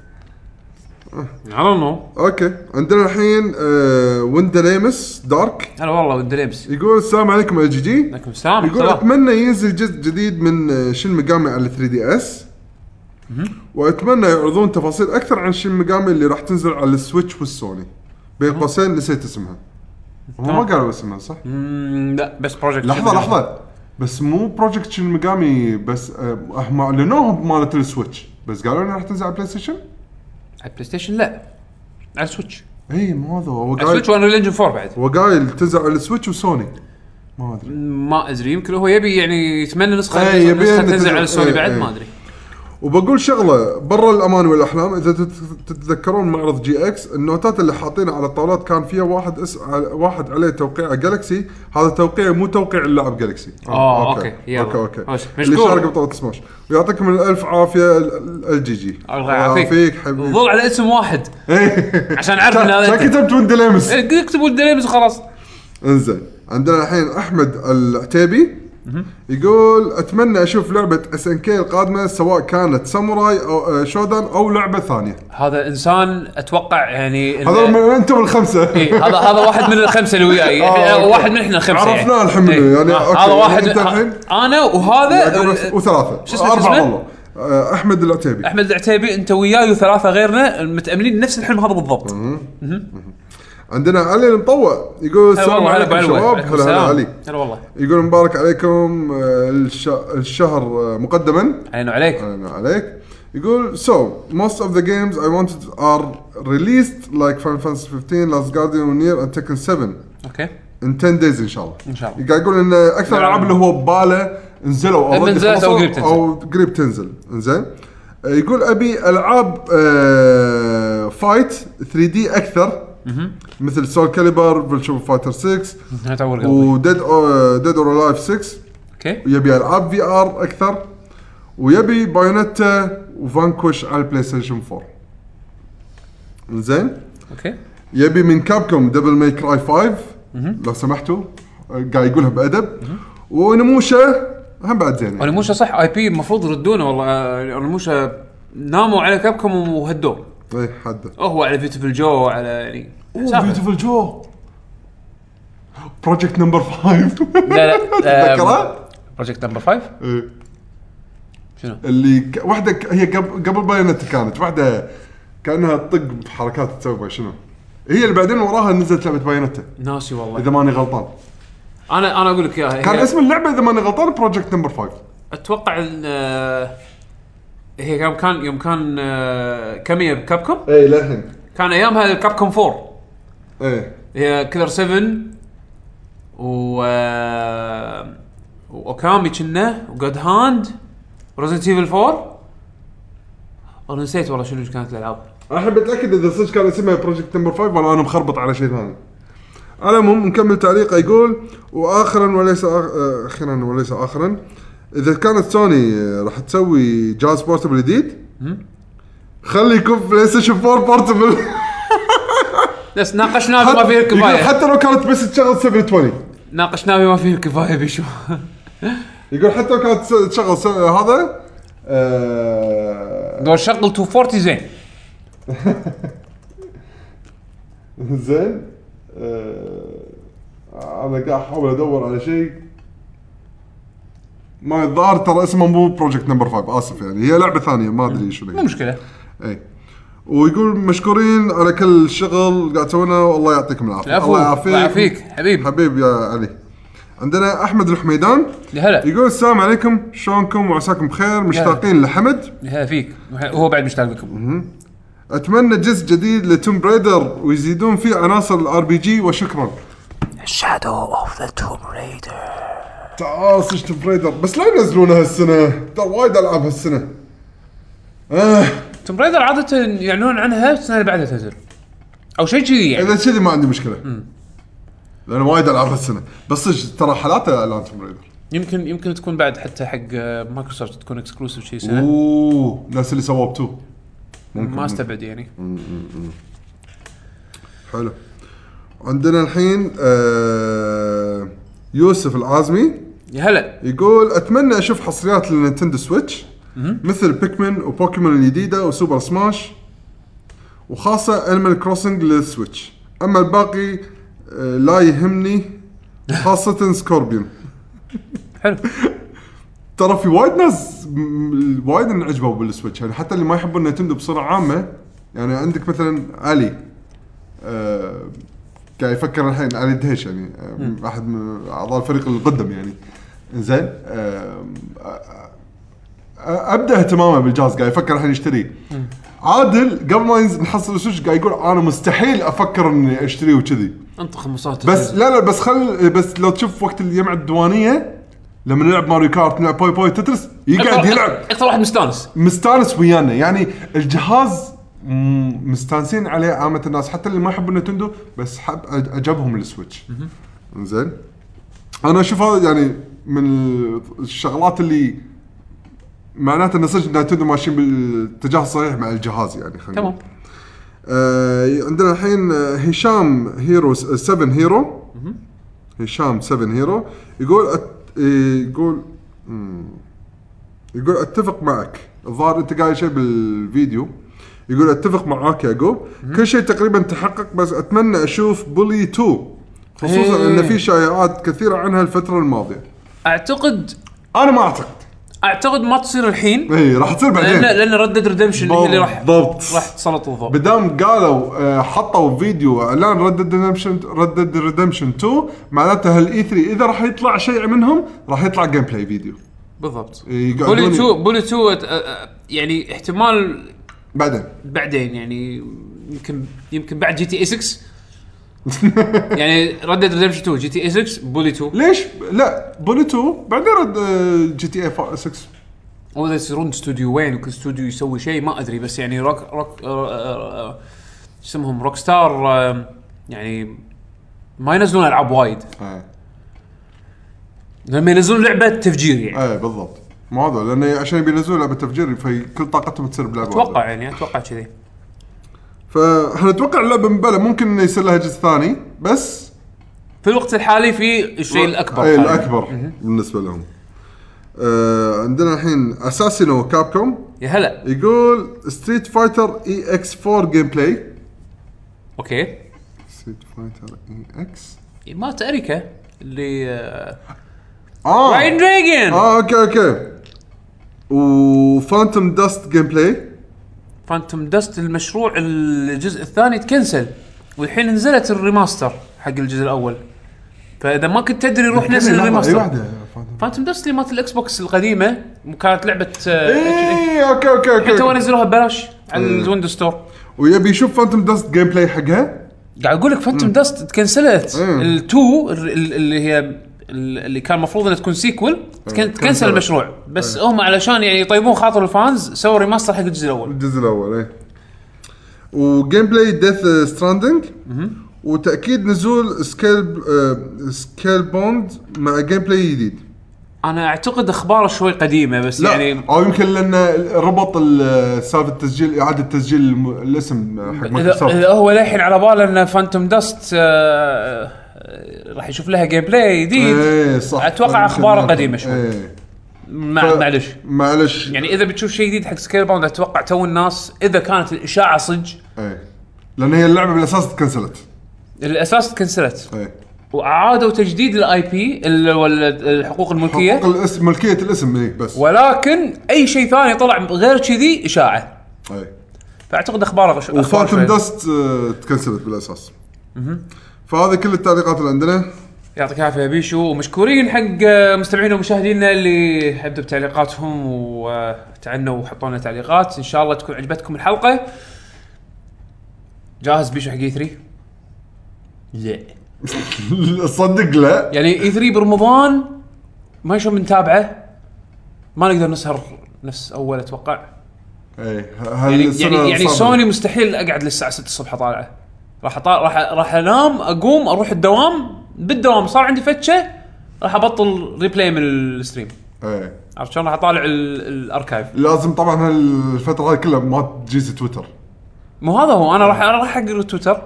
Speaker 1: I don't know
Speaker 2: اوكي عندنا الحين آه ويندا ليمس دارك
Speaker 1: انا والله ودريمس
Speaker 2: يقول السلام عليكم يا جي جي
Speaker 1: عليكم السلام
Speaker 2: يقول
Speaker 1: صباح.
Speaker 2: اتمنى ينزل جزء جديد من آه، شين ميجامي على 3 دي اس واتمنى يعرضون تفاصيل اكثر عن شين ميجامي اللي راح تنزل على السويتش والسوني بين قوسين نسيت اسمها هم ما قالوا اسمها صح؟
Speaker 1: مم، لا بس بروجكت
Speaker 2: لحظه لحظه بس مو بروجكت شين ميجامي بس آه، هم اعلنوها مالت السويتش بس قالوا انها راح تنزل على بلاي ستيشن؟
Speaker 1: على البلاي ستيشن لا على السويتش
Speaker 2: اي مو هذا هو
Speaker 1: على
Speaker 2: قايل
Speaker 1: السويتش وانا انجن 4 بعد
Speaker 2: هو قايل تنزل على السويتش وسوني ما ادري
Speaker 1: ما ادري يمكن هو يبي يعني يتمنى نسخه
Speaker 2: إيه،
Speaker 1: نسخة
Speaker 2: يبي إن
Speaker 1: تنزل
Speaker 2: تنزل-
Speaker 1: على السوني
Speaker 2: إيه،
Speaker 1: بعد
Speaker 2: إيه.
Speaker 1: ما ادري
Speaker 2: وبقول شغله برا الامان والاحلام اذا تت- تتذكرون معرض جي اكس النوتات اللي حاطينها على الطاولات كان فيها واحد اس... على- واحد عليه توقيع جالكسي هذا توقيع مو توقيع اللاعب جالكسي
Speaker 1: آه، أوكي، يلا.
Speaker 2: اوكي اوكي
Speaker 1: ماشي.
Speaker 2: اللي
Speaker 1: مشكور.
Speaker 2: شارك بطاقه سماش ويعطيكم الالف عافيه ال- ال- الجي جي
Speaker 1: الله يعافيك
Speaker 2: حبيبي
Speaker 1: ظل على اسم واحد عشان اعرف ان هذا
Speaker 2: عشان
Speaker 1: أنت.
Speaker 2: كتبت وين دليمس
Speaker 1: إيه، اكتبوا دريمس وخلاص
Speaker 2: انزين عندنا الحين احمد العتيبي يقول اتمنى اشوف لعبه اس ان كي القادمه سواء كانت ساموراي او آه، شودان او لعبه ثانيه
Speaker 1: هذا انسان اتوقع يعني إنه-
Speaker 2: هذول من انتم الخمسه
Speaker 1: إيه، هذا هذا واحد من الخمسه اللي وياي إحنا-
Speaker 2: أوكي.
Speaker 1: واحد من احنا الخمسه يعني.
Speaker 2: عرفناه الحمد لله،
Speaker 1: إيه.
Speaker 2: يعني
Speaker 1: آه،
Speaker 2: أوكي،
Speaker 1: هذا واحد آه،
Speaker 2: أنت
Speaker 1: من-
Speaker 2: الحين؟
Speaker 1: انا وهذا
Speaker 2: يعني وثلاثه
Speaker 1: شو اسمه- شو
Speaker 2: اربعه
Speaker 1: اسمه؟
Speaker 2: والله آه، احمد العتيبي
Speaker 1: احمد العتيبي انت وياي وثلاثه غيرنا متاملين نفس الحلم هذا بالضبط
Speaker 2: عندنا علي المطوع يقول
Speaker 1: هلا
Speaker 2: السلام
Speaker 1: أيوة والله، هلا بعلوة.
Speaker 2: عليكم شباب
Speaker 1: عليكم
Speaker 2: هلا هلا
Speaker 1: السلام.
Speaker 2: علي
Speaker 1: هلا والله
Speaker 2: يقول مبارك عليكم آه، الش- الشهر آه، مقدما
Speaker 1: علينا وعليك
Speaker 2: أنا عليك يقول so most of the games I wanted are released like Final Fantasy 15 Last Guardian Nier and Tekken 7
Speaker 1: اوكي
Speaker 2: in 10 days ان شاء الله
Speaker 1: إن شاء الله.
Speaker 2: قاعد يقول ان اكثر الالعاب اللي هو بباله نزلوا
Speaker 1: إما
Speaker 2: already
Speaker 1: نزلت أو
Speaker 2: خلصوا
Speaker 1: قريب تنزل.
Speaker 2: او قريب تنزل انزين يقول ابي العاب آه فايت 3 دي اكثر مثل سول كاليبر فيرتشوال فايتر 6
Speaker 1: تعور قلبي
Speaker 2: وديد ديد اور لايف 6
Speaker 1: اوكي
Speaker 2: يبي العاب في ار اكثر ويبي بايونيتا وفانكوش على البلاي ستيشن 4 زين
Speaker 1: اوكي
Speaker 2: يبي من كابكم دبل ماي كراي 5 لو سمحتوا آه، قاعد يقولها بادب ونموشه هم بعد زين يعني.
Speaker 1: اونيموشا صح اي بي المفروض يردونه والله آه، اونيموشا ناموا على كابكم وهدوه
Speaker 2: اي حد
Speaker 1: هو على بيوتيفل جو على يعني سافر.
Speaker 2: بيوتيفل جو بروجكت نمبر 5
Speaker 1: لا لا آم،
Speaker 2: تذكره؟
Speaker 1: بروجكت نمبر 5
Speaker 2: إيه.
Speaker 1: شنو؟
Speaker 2: اللي ك- واحده ك- هي قبل قبل بايونيتا كانت واحده كانها تطق بحركات تسوي شنو هي اللي بعدين وراها نزلت لعبه بايونيتا
Speaker 1: ناسي والله
Speaker 2: اذا ماني غلطان
Speaker 1: انا انا اقول لك اياها
Speaker 2: كان
Speaker 1: هي-
Speaker 2: اسم اللعبه اذا ماني غلطان بروجكت نمبر 5
Speaker 1: اتوقع ان آه، هي يوم كان يوم كان آه، كامية بكابكوم
Speaker 2: اي للحين
Speaker 1: كان ايامها كابكوم 4
Speaker 2: ايه
Speaker 1: هي كلر 7 و آه، واوكامي كنا وجود هاند وريزنت ايفل 4 انا نسيت والله شنو كانت الالعاب
Speaker 2: انا احب اتاكد اذا صدق كان اسمها بروجكت نمبر 5 ولا انا مخربط على شيء ثاني على المهم نكمل تعليقه يقول واخرا وليس آخ... آه، اخيرا وليس اخرا اذا كانت سوني آه، راح تسوي جهاز بورتبل جديد خلي يكون بلاي ستيشن 4 بورتبل
Speaker 1: بس ناقشناه بما فيه
Speaker 2: يقول
Speaker 1: الكفايه
Speaker 2: حتى لو كانت بس تشغل 720
Speaker 1: ناقشناه بما فيه الكفايه بيشو
Speaker 2: يقول حتى لو كانت تشغل س- هذا آه،
Speaker 1: دور شغل 240 زين
Speaker 2: زين آه، انا قاعد احاول ادور على شيء ما الظاهر ترى اسمه مو بروجكت نمبر 5 اسف يعني هي لعبه ثانيه ما ادري شو
Speaker 1: مو
Speaker 2: هي.
Speaker 1: مشكله
Speaker 2: اي ويقول مشكورين على كل شغل قاعد تسوونه والله يعطيكم العافيه
Speaker 1: العفو الله يعافيك حبيب
Speaker 2: حبيب يا علي عندنا احمد الحميدان
Speaker 3: يا هلا
Speaker 2: يقول السلام عليكم شلونكم وعساكم بخير مشتاقين لحمد
Speaker 3: يا هلا فيك هو بعد مشتاق لكم
Speaker 2: اتمنى جزء جديد لتوم بريدر ويزيدون فيه عناصر الار بي جي وشكرا
Speaker 3: شادو اوف ذا توم ريدر
Speaker 2: تعاصج توم بريدر بس لا ينزلونه هالسنه ترى وايد العاب هالسنه آه
Speaker 3: توم ريدر عاده يعلنون عنها السنه اللي بعدها تنزل او شيء كذي يعني
Speaker 2: اذا كذي ما عندي مشكله لان وايد العاب هالسنه بس صدق ترى حالاته الان توم بريدر
Speaker 3: يمكن يمكن تكون بعد حتى حق آه، مايكروسوفت تكون اكسكلوسيف شيء سنه
Speaker 2: اوه نفس اللي سووه بتو
Speaker 3: ما استبعد يعني
Speaker 2: حلو عندنا الحين آه يوسف العازمي
Speaker 3: يا هلا
Speaker 2: يقول اتمنى اشوف حصريات للنينتندو سويتش مثل بيكمن وبوكيمون الجديده وسوبر سماش وخاصه انيمال كروسنج للسويتش اما الباقي آه لا يهمني خاصه سكوربيون
Speaker 3: حلو
Speaker 2: ترى في وايد ناس م- وايد انعجبوا بالسويتش يعني حتى اللي ما يحبون نينتندو بصوره عامه يعني عندك مثلا علي آه قاعد يفكر الحين علي دهيش يعني آه احد من اعضاء الفريق القدم يعني زين آه ابدا اهتمامه بالجهاز قاعد يفكر الحين يشتريه عادل قبل ما ينزل- نحصل السويتش قاعد يقول انا مستحيل افكر اني اشتريه وكذي
Speaker 3: انطخ مصوت
Speaker 2: بس لا لا بس خل بس لو تشوف وقت الجمعه الديوانيه لما نلعب ماريو كارت نلعب باي باي تترس يقعد يلعب
Speaker 3: اكثر واحد مستانس
Speaker 2: مستانس ويانا يعني الجهاز مم، مستانسين عليه عامه الناس حتى اللي ما يحبون نتندو بس حب عجبهم السويتش زين انا اشوف هذا يعني من الشغلات اللي معناته ان صدق نتندو ماشيين بالاتجاه الصحيح مع الجهاز يعني خلينا
Speaker 3: تمام
Speaker 2: آه، عندنا الحين آه، هشام هيرو 7 هيرو هشام 7 هيرو يقول أت... آه، يقول مم. يقول اتفق معك الظاهر انت قايل شيء بالفيديو يقول اتفق معاك يا يعقوب كل شيء تقريبا تحقق بس اتمنى اشوف بولي 2 خصوصا
Speaker 3: إيه.
Speaker 2: ان في شائعات كثيره عنها الفتره الماضيه
Speaker 3: اعتقد
Speaker 2: انا ما اعتقد
Speaker 3: اعتقد ما تصير الحين
Speaker 2: اي إيه، راح تصير
Speaker 3: لان
Speaker 2: بعدين
Speaker 3: لان ردد ريدمشن هي اللي راح
Speaker 2: بالضبط
Speaker 3: راح تسلط الضوء
Speaker 2: بدام قالوا آه، حطوا فيديو اعلان ردد ريدمشن ردد ريدمشن 2 معناته هالاي 3 اذا راح يطلع شيء منهم راح يطلع جيم بلاي فيديو
Speaker 3: بالضبط
Speaker 2: يقعدون-
Speaker 3: بولي 2 بولي 2 أت- أ- أ- يعني احتمال
Speaker 2: بعدين
Speaker 3: بعدين يعني يمكن يمكن بعد جي تي اي 6 يعني ردد ريدمشن 2 جي تي اي 6 بولي 2
Speaker 2: ليش؟ لا بولي 2 بعدين رد آه، جي تي اي 6
Speaker 3: او اذا يصيرون استوديو وين وكل استوديو يسوي شيء ما ادري بس يعني روك روك آه، آه، آه، شو اسمهم روك ستار آه، يعني ما ينزلون العاب وايد
Speaker 2: ايه
Speaker 3: لما ينزلون لعبه تفجير يعني
Speaker 2: ايه بالضبط ما هذا لانه عشان بينزلوا لعبه تفجير فكل طاقتهم تصير بلعبه
Speaker 3: اتوقع يعني اتوقع كذي
Speaker 2: فاحنا نتوقع اللعبه من بلا ممكن انه يصير لها جزء ثاني بس
Speaker 3: في الوقت الحالي في
Speaker 1: إيه،
Speaker 3: الشيء الاكبر
Speaker 2: اي
Speaker 3: حالياً.
Speaker 2: الاكبر بالنسبه لهم آه عندنا الحين اساسينو كاب كوم
Speaker 3: يا هلا
Speaker 2: يقول E ستريت فايتر اي اكس 4 جيم بلاي
Speaker 3: اوكي
Speaker 2: ستريت فايتر اي اكس
Speaker 3: مالت اريكا اللي آه،
Speaker 2: اه
Speaker 3: راين دراجون
Speaker 2: اه اوكي اوكي وفانتوم داست جيم بلاي
Speaker 3: فانتوم دست المشروع الجزء الثاني تكنسل والحين نزلت الريماستر حق الجزء الاول فاذا ما كنت أيوة. تدري روح نزل
Speaker 2: اي
Speaker 3: الريماستر
Speaker 2: واحده Phantom-
Speaker 3: فانتوم دست اللي مالت الاكس بوكس القديمه كانت لعبه آه، HD.
Speaker 2: ايه اوكي اوكي اوكي,
Speaker 3: تو
Speaker 2: أوكي.
Speaker 3: نزلوها ببلاش على الويندوز ستور
Speaker 2: ويبي يشوف فانتوم داست جيم بلاي حقها
Speaker 3: قاعد اقول لك فانتوم داست تكنسلت
Speaker 2: مم.
Speaker 3: التو ال- ال- اللي هي ال- اللي كان المفروض انها تكون سيكول تكن- تكنسل
Speaker 2: تكنسلت.
Speaker 3: المشروع بس هم علشان يعني يطيبون خاطر الفانز سووا ريماستر حق الجزء الاول
Speaker 2: الجزء الاول ايه وجيم بلاي ديث ستراندنج وتاكيد نزول سكيل سكيل بوند مع جيم بلاي جديد
Speaker 3: انا اعتقد اخباره شوي قديمه بس
Speaker 2: لا
Speaker 3: يعني
Speaker 2: او يمكن لان ربط ال- سالفه التسجيل اعاده تسجيل الم- الاسم حق
Speaker 3: اذا
Speaker 2: مايكروسوفت
Speaker 3: إذا هو للحين على باله ان فانتوم داست آه، راح يشوف لها جيم بلاي جديد
Speaker 2: ايه صح
Speaker 3: أتوقع أخباره قديمه شوي.
Speaker 2: إيه.
Speaker 3: مع-
Speaker 2: ف-
Speaker 3: معلش
Speaker 2: معلش
Speaker 3: يعني اذا بتشوف شيء جديد حق سكيل باوند اتوقع تو الناس اذا كانت الاشاعه صج
Speaker 2: ايه لان هي اللعبه بالاساس تكنسلت
Speaker 3: الاساس تكنسلت
Speaker 2: ايه
Speaker 3: وعادوا تجديد الاي بي الحقوق الملكيه
Speaker 2: حقوق الاسم ملكيه الاسم ايه بس
Speaker 3: ولكن اي شيء ثاني طلع غير كذي اشاعه
Speaker 2: ايه
Speaker 3: فاعتقد اخباره غش...
Speaker 2: وفاتم داست آه، تكنسلت بالاساس فهذه كل التعليقات اللي عندنا
Speaker 3: يعطيك العافيه يا بيشو ومشكورين حق آه، مستمعينا ومشاهدينا اللي حدوا بتعليقاتهم وتعنوا وحطوا لنا تعليقات ان شاء الله تكون عجبتكم الحلقه جاهز بيشو حق E اي 3 لا
Speaker 2: صدق لا
Speaker 3: يعني اي 3 برمضان ما شلون بنتابعه ما نقدر نسهر نفس اول اتوقع
Speaker 2: اي
Speaker 3: يعني يعني, يعني سوني مستحيل اقعد للساعه 6 الصبح طالعه راح أطالع راح راح انام اقوم اروح الدوام بالدوام صار عندي فتشه راح ابطل ريبلاي من الستريم
Speaker 2: ايه
Speaker 3: عرفت شلون راح اطالع ال- الاركايف
Speaker 2: لازم طبعا هالفتره هاي كلها ما تجيز تويتر
Speaker 3: مو هذا هو انا راح انا راح اقرا تويتر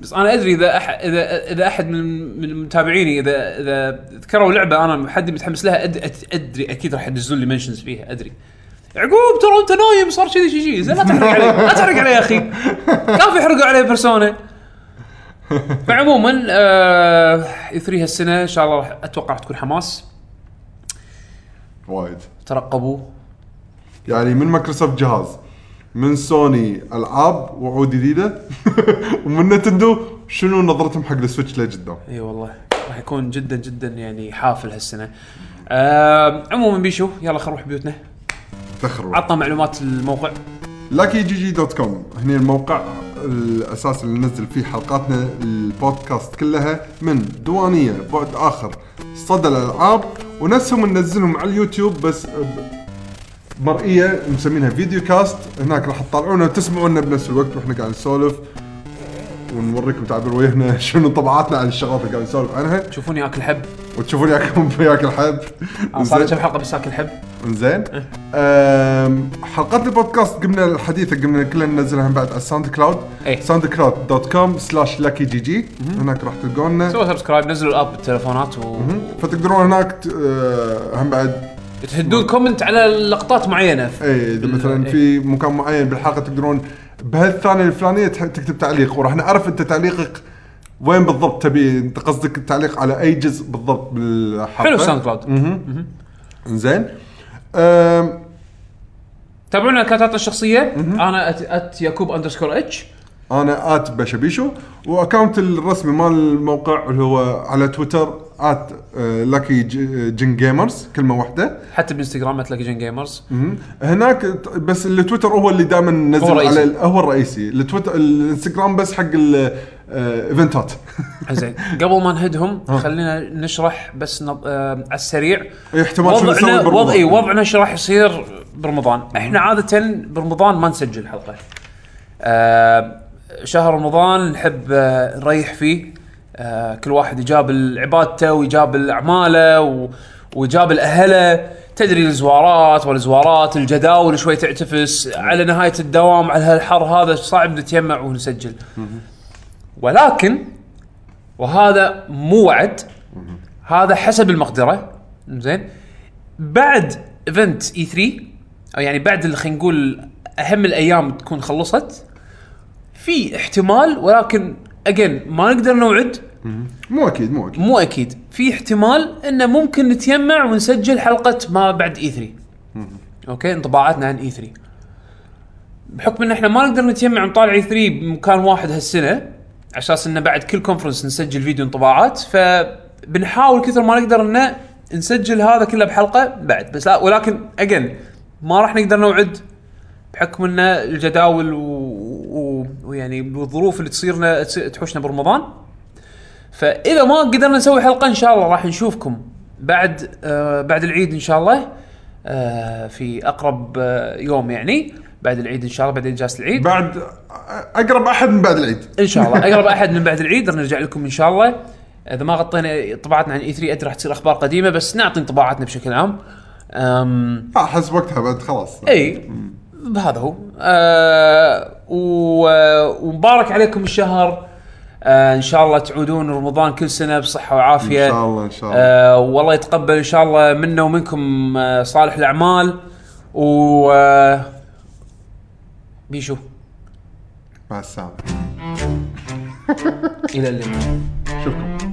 Speaker 3: بس انا ادري اذا أح اذا اذا احد من من متابعيني اذا اذا ذكروا لعبه انا حد متحمس لها أد أد ادري اكيد راح ينزلون لي منشنز فيها ادري عقوب ترى انت نايم صار كذي شي شي زين لا تحرق علي لا تحرق علي يا اخي كان في حرقوا علي بيرسونا فعموما آه 3 هالسنه ان شاء الله راح اتوقع راح تكون حماس
Speaker 2: وايد
Speaker 3: ترقبوا
Speaker 2: يعني من مايكروسوفت جهاز من سوني العاب وعود جديده ومن نتندو شنو نظرتهم حق السويتش لقدام
Speaker 3: اي والله راح يكون جدا جدا يعني حافل هالسنه آه عموما بيشو يلا خلينا نروح بيوتنا
Speaker 2: تاخروا
Speaker 3: عطنا معلومات الموقع
Speaker 2: لاكي جي جي دوت كوم هني الموقع الاساس اللي ننزل فيه حلقاتنا البودكاست كلها من دوانيه بعد اخر صدى الالعاب ونفسهم ننزلهم على اليوتيوب بس ب- مرئيه مسمينها فيديو كاست هناك راح تطالعونا وتسمعونا بنفس الوقت واحنا قاعد نسولف ونوريكم تعبير وجهنا شنو طبعاتنا عن الشغلات اللي قاعد نسولف عنها
Speaker 3: تشوفوني اكل حب
Speaker 2: وتشوفون ياكل ياكل حب
Speaker 3: أنا آه، صار لي
Speaker 2: زين.
Speaker 3: كم حلقه بس اكل حب
Speaker 2: زين
Speaker 3: إيه.
Speaker 2: حلقات البودكاست قمنا الحديثه قمنا كلها ننزلها بعد على الساوند كلاود
Speaker 3: إيه.
Speaker 2: ساوند كلاود دوت كوم سلاش لاكي جي جي هناك راح تلقونا
Speaker 3: سووا سبسكرايب نزلوا الاب بالتلفونات و
Speaker 2: فتقدرون هناك ت- آه، هم بعد
Speaker 3: تهدون كومنت على لقطات معينه
Speaker 2: اي اذا مثلا
Speaker 3: إيه.
Speaker 2: في مكان معين بالحلقه تقدرون بهالثانيه الفلانيه تح- تكتب تعليق وراح نعرف انت تعليقك وين بالضبط تبي انت قصدك التعليق على اي جزء بالضبط بالحلقه
Speaker 3: حلو ساوند كلاود
Speaker 2: زين أم،
Speaker 3: تابعونا اكونتاتنا الشخصيه انا أت, ات يعقوب اندرسكور اتش
Speaker 2: انا ات بشبيشو واكونت الرسمي مال الموقع اللي هو على تويتر آه، ات لاكي جن جيمرز كلمه واحده
Speaker 3: حتى بالانستغرام تلاقي جن جيمرز
Speaker 2: مهم. هناك ت- بس التويتر هو اللي دائما
Speaker 3: هو
Speaker 2: ننزل
Speaker 3: الرئيسي.
Speaker 2: على ال- هو الرئيسي التويتر الانستغرام بس حق آه، الايفنتات
Speaker 3: زين قبل ما نهدهم خلينا نشرح بس نب... آه على السريع
Speaker 2: أي احتمال شو نسوي
Speaker 3: وضعنا
Speaker 2: برمضان.
Speaker 3: وضع اي وضعنا ايش راح يصير برمضان احنا عاده برمضان ما نسجل حلقه آه شهر رمضان نحب آه، نريح فيه آه كل واحد يجاب عبادته ويجاب اعماله و... ويجاب الاهله تدري الزوارات والزوارات الجداول شوي تعتفس على نهايه الدوام على هالحر هذا صعب نتيمع ونسجل ولكن وهذا مو وعد هذا حسب المقدره زين بعد ايفنت اي 3 او يعني بعد اللي خلينا نقول اهم الايام تكون خلصت في احتمال ولكن اجين ما نقدر نوعد
Speaker 2: مو اكيد مو اكيد
Speaker 3: مو اكيد في احتمال انه ممكن نتيمع ونسجل حلقه ما بعد اي 3 اوكي انطباعاتنا عن اي 3 بحكم ان احنا ما نقدر نتجمع ونطالع اي 3 بمكان واحد هالسنه على اساس انه بعد كل كونفرنس نسجل فيديو انطباعات فبنحاول كثر ما نقدر انه نسجل هذا كله بحلقه بعد بس لا ولكن اجين ما راح نقدر نوعد بحكم ان الجداول و... و... ويعني والظروف اللي تصيرنا تس- تحوشنا برمضان فاذا ما قدرنا نسوي حلقه ان شاء الله راح نشوفكم بعد آه بعد العيد ان شاء الله آه في اقرب آه يوم يعني بعد العيد ان شاء الله بعد اجازه العيد
Speaker 2: بعد اقرب احد من بعد العيد
Speaker 3: ان شاء الله اقرب احد من بعد العيد نرجع لكم ان شاء الله اذا ما غطينا طباعتنا عن اي 3 ادري راح تصير اخبار قديمه بس نعطي انطباعاتنا بشكل عام أم
Speaker 2: احس وقتها بعد خلاص
Speaker 3: اي هذا هو آه و- آه، ومبارك عليكم الشهر آه ان شاء الله تعودون رمضان كل سنه بصحه وعافيه
Speaker 2: ان شاء الله ان شاء الله
Speaker 3: آه والله يتقبل ان شاء الله منا ومنكم آه صالح الاعمال و آه بيشو
Speaker 2: مع السلامه
Speaker 3: الى اللقاء
Speaker 2: شوفكم